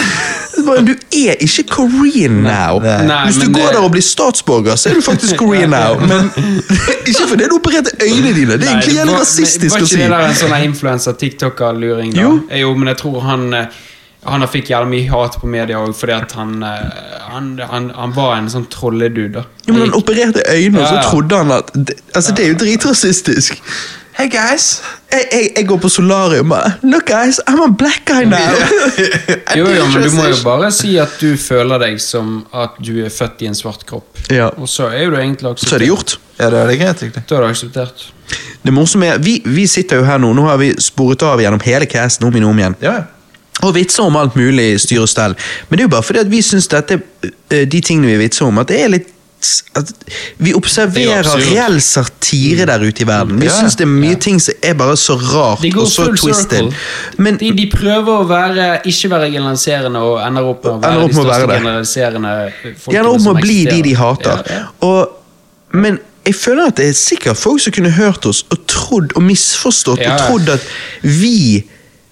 A: Bare, Du er ikke Korean now.
B: Nei.
C: Nei,
A: Hvis du
C: men
A: går
C: det-
A: der og blir statsborger, så er du faktisk Korean
B: [LAUGHS]
A: now. Men [LAUGHS] ikke fordi du opererte øynene dine. Det er egentlig
C: Nei,
A: jævlig
C: var-
A: rasistisk
C: Var
A: å
C: ikke
A: si.
C: det der en sånn influenser-tiktoker-luring? da?
A: Jo.
C: Eh, jo, men jeg tror han eh, han har fikk jævlig mye hat på media òg, fordi at han, eh, han, han Han var en sånn trolledude. da.
A: Jo, men Han opererte øynene, og
C: Ja,
A: så
C: ja.
A: trodde han at det- Altså, det er jo dritrasistisk.
B: Hey guys!
A: Jeg, jeg, jeg går på solarium og Look, guys, I'm a black guy
B: [LAUGHS]
A: now.
C: Jo, jo, men du må
A: [LAUGHS]
C: jo bare si at du føler deg som at du er født i en svart kropp.
A: Ja.
C: Og så er jo du egentlig akseptert.
A: Så er det gjort.
B: Ja, det er det greit, egentlig.
C: Da er du akseptert.
A: Det morsomme er, vi, vi sitter jo her nå, nå har vi sporet av gjennom hele casten om igjen og om igjen.
B: Ja, ja.
A: Og vitser om alt mulig styr og stell. Men det er jo bare fordi at vi syns dette, eh, de tingene vi vitser om, at det er litt at vi observerer
C: Det er jo absurd.
A: reell satire der ute i verden. Vi
B: Ja, ja.
A: syns det er mye ting som er bare så rart
C: De går
A: og så
C: full
A: twisted.
C: circle.
A: Men
C: De, de prøver å være, ikke være generaliserende og ender opp med å
A: Ender
C: være
A: opp
C: de
A: med å være
C: største
A: det.
C: generaliserende folkene
A: de ender opp
C: som
A: med å bli de de
C: eksisterer.
A: hater.
C: Ja, ja.
A: Og, men jeg føler at det er sikkert folk som kunne hørt oss og trodd og misforstått
C: Ja,
A: og
C: ja.
A: trodd at vi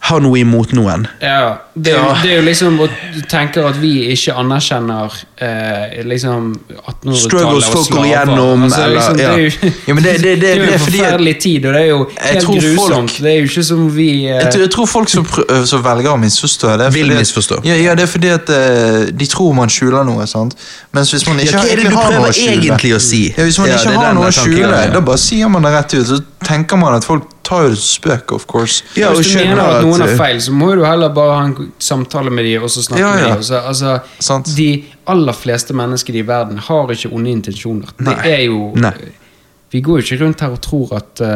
A: har noe imot noen.
C: Ja, det er, jo, det er jo liksom å tenke at vi ikke anerkjenner eh, liksom 1800-tallet
A: Struggles folk går igjennom,
C: igjennom, altså, liksom,
A: eller- ja.
C: det, er jo,
B: Ja, men det- det- det-
C: er jo
B: det er
C: en
B: fordi at-
C: forferdelig tid, og det er jo helt
B: tror folk-
C: grusomt. det er jo ikke som vi eh,
B: Jeg tror, jeg tror folk som, prø- øh, som velger å misforstå det er
A: Vil
B: fordi-
A: misforstå.
B: Ja, ja, det er fordi at øh, de tror man skjuler noe, sant. Mens hvis man
A: Ja,
B: ikke
A: hva er det
B: egentlig
A: du
B: har noe å
A: prøver
B: skjule
A: egentlig å si?
B: Ja, Hvis man
A: Ja, det
B: ikke
A: er
B: har
A: den
B: noe å
A: tanken,
B: skjule,
A: ja, ja.
B: da bare sier man det rett ut. Så tenker man at folk tar jo det som spøk, of course.
A: Ja, og
C: Hvis du
A: skjønner
C: mener at noen
A: at,
C: har
A: eh,
C: feil, så må jo du heller bare ha en samtale med dem og så snakke
B: Ja, ja.
C: med dem. og så- Altså,
B: Sant.
C: De aller fleste mennesker i verden har ikke onde intensjoner. Det
B: Nei.
C: er jo
A: Nei.
C: Vi går jo ikke rundt her og tror at eh,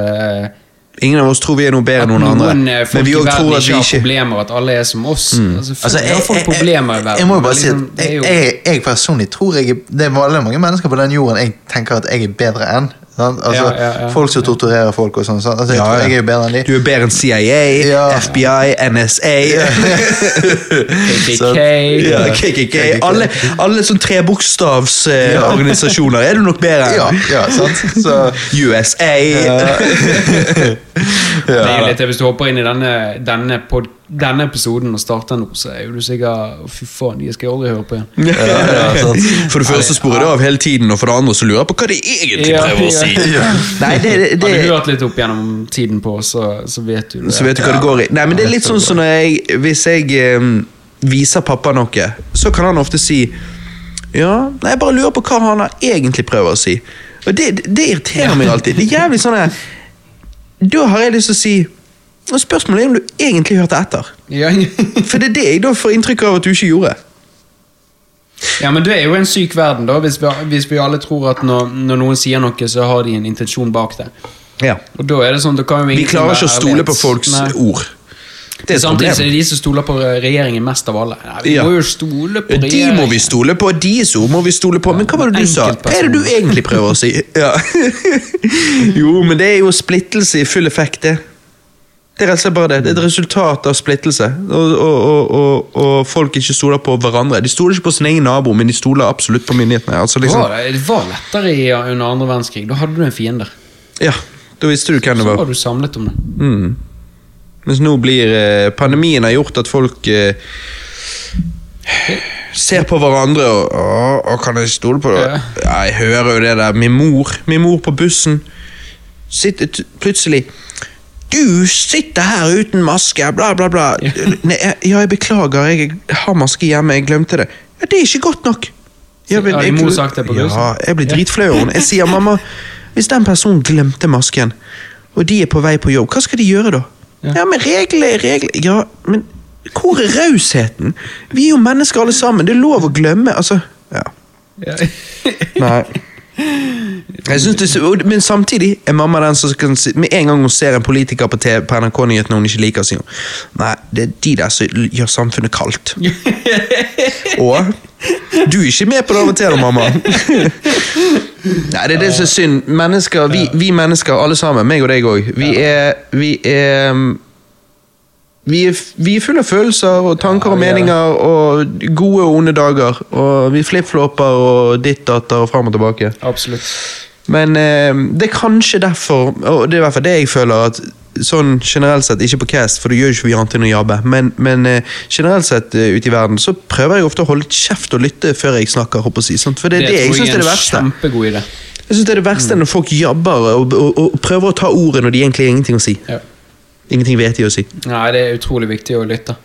A: Ingen av oss tror vi er noe bedre enn noen andre.
C: eh, folk
A: Men vi
C: i
A: også
C: verden
A: tror at vi
C: ikke har
A: ikke Mm.
C: problemer, at alle er som oss. Altså, folk,
B: Altså,
C: det er folk problemer i verden.
B: jeg må jo bare
C: men
B: si at
C: liksom, det er
B: jeg,
C: jo-
B: jeg, jeg personlig tror jeg er- Det er veldig mange mennesker på den jorden jeg tenker at jeg er bedre enn. Sant? Altså,
C: Ja, ja, ja.
B: Folk som torturerer folk og sånn. sant? Altså, jeg,
A: Ja,
B: tror
A: ja.
B: jeg er jo bedre enn de.
A: Du er bedre enn CIA,
B: Ja.
A: FBI, NSA [LAUGHS]
C: KKK.
B: Så-
A: ja, KKK Alle, alle sånn trebokstavsorganisasjoner er du nok bedre
B: Ja,
A: enn.
B: ja, sant? Så,
A: USA
C: Det er jo litt, det, hvis du hopper inn i denne, denne, pod, denne episoden og starter nå, så er jo du sikkert Fy faen, de skal jeg aldri høre på igjen.
B: ja, sant.
A: For det første sporer det av hele tiden, og for det andre så lurer jeg på hva de egentlig
C: Ja,
A: prøver å
C: ja.
A: si.
B: Ja.
A: Nei, det, det,
C: Hadde du hørt litt opp gjennom tiden på, så, så vet du det.
A: Så vet du hva det går i. Nei, men det er litt sånn som når jeg Hvis jeg em, viser pappa noe, så kan han ofte si Ja, nei, jeg bare lurer på hva han har egentlig prøver å si. Og det, det irriterer meg alltid. Det er jævlig sånn her Da har jeg lyst til å si «Nå, Spørsmålet er om du egentlig hørte etter.
C: ja, [LAUGHS]
A: For det er det jeg da får inntrykk av at du ikke gjorde.
C: ja, men det er jo en syk verden, da, hvis vi, hvis vi alle tror at når, når noen sier noe, så har de en intensjon bak det.
A: Ja.
C: Og da er det sånn, da kan jo
A: Vi
C: ingenting
A: klarer
C: være
A: ikke å stole
C: ærlighet.
A: på folks
C: Nei.
A: ord. Det er et
C: Samtidig så er
A: problem.
C: det de som stoler på regjeringen mest av alle. Nei, vi
A: Ja.
C: må jo stole på
A: De
C: regjeringen.
A: må vi stole på, deres ord må vi stole på. Men hva var det du sa? Hva er det du egentlig prøver å si? Ja. [LAUGHS] Jo, men det er jo splittelse i full effekt, det. Det er rett og slett bare det. Det er et resultat av splittelse. Og, og, og, og, og folk ikke stoler på hverandre. De stoler ikke på sin egen nabo, men de stoler absolutt på myndighetene. Altså,
C: Det
A: liksom,
C: var, det var lettere i, under andre verdenskrig. Da hadde du en fiende.
A: ja, da visste du hvem
C: Så
A: det var.
C: var du samlet om det.
A: Mm. Mens nå blir eh, Pandemien har gjort at folk eh, ser på hverandre og å, å, kan jeg stole på det?
C: Ja.
A: Ja, Jeg hører jo det der. Min mor, min mor på bussen sitter t plutselig Du sitter her uten maske, bla, bla, bla. Nei, jeg, ja, jeg beklager, jeg har maske hjemme, jeg glemte det. Ja, det er ikke godt nok. Ja,
C: Har din
A: jeg-
C: mor sagt det på bussen?
A: Ja, jeg blir dritflau over henne. Jeg sier, mamma, hvis den personen glemte masken, og de er på vei på jobb, hva skal de gjøre da?
C: Ja.
A: Ja, men regler er regler. Ja, men hvor er rausheten? Vi er jo mennesker alle sammen, det er lov å glemme, altså. Ja. Nei. Jeg synes det, og- men samtidig er mamma den som kan si, med en gang hun ser en politiker på, TV, på NRK-nyhetene hun ikke liker, sier hun Nei, det er de der som gjør samfunnet
C: [LAUGHS]
A: kaldt. og du er ikke med på det av og til, da, mamma. Nei, det er det som er synd. Mennesker, vi, vi mennesker, alle sammen, meg og deg òg, vi er, vi er um, vi er, f- vi er fulle av følelser og tanker og
C: Ja, vi er det.
A: meninger og gode og onde dager. Og vi flipflopper og ditt datter og fram og tilbake.
C: [LAUGHS] Absolutt.
A: Men eh, det er kanskje derfor, og det er i hvert fall det jeg føler at Sånn generelt sett, ikke på cast, for det gjør jo ikke vi annet enn å jabbe, men, men eh, generelt sett eh, ute i verden så prøver jeg ofte å holde kjeft og lytte før jeg snakker. håper jeg å si, sant? For det er det, jeg
C: tror
A: syns er det verste.
C: en kjempegod idé.
A: Jeg synes det er det verste når folk jabber og, og, og prøver å ta ordet når de egentlig har ingenting å si.
C: Ja.
A: Ingenting vet de å si.
C: Nei, det er utrolig viktig å lytte.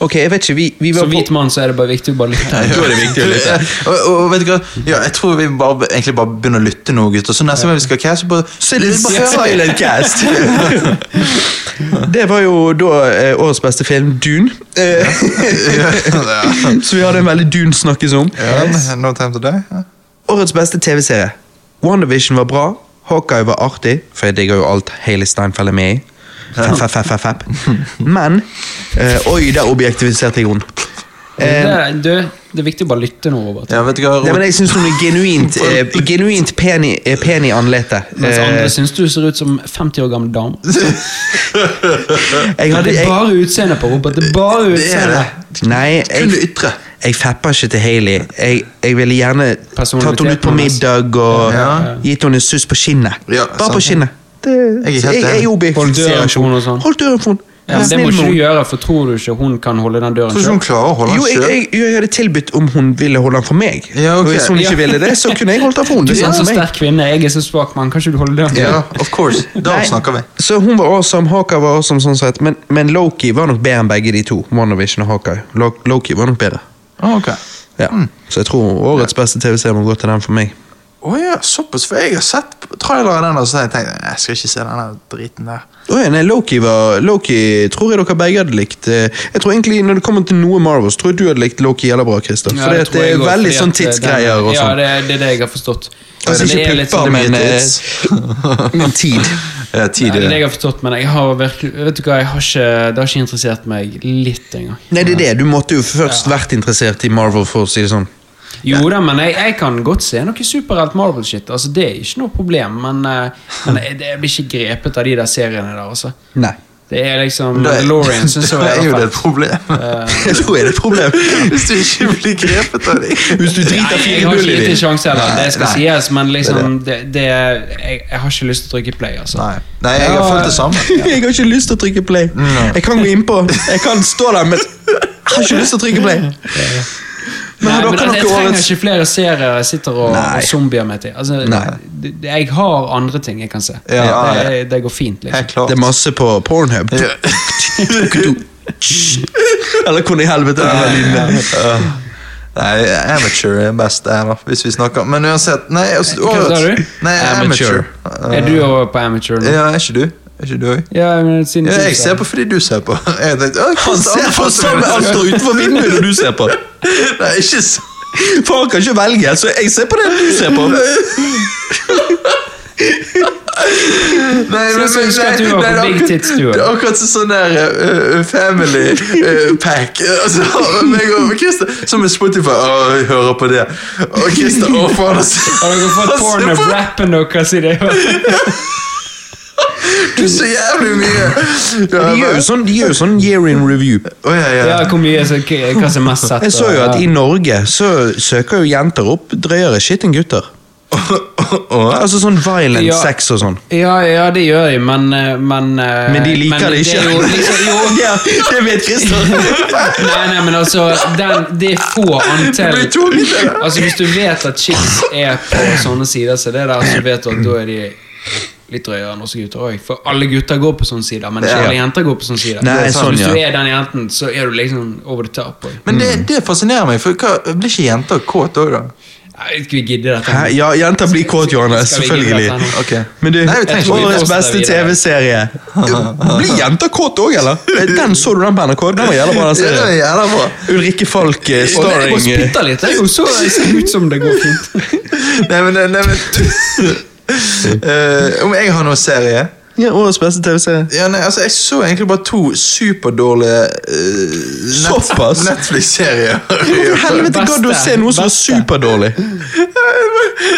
A: Ok, jeg vet ikke, vi, vi var
C: Som hvit mann så er det bare viktig å bare lytte.
A: [LAUGHS] Da er det viktig å lytte.
B: [LAUGHS] og, og vet du hva? Ja, jeg tror vi bare, egentlig bare begynner å lytte nå, gutter. Så neste gang vi skal caste, bare,
A: Så er det
B: bare hører vi.
A: silent [LAUGHS] cast. det var jo da eh, årets beste film, Dune. Eh,
B: ja.
A: [LAUGHS] Så vi hadde en veldig Dune-snakkes om.
B: Ja, No time to die. Ja.
A: Årets beste TV-serie. WandaVision var bra. Hawkeye var artig, for jeg digger jo alt Hailey Steinfeld er med i. Fapp, fapp, fapp, fapp, fapp. Men eh, Oi, der objektiviserte jeg henne. Eh,
C: Det, det, det er viktig å bare lytte nå, Robert.
B: Ja, vet du hva?
A: nei, men jeg syns hun er
C: [LAUGHS]
A: genuint, eh, genuint pen i, eh, pen i anletet.
C: Mens andre
A: Eh,
C: syns du ser ut som 50 år gamle dame.
A: [LAUGHS] jeg hadde
C: Det er
A: jeg,
C: bare utseendet på Robert. Det er bare
B: Det er
C: utseendet.
B: det.
A: Nei,
B: Kun det
A: jeg,
B: ytre.
A: jeg fapper ikke til Hailey. Jeg, jeg ville gjerne tatt henne ut på
C: Personaliteten hennes.
A: middag og
B: Ja.
A: gitt henne en suss på skinnet.
B: Ja,
A: Bare på
B: sant.
A: skinnet. Det,
B: Jeg er helt
A: jeg, jeg
B: enig.
C: Hold døren
A: objektiviserer
C: for
A: ikke
C: henne og sånn.
A: henne. Hold døren for henne.
C: Ja,
A: Vær
C: men det
A: snill
C: må
A: med
C: ikke
A: henne.
C: du gjøre, for tror du ikke hun kan holde den døren
B: Tror ikke
C: selv?
B: hun klarer å holde
A: Jo,
B: den
A: jeg,
B: sjøl.
A: jeg, jeg hadde tilbudt om hun ville holde den for meg.
B: Ja, ok.
A: Og hvis hun ikke
C: Ja.
A: ville det, så kunne jeg holdt den for henne.
C: Du
A: Det
C: er sånn en
A: samme
C: så
A: for meg.
C: sterk kvinne, jeg er så svak mann. Kan ikke du holde døren?
B: Ja, of course. Da
A: Nei,
B: snakker vi.
A: Så hun var awesome, Hawkeye var awesome, sånn sett. Men, men Loki var nok bedre enn begge de to. WandaVision og Hawkeye. Lo- Loki var nok bedre.
B: Ah, ok.
A: Ja. Så jeg tror årets beste TV-serie må gå til den for meg.
B: Å ja, såpass. For jeg har sett trailere av den, og så har jeg tenkt "Nei, jeg skal ikke se den der driten der.
A: Åja, nei, Loki var Loki tror jeg dere begge hadde likt. eh, Jeg tror egentlig Når det kommer til noe Marvels, tror jeg du hadde likt Loki jævla bra, Christer.
C: Ja,
A: for det, at
C: tror
A: det
C: jeg
A: er
C: også,
A: veldig
C: fordi
A: sånn
C: at eh, den-
A: tidsgreier og
C: Ja,
A: sånn.
C: det, er- det er det jeg har forstått.
A: Altså,
C: Det
A: ikke
C: er litt
A: pupper,
C: sånn-
A: men,
B: det blir
A: eh,
C: [LAUGHS]
A: men tid.
B: Ja,
C: Nei, det er det
B: tidlig.
C: jeg har forstått, men jeg har virkelig, vet du hva, jeg har ikke, det har ikke interessert meg litt engang.
A: Nei, det er det. Du måtte jo først vært interessert i Marvel, for å si det sånn.
C: Jo da, men jeg, jeg kan godt se noe superhelt Marvel-shit. Altså, det er ikke noe problem, men, eh, men jeg, det- jeg blir ikke grepet av de der seriene der, altså.
A: Nei.
C: Det er liksom Mandalorian, syns jeg.
B: [LAUGHS] Da er
C: i
B: jo det
C: hvert
B: et
C: fall.
B: problem.
A: [LAUGHS] Jeg tror det er et
C: [LAUGHS]
A: problem.
B: Hvis du ikke blir grepet av dem.
A: Hvis du driter
C: Nei, jeg
A: fire
C: har
A: bull
C: ikke
A: i
C: gitt en
A: det.
C: sjanse heller, det skal
B: Nei, nei.
C: sies, men liksom det, det, jeg, jeg har ikke lyst til å trykke play, altså.
B: Nei. Nei, jeg har
C: Ja,
B: følt det samme.
A: [LAUGHS] Jeg har ikke lyst til å trykke play. Jeg kan gå innpå. Jeg kan stå der, men jeg har ikke lyst til å trykke play. Men har
C: Nei, men
A: dere
C: jeg
A: noe
C: trenger
A: årets
C: ikke flere serier jeg sitter og,
A: Nei.
C: og zombier meg til. Altså,
A: Nei.
C: det- det- Jeg har andre ting jeg kan se.
B: Ja, ja.
C: det, det går fint, liksom.
B: Helt klart.
A: Det er masse på Pornhub.
B: Ja.
A: Eller hvordan i helvete er den lyden der?
B: Nei, amateur er best der, da, hvis vi snakker. Men uansett Nei, altså,
C: Hva sa
B: årets-
C: du?
B: Nei amateur.
A: Amateur.
B: Eh,
C: Er du over på amateur nå?
B: Ja, er ikke du? Er ikke du òg?
C: Ja, men siden
B: Ja,
C: sist,
B: jeg ser på fordi du ser på. Jeg tenkte, «Å,
A: Han ser på samme Han står utenfor vinduet når du ser på.
B: Nei, ikke så
A: For han kan ikke velge, så jeg ser på det du ser på.
B: Nei,
C: Så jeg skulle ønske at du var på
B: det er
C: Big
B: akkurat-
C: Tits, du også.
B: Det er [LAUGHS] akkurat som sånn der eh, eh, family eh, pack. Altså, [LAUGHS] meg og Christer, som er Spotify. Å, jeg hører på det. Og Christer, å faen, altså.
C: Har dere fått
B: Altså,
C: porn of
B: for-
C: rappen deres i det?
B: Du så jævlig mye. Ja,
A: De gjør jo sånn, de gjør jo sånn year in review.
B: Å, ja, ja.
C: Ja, hvor mye så, k- hva som er mest sett?
A: Jeg så jo
C: og-
A: at i Norge så søker jo jenter opp drøyere shit enn gutter.
B: Å,
A: Altså sånn violent
C: Ja.
A: sex og sånn.
C: ja, ja, det gjør de, men eh, Men, eh,
A: Men de liker
C: men
A: det ikke.
C: er jo liksom- jo,
A: [LAUGHS] Ja, det vet
C: [LAUGHS]
A: Christer.
C: Nei, nei, men altså den, Det er få antall
B: Det blir tungt, det der.
C: Altså Hvis du vet at chicks er på sånne sider, så det der,
A: [CLEARS THROAT]
C: så vet du at da er de litt drøyere enn oss gutter òg. For alle gutter går på sånne sider, men ikke
B: Ja.
C: alle jenter går på sånne sider.
A: Nei,
C: så
A: sånn,
C: hvis du
A: ja.
C: er den jenten, så er du liksom over the top. Og,
B: Men
A: Mm.
B: det, det fascinerer meg, for hva, blir ikke jenter kåte òg, da?
C: jeg vet ikke vi gidder dette.
A: Hæ? Ja, jenter blir kåt, Johannes.
C: Skal vi ikke
A: Selvfølgelig.
C: prate her nå?
B: Ok.
A: Men du,
B: Nei, vi trenger ikke å
A: årets
C: fortsette
A: beste
C: videre.
A: TV-serie. Blir jenter kåt òg, eller? Den så du den på NRK? Den var jævla bra, den
B: Det er
A: serien.
B: jævla bra.
A: Ulrikke Falk eh,
C: Og det- Og
A: starring eh,
C: spytter litt. Det er jo så det ser ut som det går fint.
B: Nei, men, nei, men [LAUGHS] Eh, Om jeg har noen serie?
A: ja, Årets beste TV-serie.
B: Ja, nei, altså, Jeg så egentlig bare to superdårlige eh, net
A: Såpass?
B: Netflix-serier. [LAUGHS]
A: Hvorfor i helvete
C: Beste.
A: gadd du å se noe som var
C: Beste.
A: superdårlig?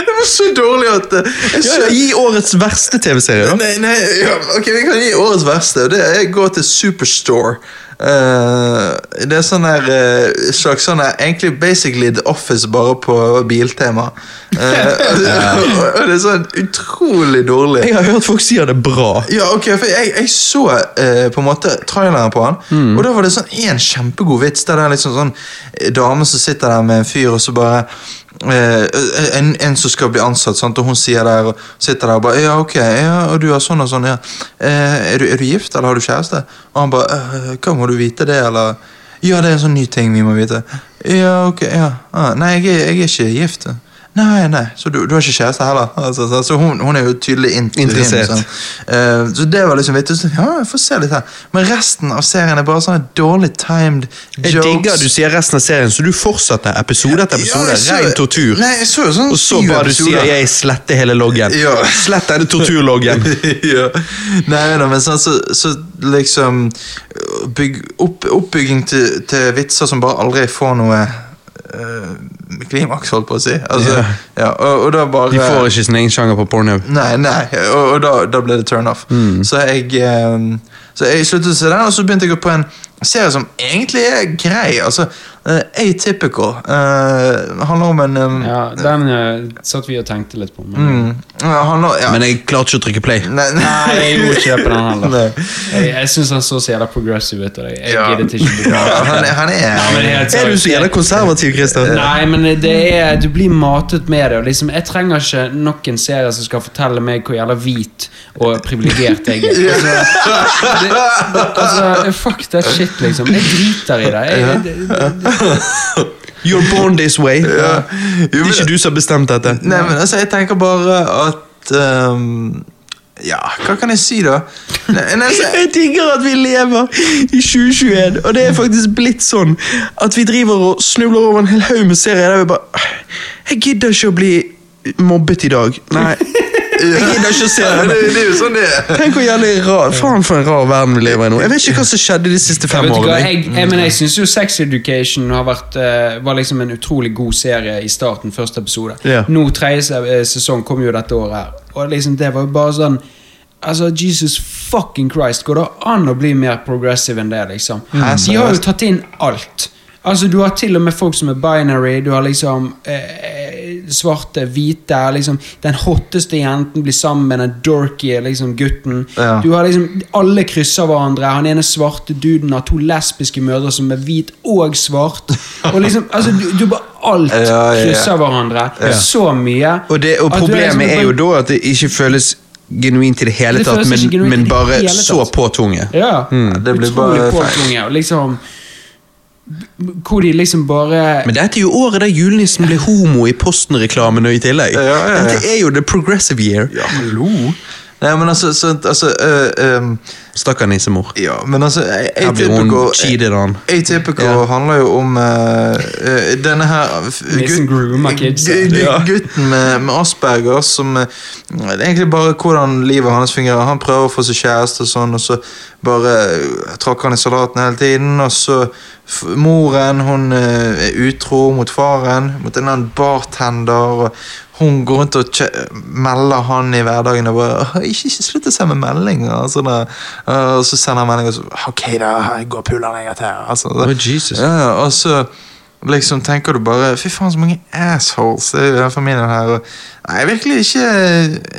B: Det var så dårlig at eh, jeg
A: Ja,
B: så,
A: ja, gi årets verste TV-serie, da.
B: Nei, nei, ja, ok, vi kan gi årets verste. og Det er å gå til Superstore. Eh, det er sånn her eh, slags sånn her Egentlig basically The Office, bare på biltema.
A: [LAUGHS]
B: Eh, og, og det er sånn utrolig dårlig.
A: Jeg har hørt folk si at det er bra.
B: Ja, ok, for jeg, jeg så eh, på en måte traileren på han, og da var det sånn en kjempegod vits. Der det er liksom sånn eh, dame som sitter der med en fyr, og så bare eh, en, en som skal bli ansatt, sant? og hun sier der og sitter der og bare Ja, ok, ja, og du har sånn og sånn, ja. Eh, er, du, er du gift, eller har du kjæreste? Og han bare eh, Hva, må du vite det, eller? Ja, det er en sånn ny ting vi må vite. Ja, ok, ja. Ah, nei, jeg er, jeg er ikke gift. Nei, nei, så du, du har ikke kjæreste heller? Altså, så, så hun, hun er jo tydelig int
A: Interessert.
B: Sånn. Eh, så det var liksom vittig. Så, Ja, jeg får se litt her. Men resten av serien er bare sånne dårlig timed jokes.
A: Jeg digger at du sier resten av serien, så du fortsetter episode etter episode.
B: jeg så-
A: Ren tortur.
B: Nei, jeg så jo sånn
A: Og så
B: syv
A: bare du
B: episoder.
A: sier 'jeg sletter hele loggen'.
B: Ja.
A: Slett denne torturloggen.
B: [LAUGHS] ja. Nei, da, men sånn, så, så liksom bygg, opp, Oppbygging til, til vitser som bare aldri får noe eh, klimaks, holdt på å si. Altså,
A: Ja.
B: ja. og, og da bare
A: De får ikke sin egen sjanger på Pornhub.
B: Nei, nei, og, og da, da ble det turn off.
A: Mm.
B: Så, jeg, ehm, så jeg sluttet å se den, og så begynte jeg på en serie som egentlig er grei. Altså, eh, Atypical. eh, handler om en ehm,
C: [LAUGHS] Ja, Den eh, satt vi og tenkte litt på. Men...
B: mm, ja, handler, ja.
A: Men jeg klarte ikke å trykke play.
B: nei,
C: Nei, jeg gjorde ikke det på den heller.
B: Nei.
C: Jeg, jeg syns han så så jævla progressive ut. og Jeg, jeg
B: Ja.
C: giddet ikke bli
B: [LAUGHS] Ja, han, er- han
C: Ja, men
B: er
C: helt
A: Er du så jævla konservativ, Christer?
C: Nei, men det er, du blir matet med det. Og liksom, jeg trenger ikke nok en serie som skal fortelle meg hvor jævla hvit og privilegert jeg er. Altså, det, eh, altså, fuck that shit, liksom. Jeg driter i det. Jeg, det, det,
A: You're born this way.
B: Ja.
A: Det er ikke du som har bestemt dette.
B: Nei, men altså, jeg tenker bare at ehm, Ja, hva kan jeg si, da? Nei, nei, altså,
A: [LAUGHS] Jeg digger at vi lever i 2021, og det er faktisk blitt sånn at vi driver og snubler over en hel haug med serier der vi bare Jeg gidder ikke å bli mobbet i dag.
C: [LAUGHS]
A: Nei. Jeg gidder ikke å se
B: Ja,
A: det.
B: det, det er jo sånn det er.
A: Tenk hvor jævlig rar Faen for en rar verden vi lever i nå. Jeg vet ikke hva som skjedde de siste fem
C: Vet du hva,
A: årene.
C: jeg, jeg, men jeg syns jo Sex Education har vært, eh, var liksom en utrolig god serie i starten, første episode.
A: Ja.
C: Nå tredje se- eh, sesong kom jo dette året her, og liksom det var jo bare sånn Altså, Jesus fucking Christ, går det an å bli mer progressive enn det, liksom?
B: Hæ,
C: De har jo tatt inn alt. Altså, du har til og med folk som er binary, du har liksom eh, svarte, hvite liksom, Den hotteste jenten blir sammen med den dorky liksom, gutten.
B: Ja.
C: Du har liksom, Alle krysser hverandre. Han ene svarte duden har to lesbiske mødre som er hvit og svart. Og
B: [LAUGHS]
C: liksom, altså, du, du bare Alt
B: Ja, ja, ja.
C: krysser hverandre. Så mye.
A: Og, det, og
C: At du liksom-
A: problemet er jo da at det ikke føles genuint i det hele
C: Det
A: tatt,
C: føles ikke
A: men,
C: genuint i
A: men
C: det
A: bare
C: hele tatt.
A: så påtvunget.
C: Ja.
B: Mm. det blir
C: Utrolig
B: bare feil.
C: påtvunget, og Liksom, hvor de liksom bare
A: Men dette er jo året der julenissen ble homo i Posten-reklamen og i tillegg.
B: Ja, ja, ja.
A: Dette er jo the progressive year.
B: Ja, hallo. Nei, men altså, sånt, altså eh, ehm,
A: Stakkar nissemor.
B: Ja, men altså A-
A: Her blir hun
B: Atypical
A: cheated on.
B: Atypical
A: Ja.
B: handler jo om eh, eh, denne her f-
C: Mason Groom er kids,
B: gu- gu-
A: ja.
B: gutten med, med Asperger som eh, Det er egentlig bare hvordan livet hans fungerer. Han prøver å få seg kjæreste og sånn, og så bare eh, tråkker han i salaten hele tiden. Og så f moren hun eh, er utro mot faren, mot en eller annen bartender. og hun går rundt og kje- melder han i hverdagen og bare «Åh, ikke, ikke slutt å sende meldinger. Og, sånn, da. Eh, og så sender han meldinger og så OK, da. Jeg går og puller deg etter. Altså,
A: Å, Jesus.
B: Ja, ja, og så liksom tenker du bare Fy faen, så mange assholes det er jo i den familien her. Og, nei, virkelig ikke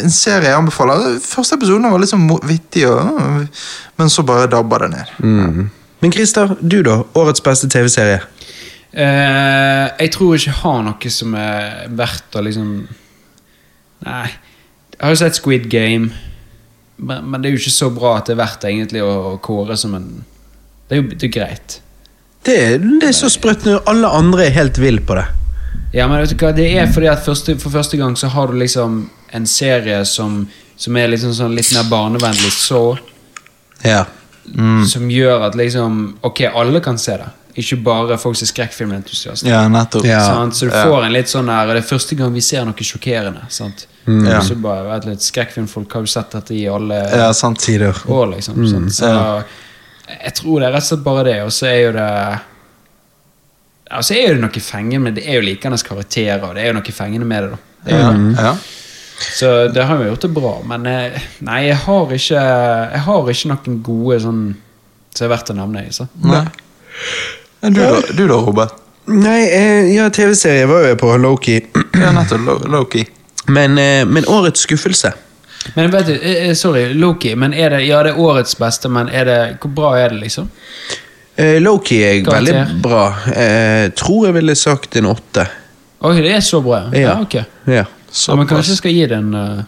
B: en serie jeg anbefaler. Første episoden var liksom mo- vittig, og, «Åh», men så bare dabba det ned.
A: Men Christer, du da? Årets beste TV-serie?
C: Eh, jeg tror ikke jeg har noe som er verdt å liksom Nei. Jeg har jo sett Squid Game, men, men det er jo ikke så bra at det er verdt egentlig å, å kåre som en Det er jo det er greit.
A: Det, er- det er så sprøtt når alle andre er helt vill på det.
C: Ja, men vet du hva, det er fordi at første, for første gang så har du liksom en serie som, som er liksom sånn litt mer barnevennlig, så
A: Ja.
C: Som gjør at liksom Ok, alle kan se det. Ikke bare folk som er skrekkfilmentusiaster.
B: Ja, nettopp.
A: Ja.
C: sant? Så du får en litt sånn her Og det er første gang vi ser noe sjokkerende. Sant?
B: Mm. Ja.
C: Og så bare vet litt Skrekkfilmfolk har jo sett dette i alle
B: Ja, Mm. sant.
A: Tider.
C: år, liksom. sant? Så jeg tror det er rett og slett bare det. Og så er jo det ja, så er jo det noe fengende, men det er jo likende karakterer, og det er jo noe fengende med det. da det er jo
B: Ja,
C: det.
A: Mm.
B: ja.
C: Så det har jo gjort det bra, men eh, nei, jeg har ikke Jeg har ikke noen gode sånn som er verdt å nevne. liksom. Så.
B: Nei. Men Du da, du da Robert?
A: Nei, eh, ja, TV-serie var jo jeg på, Loki.
B: Ja, nettopp. Low- Low-key.
A: Men, eh, men årets skuffelse?
C: Men vet du, eh, eh, sorry, Loki, men er det, ja, det er årets beste, men er det, hvor bra er det, liksom?
A: Eh, Loki er
C: Karakter.
A: veldig bra. Eh, tror jeg ville sagt en åtte.
C: Oi, det er så bra, ja. ja ok.
A: Ja.
C: Ja, men kanskje jeg skal gi det en eh,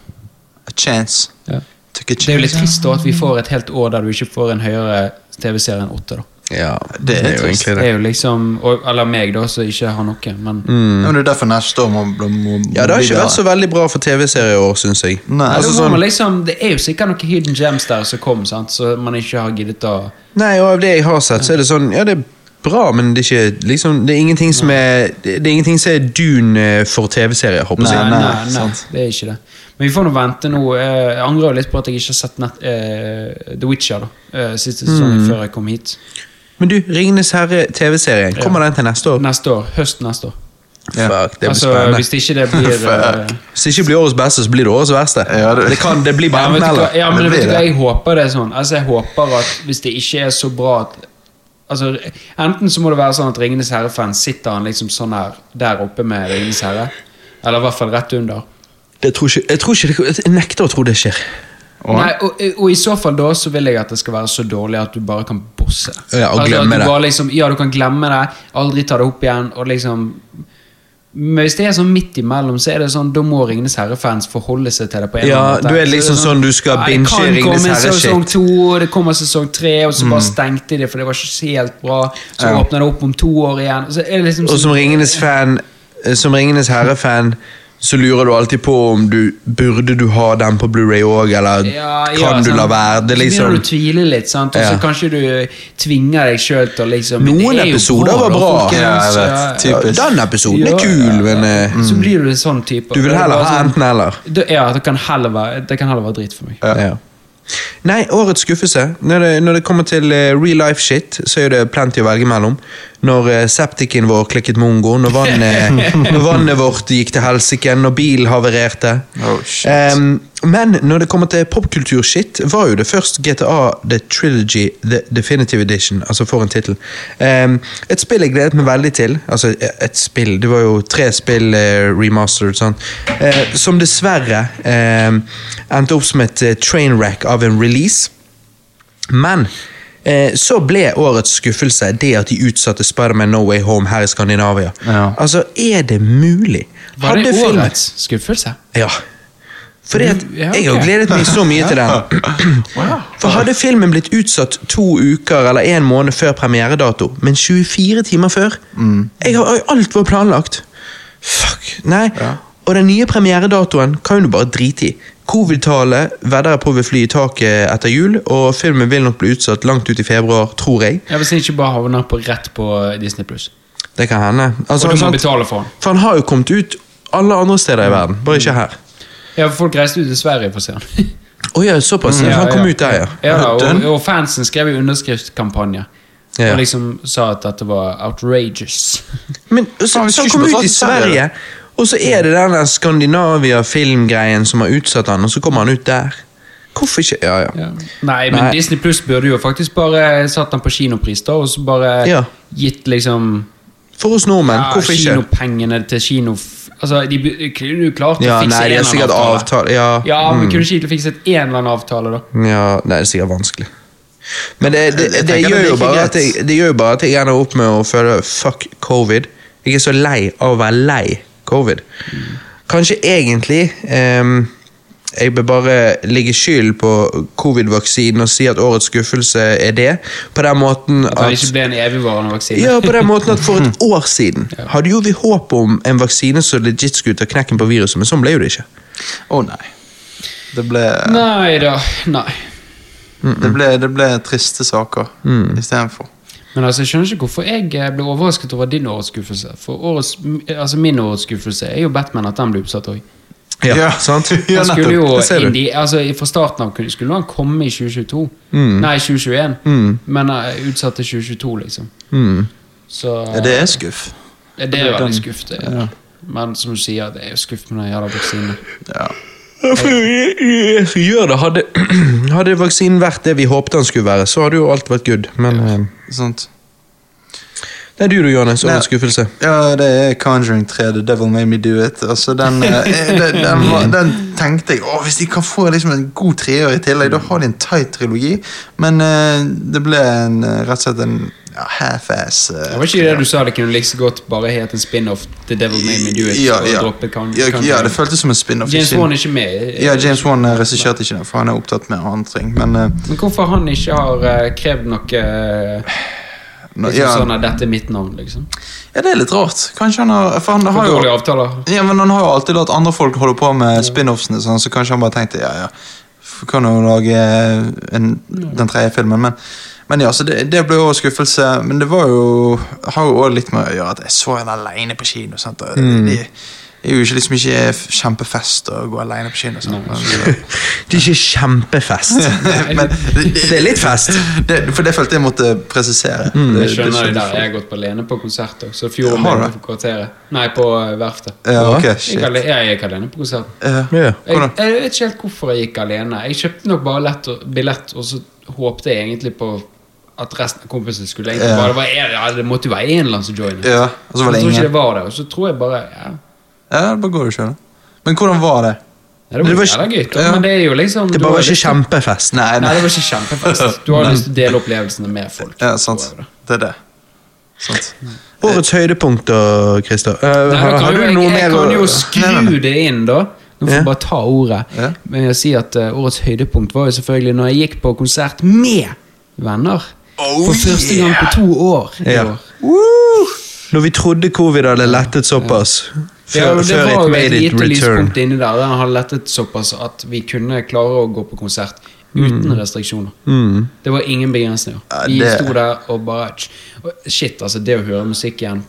B: A chance.
C: ja.
B: Took a
C: Det er jo litt
B: chance.
C: trist da at vi får et helt år der du ikke får en høyere TV-serie enn åtte, da.
A: ja
B: Det er trist.
C: Det er jo liksom, og, eller meg, da, som ikke har noe, men
B: Ja, men det er derfor neste år må, må, må
A: Mm. Ja, det har
B: bli
A: ikke
B: bedre.
A: vært så veldig bra for TV-serier i år, syns jeg.
B: Nei.
C: Ja,
A: altså,
C: det, var
A: sånn,
C: man liksom, det er jo sikkert noen hidden gems der som kom, sant? så man ikke har giddet å
A: nei, og av det jeg har sett, så er det sånn Ja, det er bra, men det er ikke liksom, Det er ingenting som er Det er ingenting som er dune eh, for TV-serier, håper jeg.
B: Nei,
C: Nei,
B: nei,
C: nei, nei,
B: sant.
C: det er ikke det. Men vi får nå vente nå. eh, Jeg angrer jo litt på at jeg ikke har sett nett, eh, The Witcher da, eh, siste sesongen før jeg kom hit.
A: Men du, Ringenes herre-TV-serien, kommer den til neste år?
C: Neste år, Høst neste år.
B: Ja.
A: Fuck, det blir
C: Altså,
A: spennende.
C: Hvis ikke det
A: [LAUGHS]
C: blir eh,
A: Hvis det ikke blir årets beste, så blir det årets verste.
B: Ja, det-
A: det... kan, det blir
C: ja,
A: bare
C: men
A: enten
C: vet du hva,
A: eller.
C: ja, men
B: Det blir
C: vet du hva,
B: det.
C: jeg håper det er sånn. Altså, jeg håper at hvis det ikke er så bra at Altså, Enten så må det være sånn at Ringenes herre-fans sitter han liksom sånn her der oppe med Ringenes herre. Eller i hvert fall rett under.
A: Det tror ikke, jeg, tror ikke det, jeg nekter å tro det skjer.
B: Og-
C: Nei, og, og i så fall da så vil jeg at det skal være så dårlig at du bare kan bosse. Altså,
A: Ja, og glemme
C: at du
A: det.
C: Bare liksom, ja, du kan glemme det, aldri ta det opp igjen, og liksom Men hvis det er sånn midt imellom, så er det sånn, da må Ringenes herre-fans forholde seg til det. på en
A: Ja,
C: eller annen måte.
A: du er
C: Så
A: liksom
C: det
A: sånn, du skal
C: ja,
A: binge Ringenes
C: Det kan komme
A: Herre-shit. Mm.
C: sesong to, og det kommer sesong tre, og så bare stengte de det, for det var ikke helt bra. Så
B: Ja.
C: åpner det opp om to år igjen. Så er det liksom
A: Og som Ringenes fan eh, Som Ringenes herre-fan så lurer du alltid på om du burde du ha den på Blu-ray òg, eller
C: Ja, ja,
A: kan du
C: sant.
A: la være? Det er
C: Så
A: liksom
C: begynner du å tvile litt, sant? og så
A: Ja.
C: kanskje du tvinger deg sjøl til å liksom men
A: Noen
C: det er jo
A: episoder var
C: da,
A: bra.
C: folkens.
B: Ja, jeg vet. Typ-
A: ja,
B: typisk.
A: Den episoden er
C: Ja,
A: kul,
C: ja,
A: men eh,
C: Så blir du en sånn type.
A: du vil heller
C: Bare
A: ha eh,
C: sånn-
A: enten eller.
C: Det- Ja, det kan heller være, det kan heller være drit for meg.
A: Ja. Nei, årets skuffelse. Når det, når det kommer til eh, real life shit, så er det plenty å velge mellom. Når uh, septiken vår klikket mongo, når vannet, når vannet vårt gikk til helsike, når bilen havarerte.
B: Oh, shit.
A: Em, men når det kommer til popkulturshit, var jo det først GTA The Trilogy The Definitive Edition. Altså for en tittel. Em, et spill jeg gledet meg veldig til. Altså et et spill, det var jo tre spill eh, remastered, sant? Eh, som dessverre em, endte opp som et eh, train wreck av en release. Men eh, så ble årets skuffelse det at de utsatte Spiderman No Way Home her i Skandinavia.
B: Ja.
A: Altså, er det mulig?
C: Var det
A: Hadde filmen-
C: årets skuffelse?
A: ja. Fordi at
C: Du- ja,
A: jeg har
C: ok.
A: gledet meg så mye til den. For hadde filmen blitt utsatt to uker eller en måned før premieredato, men 24 timer før jeg har, Alt var planlagt. Fuck. Nei. Og den nye premieredatoen kan jo du bare drite i. Covid-tallet vedder jeg på vil fly i taket etter jul, og filmen vil nok bli utsatt langt ut i februar, tror jeg.
C: Ja, Hvis den ikke bare havner på rett på eh, Disney Pluss.
A: Det kan hende. Altså,
C: Og du må
A: sant?
C: betale for den.
A: For han har jo kommet ut alle andre steder i verden, bare ikke her.
C: Mm. Ja, for Folk reiste ut til Sverige for å se den.
A: [LAUGHS] Å ja, såpass.
C: Mm. Ja,
A: han kom
C: ja.
A: ut der, ja.
C: Ja, da,
B: Den?
C: og, og fansen skrev jo underskriftskampanje.
A: Ja.
C: Og liksom sa at dette var outrageous.
A: Men så,
B: vi
A: så han
B: skulle
A: kom
B: ikke
A: ut i
B: betalt selv,
A: Sverige, og så er det den der Skandinavia-filmgreien som har utsatt han, og så kommer han ut der. Hvorfor ikke? Ja, ja.
C: Nei, men
A: Nei.
C: Disney Pluss burde jo faktisk bare satt den på kinopris, da, og så bare
A: Ja.
C: gitt liksom
A: For oss nordmenn,
C: ja,
A: hvorfor ikke?
C: kinopengene til kino... Altså, de bu- kunne jo klart å
A: Ja,
C: fikse
A: nei,
C: en
A: det er
C: eller annen
A: sikkert
C: avtale.
A: avtale. Ja, Mm.
C: Ja, men kunne ikke de fikset en eller annen avtale, da?
A: Ja, nei, det er sikkert vanskelig. Men det, det, det,
B: Jeg tenker det
A: gjør,
B: er
A: jo
B: like
A: bare at
B: greit.
A: jeg, det gjør jo bare at jeg ender opp med å føle fuck covid. Jeg er så lei av å være lei covid. Kanskje egentlig ehm, jeg bør bare ligge skyld på covid-vaksinen og si at årets skuffelse er det. På den måten
C: At det
A: at
C: ikke ble en evigvarende vaksine.
A: ja, på den måten at For et år siden hadde jo vi håp om en vaksine som legit skulle ta knekken på viruset, men sånn ble jo det ikke.
B: Å nei. Det ble,
C: Nei da. Nei.
B: det, ble, det ble triste saker istedenfor.
C: Men altså, jeg skjønner ikke hvorfor jeg eh, ble overrasket over din årets skuffelse. For årets, altså min årets skuffelse er jo Batman, at den ble utsatt òg.
A: Ja,
B: Ja.
A: sant?
B: Ja,
C: Han skulle jo
A: det ser du.
C: indi, altså Fra starten av kunne- skulle han komme i 2022.
B: Mm.
C: Nei, 2021. Men eh, utsatt til 2022, liksom.
A: Mm.
C: Så
B: Ja, det er skuff.
C: eh, det er jo veldig skuff. Det. er. Men som du sier, det er jo skuff med den jævla vaksinen.
B: Ja.
A: Ja, for jeg- jeg- jeg Gjør det. Hadde, hadde [CLEARS THROAT] vaksinen vært det vi håpte den skulle være, så hadde jo alt vært good. Men eh,
B: Sant.
A: det er du, du, Johannes.
B: Nei.
A: Årets skuffelse.
B: Ja, det er Conjuring 3, The Devil Made Me Do It. Altså, den, eh,
C: [LAUGHS]
B: den, den, var, den tenkte jeg å, Hvis de kan få liksom en god treår i tillegg, da har de en tight trilogi. Men eh, det ble en, eh, rett og slett en ja, half-ass eh,
C: Det var ikke det du sa, det kunne like så godt bare hett en spin-off. The Devil Made Me Do It.
B: Ja,
C: og
B: ja.
C: droppet Con-
B: ja,
C: Conjuring.
B: ja, det føltes som en spin-off.
C: James
B: Ikke-
C: Wan er ikke med. eh,
B: Ja, James Wan eh, regisserte ikke den, for han er opptatt med andre ting. Men eh,
C: Men hvorfor han ikke har eh, krevd noe eh,
B: nå-
C: liksom
B: ja,
C: sånn at dette er mitt navn, liksom?
B: ja, det er litt rart. Kanskje han har For han har
C: For
B: jo
C: dårlige avtaler.
B: Ja, men han har jo alltid latt andre folk holde på med spin-offsene, sånn, så kanskje han bare tenkte ja, ja, f- kan jo lage en, den tredje filmen, men men ja, så det, det ble jo skuffelse, men det var jo har jo også litt med å gjøre at jeg så den alene på kino. sant? og Det det er jo ikke liksom ikke f- kjempefest å gå alene på kino. sant? Men,
A: Det er ikke kjempefest.
C: [LAUGHS]
B: men det,
A: Det er litt fest.
B: eh, det, for det følte jeg måtte presisere. Det-
C: Jeg
B: det
C: skjønner det
B: skjønner
C: der. Jeg har gått på alene på konsert også, Så fjor
B: Har du
C: min
B: det?
C: på kvarteret. Nei, på eh, verftet.
B: jeg. Ja, ok,
C: Jeg
B: shit.
C: gikk alene, jeg gikk alene på konsert.
B: Ja.
A: Ja.
C: Jeg,
B: Hvordan?
C: jeg vet ikke helt hvorfor jeg gikk alene. Jeg kjøpte nok bare lett og, billett, og så håpte jeg egentlig på at resten av kompisene skulle egentlig
B: Ja.
C: bare det, var, en- ja, det måtte jo være en eller annen som joinet.
B: ja, og så
C: jeg
B: var det
C: tror ikke
B: ingen.
C: det var det, og så tror jeg bare ja,
B: Ja, bare går du sjøl. Men hvordan var det?
C: ja, Det
A: Det var
C: var
A: ikke-
C: jævla gøy, da,
B: ja.
C: men det er jo liksom
A: Det
C: da
A: bare var
C: er
A: ikke
C: det-
A: kjempefest.
B: Nei,
C: Nei, det var ikke kjempefest. Du har lyst til å dele opplevelsene med folk.
B: Ja, sant.
C: tror jeg, da.
A: Mm.
B: Det er det. Sant.
A: Årets høydepunkter, Christer. Eh,
C: Nei, da
A: har,
C: kan
A: har
C: jo-
A: du
C: jeg,
A: noe
C: jeg
A: mer
C: kan
A: å-
C: jo skru det inn, da. Nå får jeg
A: Ja.
C: bare ta ordet.
B: Ja.
C: Men jeg sier at eh, årets høydepunkt var jo selvfølgelig når jeg gikk på konsert med venner.
A: Oh,
C: For første
A: yeah!
C: gang på to år. i
A: Ja.
C: år.
A: Når vi trodde covid hadde lettet såpass,
C: Ja,
A: før,
C: og det
A: før
C: var
A: it
C: jo et
A: made it
C: lite
A: return
C: lyspunkt inni der. Den har lettet såpass at vi kunne klare å gå på konsert
A: Mm.
C: uten restriksjoner. Det var ingen begrensninger.
B: Ja,
C: Vi
B: det-
C: sto der og bare tsk. Og Shit, altså. Det å høre musikk igjen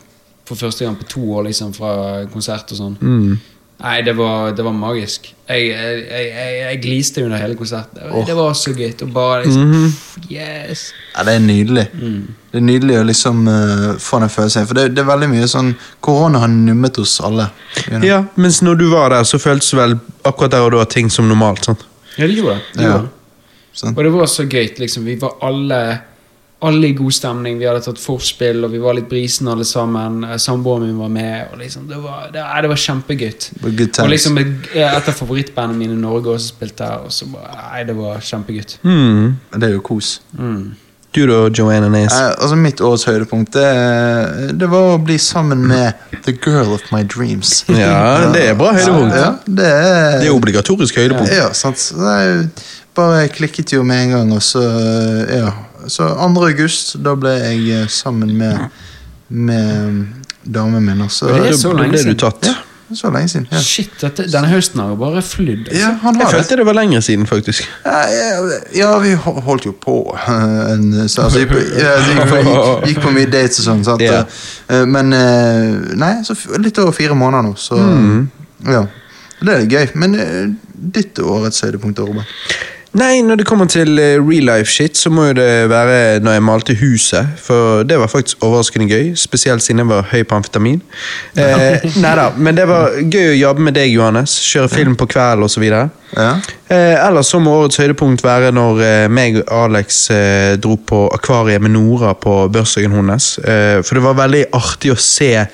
C: for første gang på to år, liksom, fra konsert og sånn.
A: Mm.
C: Nei, det var, det var magisk. Jeg, jeg, jeg, jeg- jeg gliste under hele konserten. Det, det var så gøy. Og bare liksom
A: Mhm.
C: Yes!
B: Ja, det er nydelig.
A: Mm.
B: Det er nydelig å liksom eh, få den følelsen. For det, det er veldig mye sånn Korona har nummet oss alle. you know.
A: Ja, mens når du var der, så føltes vel akkurat der og da ting som normalt. sant?
C: Ja, det gjorde det. det,
B: Ja.
C: gjorde det.
B: Sant?
C: Og det var så gøy. Liksom. Vi var alle alle i god stemning. Vi hadde tatt forspill, og vi var litt brisen alle sammen. Eh, Samboeren min var med. Og liksom, det var, det, nei, det var kjempegøy.
B: var good times.
C: Og liksom et, et av favorittbandene mine i Norge også spilte her. Og så bare, nei, det var kjempegøy.
A: Mm.
B: Det er jo kos.
A: Du da, Joanna Nace.
B: Eh, altså Mitt årets høydepunkt det, det var å bli sammen med the girl of my dreams.
A: Ja, det er bra høydepunkt.
B: Ja, det
C: Eh,
B: er,
A: Det er obligatorisk høydepunkt.
B: Ja, sant. Så det er jo- bare klikket jo med en gang, og så eh, Ja. Så 2. august, da ble jeg eh, sammen med, med mm, damen min. Og så,
C: Og det er
A: Da-
C: så
A: da
C: lenge
A: ble du
C: siden.
A: tatt.
B: ja, så lenge siden. Ja.
C: Shit, dette, denne høsten har jo bare flydd. Altså.
B: Ja, han
A: Jeg
B: har det.
A: følte det var lenger siden, faktisk.
B: Ja, ja, ja, vi ho- holdt jo på [LAUGHS] eh, en stund. Altså, gikk, på,
C: [LAUGHS]
B: ja, det gikk, på, gikk, gikk på mye dates og sånn. Sant?
A: Ja.
B: Eh, Men eh, Nei, så f- litt over fire måneder nå, så
C: Mm.
B: Ja. Det er gøy. Men eh, ditt årets høydepunkt, Robert?
A: Nei, når det kommer til eh, real life shit, så må jo det være når jeg malte huset. For det var faktisk overraskende gøy, spesielt siden jeg var høy på amfetamin. Eh, nei da, men det var gøy å jobbe med deg, Johannes. Kjøre film på kvelden osv.
B: Ja.
A: Eh, ellers så må årets høydepunkt være når eh, meg og Alex eh, dro på akvariet med Nora på bursdagen hennes. Eh, for det var veldig artig å se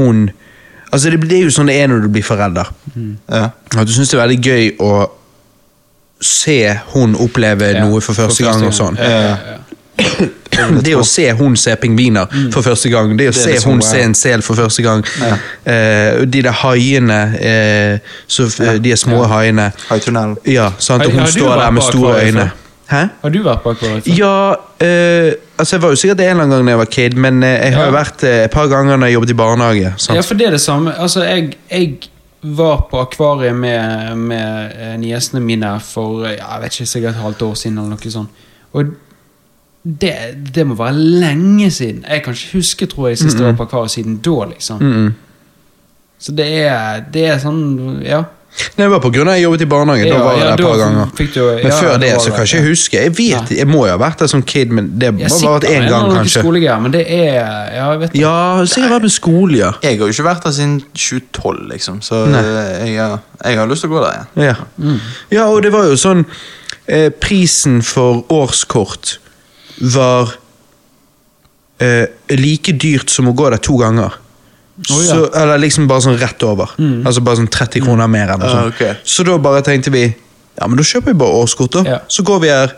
A: hun Altså, det, det er jo sånn det er når du blir forelder.
B: ja.
A: At du syns det er veldig gøy å se hun oppleve
C: Ja,
A: noe for første gang. og sånn.
C: Ja, ja, ja.
A: Det å se hun se pingviner for første gang, det å
B: er
A: se
B: liksom
A: hun
B: wow.
A: se en sel for første gang, eh, de der haiene, eh, så, f- de små haiene
B: Haitunnelen.
A: Ja, sant, og
C: Har-
A: hun
C: har du
A: står der
C: vært
A: med
C: på
A: store
C: akvariet
A: øyne. Hæ?
C: Har du vært på akvariet? før?
A: Ja, eh, altså jeg var jo sikkert det en eller annen gang da jeg var kid, men eh, jeg har
C: Ja.
A: jo vært eh, et par ganger når jeg jobbet i barnehage. Sant?
C: Ja, for det er det samme. Altså, jeg, jeg var på akvariet med, med eh, niesene mine for eh, ja, jeg vet ikke, sikkert et halvt år siden. eller noe sånt. Og det, det må være lenge siden. Jeg kan ikke huske tror jeg, sist jeg var på akvariet siden da. liksom.
A: Mm.
C: Så det er, det er sånn Ja.
A: Nei, det var på grunn av at jeg jobbet i barnehage, da
C: Ja,
A: var jeg
C: ja,
A: der et
C: da
A: par ganger.
C: fikk du-
A: men
C: ja,
A: før
C: da
A: det
C: var
A: så
C: det,
A: kan jeg
C: ja.
A: ikke huske. Jeg vet, jeg må jo ha vært der som kid, men det må
C: Jeg
A: ha vært én gang, kanskje.
C: skolegreier, men det er Ja, jeg vet
A: Ja, sikkert vært på skole, ja.
B: Jeg har jo ikke vært der siden 2012, liksom, så
A: Nei.
B: eh, jeg, har- jeg har lyst til å gå der igjen.
A: Ja,
C: Mm.
A: ja og det var jo sånn eh, Prisen for årskort var eh, like dyrt som å gå der to ganger.
C: Å, ja. Mm.
A: så, eller liksom bare sånn rett over. Altså bare sånn 30 kroner mer. Eller noe
B: Ah,
A: sånt.
B: ok.
A: Så da bare tenkte vi Ja, men da kjøper vi bare årskort, da.
C: Ja.
A: Så går vi her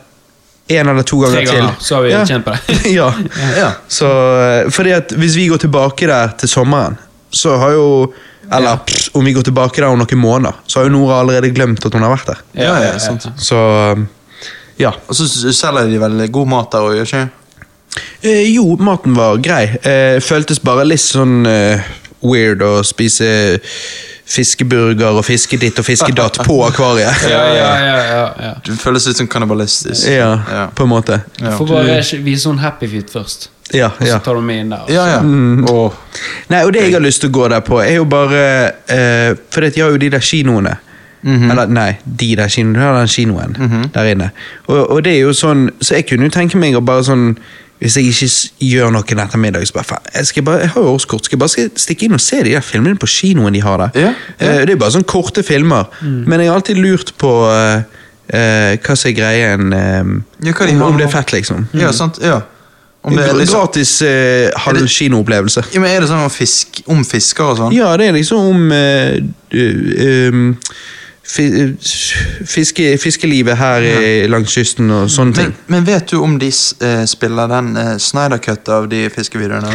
A: én eller to ganger, til.
C: ganger, så har vi tjent på det.
A: [LAUGHS] ja.
B: Ja.
A: Så, eh, fordi at hvis vi går tilbake der til sommeren, så har jo Eller pff, om vi går tilbake der om noen måneder, så har jo Nora allerede glemt at hun har vært der.
B: Ja, ja, sant.
A: Så eh, ja.
B: Og så s- selger de vel god mat der òg, gjør ikke de?
A: Eh, jo, maten var grei. Eh, føltes bare litt sånn eh, weird å spise fiskeburger og fiskeditt og fiskedatt på
B: [LAUGHS]
A: akvariet.
C: Ja, ja, ja, ja, ja.
B: Det føles litt sånn kannibalistisk.
A: ja,
B: ja.
A: på en måte.
B: Ja.
C: Får bare vise sånn happy feet først,
A: Ja,
C: og så
A: ja.
C: tar du meg inn der.
B: ja, ja. Mm, Åh.
A: Nei, og det jeg har lyst til å gå der på, er jo bare eh, For at jeg har jo de der kinoene.
B: Mhm.
A: Eller nei, de der kinoene. Du har den kinoen der inne. Og, og det er jo sånn Så jeg kunne jo tenke meg å bare sånn Hvis jeg ikke s- gjør noe en ettermiddag, så bare faen Jeg, skal bare, jeg har jo årskort, skal jeg bare sk- stikke inn og se de der filmene på kinoen de har der.
B: Ja, ja. Mm.
A: Eh, det er bare sånn korte filmer. Men jeg har alltid lurt på eh, eh, hva som er greien eh,
B: Ja, hva de
A: om,
B: har
A: om det
B: nå.
A: er fett, liksom.
B: Ja, sant. Ja. Om
A: Mm.
B: det er liksom
A: Gratis eh, halv kinoopplevelse.
B: ja, men Er det sånn om, fisk, om fisker og sånn?
A: Ja, det er liksom om eh, eh, eh, fi- fiske, fiskelivet her i- langs kysten og sånne ting.
B: Men, men vet du om de s- eh, spiller den eh, Snyder Cut av de fiskevideoene?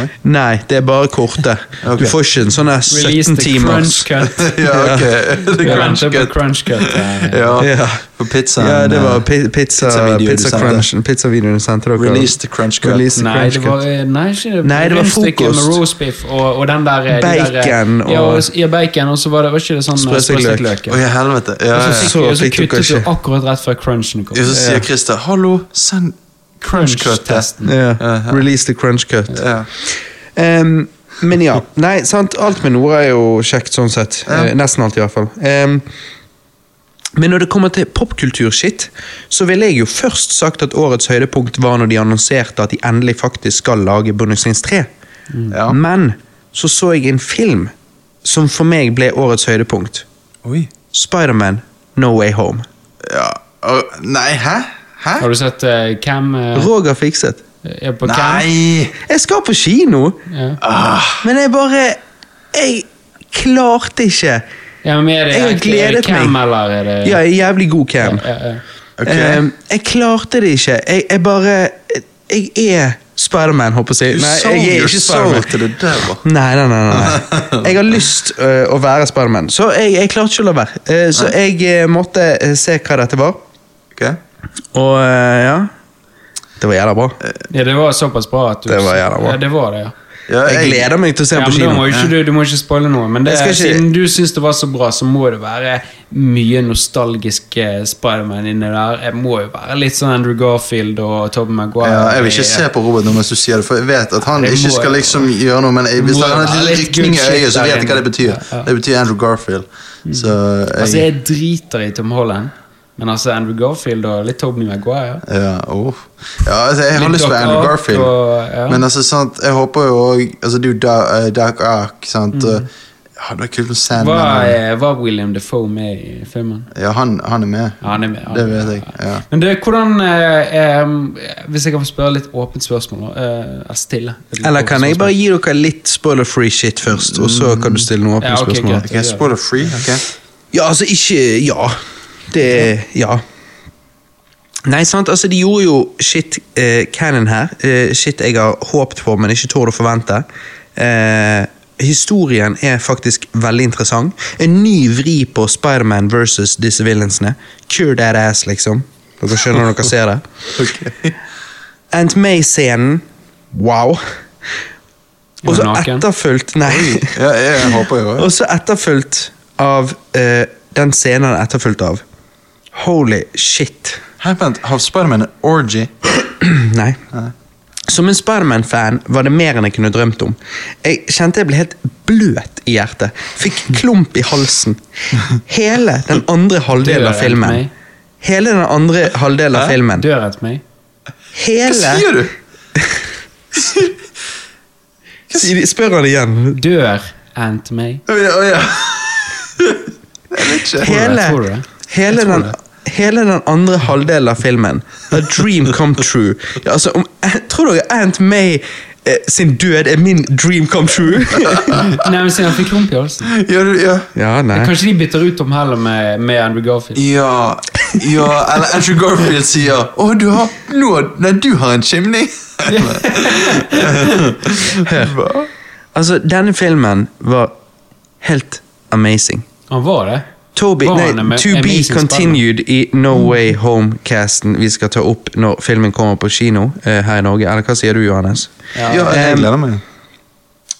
A: [LAUGHS]
B: eller?
A: Nei, det er bare korte.
B: Ok.
A: Du får ikke en sånn her
C: altså. Release
A: 17
C: the
A: timers.
C: crunch cut.
B: [LAUGHS] ja, ok. The
C: Vi
B: Crunch
C: venter på
B: Cut.
C: crunch cut. eh.
B: Ja,
A: Ja.
B: på pizzaen.
A: Ja, det var
B: eh,
A: pi- pizza,
B: pizzavideo du
A: pizza
B: sendte.
A: crunchen. Pizzavideoen du sendte dere.
B: Release the Crunch Cut.
A: Release the
C: Nei,
A: crunch
C: det
A: cut.
C: var, eh, nei, ikke det.
A: Nei, det var
C: Rundstykke
A: frokost.
C: Med roastbiff og, og den der eh, de
A: Bacon
C: der, eh, ja,
A: og-
C: s- ja, bacon, og så var det var ikke det sånn eh,
A: Sprøstekkløk.
C: sprøstekkløk, ja.
B: Å, ja, helvete. Ja,
C: Og
B: ja.
C: så,
A: så
C: fikk, og så
A: fikk dere
C: kuttet
A: ikke.
C: du akkurat rett før crunchen kom.
B: Ja, Så sier Christer 'hallo, send Crunch Cut'. her."
C: Crunch-testen.
A: Ja.
B: Aha.
A: Release the crunch cut.
B: Ja.
A: Ehm, men ja. Nei, sant. Alt med Nora er jo kjekt, sånn sett.
B: Ja.
A: Eh, nesten alt, i hvert fall. Ehm, men når det kommer til popkulturskitt, så ville jeg jo først sagt at årets høydepunkt var når de annonserte at de endelig faktisk skal lage Bonus Rings 3.
B: Ja.
A: Men så så jeg en film som for meg ble årets høydepunkt.
B: Oi.
A: Spiderman No Way Home.
B: Ja. Å, Nei, hæ? Hæ?
C: Har du sett eh, Cam eh,
A: Roger fikset.
C: er på Cam?
B: Nei!
A: Jeg skal på kino,
C: Ja.
B: Ah.
A: men jeg bare Jeg klarte ikke.
C: Ja, men er det,
A: Jeg har
C: er det- er det
A: gledet
C: Cam,
A: meg.
C: eller er det
A: Ja, jævlig god cam.
C: Ja, ja.
B: Ok.
A: Ehm, jeg klarte det ikke. Jeg, jeg bare Jeg er Spiderman, håper jeg. å si. Nei, jeg er ikke Spiderman.
B: Solgte det der, da.
A: Nei, nei, nei, nei.
B: [LAUGHS]
A: Jeg har lyst øh, å være Spiderman, så jeg, jeg klarte ikke å la være. Eh, så jeg eh, måtte eh, se hva dette var,
B: Ok.
A: og eh, ja Det var jævla bra.
C: ja, det var såpass bra at du
A: Det var jævla bra.
C: Ja, det var det, ja.
B: Ja,
A: Jeg gleder meg til å se
C: Ja,
A: den på
C: men da
A: kino.
C: må jo ikke, du, du må ikke spoile noe, men det,
A: Jeg skal ikke-
C: siden du syns det var så bra, så må det være mye nostalgisk eh, Spiderman inni der. Jeg må jo være litt sånn Andrew Garfield og Tobey Maguire.
B: Ja, jeg vil ikke se på Robert nå mens du sier det, for jeg vet at han
C: Det
B: ikke
C: må-
B: skal liksom gjøre noe, men jeg, hvis
C: Må
B: han
C: være
B: har en liten
C: litt
B: rykning i
C: good shit
B: øyet, så
C: der
B: vet jeg hva det
C: inne.
B: betyr.
C: Ja, ja.
B: Det betyr Andrew Garfield. Så
C: Altså,
B: jeg
C: jeg driter i Tom Holland, men altså Andrew Garfield og litt Tobey Maguire
B: ja, åh. ja, altså, jeg har
C: Litt
B: lyst på
C: Doc
B: Andrew
C: Ock
B: Garfield,
C: og- ja.
B: men altså, sant, jeg håper jo òg altså, Det er jo Da- eh, Doc Ock, sant. og- Ja, det er kult med
C: Var,
B: Sandman.
C: eh, var William Defoe med i filmen?
B: Ja, han, han er med.
C: Ja, han er med. han
B: Det
C: er med,
B: vet jeg. Ja.
C: Men du, hvordan eh, eh, Hvis jeg kan få spørre litt åpent spørsmål nå? Eh, stille.
A: Eller kan jeg bare gi dere litt spoiler-free shit først, og så kan du stille noen åpne
C: Ja, ok,
A: spørsmål?
C: greit.
B: Ok, spoiler free. ok
A: Ja, altså ikke Ja. Det Ja. Nei, sant, altså de gjorde jo shit eh, canon her. Eh, shit jeg har håpet på, men ikke torde å forvente. Eh, historien er faktisk veldig interessant. En ny vri på Spiderman versus disse villainsene. Cure that ass, liksom. Dere skjønner når dere ser
C: [LAUGHS]
A: det.
B: Ok.
A: Ant May-scenen. Wow. Og så
C: Er hun naken?
A: etterfulgt Nei. [LAUGHS]
B: Ja, jeg, jeg håper jo
A: Og så etterfulgt av eh, den scenen han er etterfulgt av. Holy shit. [CLEARS THROAT]
B: Hei, vent, har Spiderman en orgy?
A: Nei. Som en Spiderman-fan var det mer enn jeg kunne drømt om. Jeg kjente jeg ble helt bløt i hjertet. Fikk klump i halsen. Hele den andre halvdelen
C: Dør
A: av
C: Ant
A: filmen.
C: May?
A: Hele den andre halvdelen av filmen.
C: Dør etter meg?
B: Hva
A: Hele
B: sier du?
A: Sier de- Spør han igjen.
C: Dør Ant May?
B: Å ja, å ja. Jeg vet ikke.
C: det,
A: Hele,
C: jeg tror det.
A: hele, den, hele den andre halvdelen av filmen A dream come true. Ja, altså, om, tror dere Aunt May eh, sin død er min dream come
C: [LAUGHS]
A: true?
C: Nei, men se, han fikk klump i halsen.
B: Ja, du, ja.
A: ja, nei.
C: Kanskje de bytter ut Tom Heller med, med Andrew Garfield?
B: ja, ja, eller Andrew Garfield sier Å, du har nå, Nei, du har en chimney. Hva?
A: Altså, denne filmen var helt amazing.
C: Han var det.
A: Toby,
C: Var
A: nei,
C: han ama-
A: To Be
C: amazing Spider-Man?
A: Continued i No Way Home-casten vi skal ta opp når filmen kommer på kino eh, her i Norge. Eller hva sier du, Johannes?
C: Ja.
B: Ja, jeg gleder meg.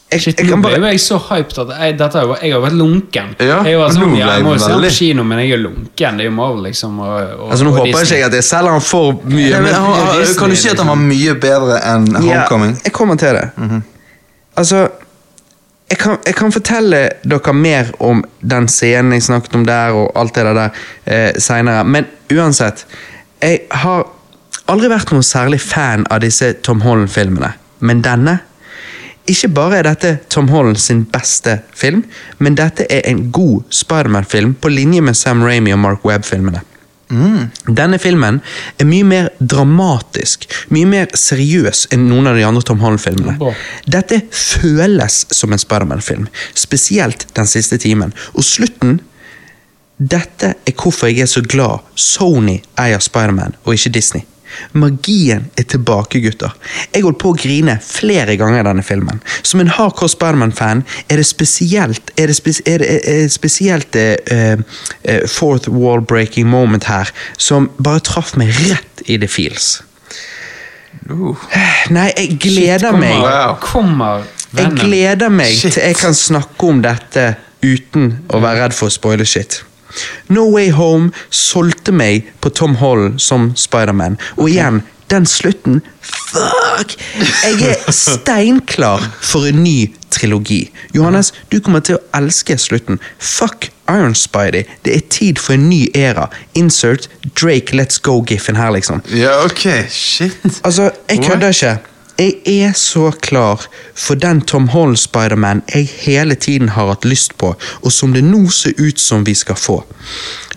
A: Jeg,
C: Shit,
A: jeg
C: nå
A: kan
C: ble
A: bare
C: jo jeg så hyped eh, at jeg, dette, har jo- jeg har vært lunken.
B: Ja,
C: jeg var
B: men
C: sånn,
B: nå
C: ja, jeg
B: ble
C: må jo
B: jeg
C: se den på
B: veldig-
C: kino, men jeg er lunken. Det er jo Marvel, liksom. Og, og,
A: Altså, Nå
C: og
A: håper jeg ikke
C: Disney.
A: jeg at jeg selger han for mye.
B: Ja, men, han, han,
C: Disney,
B: kan du si at han var mye bedre enn Homecoming?
A: Ja, jeg kommer til det. Altså jeg kan, jeg kan fortelle dere mer om den scenen jeg snakket om der, og alt det der eh, seinere, men uansett Jeg har aldri vært noen særlig fan av disse Tom Holland-filmene, men denne Ikke bare er dette Tom Holland sin beste film, men dette er en god Spiderman-film på linje med Sam Ramy og Mark Webb-filmene. Denne filmen er mye mer dramatisk, mye mer seriøs enn noen av de andre Tom Holland-filmene.
C: Bra.
A: Dette føles som en Spiderman-film, spesielt den siste timen. Og slutten Dette er hvorfor jeg er så glad Sony eier Spiderman og ikke Disney. Magien er tilbake, gutter. Jeg holdt på å grine flere ganger i denne filmen. Som en hardcore Spiderman-fan er det spesielt er det, spes, er det, er det spesielt det eh, eh, fourth wall-breaking moment her som bare traff meg rett i the feels. Nei, jeg gleder
C: Shit,
A: meg.
C: Kommer, kommer
A: Jeg
C: vennen.
A: gleder meg
B: Shit.
A: til jeg kan snakke om dette uten å være redd for å spoile shit. No Way Home solgte meg på Tom Holland som Spiderman. Og igjen, den slutten Fuck! Jeg er steinklar for en ny trilogi. Johannes, du kommer til å elske slutten. Fuck Iron Spidey. Det er tid for en ny æra. Insert Drake Let's Go-giffen her, liksom.
B: Ja, ok. Shit.
A: Altså, jeg
B: What?
A: kødder ikke. Jeg er så klar for den Tom Holland-Spiderman jeg hele tiden har hatt lyst på, og som det nå ser ut som vi skal få.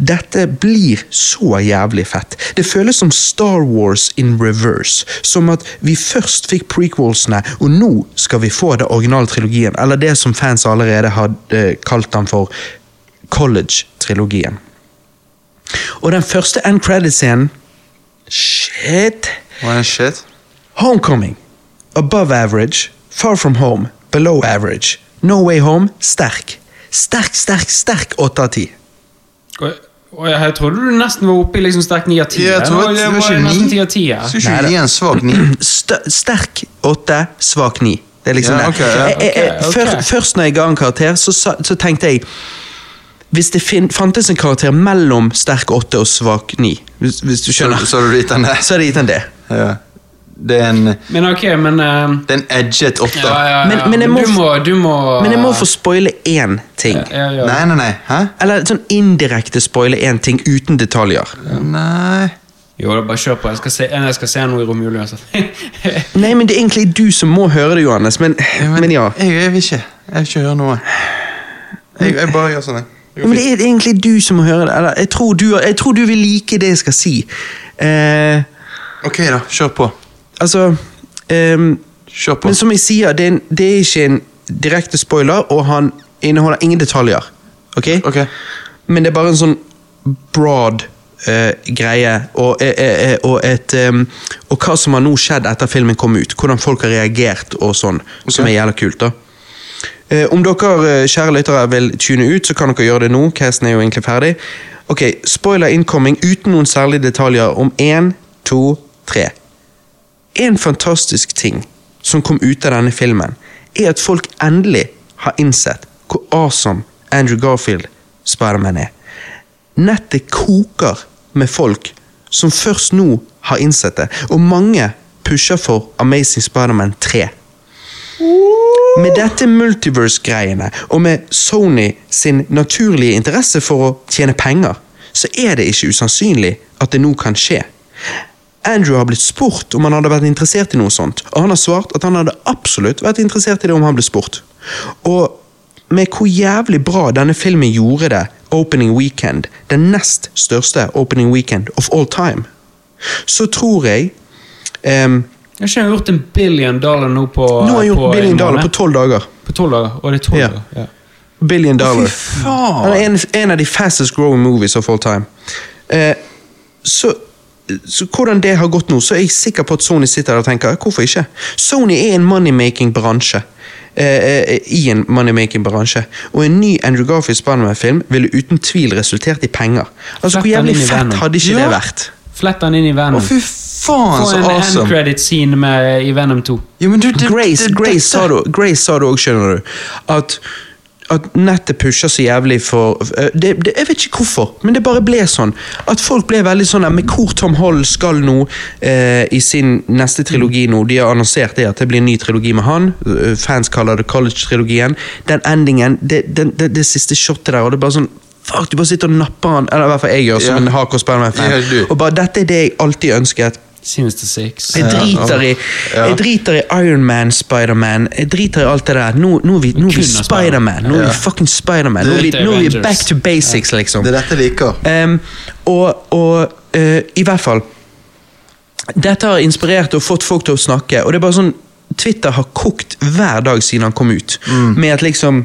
A: Dette blir så jævlig fett. Det føles som Star Wars in reverse. Som at vi først fikk prequelsene, og nå skal vi få det originaltrilogien, eller det som fans allerede hadde kalt den for college-trilogien. Og den første end credit-scenen Shit!
B: What shit?
A: Homecoming. Above average. Far from home. Below average. No way home. Sterk. Sterk, sterk, sterk 8 av 10.
C: Oi, oi, Jeg trodde du nesten var oppe i liksom sterk 9 av 10.
B: Jeg tror at
C: det
B: det
C: var
B: var ikke
C: nesten
B: ni.
C: 10 av 10. ja.
B: Skal ikke gi en svak ni?
A: St sterk 8, svak 9. Det er liksom det.
B: Ja, ok, ja.
A: Jeg- jeg- jeg-
C: Ok,
A: før-
C: ok.
A: først når jeg ga en karakter, så, sa- så tenkte jeg Hvis det fin fantes en karakter mellom sterk 8 og svak 9, hvis, hvis du skjønner,
B: Så har du gitt den der.
A: så hadde jeg gitt den det.
B: Ja. Det er en, det
C: Men ok, men eh,
B: er en edget åtte.
C: ja, ja, ja.
A: Men- men jeg må-
C: du må, du må
A: Men jeg må få spoile én ting.
C: ja, ja.
B: Nei, nei, nei. Hæ?
A: Eller sånn indirekte spoile én ting uten detaljer.
B: Nei
C: Jo, da bare kjør på. Jeg skal se, eh, jeg skal se noe i romjulen altså. [LAUGHS] uansett.
A: Nei, men det er egentlig du som må høre det, Johannes. Men, men ja.
B: Jeg, jeg vil ikke. Jeg vil ikke høre noe. Jeg, jeg bare gjør sånn. jeg. Det
A: Ja,
B: går
A: men
B: fint.
A: det er egentlig du som må høre det. Eller, jeg, tror du, jeg tror du vil like det jeg skal si. Eh,
B: Ok, da. Kjør på.
A: altså ehm,
B: Kjør på.
A: Men som jeg sier, det er, en, det er ikke en direkte spoiler, og han inneholder ingen detaljer. Ok?
B: Ok.
A: Men det er bare en sånn broad eh, greie, og, eh, eh, eh, og et ehm, Og hva som har nå skjedd etter filmen kom ut. Hvordan folk har reagert og sånn. Som er jævla kult, da. Eh, om dere eh, kjære lyttere vil tune ut, så kan dere gjøre det nå. Casten er jo egentlig ferdig. Ok, Spoiler incoming uten noen særlige detaljer om én, to, tre. En fantastisk ting som kom ut av denne filmen, er at folk endelig har innsett hvor awesome Andrew Garfield Spiderman er. Nettet koker med folk som først nå har innsett det, og mange pusher for Amazing Spiderman 3. Med dette multiverse-greiene, og med Sony sin naturlige interesse for å tjene penger, så er det ikke usannsynlig at det nå kan skje. Andrew har blitt spurt om han hadde vært interessert i noe sånt, og han har svart at han hadde absolutt vært interessert i det om han ble spurt. Og med hvor jævlig bra denne filmen gjorde det, Opening Weekend, den nest største Opening Weekend of all time, så tror jeg ehm,
C: Jeg har ikke gjort en billion dollar nå på
A: Nå har jeg gjort
C: på en
A: billion dollar
C: måned.
A: på tolv dager.
C: På tolv dager. Og det er tolv
A: Ja.
C: dager. Ja.
A: Billion dollar.
B: faen!
A: Han er en, en av de fastest growing movies of all time. Eh, så, så hvordan det har gått nå, så er jeg sikker på at Sony sitter der og tenker hvorfor ikke? Sony er en moneymaking-bransje. Eh, eh, I en moneymaking-bransje. Og en ny Andrew Garfield Spiderman-film ville uten tvil resultert i penger. Altså,
C: Sett
A: Hvor
C: den
A: jævlig
C: inn i
A: fett
C: Venom.
A: hadde ikke
B: Ja.
A: det vært?
C: Flett den inn i
B: Å,
C: Venom.
B: fy faen,
C: Få
B: så
C: en end
B: awesome.
C: credit scene med, i Venom 2.
B: Jo, men du, det-
A: Grace,
B: det-
A: Grace,
B: dette-
A: sa du, Grace sa du òg, skjønner du. At, at nettet pusher så jævlig for eh, det, det, Jeg vet ikke hvorfor, men det bare ble sånn. At folk ble veldig sånn der, Men hvor Tom Holland skal nå eh, i sin neste trilogi nå? De har annonsert det at det blir en ny trilogi med han. Eh, Fans kaller det college-trilogien. Den endingen, det, den- det, det siste shotet der, og det er bare sånn Fuck, du bare sitter og napper han. Eller i hvert fall jeg gjør, som
B: Ja.
A: en hardcore Spiderman-fan.
B: Ja, du.
A: og bare, dette er det jeg alltid ønsket.
C: Sinister Six.
A: Jeg driter i,
B: Ja.
A: jeg driter i Iron Man, Spider-Man, jeg driter i alt det der. Nå, nå er vi, nå er
C: Kun
A: vi
C: av
A: Spider-Man, nå er vi
B: Ja.
A: fucking Spider-Man. Nå, er vi-
C: Driter i
A: nå er vi
C: Avengers.
A: back to basics, liksom.
B: Det er dette jeg liker.
A: Ehm, og og eh, i hvert fall Dette har inspirert og fått folk til å snakke, og det er bare sånn Twitter har kokt hver dag siden han kom ut, med at liksom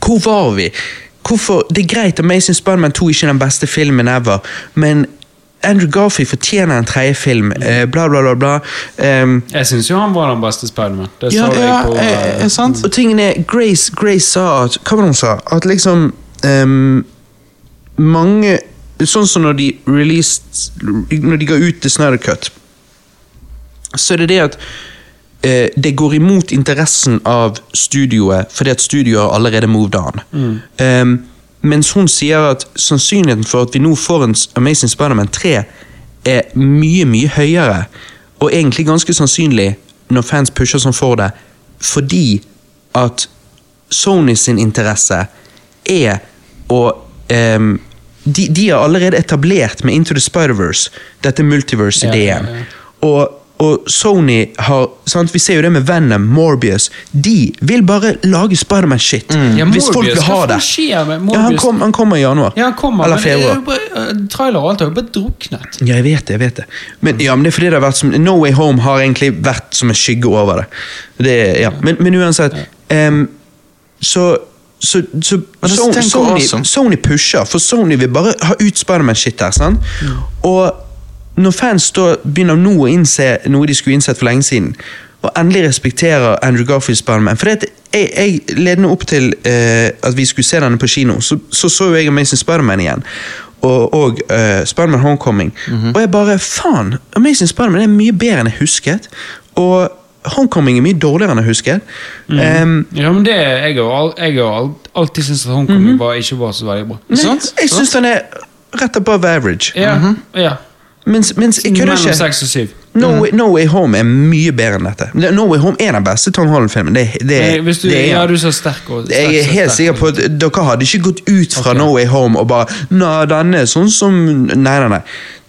A: hvor var vi? Hvor- hvorfor, det er greit Amazing Spiderman 2 er ikke den beste filmen ever, men Andrew Garfield fortjener en tredje film. eh, Bla, bla, bla. bla. Ehm,
C: Jeg syns jo han var den beste Spiderman. Det
B: Ja,
C: sa jeg
B: ja,
C: på
B: eh, eh,
C: eh,
B: sant?
A: Og tingen er, Grace, Grace sa at Hva var det hun sa? At liksom ehm, Mange Sånn som når de released Når de ga ut The Snyder Cut, så er det det at eh, det går imot interessen av studioet, fordi at studioet har allerede moved on.
C: Mm.
A: Ehm, mens hun sier at sannsynligheten for at vi nå får en s- Amazing Spiderman 3, er mye, mye høyere, og egentlig ganske sannsynlig når fans pusher sånn for det, fordi at Sony sin interesse er å ehm, de, de er allerede etablert med Into the Spider-Verse, dette multiverse-ideen.
C: Ja, ja, ja.
A: Og, og Sony har sant? Vi ser jo det med Venom, Morbius. De vil bare lage Spiderman-shit.
C: Mm. Ja,
A: Hvis folk
C: Morbius,
A: vil ha
C: hva faen
A: det.
C: skjer med
A: Ja, han,
C: Morbius?
A: kom, han kommer i januar.
C: Ja, han kommer,
A: Eller
C: men det er
A: februar.
C: jo bare, eh, trailer og alt har jo bare druknet.
A: Ja, jeg vet det. jeg vet det. Men, ja, men det er fordi det har vært som, No Way Home har egentlig vært som en skygge over det. det ja. men, men uansett ehm, Så, så, så,
B: Men det
A: Son-
B: tenker
A: Sony,
B: awesome.
A: Sony pusher, for Sony vil bare ha ut Spiderman-shit her. sant? Og når fans da begynner nå å innse noe de skulle innsett for lenge siden, og endelig respekterer Andrew Garfield Spiderman For det, at jeg, jeg ledende opp til eh, at vi skulle se denne på kino, så så, så jo jeg Amazing Spiderman igjen. Og, og eh, Spiderman Homecoming.
B: Mhm.
A: Og jeg bare Faen! Amazing Spiderman er mye bedre enn jeg husket. Og Homecoming er mye dårligere enn jeg husket.
B: Mhm.
A: Em,
C: Ja, men det Jeg har al- jeg har al- alltid syntes at Hongkong var, ikke var så veldig bra.
A: Mhm. Nei,
B: Sant?
A: jeg syns den er rett above average.
C: Ja, ja.
A: Mens, mens jeg kødder
C: Mellom
A: Mhm. ikke.
C: seks og syv.
A: No Way, no Way Home er mye bedre enn dette. Det- No Way Home er den beste Tom Holland-filmen. Det, det,
C: Nei, Hvis du,
A: det er
C: ja,
A: han.
C: du sa sterk og
A: jeg er
C: sterk,
A: helt
C: sterk.
A: sikker på at dere hadde ikke gått ut fra
C: Ok.
A: No Way Home og bare Nei, den er sånn som Nei, nei, nei.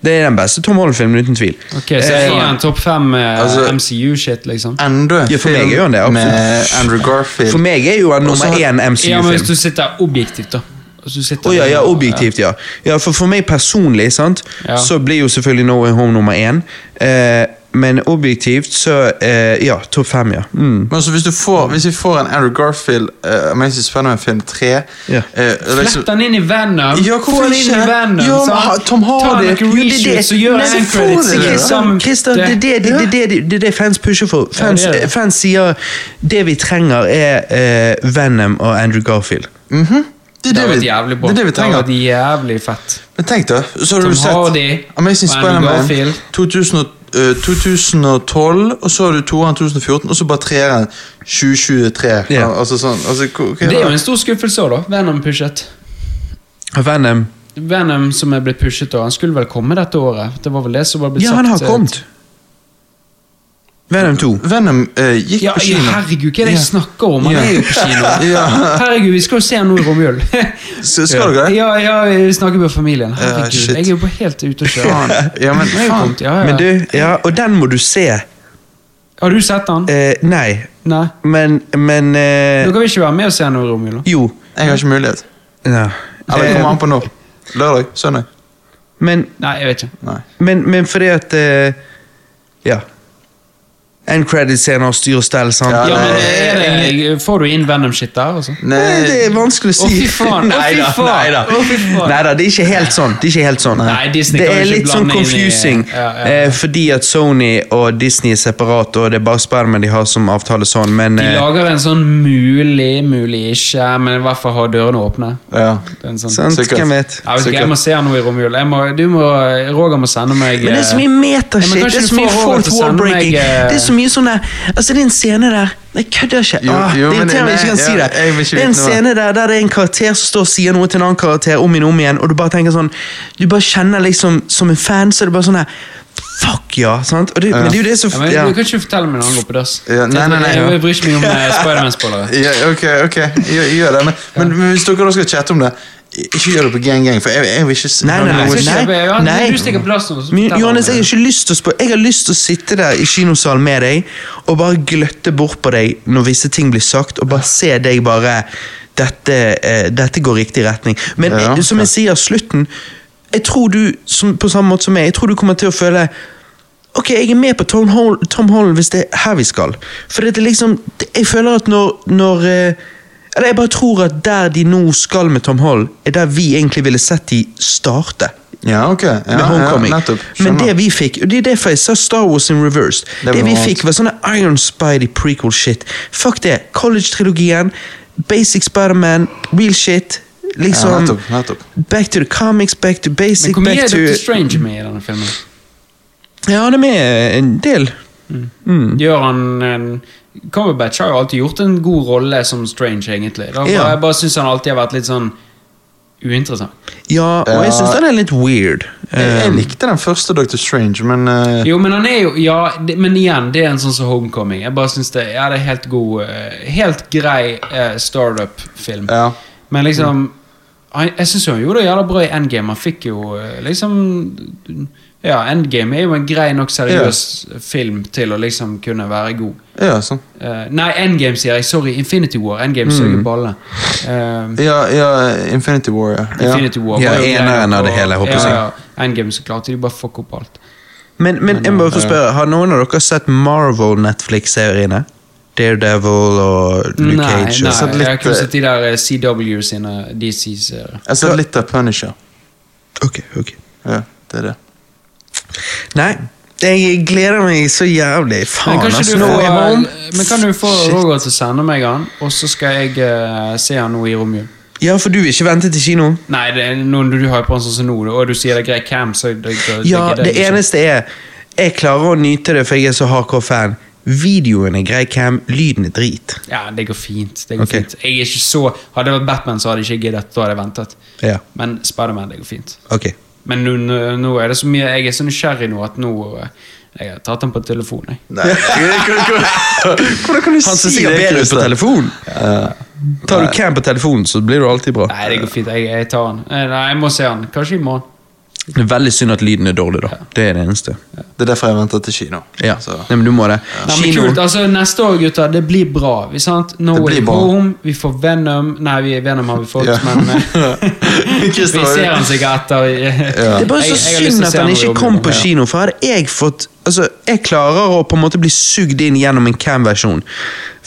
A: Det er den beste Tom Holland-filmen, uten tvil. Eh,
C: Ok, Så jeg er en topp fem eh,
B: Altså-
C: MCU-shit, liksom?
B: Enda en
A: Ja, for meg
B: film
A: er jo han det, absolutt.
B: med Andrew
A: For
B: Garfield.
A: meg er jo han nummer
B: Også-
A: én
C: Ja, men Hvis
A: MCU-film.
C: du sitter objektivt, da. Hvis du sitter-
A: Å ja, ja, objektivt, ja. ja for, for meg personlig, sant,
C: Ja.
A: så blir jo selvfølgelig No Way Home nummer én. Eh, men objektivt, så eh, Ja, topp fem, ja. Mm.
B: Men altså, hvis, du får, hvis vi får en Andrew Garfield uh, Amazing Spiderman-film 3
A: Ja.
B: eh, liksom,
C: Flett han inn i Venom!
B: Ja, hvorfor
C: Få han inn
B: ikke?
C: i Venom!
B: Ja, men
C: sant?
B: ha- Tom Hardy.
C: Ta
A: Jo,
C: noen
A: det er
C: reshoots og gjør liksom.
A: Nei,
C: en
A: får
C: credit.
A: det, Christian, Christian, det, er det, det, det, det, det er det fans pusher for. Fans,
C: det er det.
A: fans sier det vi trenger, er eh, Venom og Andrew Garfield.
B: Mhm. det, er
C: Det
B: det,
C: hadde
B: vi,
C: vært jævlig bra.
B: det er det vi trenger.
C: hadde vært jævlig fett.
B: Men tenk da, så har
C: Tom
B: du sett
C: Hardy,
B: Amazing
C: Andrew
B: Spider-Man
C: Garfield.
B: 2000 og- eh, 2012, og så har du toeren 2014, og så bare treeren 2023.
A: Ja.
B: Al- Altså sånn, altså, hva- hva er
C: Det er jo
B: det?
C: en stor skuffelse òg, da. Venom pushet.
A: Venom
C: Venom som er blitt pushet, og han skulle vel komme dette året? Det var vel det som var blitt
A: Ja,
C: sagt.
A: han har
C: eh,
A: kommet. Venom 2.
B: Venom eh, gikk
C: Ja,
B: på
C: ja,
B: kino.
C: herregud, hva er det jeg
B: Ja.
C: snakker om? Han
B: Ja.
C: er jo på kino.
B: Ja.
C: Herregud, vi skal jo se han nå i romjulen.
B: Så skal dere det?
C: Ja, ja, vi snakker med familien. Herregud,
B: shit.
C: jeg er jo på helt ute å kjøre.
B: Faen. [LAUGHS] Ja, men
C: Han er jo
B: faen.
C: kommet, Ja, ja.
A: Men du, ja, og den må du se.
C: Har du sett han?
A: Eh, nei,
C: Nei.
A: men Men eh,
C: Da kan vi ikke være med og se han nå i romjulen.
A: Jo.
B: Jeg har ikke mulighet.
A: Ja.
B: Eller det kommer
A: Eh,
B: an på nå. Lørdag? Søndag?
A: men,
C: Nei, jeg vet ikke.
B: Nei.
A: men, men fordi at eh, Ja. End credit-scenen har styr og stell, sant?
B: Ja,
C: Ja, men eh,
B: nei, Eh,
C: er det, Får du inn Venom-shit der, altså?
B: Nei,
A: Nei, det er vanskelig å si.
C: Å, fy faen, å, fy
A: Neida,
C: faen,
A: neida.
C: å, fy faen.
A: Neida, det er ikke helt sånn. Det er, ikke helt sånn.
C: Nei, Disney
A: det
C: kan
A: er
C: jo ikke
A: litt sånn
C: blande inn i-
A: confusing,
C: Ja, ja, ja.
A: eh, fordi at Sony og Disney er separat, og det er bare Spiderman de har som avtale sånn, men
C: De
A: eh,
C: lager en sånn mulig, mulig ikke, men i hvert fall har dørene åpne.
B: Ja.
C: Det er en sånn...
A: sant,
B: sikkert.
A: hvem vet?
C: Jeg, vet ikke, jeg må se han nå i romjul. Jeg må, du må, Roger må sende meg
A: Men det er så mye
C: Ja,
A: metashit. det
C: men kanskje
A: er
C: du
A: så mye
C: får Robert
A: fourth
C: til å
A: wall
C: sende
A: breaking.
C: meg, eh,
A: Det er så mye sånn der Altså, det er en scene der Jeg kødder ikke.
B: Jo,
A: Ah,
B: jo,
A: det
B: men-
A: irriterer meg ikke
B: nei,
A: kan si
B: ja,
A: det.
B: jeg vil ikke
A: Det er en
B: vite hva-
A: scene der der det er en karakter som står og sier noe til en annen karakter om igjen og om igjen, og du bare tenker sånn Du bare kjenner liksom Som en fan, så er det bare sånn her Fuck ja! Sant? Og det, Men det er jo det som
C: eh, Ja, men
A: ja.
C: Du kan ikke fortelle meg når han går på dass.
B: Ja, nei, nei, nei.
C: Jeg, jeg bryr ikke meg om eh,
B: [LAUGHS]
C: Spiderman-spoilere.
B: Ja, ok, ok. Gjør, gjør det. Men, men hvis dere da skal chatte om det, ikke gjør det på gang gang, for jeg, jeg vil ikke s-
A: Nei, nei,
B: høre noe-
C: Jeg skal ikke-
A: nei,
C: ja,
A: nei.
C: Du stikker plass nå, så
A: Men
C: forteller
A: Johannes,
C: han
A: jeg
C: meg.
A: har ikke lyst til å spørre Jeg har lyst til å sitte der i kinosalen med deg og bare gløtte bort på deg når visse ting blir sagt, og bare se deg bare Dette, eh, dette går riktig retning. Men
B: Ja,
A: eh, som jeg sier, slutten Jeg tror du, som, på samme måte som meg, jeg tror du kommer til å føle Ok, jeg er med på Tom, Hol Tom Holland hvis det er her vi skal. For det er liksom Jeg føler at når, når eh, Eller jeg bare tror at der de nå skal med Tom Hall, er der vi egentlig ville sett de starte.
B: Ja, ok. Ja,
A: med Homecoming.
B: Ja, nettopp.
A: Men
B: Skjønner.
A: det vi fikk og Det er derfor jeg sa Star Wars in reverse.
B: var
A: Det, vi
B: noe annet.
A: fikk, var sånne Iron Spidey prequel shit. Fuck det. College-trilogien, Basic Spiderman, real shit. Liksom
B: Ja, nettopp, nettopp.
A: Back to the comics, back to
C: Men
A: basic,
C: hvor mye
A: back
C: er
A: to
C: Dr. Strange med i denne filmen?
A: Ja, han er med en del.
B: Mm.
C: Gjør han en Cumberbatch har jo alltid gjort en god rolle som Strange, egentlig. Da,
A: Ja.
C: Jeg bare syns han alltid har vært litt sånn uinteressant.
A: Ja, og jeg
B: Ja.
A: syns den er litt weird.
B: Jeg, jeg
A: Um,
B: likte den første Dr. Strange, men eh,
C: Jo, men han er jo Ja, det, men igjen, det er en sånn som Homecoming. Jeg bare synes det, ja, det er helt god eh, Helt grei eh, startup-film.
B: Ja.
C: Men liksom han, Jeg syns jo han gjorde det jævla bra i Endgame. Han fikk jo eh, liksom Ja, Endgame er jo en grei nok seriøs film til å liksom kunne være god.
B: Ja, sånn.
C: Eh, nei, Endgame sier jeg. Sorry, Infinity War. Endgame
A: Mm.
C: suger balle. Eh,
B: Ja, ja, Infinity War, ja. ja.
C: Infinity War
A: Ja,
C: var jo grei
A: eneren
C: nok,
A: av det
C: og-
A: hele, håper jeg.
C: ja, ja. Endgame så klarte de bare fuck opp alt.
A: Men, men jeg må få spørre, har noen av dere sett Marvel-Netflix-seriene? Daredevil og Luke
C: nei,
A: Cage?
C: Nei,
A: og- sånn?
B: Jeg har sett
C: jeg har
B: litt,
C: kun
B: eh,
C: sett de der eh, CW sine DC-serier.
B: Jeg har sett litt av Punisher.
A: Ok, ok.
B: Ja, det er det.
A: Nei, jeg gleder meg så jævlig.
C: Men,
A: Faen,
C: kanskje
A: altså.
C: du
A: Nå
C: får- eh,
A: er man...
C: men kan du få Roger til å sende meg han, og så skal jeg eh, se han nå i romjul?
A: Ja, for du vil ikke vente til kino?
C: Nei, det er noen du har på han sånn som nå, og du sier det er grei cam, så det, det,
A: Ja,
C: det liksom.
A: det eneste er Jeg klarer å nyte det, for jeg er så hardcore fan. Videoen er grei cam, lyden er drit.
C: Ja, det går fint. Det går
A: Ok.
C: fint. Jeg er ikke så Hadde det vært Batman, så hadde jeg ikke giddet. Da hadde jeg ventet.
A: Ja.
C: Men Spiderman, det går fint.
A: Ok.
C: Men nå, nå er det så mye Jeg er så nysgjerrig nå at nå eh, Jeg har tatt han på telefonen, jeg.
B: Nei. Hvordan kan du
A: Han som sier bedre ut på telefon. Tar du cam på telefonen, så blir du alltid bra.
C: Eh, Nei, det går fint. Jeg, jeg tar han. Eh, Nei, jeg må se han. Kanskje i morgen.
A: Det er veldig synd at lyden er dårlig, da. Det er det eneste.
B: [LAUGHS] Det er derfor jeg venter til kino.
A: Ja,
B: Så.
A: Nei, men du må det.
C: Nei, men
A: Kino
C: kult, altså Neste år, gutter, det blir bra. Vi, sant? No
B: Det
C: Way
B: blir bra.
C: Home, vi får Venom Nei, vi, Venom har vi fått,
B: [LAUGHS] Ja.
C: men eh, vi
B: Christer,
C: ser han sikkert etter.
A: Det er bare så synd at han ikke kom på kino, for hadde jeg fått Altså, jeg klarer å på en måte bli sugd inn gjennom en cam-versjon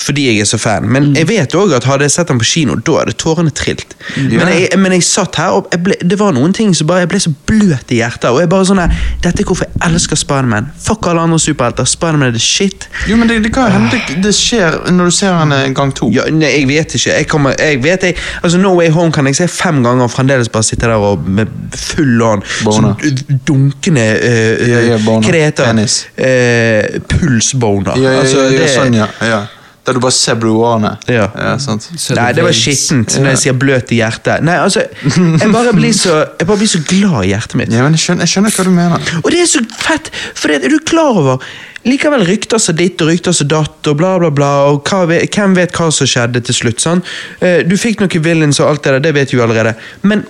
A: fordi jeg er så fan, men jeg vet òg at hadde jeg sett han på kino, da hadde tårene trilt. Men, jeg, men jeg satt her, og jeg ble, det var noen ting som bare Jeg ble så bløt i hjertet. Og jeg bare sånn her Dette er hvorfor jeg elsker Spiderman. Fuck alle andre superhelter. Spiderman er the shit.
B: Jo, men det, det kan jo hende det, det skjer når du ser han eh, gang to.
A: Ja, nei, jeg vet ikke. Jeg kommer, jeg vet, jeg, altså, no Way Home kan jeg se fem ganger og fremdeles bare sitte der og med full on
B: Boner.
A: sånn, d- dunkende eh, eh,
B: Ja, ja, boner.
A: Hva det heter
B: Penis.
A: Eh, Pulsboner.
B: Ja, ja,
A: Altså,
B: ja, ja,
A: det-
B: sånn, ja. ja. Der du bare ser blodårene.
A: Ja.
B: sant.
A: Nei, det var skittent når jeg sier bløt i hjertet. Nei, altså, jeg bare blir så, jeg bare blir så glad i hjertet mitt.
B: Ja, men jeg skjønner, jeg skjønner hva du mener.
A: Og det er så fett, for det, er du klar over Likevel rykter seg ditt og rykter seg datt og bla, bla, bla. Og hva, ve- hvem vet hva som skjedde til slutt? sant? Eh, Du fikk noen villains og alt det der, det vet vi jo allerede. Men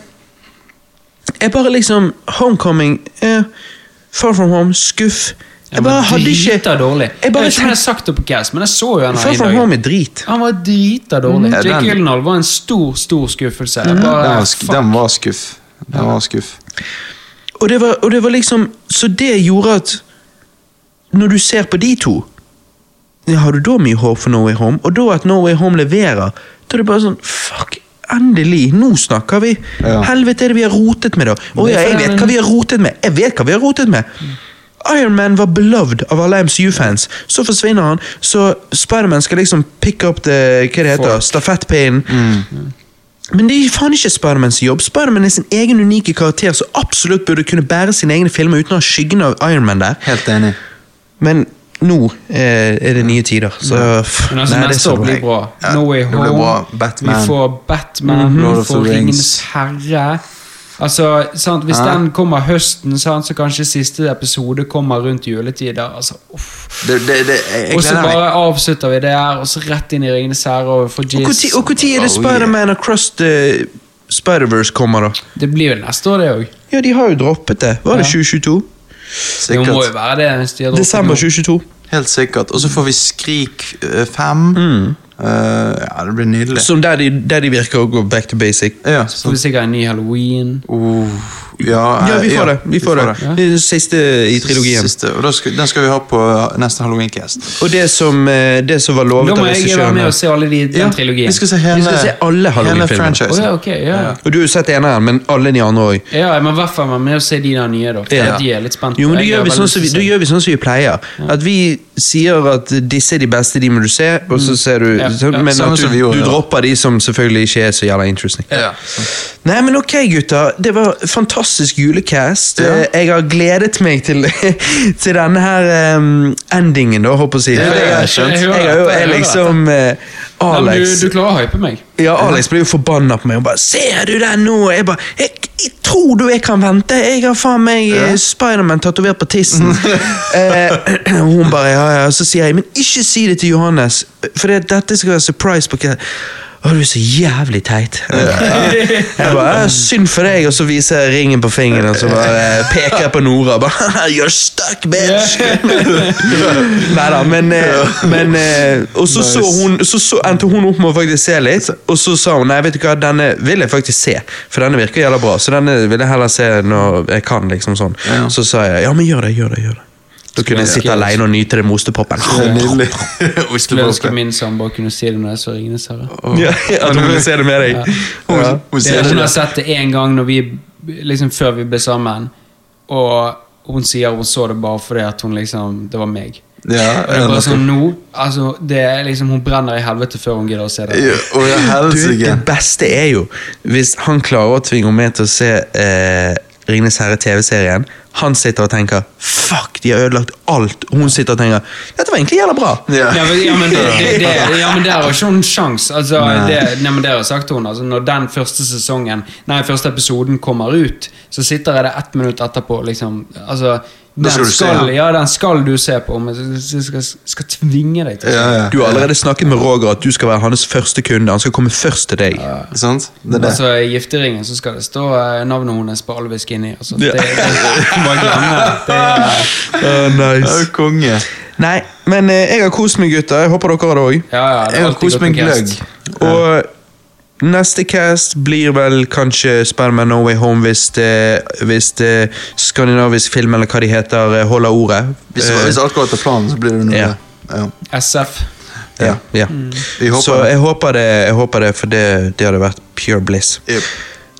A: jeg bare liksom Homecoming, eh, Far From Home, skuff. Jeg bare hadde ikke
C: dårlig.
A: Jeg
C: Jeg
A: bare
C: vet ikke om jeg har
A: tenkte
C: sagt det på cast, men jeg så jo han
A: Far
C: her i
A: From
C: dag.
A: Home er drit.
C: Han var drita dårlig.
A: Mm.
B: Ja,
C: Jake
B: den-
C: Gyllenhaal var en stor, stor skuffelse. Jeg
B: Den
C: Bare,
B: var, sk-
C: fuck.
B: den var skuff. Den var skuff.
A: Og det, var, og det var liksom Så det gjorde at Når du ser på de to ja, Har du da mye håp for No Way Home? Og da at No Way Home leverer, da er det bare sånn Fuck, endelig! Nå snakker vi!
B: Ja.
A: Helvete, er det vi har rotet med, da! Å ja, jeg vet hva vi har rotet med! Jeg vet hva vi har rotet med! Iron Man var beloved av alle MCU-fans. Så forsvinner han, så Spiderman skal liksom pick up the, hva det heter, stafettpinnen. Men det er faen ikke Spidermans jobb. Spiderman er sin egen unike karakter som absolutt burde kunne bære sine egne filmer uten å ha skyggen av Iron Man der.
B: Helt enig.
A: Men nå eh, er det nye tider, så f-
C: Men
A: nei,
C: altså,
A: det er
C: neste
A: så
C: år blir
A: bra.
C: bra.
B: Ja,
C: No Way
B: det blir
C: Home.
B: bra. Batman.
C: Vi får Batman,
A: Mm-hmm.
B: Lord
C: vi
B: of the
C: får
B: Rings.
C: Ringenes herre. Altså, sant? Hvis
B: Ja.
C: den kommer høsten, sant? så kanskje siste episode kommer rundt juletider. Altså, uff.
B: Det, det, det, jeg, jeg
C: Og så
B: gleder meg.
C: bare avslutter vi det her, og så rett inn i Ringenes herre og får
A: Og når-
C: jizz.
A: Og når er det
B: Oh,
A: Spiderman Across the Spider-Verse kommer, da?
C: Det blir jo neste år, det òg.
A: Ja, de har jo droppet det. Var det
C: Ja.
A: 2022?
C: Det må jo
B: Sikkert.
C: være det. hvis de har droppet
A: Desember
C: noe.
A: 2022.
B: Helt sikkert. Og så får vi Skrik 5.
A: Mm.
B: ja, det blir nydelig.
A: Som der de, der de virker å gå back to basic.
B: ja,
C: Så får vi sikkert en ny halloween.
B: Uh, Ja,
A: Ja,
B: eh,
A: vi får det. Vi får det. Det er den siste i trilogien.
B: Siste, og da skal, den skal vi ha på eh, neste Halloween-cast.
A: Og det som, eh, det som var lovet
C: Da
A: av
C: må jeg være
A: regissøren
C: med
A: her-
C: og se alle de, den trilogien.
B: vi skal se hele,
A: Vi skal se alle
B: hele
A: Halloween-filmene.
C: Å
B: franchisen. [LAUGHS]
C: ja, ok, ja.
A: Og du har jo sett eneren, men alle de andre òg.
C: Ja, jeg må i hvert fall være med og se de der nye, da. For
A: Ja.
C: De er jeg litt spent.
A: Jo, men
C: på.
A: da
C: Jeg
A: gjør,
C: har
A: vi
C: veldig
A: sånn
C: lyst
A: som vi,
C: til å
A: da
C: se.
A: gjør vi sånn som vi pleier. At vi sier at disse er de beste, de må du se, og så ser du
C: Mm. Ja,
A: så-
C: ja.
A: Men
B: Samme
A: at du,
B: som vi gjorde,
A: du
B: ja.
A: dropper de som selvfølgelig ikke er så jævla interesting.
B: Ja.
A: Nei, men ok, gutter. Det var fantastisk julecast.
B: Ja.
A: Eh, Jeg har gledet meg til, [LAUGHS] til denne her em, endingen, da, håper jeg å si.
B: Ja,
A: For
B: ja,
A: jeg,
B: jeg skjønte.
A: jeg, har jo jeg liksom eh,
C: Ja, men
A: Alex
C: du, du klarer å hype meg.
A: ja, Alex ble jo forbanna på meg og bare 'Ser du den nå?' Jeg bare jeg, 'Jeg tror du jeg kan vente. Jeg har faen meg ja. Spiderman tatovert på tissen.' eh, [CLEARS THROAT] hun bare 'Ja, ja'. Så sier jeg 'Men ikke si det til Johannes, for det, dette skal være surprise på hva- Å, du er så jævlig teit. [LAUGHS] Jeg bare, «Ja, Synd for deg, og så viser jeg ringen på fingeren og så bare eh, peker jeg på Nora. og Bare, [LAUGHS] You're stuck, bitch! [LAUGHS] Nei da, men, eh, men eh, Og så, så, hun, så, så endte hun opp med å faktisk se litt, og så sa hun nei, vet du hva, denne vil jeg faktisk se, for denne virker jævla bra, så denne vil jeg heller se når jeg kan. liksom sånn. Så sa jeg ja, men gjør det, gjør det. gjør det. Da kunne jeg sitte alene og nyte den mostepopen.
B: Nydelig. [LAUGHS] Og hvis du
C: Skulle
B: bare-
C: ønske min samboer kunne si det når jeg så Ringenes herre.
A: [LAUGHS] Ja, at hun ville se det med deg. Ja.
B: Hun- hun
C: Det
B: ser
C: er Hun har
B: det.
C: sett det én gang når vi, liksom, før vi ble sammen, og hun sier hun så det bare fordi at hun liksom Det var meg.
B: Ja,
C: Og det er bare sånn nå altså, det er liksom, Hun brenner i helvete før hun gidder å se det.
B: Ja, og jeg helst
A: Du,
B: ikke.
A: det beste er jo hvis han klarer å tvinge meg til å se eh, Ringenes herre TV-serien. Han sitter og tenker 'fuck, de har ødelagt alt'. Hun sitter og tenker 'dette var egentlig jævla bra'.
B: Ja.
C: Ja, men, ja, men, det, det, det, ja, men der har ikke hun sjans. Altså, det, nei, men det har jeg sagt til hun. Altså, når den første sesongen Nei, første episoden kommer ut, så sitter jeg der ett minutt etterpå. Liksom, altså, den
B: skal
C: skal,
B: du se, ja.
C: ja, den skal du se på, men jeg skal, skal tvinge deg til å se.
B: Ja, ja.
A: Du har allerede snakket med Roger at du skal være hans første kunde. Han skal komme først til deg.
B: Sant? Det er det.
C: Altså, I gifteringen så skal det stå eh, navnet hennes på all whisky inni. Altså, det,
A: Ja.
C: det,
B: [LAUGHS]
C: bare glemme det. det.
A: Ah,
B: Ja,
A: nice.
B: konge.
A: Nei, men eh, jeg har kost meg, gutter. Jeg håper dere har det òg.
C: Ja, ja, det
B: Jeg
C: er
B: har
C: alltid
B: kost
C: godt med
B: meg gløgg.
C: krest.
A: Og neste cast blir vel kanskje Spiderman No Way Home hvis, det, hvis det skandinavisk film eller hva de heter, eh, holder ordet.
B: Hvis,
A: Eh,
B: hvis alt går etter planen, så blir det noe.
A: Ja.
B: Ja.
C: SF.
A: Eh, ja, ja.
B: Vi håper
A: Så
B: det.
A: jeg håper det, jeg håper det for det, det hadde vært pure bliss.
B: Yep.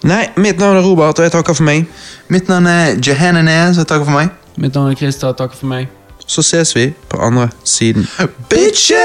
A: Nei, mitt navn er Robert, og jeg takker for meg.
B: Mitt navn er Jehanene, så takk for meg.
C: Mitt navn er Christer. Takk for meg.
A: Så ses vi på andre siden.
B: Bitches!